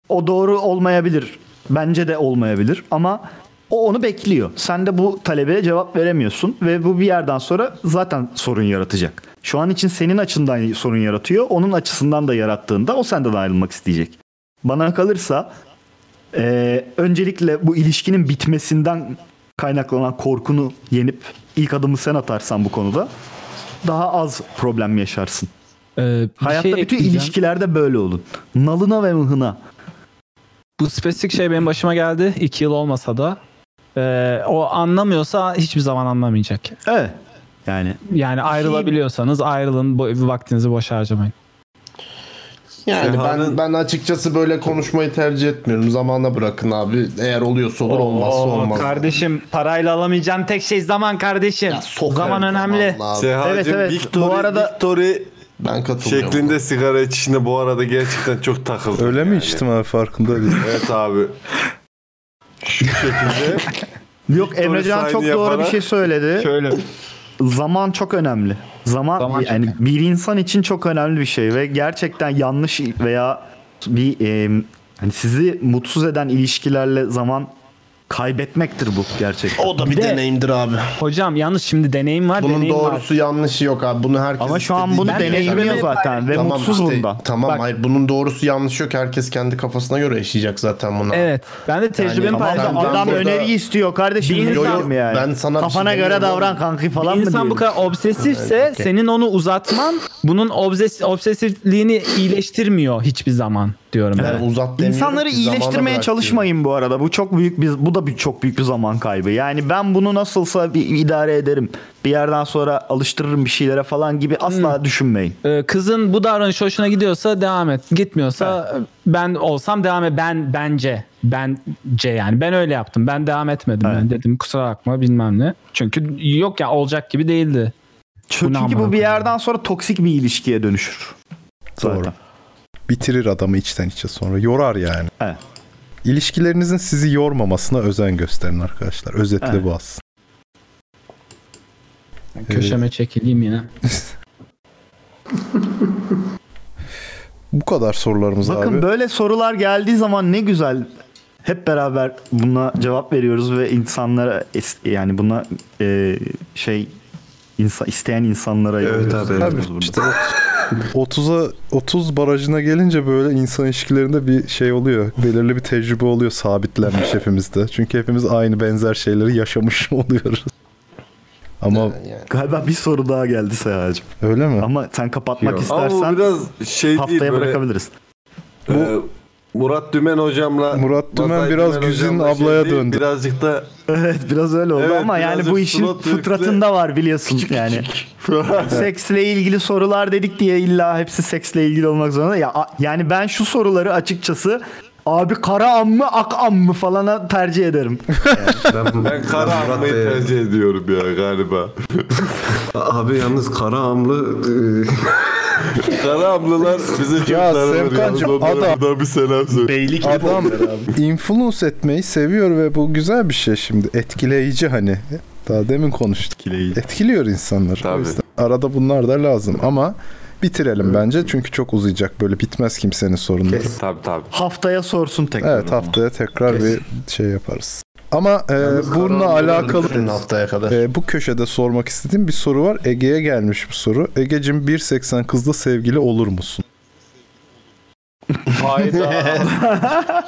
Speaker 9: O doğru olmayabilir. Bence de olmayabilir ama o onu bekliyor. Sen de bu talebe cevap veremiyorsun ve bu bir yerden sonra zaten sorun yaratacak. Şu an için senin açından sorun yaratıyor. Onun açısından da yarattığında o senden ayrılmak isteyecek. Bana kalırsa ee, öncelikle bu ilişkinin bitmesinden kaynaklanan korkunu yenip ilk adımı sen atarsan bu konuda daha az problem yaşarsın.
Speaker 7: bir
Speaker 9: Hayatta
Speaker 7: şey
Speaker 9: bütün
Speaker 7: ekleyeceğim.
Speaker 9: ilişkilerde böyle olun. Nalına ve mıhına.
Speaker 7: Bu spesifik şey benim başıma geldi. İki yıl olmasa da. Ee, o anlamıyorsa hiçbir zaman anlamayacak.
Speaker 9: Evet. Yani
Speaker 7: Yani ayrılabiliyorsanız ayrılın. Bo- vaktinizi boş harcamayın.
Speaker 12: Yani ben,
Speaker 7: Seha'nın-
Speaker 12: ben açıkçası böyle konuşmayı tercih etmiyorum. Zamana bırakın abi. Eğer oluyorsa olur olmazsa
Speaker 7: Oo,
Speaker 12: olmaz.
Speaker 7: Kardeşim parayla alamayacağın tek şey zaman kardeşim. zaman önemli.
Speaker 2: Sehacım, Victory, Victory
Speaker 12: ben
Speaker 7: katılıyorum.
Speaker 2: şeklinde sigara içişine bu arada gerçekten çok takıldım.
Speaker 5: Öyle mi içtim abi farkında değilim.
Speaker 2: Evet abi. Şu şekilde.
Speaker 9: Yok
Speaker 2: Victory
Speaker 9: Emrecan çok
Speaker 2: sign
Speaker 9: doğru bir
Speaker 2: yaparak-
Speaker 9: şey söyledi.
Speaker 2: Şöyle.
Speaker 9: Zaman çok önemli. Zaman, yani bir insan için çok önemli bir şey ve gerçekten yanlış veya bir e, hani sizi mutsuz eden ilişkilerle zaman Kaybetmektir bu gerçekten.
Speaker 12: O da bir deneyimdir abi.
Speaker 7: Hocam yalnız şimdi deneyim var.
Speaker 12: Bunun
Speaker 7: deneyim
Speaker 12: doğrusu yanlışı yok abi. Bunu herkes
Speaker 9: Ama şu an bunu deneyimliyor zaten ve mutsuz bundan.
Speaker 12: Tamam
Speaker 9: Bak-
Speaker 12: hayır bunun doğrusu yanlışı yok. Herkes kendi kafasına göre yaşayacak zaten bunu.
Speaker 7: var. Evet. Ben de tecrübemi
Speaker 12: Ama
Speaker 7: paylaşacağım.
Speaker 12: adam- adam
Speaker 7: Burada-
Speaker 12: öneriyi
Speaker 9: istiyor kardeşim.
Speaker 7: Bir
Speaker 12: Yo, yo,
Speaker 7: insan-
Speaker 12: yani. ben sana bir
Speaker 9: Kafana
Speaker 12: şey
Speaker 9: göre
Speaker 12: demiyorum
Speaker 9: davran
Speaker 12: oğlum.
Speaker 9: kanki falan
Speaker 7: bir
Speaker 9: mı
Speaker 7: insan bu
Speaker 9: diyelim?
Speaker 7: kadar obsesifse
Speaker 9: Evet, okey.
Speaker 7: senin onu uzatman bunun obses obsesifliğini iyileştirmiyor hiçbir zaman diyorum.
Speaker 12: Ben uzat demiyorum
Speaker 9: İnsanları
Speaker 12: ki, zamana
Speaker 9: iyileştirmeye
Speaker 12: bırak
Speaker 9: çalışmayın bu arada. Bu çok büyük bir bu da bir çok büyük bir zaman kaybı. Yani ben bunu nasılsa bir idare ederim. Bir yerden sonra alıştırırım bir şeylere falan gibi asla düşünmeyin.
Speaker 7: Ee, Kızın bu davranış hoşuna gidiyorsa devam et. Gitmiyorsa ben olsam devam et. Ben bence bence yani ben öyle yaptım. Ben devam etmedim. Yani dedim kusura bakma bilmem ne. Çünkü yok ya olacak gibi değildi.
Speaker 9: Çünkü bu bir yerden sonra toksik bir ilişkiye dönüşür.
Speaker 5: Doğru. Bitirir adamı içten içe sonra. Yorar yani.
Speaker 9: Evet.
Speaker 5: İlişkilerinizin sizi yormamasına özen gösterin arkadaşlar. Özetle
Speaker 7: Evet.
Speaker 5: bu aslında.
Speaker 7: köşeme çekileyim yine.
Speaker 5: Bu kadar sorularımız
Speaker 9: Bakın
Speaker 5: abi.
Speaker 9: böyle sorular geldiği zaman ne güzel hep beraber buna cevap veriyoruz ve insanlara es- yani buna e, şey insa- isteyen insanlara evet,
Speaker 5: Tabii, işte 30'a 30 barajına gelince böyle insan ilişkilerinde bir şey oluyor. Belirli bir tecrübe oluyor sabitlenmiş hepimizde. Çünkü hepimiz aynı benzer şeyleri yaşamış oluyoruz. Ama
Speaker 9: Galiba bir soru daha geldi Seyacım.
Speaker 5: Öyle mi?
Speaker 9: Ama sen kapatmak
Speaker 2: Yok. Ama bu
Speaker 9: istersen
Speaker 2: biraz şey
Speaker 9: haftaya
Speaker 2: değil, böyle-
Speaker 9: bırakabiliriz.
Speaker 2: Ee, Murat Dümen hocamla
Speaker 5: Murat Dümen
Speaker 2: Masai
Speaker 5: biraz
Speaker 2: Dümen
Speaker 5: Güzin
Speaker 2: hocamla şey
Speaker 5: ablaya
Speaker 2: değil,
Speaker 5: döndü.
Speaker 2: Birazcık da
Speaker 9: Evet biraz öyle oldu
Speaker 2: Evet,
Speaker 9: ama yani
Speaker 2: birazcık
Speaker 9: bu işin
Speaker 2: slow drift'le-
Speaker 9: fıtratında var biliyorsun yani. seksle ilgili sorular dedik diye illa hepsi seksle ilgili olmak zorunda. Ya a- yani ben şu soruları açıkçası abi kara am mı ak am mı falana tercih ederim.
Speaker 2: ben kara almayı tercih ediyorum ya galiba.
Speaker 6: Abi yalnız kara e, amlı
Speaker 2: kara amlılar bize çok
Speaker 5: Ya
Speaker 2: zarar veriyor.
Speaker 5: Serkancığım,
Speaker 2: Onlara
Speaker 5: adam-
Speaker 2: buradan bir selam söyle. Beylik
Speaker 5: Adam influence etmeyi seviyor ve bu güzel bir şey şimdi. Etkileyici hani. Daha demin konuştuk. Etkiliyor insanları. O yüzden arada bunlar da lazım ama bitirelim bence. Çünkü çok uzayacak böyle bitmez kimsenin sorunları.
Speaker 2: Tabii tabii.
Speaker 9: Haftaya sorsun tekrar.
Speaker 5: Evet haftaya tekrar bir şey yaparız. Ama e, bununla alakalı
Speaker 12: haftaya kadar.
Speaker 5: e, bu köşede sormak istediğim bir soru var. Ege'ye gelmiş bir soru. Ege'cim 1.80 kızla sevgili olur musun?
Speaker 12: Hayda.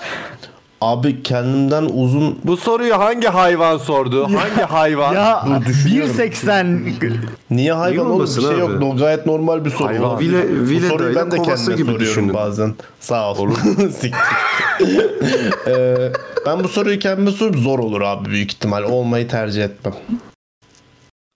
Speaker 12: Abi kendimden uzun...
Speaker 2: Bu soruyu hangi hayvan sordu? Hangi hayvan?
Speaker 9: Ya
Speaker 2: Dur, düşünüyorum.
Speaker 9: 1.80
Speaker 12: Niye hayvan oğlum? Bir
Speaker 2: olmasın
Speaker 12: şey yok.
Speaker 2: abi?
Speaker 12: No, gayet normal bir soru.
Speaker 2: Hayvan.
Speaker 12: Bu
Speaker 2: Vile- vile
Speaker 12: soruyu ben
Speaker 2: dayılan
Speaker 12: de kendime
Speaker 2: kovası gibi
Speaker 12: soruyorum
Speaker 2: düşünün.
Speaker 12: bazen. Sağ ol. Siktir. Ee, ben bu soruyu kendime sorup zor olur abi büyük ihtimal. Olmayı tercih etmem.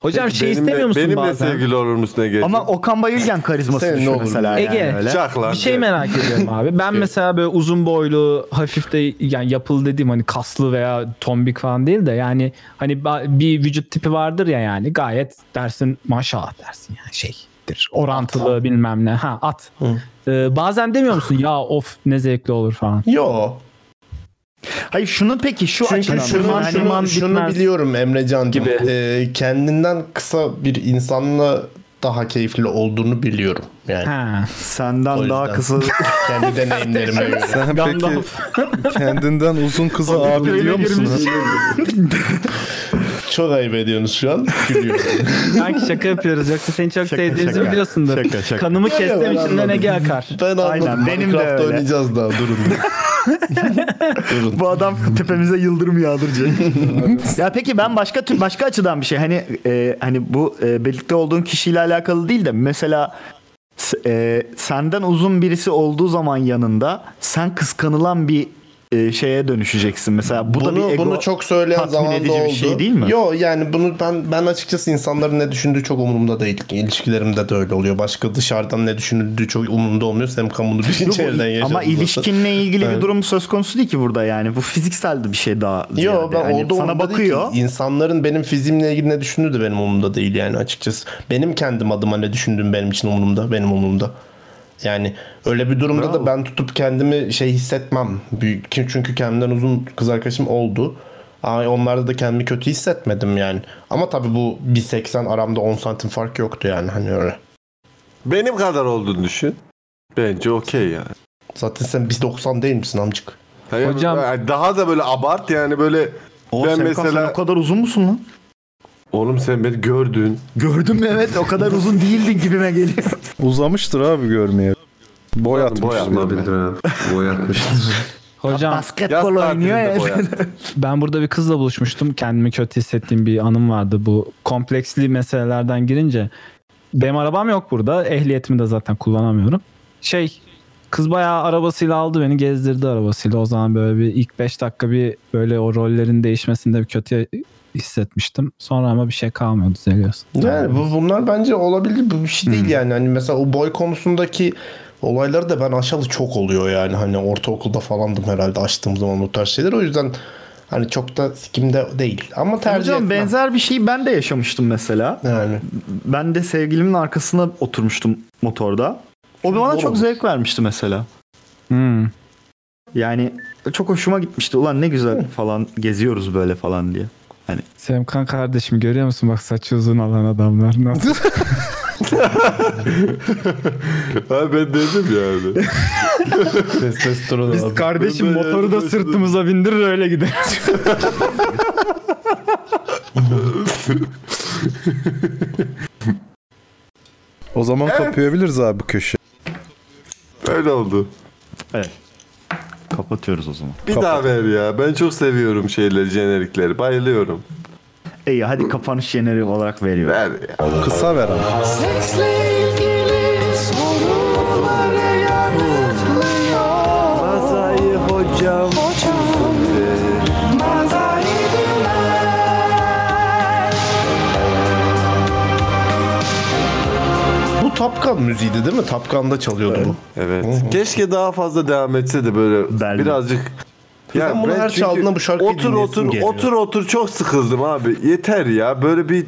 Speaker 7: Hocam
Speaker 2: Peki benimle- benimle sevgili olur musun Ege?
Speaker 9: Ama Okan Bayülgen karizması
Speaker 12: Senin
Speaker 9: düşün
Speaker 12: ne olur
Speaker 9: mesela.
Speaker 7: Ege
Speaker 9: yani öyle.
Speaker 7: bir şey merak ediyorum abi. Ben mesela böyle uzun boylu hafif de yani yapılı dediğim hani kaslı veya tombik falan değil de yani hani ba- bir vücut tipi vardır ya yani gayet dersin maşallah dersin yani şeydir orantılı bilmem ne ha at. Ee, bazen demiyor musun ya of ne zevkli olur falan.
Speaker 12: Yo.
Speaker 9: Hayır şunun peki şu
Speaker 12: Çünkü
Speaker 9: açıdan
Speaker 12: şunu,
Speaker 9: yani
Speaker 12: şunu,
Speaker 9: man
Speaker 12: şunu
Speaker 9: bitmez.
Speaker 12: biliyorum Emrecan gibi. kendinden kısa bir insanla daha keyifli olduğunu biliyorum yani.
Speaker 9: Senden daha kısa
Speaker 12: kendi deneyimlerime göre.
Speaker 5: Sen peki kendinden uzun kıza abi diyor musun?
Speaker 12: Çok ayıp ediyorsunuz şu an. Gülüyorum.
Speaker 7: Sanki şaka yapıyoruz yoksa seni çok
Speaker 12: Şaka,
Speaker 7: sevdiğimizi
Speaker 12: şaka.
Speaker 7: biliyorsundur.
Speaker 12: Şaka, şaka.
Speaker 7: Kanımı
Speaker 12: Yok, yok,
Speaker 7: kestim
Speaker 12: ben
Speaker 7: içinden
Speaker 12: anladım.
Speaker 7: Ege akar.
Speaker 12: Ben anladım.
Speaker 9: Aynen, benim de
Speaker 12: Minecraft
Speaker 9: öyle.
Speaker 12: oynayacağız daha durun.
Speaker 9: Bu adam tepemize yıldırım yağdıracak. ya peki ben başka tür- başka açıdan bir şey hani e, hani bu e, birlikte olduğun kişiyle alakalı değil de mesela s- e, senden uzun birisi olduğu zaman yanında sen kıskanılan bir e, şeye dönüşeceksin. Mesela bu da
Speaker 12: bunu,
Speaker 9: bir ego
Speaker 12: bunu çok söyleyen
Speaker 9: tatmin
Speaker 12: zaman da
Speaker 9: edici
Speaker 12: oldu.
Speaker 9: bir şey değil mi?
Speaker 12: Yo yani bunu ben ben açıkçası insanların ne düşündüğü çok umurumda değil. İlişkilerimde de öyle oluyor. Başka dışarıdan ne düşünüldüğü çok umurumda olmuyor. Sen bunu bir
Speaker 9: Yok,
Speaker 12: içeriden yaşadın.
Speaker 9: ama
Speaker 12: zaten.
Speaker 9: ilişkinle ilgili
Speaker 12: Evet.
Speaker 9: bir durum söz konusu değil ki burada yani. Bu fiziksel de bir şey daha ziyade.
Speaker 12: Yo ben
Speaker 9: Hani
Speaker 12: orada
Speaker 9: sana bakıyor.
Speaker 12: İnsanların benim fiziğimle ilgili ne düşündüğü de benim umurumda değil yani açıkçası. Benim kendim adıma ne düşündüğüm benim için umurumda. Benim umurumda. Yani öyle bir durumda da ben tutup kendimi şey hissetmem. Büyük, ki- çünkü kendimden uzun kız arkadaşım oldu. Ay, onlarda da kendimi kötü hissetmedim yani. Ama tabii bu 1.80 aramda 10 santim fark yoktu yani hani öyle.
Speaker 2: Benim kadar olduğunu düşün. Bence okey yani.
Speaker 12: Zaten sen 1.90 değil misin amcık?
Speaker 2: Hayır,
Speaker 7: Hocam-
Speaker 2: yani daha da böyle abart yani böyle
Speaker 9: O ben mesela... o kadar uzun musun lan?
Speaker 2: Oğlum sen beni gördün.
Speaker 9: Gördüm evet o kadar uzun değildin gibime geliyor.
Speaker 5: Uzamıştır abi görmeye. Boy atmıştır.
Speaker 6: Boy
Speaker 7: Hocam
Speaker 9: basketbol oynuyor ya.
Speaker 7: ben burada bir kızla buluşmuştum. Kendimi kötü hissettiğim bir anım vardı bu kompleksli meselelerden girince. Benim arabam yok burada. Ehliyetimi de zaten kullanamıyorum. Şey kız bayağı arabasıyla aldı beni gezdirdi arabasıyla. O zaman böyle bir ilk 5 dakika bir böyle o rollerin değişmesinde bir kötü hissetmiştim. Sonra ama bir şey kalmıyor düzeliyorsun.
Speaker 10: Yani bu, bunlar bence olabilir bu bir şey değil yani. Hani mesela o boy konusundaki olayları da ben aşalı çok oluyor yani. Hani ortaokulda falandım herhalde açtığım zaman bu tarz şeyler. O yüzden hani çok da sikimde değil. Ama tercih
Speaker 9: Hocam
Speaker 10: etmem.
Speaker 9: benzer bir şeyi ben de yaşamıştım mesela.
Speaker 10: Yani.
Speaker 9: Ben de sevgilimin arkasına oturmuştum motorda. O bana çok zevk vermişti mesela.
Speaker 7: Hmm.
Speaker 9: Yani çok hoşuma gitmişti. Ulan ne güzel falan geziyoruz böyle falan diye. Hani
Speaker 7: Semkan kardeşim görüyor musun bak saçı uzun alan adamlar nasıl?
Speaker 2: Ha ben dedim yani. Testosteron abi.
Speaker 7: kardeşim
Speaker 2: Ben de
Speaker 7: motoru da
Speaker 2: yani-
Speaker 7: sırtımıza bindirir öyle gideriz.
Speaker 5: O zaman kapayabiliriz abi bu köşe.
Speaker 2: Öyle oldu.
Speaker 9: Evet. Kapatıyoruz o zaman.
Speaker 2: Bir daha ver ya. Ben çok seviyorum şeyleri, jenerikleri. Bayılıyorum.
Speaker 9: İyi hadi kapanış jeneriği olarak veriyorum.
Speaker 2: Ver ya.
Speaker 5: Kısa ver ama.
Speaker 3: Sesle ilgili soruları yanıtlıyor. Mazayı hocam. Hocam. Mazayı
Speaker 10: Bu Top Gun müziğiydi değil mi? Top Gun'da çalıyordu bu.
Speaker 2: Evet. Keşke daha fazla devam etse de böyle birazcık.
Speaker 10: Ben bunu her
Speaker 2: çünkü
Speaker 10: çaldığında bu şarkıyı
Speaker 2: otur
Speaker 10: dinleyesim
Speaker 2: otur
Speaker 10: geliyor.
Speaker 2: otur otur çok sıkıldım abi. Yeter ya. Böyle bir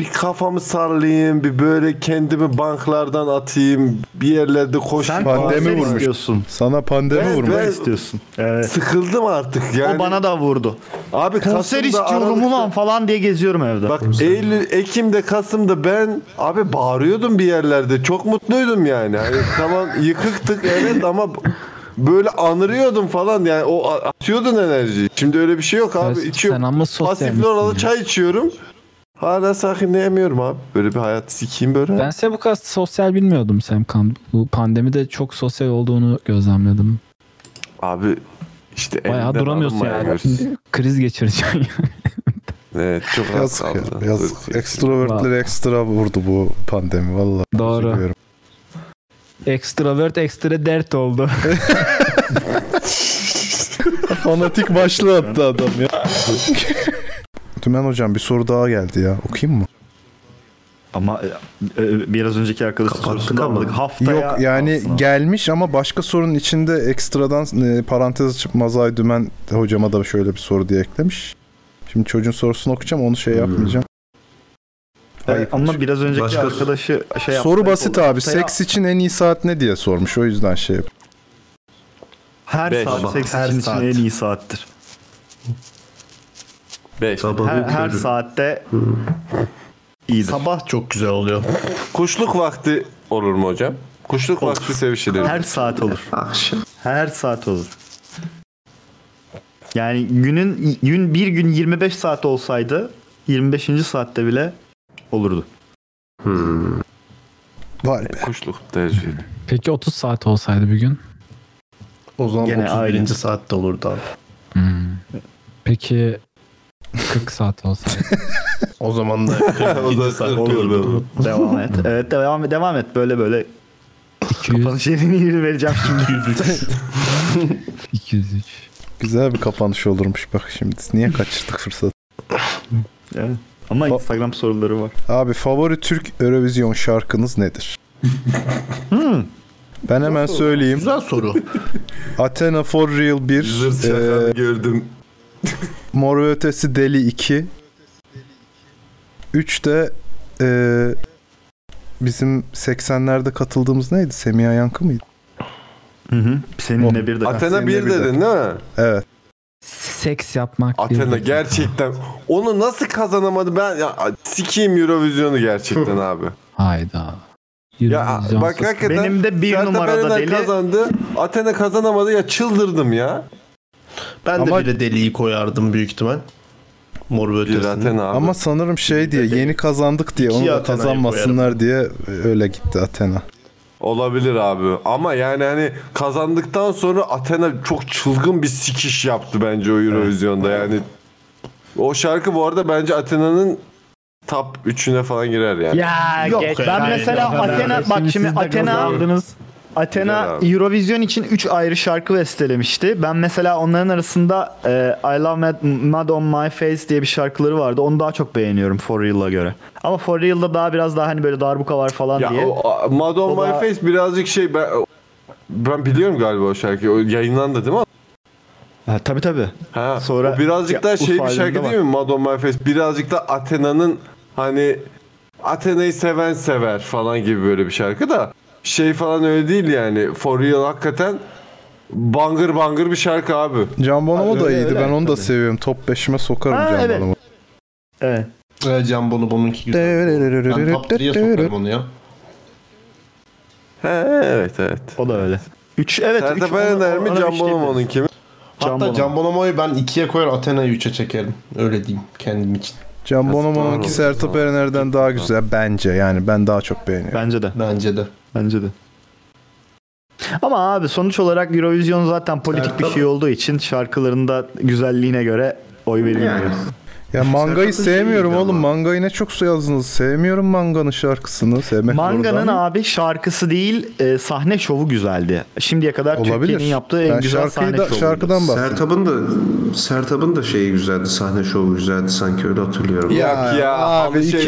Speaker 2: bir kafamı sarlayayım, bir böyle kendimi banklardan atayım, bir yerlerde koşayım.
Speaker 5: Pandemi vurmuş. Sana pandemi
Speaker 2: Ben-
Speaker 5: vurmuş.
Speaker 2: ben-
Speaker 9: istiyorsun.
Speaker 2: Sıkıldım artık yani.
Speaker 9: O bana da vurdu.
Speaker 2: Abi
Speaker 9: Konser
Speaker 2: Kasım'da,
Speaker 9: istiyorum
Speaker 2: Aralık'ta-
Speaker 9: ulan falan diye geziyorum evde.
Speaker 2: Bak Eylül, Ekim'de, Kasım'da ben abi bağırıyordum bir yerlerde. Çok mutluydum yani. Hani tamam yıkıktık evet ama böyle anırıyordum falan yani o a- atıyordun enerjiyi. Şimdi öyle bir şey yok abi.
Speaker 7: Sen-
Speaker 2: İçiyorum.
Speaker 7: sen ama sosyal
Speaker 2: Pasif
Speaker 7: misin
Speaker 2: Lora'da
Speaker 7: ya?
Speaker 2: çay içiyorum. Hala sakinleyemiyorum abi. Böyle bir hayat sikeyim böyle.
Speaker 7: ben size bu kadar sosyal bilmiyordum Semkan. Bu pandemide çok sosyal olduğunu gözlemledim.
Speaker 2: Abi işte
Speaker 7: Bayağı
Speaker 2: elinden
Speaker 7: duramıyorsun
Speaker 2: alınmaya
Speaker 7: yani.
Speaker 2: görürsün.
Speaker 7: Kriz geçireceksin.
Speaker 2: Evet çok az
Speaker 5: Yazık
Speaker 2: kaldı.
Speaker 5: ya. Yazık.
Speaker 2: şey.
Speaker 5: Ekstrovertleri ekstra vurdu bu pandemi valla.
Speaker 7: Doğru. Ekstravert ekstra dert oldu.
Speaker 5: Fanatik başlı attı adam ya. Tümen hocam bir soru daha geldi ya. Okuyayım mı?
Speaker 9: Ama e, e, biraz önceki arkadaşın sorusunu da almadık. Haftaya
Speaker 5: Yok yani gelmiş ama başka sorunun içinde ekstradan e, parantez açıp Mazay Dümen hocama da şöyle bir soru diye eklemiş. Şimdi çocuğun sorusunu okuyacağım onu şey yapmayacağım.
Speaker 9: E, ama biraz önceki
Speaker 5: Başka-
Speaker 9: arkadaşı şey yaptı,
Speaker 5: soru
Speaker 9: ayıp
Speaker 5: basit
Speaker 9: oldu.
Speaker 5: abi.
Speaker 9: Haftaya-
Speaker 5: Seks için en iyi saat ne diye sormuş. O yüzden şey yap.
Speaker 9: Her
Speaker 5: Beş.
Speaker 9: saat
Speaker 5: Sabah.
Speaker 9: seks
Speaker 5: Her
Speaker 9: için
Speaker 5: saat.
Speaker 9: en iyi saattir. Her, her saatte iyidir.
Speaker 12: Sabah çok güzel oluyor.
Speaker 2: Kuşluk vakti olur mu hocam? Kuşluk vakti sevişilir.
Speaker 9: Her saat olur. Her saat olur. Yani günün gün bir gün 25 saat olsaydı 25. saatte bile olurdu.
Speaker 5: Vay be.
Speaker 2: Kuşluk tercihi.
Speaker 7: Peki 30 saat olsaydı bir gün?
Speaker 10: O zaman
Speaker 9: Gene
Speaker 10: 31.
Speaker 9: aynı.
Speaker 10: saatte olurdu abi.
Speaker 2: Hmm.
Speaker 7: Peki 40 saat olsaydı?
Speaker 10: O zaman da
Speaker 9: İkinci saat olurdu. Devam et. Evet devam et. Devam et. Böyle böyle. Kapanış yerini yeri vereceğim şimdi.
Speaker 7: 203.
Speaker 5: Güzel bir kapanış olurmuş bak şimdi. Niye kaçırdık fırsatı?
Speaker 9: Evet. Ama Instagram soruları var.
Speaker 5: Abi favori Türk Eurovision şarkınız nedir? Hmm. Ben hemen söyleyeyim.
Speaker 12: Güzel soru.
Speaker 5: Athena for Real 1.
Speaker 2: şakanı gördüm.
Speaker 5: Mor ve Ötesi Deli 2. 3 de eee, bizim 80'lerde katıldığımız neydi? Semiha Yankı mıydı?
Speaker 9: Hı hı. Seninle bir de.
Speaker 2: Athena 1 dedin değil mi?
Speaker 5: Evet.
Speaker 7: Seks yapmak.
Speaker 2: Athena gerçekten onu nasıl kazanamadı ben ya sikeyim Eurovision'u gerçekten abi.
Speaker 7: Hayda.
Speaker 2: Ya bak hakikaten
Speaker 9: Benim de bir
Speaker 2: Sertab
Speaker 9: numarada
Speaker 2: Erener
Speaker 9: deli.
Speaker 2: kazandı. Athena kazanamadı ya çıldırdım ya.
Speaker 12: Ben
Speaker 5: Ama-
Speaker 12: de bile deliği koyardım büyük ihtimal. Mor ve ötesini.
Speaker 5: Ama sanırım şey diye yeni kazandık diye
Speaker 12: İki
Speaker 5: onu da
Speaker 12: Athena'yı
Speaker 5: kazanmasınlar diye öyle gitti Athena.
Speaker 2: Olabilir abi. Ama yani hani kazandıktan sonra Athena çok çılgın bir sikiş yaptı bence o Eurovision'da yani. O şarkı bu arada bence Athena'nın top 3'üne falan girer yani.
Speaker 9: Ya Yok, geç- ben mesela Athena bak şimdi Athena Athena
Speaker 2: Güzel abi.
Speaker 9: Eurovision için 3 ayrı şarkı bestelemişti. Ben mesela onların arasında e, I Love Mad, Mad on My Face diye bir şarkıları vardı. Onu daha çok beğeniyorum For Real'a göre. Ama For Real'da daha biraz daha hani böyle darbuka var falan
Speaker 2: Ya
Speaker 9: diye.
Speaker 2: o a- Mad on
Speaker 9: O
Speaker 2: My
Speaker 9: da-
Speaker 2: Face birazcık şey ben ben biliyorum galiba o şarkıyı. O yayınlandı değil mi?
Speaker 9: Ha, tabii tabii.
Speaker 2: Ha,
Speaker 9: Sonra-
Speaker 2: o birazcık
Speaker 9: Ya,
Speaker 2: daha
Speaker 9: Urfa
Speaker 2: şey bir şarkı
Speaker 9: albümünde
Speaker 2: değil mi? Mad on My Face. Birazcık da Athena'nın hani Athena'yı seven sever falan gibi böyle bir şarkı da şey falan öyle değil yani. For Real hakikaten bangır bangır bir şarkı abi.
Speaker 5: Can Bonomo
Speaker 2: Ha,
Speaker 5: da
Speaker 2: öyle,
Speaker 5: iyiydi.
Speaker 2: öyle.
Speaker 5: ben onu da seviyorum. Top 5'ime sokarım
Speaker 2: Ha,
Speaker 5: Can
Speaker 2: evet.
Speaker 5: Bonomo.
Speaker 9: Evet.
Speaker 12: Evet Can Bono bununki güzel. ben top 3'ye sokarım onu ya.
Speaker 2: He, evet evet.
Speaker 9: O da öyle. 3 evet.
Speaker 2: Sertab Erener mi
Speaker 9: şey
Speaker 2: Can Bonomo'nun kimi?
Speaker 12: Hatta Can Bonomo'yu ben 2'ye koyar Athena'yı 3'e çekerim. Öyle diyeyim kendim için.
Speaker 5: Can Bonomo'nunki Sertab Erener'den daha güzel bence. Yani ben daha çok beğeniyorum.
Speaker 9: Bence de.
Speaker 12: Bence de.
Speaker 9: Bence de. Ama abi sonuç olarak Eurovision zaten politik bir şey olduğu için şarkılarında güzelliğine göre oy verilmiyor.
Speaker 5: Ya mangayı
Speaker 9: Sertab Erener
Speaker 5: sevmiyorum
Speaker 9: iyiydi
Speaker 5: oğlum. Mangayı ne çok su yazdınız. Sevmiyorum manganın şarkısını. Sevmek
Speaker 9: Manga'nın
Speaker 5: zorunda ama-
Speaker 9: abi şarkısı değil e, sahne şovu güzeldi. Şimdiye kadar Türkiye'nin yaptığı en güzel sahne şovu.
Speaker 6: Sertab'ın da Sertab'ın da şeyi güzeldi. Sahne şovu güzeldi sanki öyle hatırlıyorum.
Speaker 5: abi
Speaker 2: şey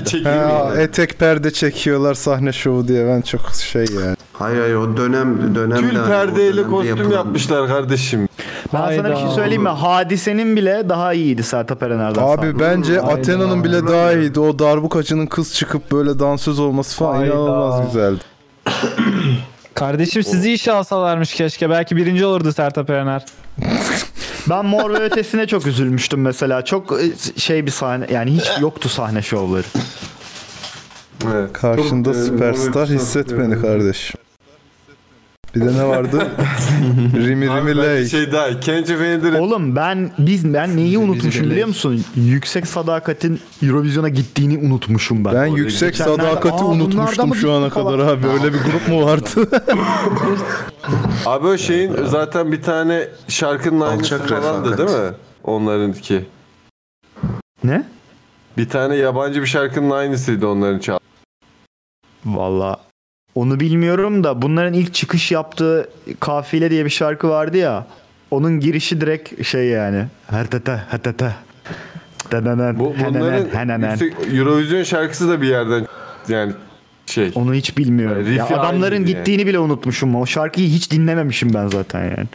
Speaker 5: iki
Speaker 9: şey
Speaker 5: Ha, etek perde çekiyorlar sahne şovu diye ben çok şey yani.
Speaker 6: Hayır hayır o dönem hani dönem
Speaker 2: Tül perdeyle kostüm yapmışlar kardeşim.
Speaker 9: Ben sana bir şey söyleyeyim mi? Hadisenin bile daha iyiydi Sertab Erener'den.
Speaker 5: Abi bence Athena'nın bile daha iyiydi. O darbukacının kız çıkıp böyle dansöz olması falan
Speaker 7: Hayda.
Speaker 5: inanılmaz güzeldi.
Speaker 7: Kardeşim sizi işe alsalarmış keşke. Belki birinci olurdu Sertab Erener.
Speaker 9: Ben Mor ve Ötesi'ne çok üzülmüştüm mesela. Çok e, şey bir sahne yani hiç yoktu sahne şovları.
Speaker 5: Karşında
Speaker 9: Çok, e,
Speaker 5: süperstar
Speaker 9: romantik
Speaker 5: hisset
Speaker 9: sanatçı.
Speaker 5: beni kardeşim. Bir de ne vardı? Rimi Rimi Ley.
Speaker 2: Şey daha Kenji Fender'in
Speaker 9: Oğlum ben biz ben neyi unutmuşum biliyor musun? Yüksek Sadakat'in Eurovision'a gittiğini unutmuşum ben.
Speaker 5: Ben yüksek
Speaker 9: Geçenlerde,
Speaker 5: sadakati
Speaker 9: "Aa, bunlar da
Speaker 5: unutmuştum
Speaker 9: mı
Speaker 5: şu
Speaker 9: gitti?"
Speaker 5: ana
Speaker 9: falan.
Speaker 5: kadar abi. Öyle bir grup mu vardı?
Speaker 2: Abi o şeyin zaten bir tane şarkının aynısı
Speaker 6: Alçak
Speaker 2: falandı
Speaker 6: refakat.
Speaker 2: değil mi? Onlarınki.
Speaker 9: Ne?
Speaker 2: Bir tane yabancı bir şarkının aynısıydı onların çal.
Speaker 9: Valla onu bilmiyorum da bunların ilk çıkış yaptığı Kafile diye bir şarkı vardı ya. Onun girişi direkt şey yani. Hatata hatata. Dananın,
Speaker 2: Bunların
Speaker 9: henenen, henenen.
Speaker 2: yüksek- Eurovision şarkısı da bir yerden yani şey.
Speaker 9: Onu hiç bilmiyorum. Ya adamların gittiğini bile unutmuşum. O şarkıyı hiç dinlememişim ben zaten yani.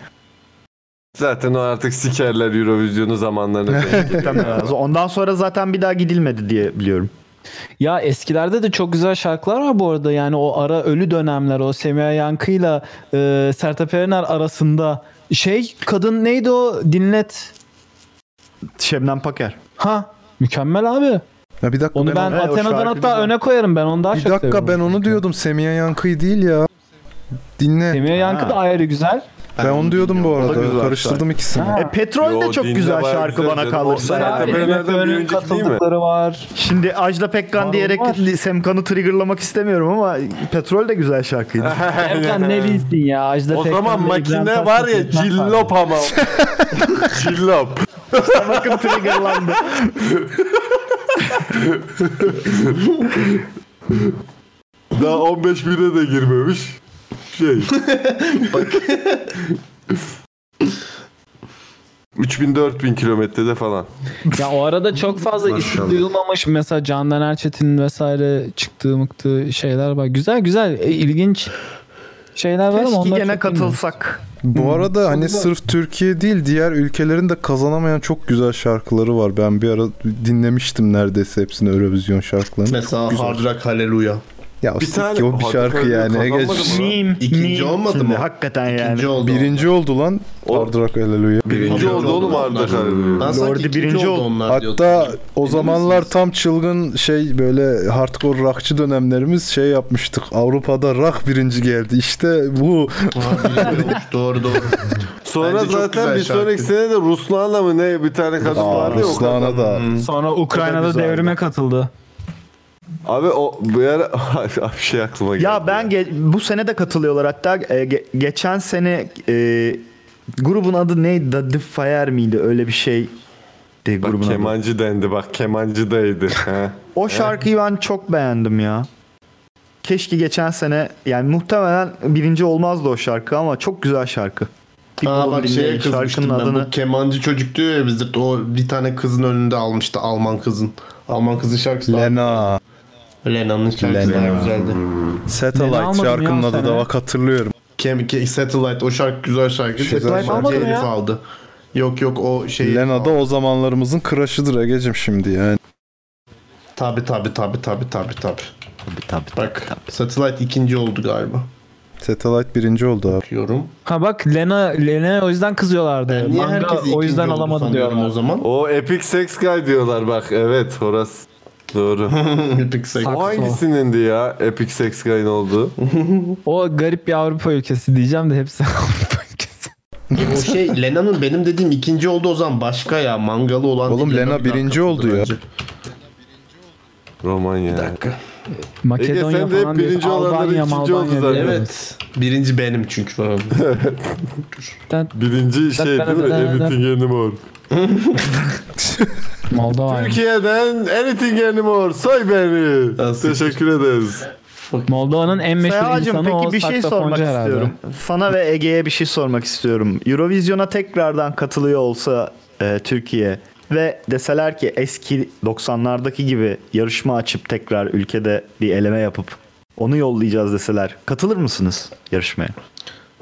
Speaker 2: Zaten o artık sikerler Eurovision'u zamanlarını.
Speaker 9: Muhtemelen. Ondan sonra zaten bir daha gidilmedi diye biliyorum.
Speaker 7: Ya eskilerde de çok güzel şarkılar var bu arada. Yani o ara ölü dönemler o Semiha Yankı'yla e, Sertab Erener arasında şey kadın neydi o dinlet.
Speaker 9: Şebnem Paker.
Speaker 7: Ha mükemmel abi.
Speaker 5: Ya bir dakika
Speaker 7: Onu ben
Speaker 5: onu-
Speaker 7: Athena'dan hatta öne koyarım ben onu daha
Speaker 5: Bir
Speaker 7: çok
Speaker 5: dakika
Speaker 7: seviyorum.
Speaker 5: ben onu diyordum. Semiha Yankı'yı değil ya. Dinle.
Speaker 7: Semiha Yankı da ayrı güzel.
Speaker 5: Ben onu diyordum bu arada. Karıştırdım ikisini.
Speaker 9: E, Petrol de çok güzel şarkı bana kalırsa. yani.
Speaker 7: katıldıkları var.
Speaker 9: Şimdi Ajda Pekkan diyerek Semkan'ı triggerlamak istemiyorum ama Petrol de güzel şarkıydı.
Speaker 7: Erkan ne bilsin ya Ajda
Speaker 9: O
Speaker 7: Pekkan
Speaker 9: zaman
Speaker 7: ve
Speaker 9: makine
Speaker 7: İbrahim
Speaker 9: var
Speaker 7: Tatlıses
Speaker 9: ya,
Speaker 7: ne yapar?
Speaker 9: cillop
Speaker 2: ama. Cillop.
Speaker 9: Bakın triggerlandı.
Speaker 2: Daha 15 bine de girmemiş. Şey. Bak. 3000-4000 kilometrede falan.
Speaker 7: Ya o arada çok fazla isim
Speaker 2: Maşallah.
Speaker 7: duyulmamış mesela Candan Erçetin vesaire çıktığı mıktığı şeyler var. Güzel güzel e, ilginç şeyler var ama
Speaker 9: Keşke
Speaker 7: onlar
Speaker 9: gene
Speaker 7: çok bilmiyorum.
Speaker 9: katılsak.
Speaker 5: Bu arada hani sırf Türkiye değil diğer ülkelerin de kazanamayan çok güzel şarkıları var. Ben bir ara dinlemiştim neredeyse hepsini Eurovision şarkılarını.
Speaker 12: Mesela
Speaker 5: Çok güzel.
Speaker 12: Hard Rock Hallelujah.
Speaker 5: Ya o
Speaker 10: Bir
Speaker 5: bir
Speaker 10: tane-
Speaker 5: tane, o bir
Speaker 10: Hadi
Speaker 5: şarkı
Speaker 10: Kadir
Speaker 5: yani.
Speaker 10: kazanmadı
Speaker 5: Geç.
Speaker 10: mı? Meme, İkinci meme. olmadı mı?
Speaker 9: Hakikaten yani.
Speaker 5: Birinci oldu lan. Ardrak Hallelujah.
Speaker 2: Birinci oldu oğlum Arda Karabey.
Speaker 9: Lordi birinci oldu onlar
Speaker 5: Hatta o zamanlar tam çılgın şey böyle hardcore rockçı dönemlerimiz şey yapmıştık. Avrupa'da rock birinci geldi. İşte bu.
Speaker 8: doğru doğru.
Speaker 2: Sonra
Speaker 5: Bence çok güzel
Speaker 2: zaten bir sonraki sene de Ruslana mı ne bir tane kadın
Speaker 5: Aa,
Speaker 2: vardı ya o
Speaker 5: Ruslana
Speaker 2: kadın.
Speaker 5: da.
Speaker 7: Sonra Ukrayna'da devrime katıldı.
Speaker 2: Abi o bu ara Abi bir şey aklıma geldi.
Speaker 9: Ya ben ge- bu sene de katılıyorlar hatta e, ge- geçen sene e, grubun adı neydi? The Defier miydi? Öyle bir şey. De,
Speaker 2: Bak
Speaker 9: grubun adı.
Speaker 2: kemancı dendi bak kemancı daydı. He.
Speaker 9: O şarkıyı ben çok beğendim ya. Keşke geçen sene yani muhtemelen birinci olmazdı o şarkı ama çok güzel şarkı. Bir
Speaker 12: Aa
Speaker 9: bulun
Speaker 12: bak şeye
Speaker 9: dinleyin
Speaker 12: kızmıştım ben. Bu kemancı çocuk diyor ya bizde o bir tane kızın önünde almıştı Alman kızın. Alman kızın şarkısı.
Speaker 5: Lena.
Speaker 12: Lena'nın şarkısı
Speaker 5: Lena.
Speaker 12: daha güzeldi.
Speaker 5: Satellite almadım ya şarkının adı sene. da bak hatırlıyorum.
Speaker 12: Kem, ke, Satellite o şarkı güzel şarkı.
Speaker 5: Güzel
Speaker 12: Satellite
Speaker 5: şarkı.
Speaker 12: almadı mı
Speaker 5: Herif
Speaker 12: ya? aldı. Yok yok o şey.
Speaker 5: Lena da o zamanlarımızın crush'ıdır Ege'cim şimdi yani.
Speaker 12: Tabi tabi tabi tabi tabi tabi. Bak Satellite ikinci oldu galiba.
Speaker 5: Satellite birinci oldu abi.
Speaker 12: Bakıyorum.
Speaker 7: Ha bak Lena Lena o yüzden kızıyorlardı.
Speaker 12: E, niye
Speaker 7: Manga
Speaker 12: herkes
Speaker 7: o yüzden
Speaker 12: ikinci oldu
Speaker 7: alamadı
Speaker 12: sanıyorum
Speaker 7: diyorlar.
Speaker 12: o zaman?
Speaker 2: O Epic Sex Guy diyorlar bak evet Horas. Doğru.
Speaker 12: Epic Sex
Speaker 2: O hangisinin ya Epic Sex Guy'ın olduğu?
Speaker 7: O garip bir Avrupa ülkesi diyeceğim de hepsi Avrupa ülkesi.
Speaker 12: E, o şey Lena'nın benim dediğim ikinci oldu o zaman başka ya mangalı olan.
Speaker 5: Oğlum
Speaker 12: değil,
Speaker 5: Lena
Speaker 12: bir daha
Speaker 5: birinci
Speaker 12: katıldı
Speaker 5: oldu ya.
Speaker 12: bence.
Speaker 2: Romanya. Bir dakika.
Speaker 7: Makedonya
Speaker 2: Ege sen de hep
Speaker 7: falan diyor.
Speaker 2: birinci olanların
Speaker 7: Albanya,
Speaker 2: ikinci oldu
Speaker 7: Malbanya
Speaker 2: zaten.
Speaker 7: diyor.
Speaker 12: Evet. Birinci benim çünkü falan.
Speaker 2: Birinci şey değil mi? Anything Anymore.
Speaker 7: Moldova.
Speaker 2: Türkiye'den Anything Anymore say beni. Teşekkür ederiz.
Speaker 7: Moldova'nın en meşhur
Speaker 9: Sayacım,
Speaker 7: insanı
Speaker 9: peki
Speaker 7: o
Speaker 9: bir şey sormak
Speaker 7: saksafoncu herhalde.
Speaker 9: istiyorum. Sana ve Ege'ye bir şey sormak istiyorum. Eurovision'a tekrardan katılıyor olsa e, Türkiye ve deseler ki eski 90'lardaki gibi yarışma açıp tekrar ülkede bir eleme yapıp onu yollayacağız deseler katılır mısınız yarışmaya?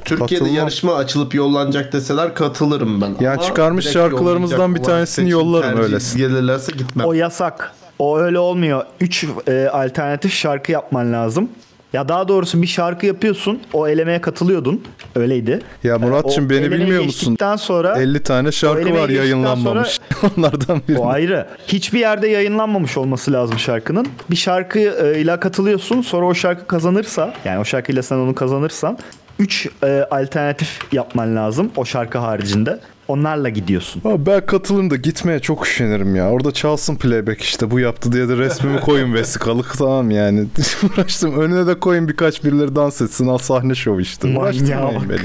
Speaker 12: Türkiye'de
Speaker 9: Katılmam.
Speaker 12: yarışma açılıp yollanacak deseler katılırım ben.
Speaker 9: Ya çıkarmış
Speaker 12: direkt
Speaker 9: şarkılarımızdan
Speaker 12: yollayacak
Speaker 9: bir tanesini
Speaker 12: olan seçim
Speaker 9: yollarım
Speaker 12: tercih
Speaker 9: öylesi.
Speaker 12: Gelirlerse gitmem.
Speaker 9: O yasak. O öyle olmuyor. 3 alternatif şarkı yapman lazım. Ya daha doğrusu bir şarkı yapıyorsun. O elemeye katılıyordun. Öyleydi.
Speaker 5: Ya Muratçım
Speaker 9: o
Speaker 5: beni
Speaker 9: elemeye
Speaker 5: bilmiyor musun?
Speaker 9: geçtikten sonra
Speaker 5: 50 tane şarkı
Speaker 9: elemeye
Speaker 5: var
Speaker 9: geçtikten
Speaker 5: yayınlanmamış. Onlardan biri.
Speaker 9: O ayrı. Hiçbir yerde yayınlanmamış olması lazım şarkının. Bir şarkıyla katılıyorsun. Sonra o şarkı kazanırsa, yani o şarkıyla sen onu kazanırsan 3 alternatif yapman lazım o şarkı haricinde. Onlarla gidiyorsun.
Speaker 5: Abi ben katılım da gitmeye çok üşenirim ya. Orada çalsın playback işte bu yaptı diye de resmimi koyun vesikalık tamam yani. Uğraştım önüne de koyun birkaç birileri dans etsin al sahne şovu işte.
Speaker 9: Manyağa
Speaker 5: Uğraştırmayın
Speaker 9: bak.
Speaker 5: beni.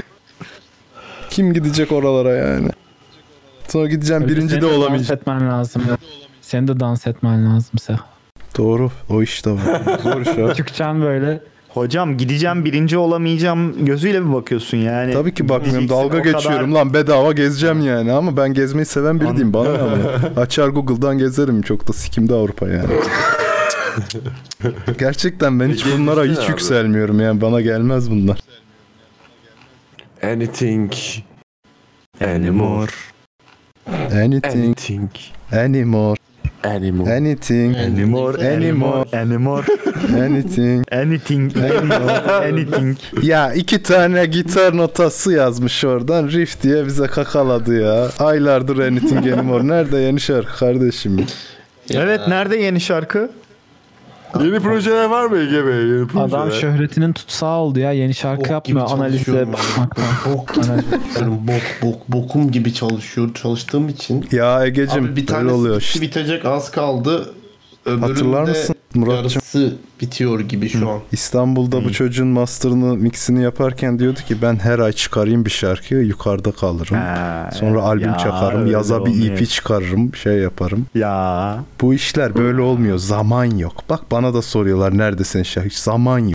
Speaker 5: Kim gidecek oralara yani? Sonra gideceğim
Speaker 7: Tabii
Speaker 5: birinci
Speaker 7: senin
Speaker 5: de
Speaker 7: Dans
Speaker 5: olamayacağım.
Speaker 7: etmen lazım. Senin de dans etmen lazım Seha.
Speaker 5: Doğru o iş de var. Zor iş abi.
Speaker 7: Çıkacaksın böyle.
Speaker 9: Hocam gideceğim birinci olamayacağım gözüyle mi bakıyorsun yani?
Speaker 5: Tabii ki bakmıyorum
Speaker 9: Gideceksin,
Speaker 5: dalga
Speaker 9: E, o kadar-
Speaker 5: geçiyorum lan bedava gezeceğim yani ama ben gezmeyi seven biri değilim bana ne ama. Açar Google'dan gezerim çok da sikimde Avrupa yani. Gerçekten ben hiç bunlara hiç
Speaker 2: abi.
Speaker 5: yükselmiyorum yani bana gelmez bunlar.
Speaker 2: Anything Anymore.
Speaker 5: Anything.
Speaker 2: Anything.
Speaker 5: Anymore.
Speaker 2: Anymore.
Speaker 5: Anything. Anymore. Anymore.
Speaker 9: Anymore.
Speaker 5: Anything.
Speaker 9: Anything. Anything.
Speaker 5: Ya iki tane gitar notası yazmış oradan riff diye bize kakaladı ya. Aylardır Anything Anymore. Nerede yeni şarkı kardeşim?
Speaker 9: Evet nerede yeni şarkı?
Speaker 2: Yeni projeler var mı Ege Bey? Yeni projeler.
Speaker 7: Adam şöhretinin tutsağı oldu ya. Yeni şarkı yapmıyor. Analize bakmaktan.
Speaker 12: Diyorum, bok bok bokum gibi çalışıyor çalıştığım için.
Speaker 5: Ya Egecim
Speaker 12: Abi bir
Speaker 5: böyle
Speaker 12: tanesi
Speaker 5: oluyor
Speaker 12: bitti,
Speaker 5: işte.
Speaker 12: bitecek az kaldı. Öbüründe
Speaker 5: Hatırlar mısın Muratcığım?
Speaker 12: yarısı bitiyor gibi şu an.
Speaker 5: İstanbul'da bu çocuğun master'ını mixini yaparken diyordu ki ben her ay çıkarayım bir şarkı yukarıda kalırım. Sonra albüm
Speaker 9: ya,
Speaker 5: çakarım,
Speaker 9: öyle
Speaker 5: yaza bir
Speaker 9: olmuyor.
Speaker 5: EP çıkarırım, şey yaparım.
Speaker 9: Ya.
Speaker 5: Bu işler böyle olmuyor. Zaman yok. Bak bana da soruyorlar nerede senin şarkı? Hiç Zaman yok.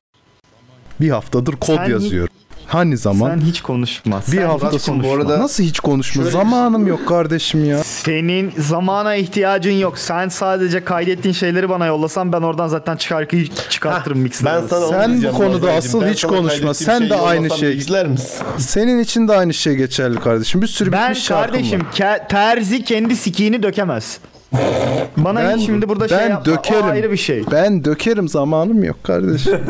Speaker 5: Bir haftadır kod
Speaker 9: Sen hiç-
Speaker 5: yazıyorum. Hani zaman?
Speaker 9: Sen hiç konuşma.
Speaker 5: bir haftasın bu arada. Nasıl hiç konuşma?
Speaker 9: şey-
Speaker 5: Zamanım yok kardeşim ya.
Speaker 9: Senin zamana ihtiyacın yok. Sen sadece kaydettiğin şeyleri bana yollasan ben oradan zaten şarkıyı çıkartırım mixten.
Speaker 12: Ben sana onu
Speaker 5: Sen bu
Speaker 12: diyeceğim
Speaker 5: konuda
Speaker 12: Nazlıcığım.
Speaker 5: asıl
Speaker 12: Ben
Speaker 5: hiç
Speaker 12: sana
Speaker 5: konuşma.
Speaker 12: kaydettiğim
Speaker 5: Sen
Speaker 12: şeyi
Speaker 5: de aynı
Speaker 12: yollasam
Speaker 5: şey.
Speaker 12: izler misin?
Speaker 5: Senin için de aynı şey geçerli kardeşim. Bir sürü
Speaker 9: Ben
Speaker 5: bitmiş şarkım var.
Speaker 9: kardeşim ke- terzi kendi sikiğini dökemez. Bana şimdi burada şey
Speaker 5: ben
Speaker 9: yapma. O
Speaker 5: dökerim.
Speaker 9: ayrı bir şey.
Speaker 5: Ben dökerim zamanım yok kardeşim.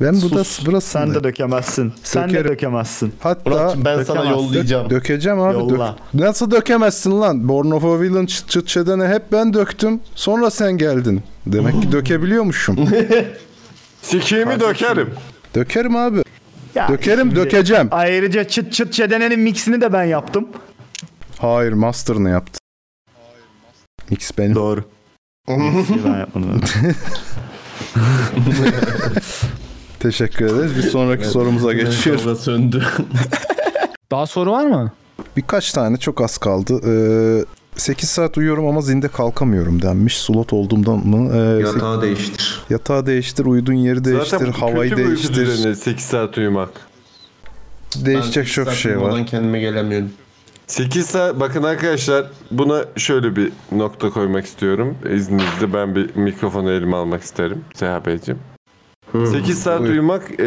Speaker 5: ben burada burası
Speaker 9: Sen de dökemezsin. Sen de dökemezsin.
Speaker 5: Hatta
Speaker 9: Muratçım, ben sana
Speaker 5: Dökemezsin.
Speaker 9: yollayacağım.
Speaker 5: Dökeceğim abi.
Speaker 9: Yolla.
Speaker 5: dök- Nasıl dökemezsin lan? Born of a Villain çıt çıt çedene hep ben döktüm. Sonra sen geldin. Demek ki dökebiliyormuşum.
Speaker 2: Sikiğimi dökerim.
Speaker 5: Dökerim abi.
Speaker 9: Ya
Speaker 5: dökerim
Speaker 9: şimdi-
Speaker 5: dökeceğim.
Speaker 9: Ayrıca çıt çıt çedenenin mixini de ben yaptım.
Speaker 5: Hayır master'ını yaptı. X benim.
Speaker 9: Doğru. Mixini ben yapmadım.
Speaker 5: Teşekkür ederiz. Bir sonraki
Speaker 9: Evet.
Speaker 5: sorumuza geçiyoruz.
Speaker 12: Sonra söndü.
Speaker 5: Daha soru var mı? Birkaç tane çok az kaldı. Ee, 8 saat uyuyorum ama zinde kalkamıyorum denmiş. Slot olduğumdan mı? Ee,
Speaker 6: Yatağı
Speaker 5: sek-
Speaker 6: değiştir.
Speaker 5: Yatağı değiştir, uyuduğun yeri değiştir,
Speaker 2: Zaten
Speaker 5: havayı
Speaker 2: kötü bir uyku
Speaker 5: değiştir.
Speaker 2: düzeni 8 saat uyumak.
Speaker 5: Değişecek çok şey var.
Speaker 2: kendime gelemiyorum. 8 saat bakın arkadaşlar buna şöyle bir nokta koymak istiyorum. İzninizle ben bir mikrofonu elime almak isterim Seha Beyciğim. 8 saat uyumak e,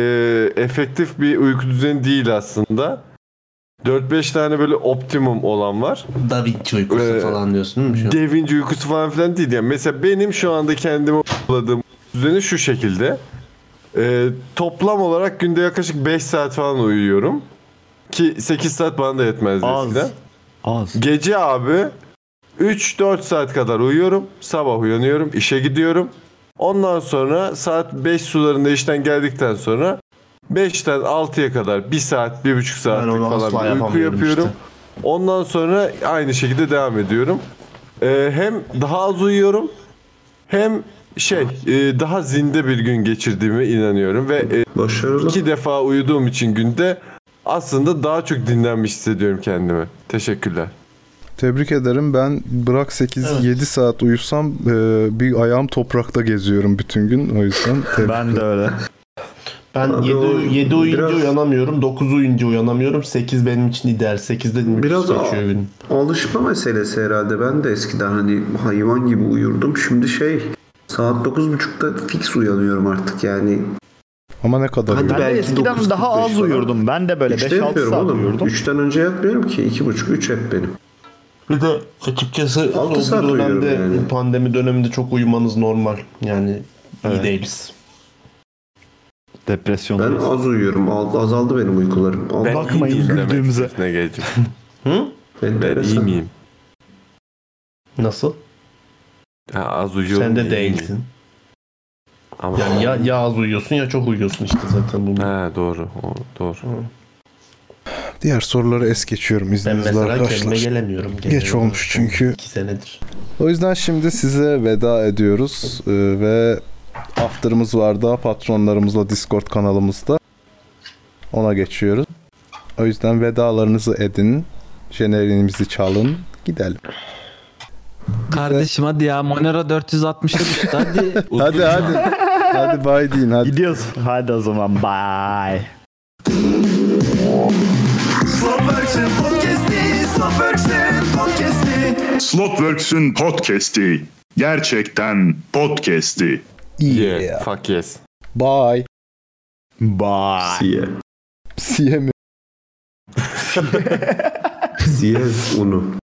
Speaker 2: efektif bir uyku düzeni değil aslında. 4-5 tane böyle optimum olan var. Da Vinci uykusu
Speaker 6: Ee,
Speaker 8: falan diyorsun değil mi şu an?
Speaker 2: Da Vinci uykusu falan filan değil. Yani mesela benim şu anda kendime uyguladığım düzeni şu şekilde. E, toplam olarak günde yaklaşık 5 saat falan uyuyorum. Ki 8 saat bana da yetmezdi eskiden.
Speaker 9: Az.
Speaker 2: Gece abi 3-4 saat kadar uyuyorum. Sabah uyanıyorum, işe gidiyorum. Ondan sonra saat 5 sularında işten geldikten sonra 5'ten 6'ya kadar 1 saat, 1,5 saatlik
Speaker 8: onu asla
Speaker 2: falan bir uyku
Speaker 8: yapamıyorum
Speaker 2: yapıyorum.
Speaker 8: işte.
Speaker 2: Ondan sonra aynı şekilde devam ediyorum. Ee, hem daha az uyuyorum hem şey e, daha zinde bir gün geçirdiğime inanıyorum ve e, iki defa uyuduğum için günde aslında daha çok dinlenmiş hissediyorum kendimi. Teşekkürler.
Speaker 5: Tebrik ederim. Ben bırak 8-7 saat uyusam e, bir ayağım toprakta geziyorum bütün gün. O yüzden tebrik
Speaker 9: Ben de öyle.
Speaker 12: Ben 7, 7 uyuyunca uyanamıyorum. 9 uyuyunca uyanamıyorum. 8 benim için ideal. 8'de müthiş
Speaker 6: Biraz a-
Speaker 12: geçiyor gün.
Speaker 6: alışma meselesi herhalde. Ben de eskiden hani hayvan gibi uyurdum. Şimdi şey saat 9.30'da fix uyanıyorum artık yani.
Speaker 5: Ama ne kadar
Speaker 9: Ben de eskiden daha az uyurdum. Ben de böyle 5-6 saat uyurdum.
Speaker 6: 3'ten önce yatmıyorum ki. 2.30 3 hep benim.
Speaker 12: Bir de açıkçası
Speaker 6: Altı
Speaker 12: son
Speaker 6: saat
Speaker 12: bir
Speaker 6: uyuyorum
Speaker 12: dönemde
Speaker 6: yani.
Speaker 12: pandemi döneminde çok uyumanız normal. Yani iyi
Speaker 6: Evet.
Speaker 12: değiliz.
Speaker 9: Depresyon.
Speaker 6: Ben az uyuyorum. Al- Azaldı benim uykularım. Al-
Speaker 2: Ben iyi miyim demek Ne geleceğim.
Speaker 12: Hı?
Speaker 2: Ben iyi miyim?
Speaker 12: Nasıl?
Speaker 2: Ha, az uyuyorum.
Speaker 12: Sen de
Speaker 2: diye iyi
Speaker 12: değilsin.
Speaker 2: miyim? Ama
Speaker 12: Yani ya, ya az uyuyorsun ya çok uyuyorsun işte zaten bunu.
Speaker 2: Ha doğru. O, doğru.
Speaker 12: Hmm.
Speaker 5: Diğer soruları es geçiyorum izninizle
Speaker 12: mesela kendime
Speaker 5: arkadaşlar.
Speaker 12: gelemiyorum
Speaker 5: Geç
Speaker 12: genel
Speaker 5: olmuş çünkü.
Speaker 12: 2 senedir.
Speaker 5: O yüzden şimdi size veda ediyoruz e, ve after'ımız var daha patronlarımızla Discord kanalımızda. Ona geçiyoruz. O yüzden vedalarınızı edin. Jeneriğimizi çalın. Gidelim.
Speaker 7: Kardeşim hadi ya Monero 460'a düştü hadi.
Speaker 5: Hadi hadi. hadi bay deyin hadi.
Speaker 9: Gidiyoruz. Hadi o zaman bye.
Speaker 3: Slotworks'ün podcast'i, Slotworks'ün podcast'i.
Speaker 4: Slotworks'ün podcast'i gerçekten podcast'i.
Speaker 5: Yeah.
Speaker 2: Fuck yes.
Speaker 5: Bye.
Speaker 9: Bye.
Speaker 6: Siye.
Speaker 5: Siye mi?
Speaker 6: Siye unu.